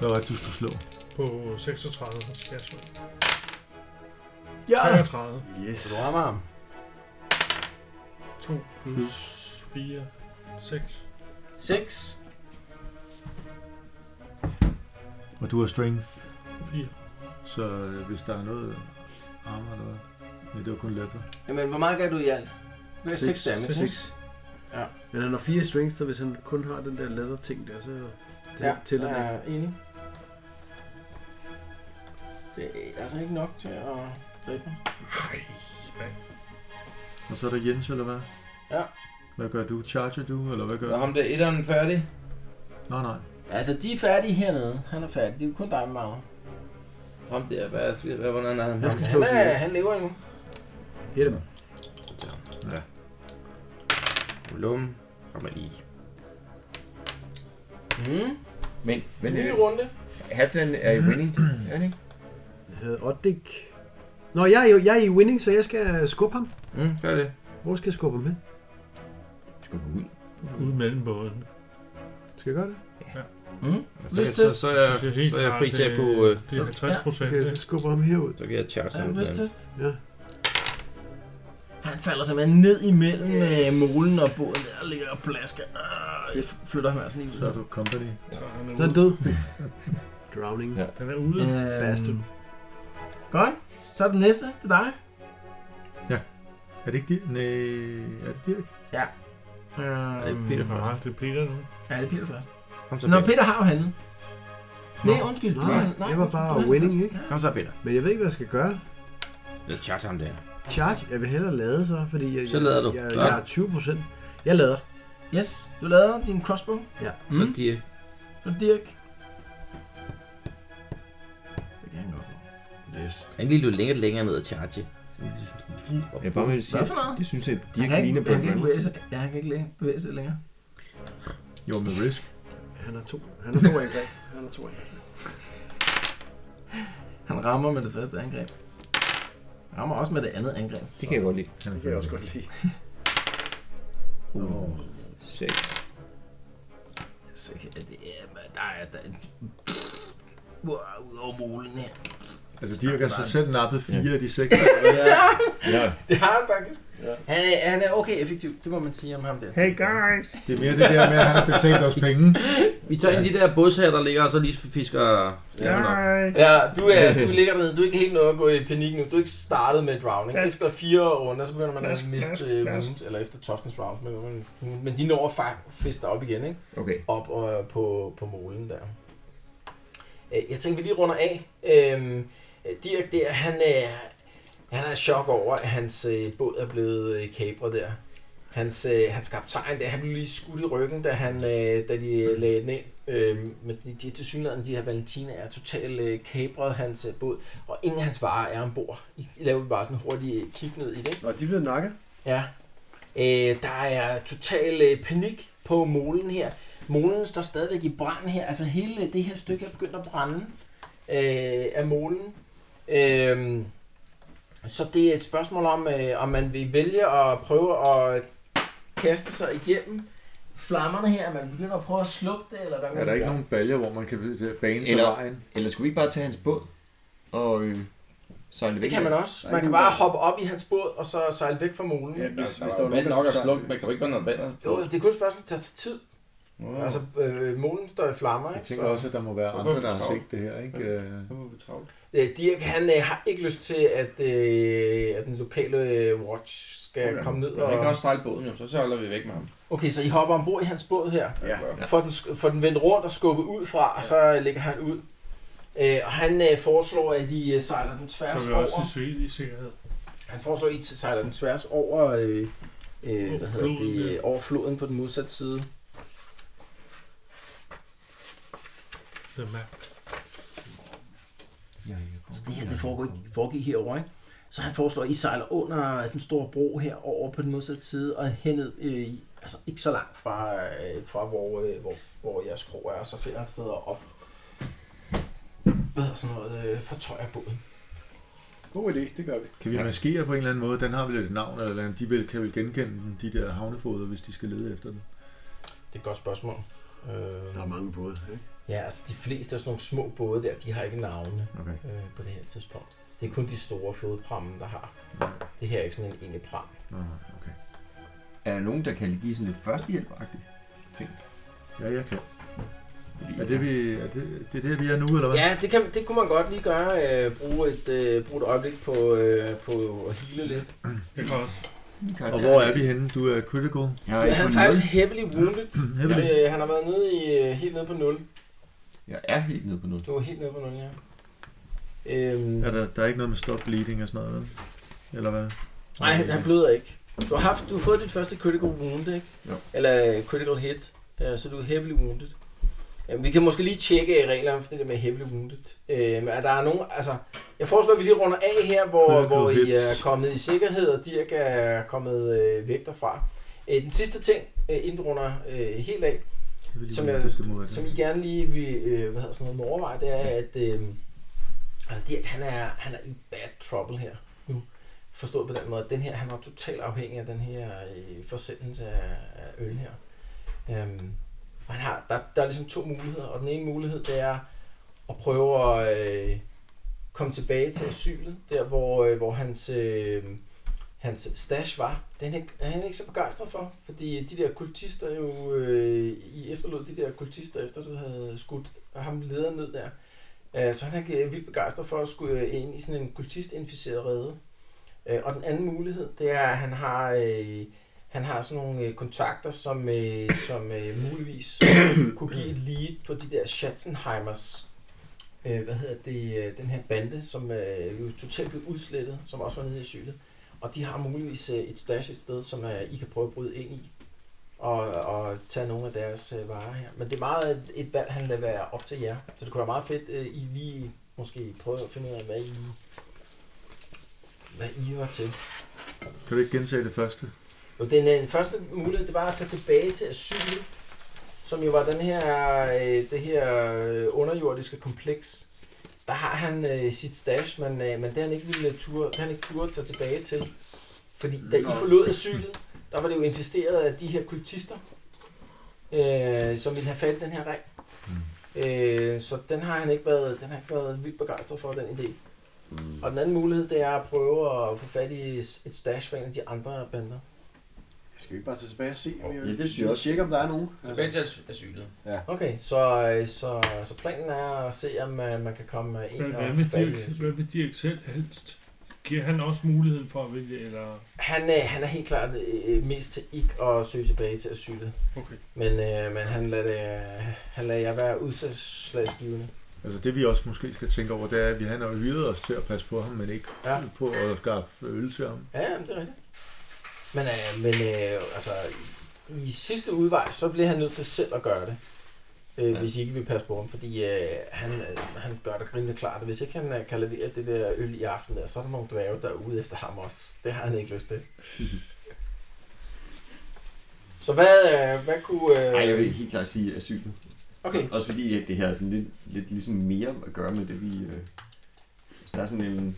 Speaker 7: Hvad var det, du skulle slå?
Speaker 5: På 36 skal jeg slå.
Speaker 6: Ja!
Speaker 5: 33.
Speaker 6: Yes.
Speaker 3: Så du rammer ham.
Speaker 5: 2 plus 4. 6.
Speaker 3: 6.
Speaker 7: Og du har strength,
Speaker 5: 4.
Speaker 7: så øh, hvis der er noget øh, armor eller hvad. Nej, det var kun leather.
Speaker 3: Jamen, hvor meget gør du i alt? Det er 6 damage. ikke?
Speaker 6: 6.
Speaker 3: Ja.
Speaker 6: Men han har fire strengths, så hvis han kun har den der leather ting der, så det
Speaker 3: Ja,
Speaker 6: tæller
Speaker 3: jeg
Speaker 6: ja.
Speaker 3: er enig. Det er altså ikke nok til at dræbe ham.
Speaker 7: Og så er der Jens, eller hvad?
Speaker 3: Ja.
Speaker 7: Hvad gør du? Charger du, eller hvad gør
Speaker 4: Når
Speaker 7: du?
Speaker 4: ham der etteren er færdig.
Speaker 7: Nej, nej.
Speaker 3: Altså, de er færdige hernede. Han er færdig. Det er kun dig med Magne.
Speaker 4: Ham der, hvad, hvad, hvad hvordan er han?
Speaker 6: Jeg skal slå
Speaker 3: Han,
Speaker 6: til
Speaker 3: er, han lever endnu.
Speaker 6: Hit him.
Speaker 4: Lum. Rammer i.
Speaker 3: Mm.
Speaker 2: Men, men
Speaker 3: Ny
Speaker 2: øh,
Speaker 3: runde.
Speaker 2: Halfdan er i winning. Er han ikke?
Speaker 6: Jeg havde Oddik. Nå, jeg er, jo, jeg er i winning, så jeg skal skubbe ham.
Speaker 4: Mm, gør det.
Speaker 6: Hvor skal jeg skubbe ham hen?
Speaker 2: Skal gå ud.
Speaker 5: Ude mellem båden.
Speaker 6: Skal jeg gøre det?
Speaker 4: Så,
Speaker 3: Lyst
Speaker 4: så,
Speaker 3: test.
Speaker 4: så, så, er, jeg-
Speaker 5: synes helt
Speaker 4: så er jeg
Speaker 5: klart,
Speaker 4: fri til at
Speaker 5: det-
Speaker 4: kunne... Øh,
Speaker 5: Det er 50 procent.
Speaker 6: Okay, så skubber ham herud.
Speaker 4: så kan jeg charge
Speaker 3: Ja,
Speaker 4: ham.
Speaker 3: lyst test.
Speaker 6: Ja.
Speaker 3: Han falder simpelthen ned imellem yes. molen og båden der og ligger og plasker. Øh, Jeg flytter ham altså lige ud.
Speaker 7: Så er du company.
Speaker 6: Så er han død. Drowning.
Speaker 2: Ja.
Speaker 5: Den er ude.
Speaker 3: Øhm,
Speaker 6: Bastard.
Speaker 3: Godt. Så er den næste. Det er dig.
Speaker 7: Er det ikke Dirk? Nej, er det Dirk?
Speaker 3: Øhm,
Speaker 4: det er Peter først.
Speaker 5: Nej, Mm, det er Peter nu.
Speaker 3: Ja, det er Peter først.
Speaker 4: Kom så,
Speaker 3: Nå,
Speaker 4: Peter.
Speaker 3: Peter har jo handlet. Nej, undskyld.
Speaker 6: Nej,
Speaker 3: du har handlet.
Speaker 6: jeg var
Speaker 3: undskyld,
Speaker 6: bare
Speaker 3: du har handlet
Speaker 6: winning,
Speaker 3: først.
Speaker 6: ikke?
Speaker 4: Kom så, Peter.
Speaker 6: Men jeg ved ikke, hvad jeg skal gøre.
Speaker 4: Jeg charge ham der.
Speaker 6: Charge? Jeg vil hellere lade så, fordi jeg,
Speaker 4: Så lader du.
Speaker 6: jeg,
Speaker 4: Ja.
Speaker 6: jeg, jeg er 20 procent. Jeg lader.
Speaker 3: Yes, du lader din crossbow.
Speaker 6: Ja.
Speaker 4: Mm. Så
Speaker 3: Mm.
Speaker 4: de,
Speaker 3: Så Dirk.
Speaker 6: Det kan han godt. Yes.
Speaker 4: han er lige lidt længere, længere ned at charge. Så de synes, de er-
Speaker 2: Jeg bare vil sige,
Speaker 3: Hvad for noget?
Speaker 2: det synes jeg, de
Speaker 3: Han kan
Speaker 2: ikke ligner
Speaker 3: ikke,
Speaker 2: Burt
Speaker 3: han kan ikke bevæge
Speaker 2: Reynolds.
Speaker 3: sig, ja, han kan ikke læ- bevæge sig længere.
Speaker 7: Jo, med risk.
Speaker 6: Han har to. Han har to angreb. Han har to angreb.
Speaker 3: Han rammer med det første angreb. Han rammer også med det andet angreb.
Speaker 2: Det kan jeg godt lide.
Speaker 7: Han
Speaker 6: Det kan jeg også godt lide.
Speaker 2: 6.
Speaker 3: Så kan det er, men der er der er en... Wow, ud over molen her.
Speaker 7: Altså, Dirk har så selv nappet fire af de seks.
Speaker 2: Ja.
Speaker 3: Det har han faktisk. Ja. Han, er, han er okay effektiv, det må man sige om ham der. Hey.
Speaker 7: Det er mere det der med, at han har betalt os penge.
Speaker 4: Vi tager en af de der bådshager, der ligger, og så lige fisker... Ja.
Speaker 3: Ja, du, er, du ligger dernede, du er ikke helt nået at gå i panik nu. Du er ikke startet med drowning. Efter fire runder, så begynder man at miste øh, wounds, eller efter toughness rounds, men, men, men de når at feste op igen, ikke?
Speaker 2: Okay.
Speaker 3: op og på, på målen der. Øh, Jeg tænker, vi lige runder af. Øhm, Dirk der, han, øh, han er i chok over, at hans øh, båd er blevet øh, kapret der. Hans, øh, hans kaptajn der, han blev lige skudt i ryggen, da, han, øh, da de øh, lagde den ind. Øhm, men de, de, tilsyneladende, de her Valentina er totalt øh, kapret hans øh, båd, og ingen af hans varer er ombord. I, I laver bare sådan hurtigt øh, kig ned i det.
Speaker 6: Og de bliver nakket.
Speaker 3: Ja. Øh, der er total øh, panik på molen her. Molen står stadigvæk i brand her. Altså hele det her stykke er begyndt at brænde øh, af molen. Øh, så det er et spørgsmål om, øh, om man vil vælge at prøve at kaste sig igennem flammerne her, man begynder at prøve at slukke det, eller hvad man
Speaker 7: Er der ikke
Speaker 3: gør?
Speaker 7: nogen baljer, hvor man kan øh, bane sig
Speaker 2: Eller,
Speaker 7: vejen?
Speaker 2: eller skulle vi ikke bare tage hans båd og øh, sejle væk?
Speaker 3: Det kan man også.
Speaker 2: Der er
Speaker 3: Man
Speaker 2: ikke
Speaker 3: kan
Speaker 2: nogen
Speaker 3: bare hoppe op i hans båd, og så sejle væk fra molen. Ja,
Speaker 4: hvis- hvis der var vand nok at slukke, man kan jo ikke være noget vand.
Speaker 3: Jo, jo, det er kun et spørgsmål, det tager tid.
Speaker 4: Wow.
Speaker 3: Altså, øh, molen står i flammer,
Speaker 7: Jeg
Speaker 3: ikke?
Speaker 7: tænker også, at der må være
Speaker 4: Hvorfor er
Speaker 7: andre,
Speaker 4: vi
Speaker 7: der har
Speaker 4: travlt?
Speaker 7: set det her, ikke? Øh,
Speaker 3: Øh, Dirk, han øh, har ikke lyst til, at, øh, at den lokale øh, watch skal
Speaker 4: Okay.
Speaker 3: komme ned
Speaker 4: Men Han kan
Speaker 3: og...
Speaker 4: også sejle båden jo, så sejler vi væk med ham. Altså.
Speaker 3: Okay, så I hopper ombord i hans båd her.
Speaker 4: Ja.
Speaker 3: Får den, sk- får den vendt rundt og skubbet ud fra, og så lægger han ud. Øh, og han øh, foreslår, at I øh, sejler den tværs
Speaker 5: Så vi
Speaker 3: over.
Speaker 5: også i sø i sikkerhed.
Speaker 3: Han foreslår, at I sejler den tværs over, øh, øh, hvad hedder
Speaker 5: floden,
Speaker 3: det,
Speaker 5: ja.
Speaker 3: over floden på den modsatte side.
Speaker 5: The map.
Speaker 3: Så det her, det foregik, foregik herovre, ikke? Så han foreslår, at I sejler under den store bro her over på den modsatte side, og hened, øh, altså ikke så langt fra, øh, fra hvor, øh, hvor, hvor jeres krog er, og så finder han steder op. Hvad hedder sådan noget? Øh, fortøjer båden.
Speaker 6: God idé, det gør vi.
Speaker 7: Kan vi maskere på en eller anden måde? Den har vel et navn, eller et eller andet. de vil, kan vel genkende den, de der havnefoder, hvis de skal lede efter den.
Speaker 3: Det er et godt spørgsmål. Øh,
Speaker 9: Der er mange både, ikke?
Speaker 3: ja, altså de fleste af sådan nogle små både der, de har ikke navne
Speaker 7: Okay.
Speaker 3: øh, på det her tidspunkt. Det er kun de store flodpramme, der har. Det her er ikke sådan en ene pram.
Speaker 7: Nå, okay.
Speaker 2: Er der nogen, der kan give sådan lidt førstehjælp-agtigt?
Speaker 7: Ja, jeg kan. Er det, vi, er det, det er det, vi er nu, eller hvad?
Speaker 3: Ja, det, kan, det kunne man godt lige gøre. Øh, bruge, et, øh, bruge et øjeblik på, øh, på at hele lidt.
Speaker 5: Jeg kan også.
Speaker 7: Og hvor er vi henne? Du er critical. Mm,
Speaker 2: Jeg er
Speaker 3: Men
Speaker 2: ikke
Speaker 3: han
Speaker 2: på nul.
Speaker 3: er faktisk heavily wounded.
Speaker 7: Heavily.
Speaker 3: Øh, han har været nede i, øh, helt nede på 0.
Speaker 2: Jeg er helt nede på nul.
Speaker 3: Du er helt nede på 0, ja. Øhm,
Speaker 7: Er der, der er ikke noget med stop bleeding og sådan noget, vel? Eller hvad?
Speaker 3: nej, han, han bløder ikke. Du har, haft, du har fået dit første critical wound, ikke?
Speaker 2: Jo.
Speaker 3: Eller øh, critical hit. Øh, så du er heavily wounded. Jamen, vi kan måske lige tjekke øh, reglerne for det der med heavily wounded. Øh, men er der er nogen, altså, jeg foreslår, at vi lige runder af her, hvor,
Speaker 7: Critical
Speaker 3: hvor I øh,
Speaker 7: hits.
Speaker 3: er kommet i sikkerhed, og Dirk er kommet øh, væk derfra. Øh, den sidste ting, øh, inden vi runder øh, helt af,
Speaker 7: Jeg vil lige
Speaker 3: Som
Speaker 7: vide,
Speaker 3: jeg-
Speaker 7: det, det må være
Speaker 3: som
Speaker 7: det.
Speaker 3: I gerne lige vil, øh, hvad hedder sådan noget, må overveje, det er, at øh, altså Dirk, han er, han er i bad trouble her nu. Forstået på den måde, at den her, han er totalt afhængig af den her øh, forsendelse af, af øl her. Øhm, og han har, der, der er ligesom to muligheder, og den ene mulighed, det er at prøve at øh, komme tilbage til asylet, der hvor, øh, hvor hans, øh, hans stash var. Den er, han er ikke så begejstret for, fordi de der kultister jo, øh, I efterlod de der kultister, efter du havde skudt ham leder ned der. Øh, Så han er ikke vildt begejstret for at skulle øh, ind i sådan en kultistinficeret rede. Øh, Og den anden mulighed, det er, at han har, øh, han har sådan nogle øh, kontakter, som, øh, som øh, muligvis kunne give et lead på de der Schatzenheimers, øh, hvad hedder det, øh, den her bande, som øh, jo totalt blev udslettet, som også var nede i sylet. Og de har muligvis øh, et stash et sted, som øh, I kan prøve at bryde ind i og, og tage nogle af deres øh, varer her. Men det er meget et, et valg, han lader være op til jer. Så det kunne være meget fedt, øh, I lige måske prøver at finde ud af, hvad I, hvad I var til.
Speaker 7: Kan du ikke gentage det første?
Speaker 3: Og den, øh, den første mulighed, det var at tage tilbage til asylet, som jo var den her, øh, det her øh, underjordiske kompleks. Der har han øh, sit stash, men, øh, men det har han ikke ville ture, det har han ikke turde tage tilbage til. Fordi da I forlod asylet, der var det jo investeret af de her kultister, øh, som ville have fat i den her ring. Øh, så den har han ikke været, den har ikke været vildt begejstret for, den idé. Og den anden mulighed, det er at prøve at få fat i et stash fra en af de andre bander.
Speaker 6: Skal vi ikke bare tage tilbage og se, om jeg
Speaker 2: Ja, det synes jeg også.
Speaker 6: Tjekke, om der er nogen.
Speaker 4: Tilbage til as- asylet.
Speaker 3: Okay, så, øh, så, så planen er at se, om øh, man kan komme øh,
Speaker 5: Hvad,
Speaker 3: ind
Speaker 5: hvad,
Speaker 3: og
Speaker 5: med
Speaker 3: fat i
Speaker 5: Dirk, hvad med Dirk selv helst? Giver han også muligheden for at vælge, eller...
Speaker 3: Han, øh, han er helt klart øh, mest til ikke at søge tilbage til asylet.
Speaker 5: Okay.
Speaker 3: Men, øh, men han, lader det, øh, han lader jer være udsatsslagsgivende.
Speaker 7: Altså det vi også måske skal tænke over, det er, at vi han har jo hyret os til at passe på ham, men ikke
Speaker 3: Ja.
Speaker 7: ja. på at skaffe øl til ham.
Speaker 3: Ja, jamen, det er rigtigt. Men, øh, men øh, altså, i sidste udvej, så bliver han nødt til selv at gøre det. Øh, ja. Hvis I ikke vil passe på ham, fordi øh, han, øh, han gør det rimelig klart. Hvis ikke han øh, kan levere det der øl i aften, der, så er der nogle dværge, der er ude efter ham også. Det har han ikke lyst til. så hvad, øh, hvad kunne... Øh...
Speaker 2: Nej, jeg vil helt klart sige asylet.
Speaker 3: Okay,
Speaker 2: Også fordi at det her er sådan lidt, lidt ligesom mere at gøre med det, vi... Øh, altså, der er sådan en...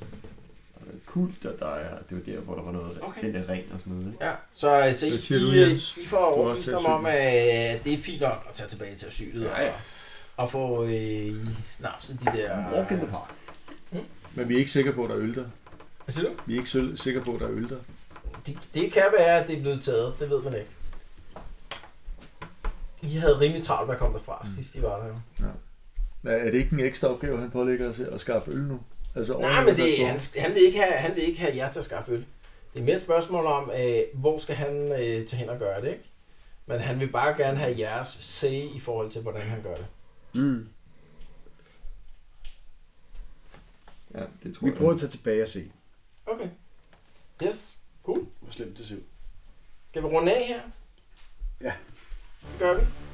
Speaker 2: kult, og der er, det var der, hvor der var noget, okay. den der ren og sådan noget. ikke?
Speaker 3: Ja, så, så I,
Speaker 2: Hvad siger du,
Speaker 3: I, øh,
Speaker 2: Jens?
Speaker 3: I får
Speaker 2: Du har også
Speaker 3: overbevist
Speaker 2: taget
Speaker 3: dem om,
Speaker 2: synet.
Speaker 3: at øh, det er fint nok at tage tilbage til asylet ja, ja. og, og få øh, napset de der... Walk in the park.
Speaker 7: Men vi er ikke sikre på, at der er øl der.
Speaker 3: Hvad siger du?
Speaker 7: Vi er ikke sø- sikre på, at der er øl der.
Speaker 3: Det, det kan være, at det er blevet taget. Det ved man ikke. I havde rimelig travlt med at komme derfra, mm. sidst I var der. jo.
Speaker 7: Men er det ikke en ekstra opgave, han pålægger os at skaffe øl nu? Altså, oven i
Speaker 3: Nej, men det,
Speaker 7: spørgsmål.
Speaker 3: han, han, vil ikke have, han vil ikke have jer til at skaffe øl. Det er mere et spørgsmål om, øh, hvor skal han øh, tage hen og gøre det, ikke? Men han vil bare gerne have jeres say i forhold til, hvordan han gør det.
Speaker 13: Mm.
Speaker 2: Ja, det
Speaker 13: tror vi prøver at tage tilbage og se,
Speaker 3: Okay. Yes, cool.
Speaker 13: hvor slemt det ser ud.
Speaker 3: Skal vi runde af her?
Speaker 13: Ja.
Speaker 3: Det gør vi.
Speaker 2: øh,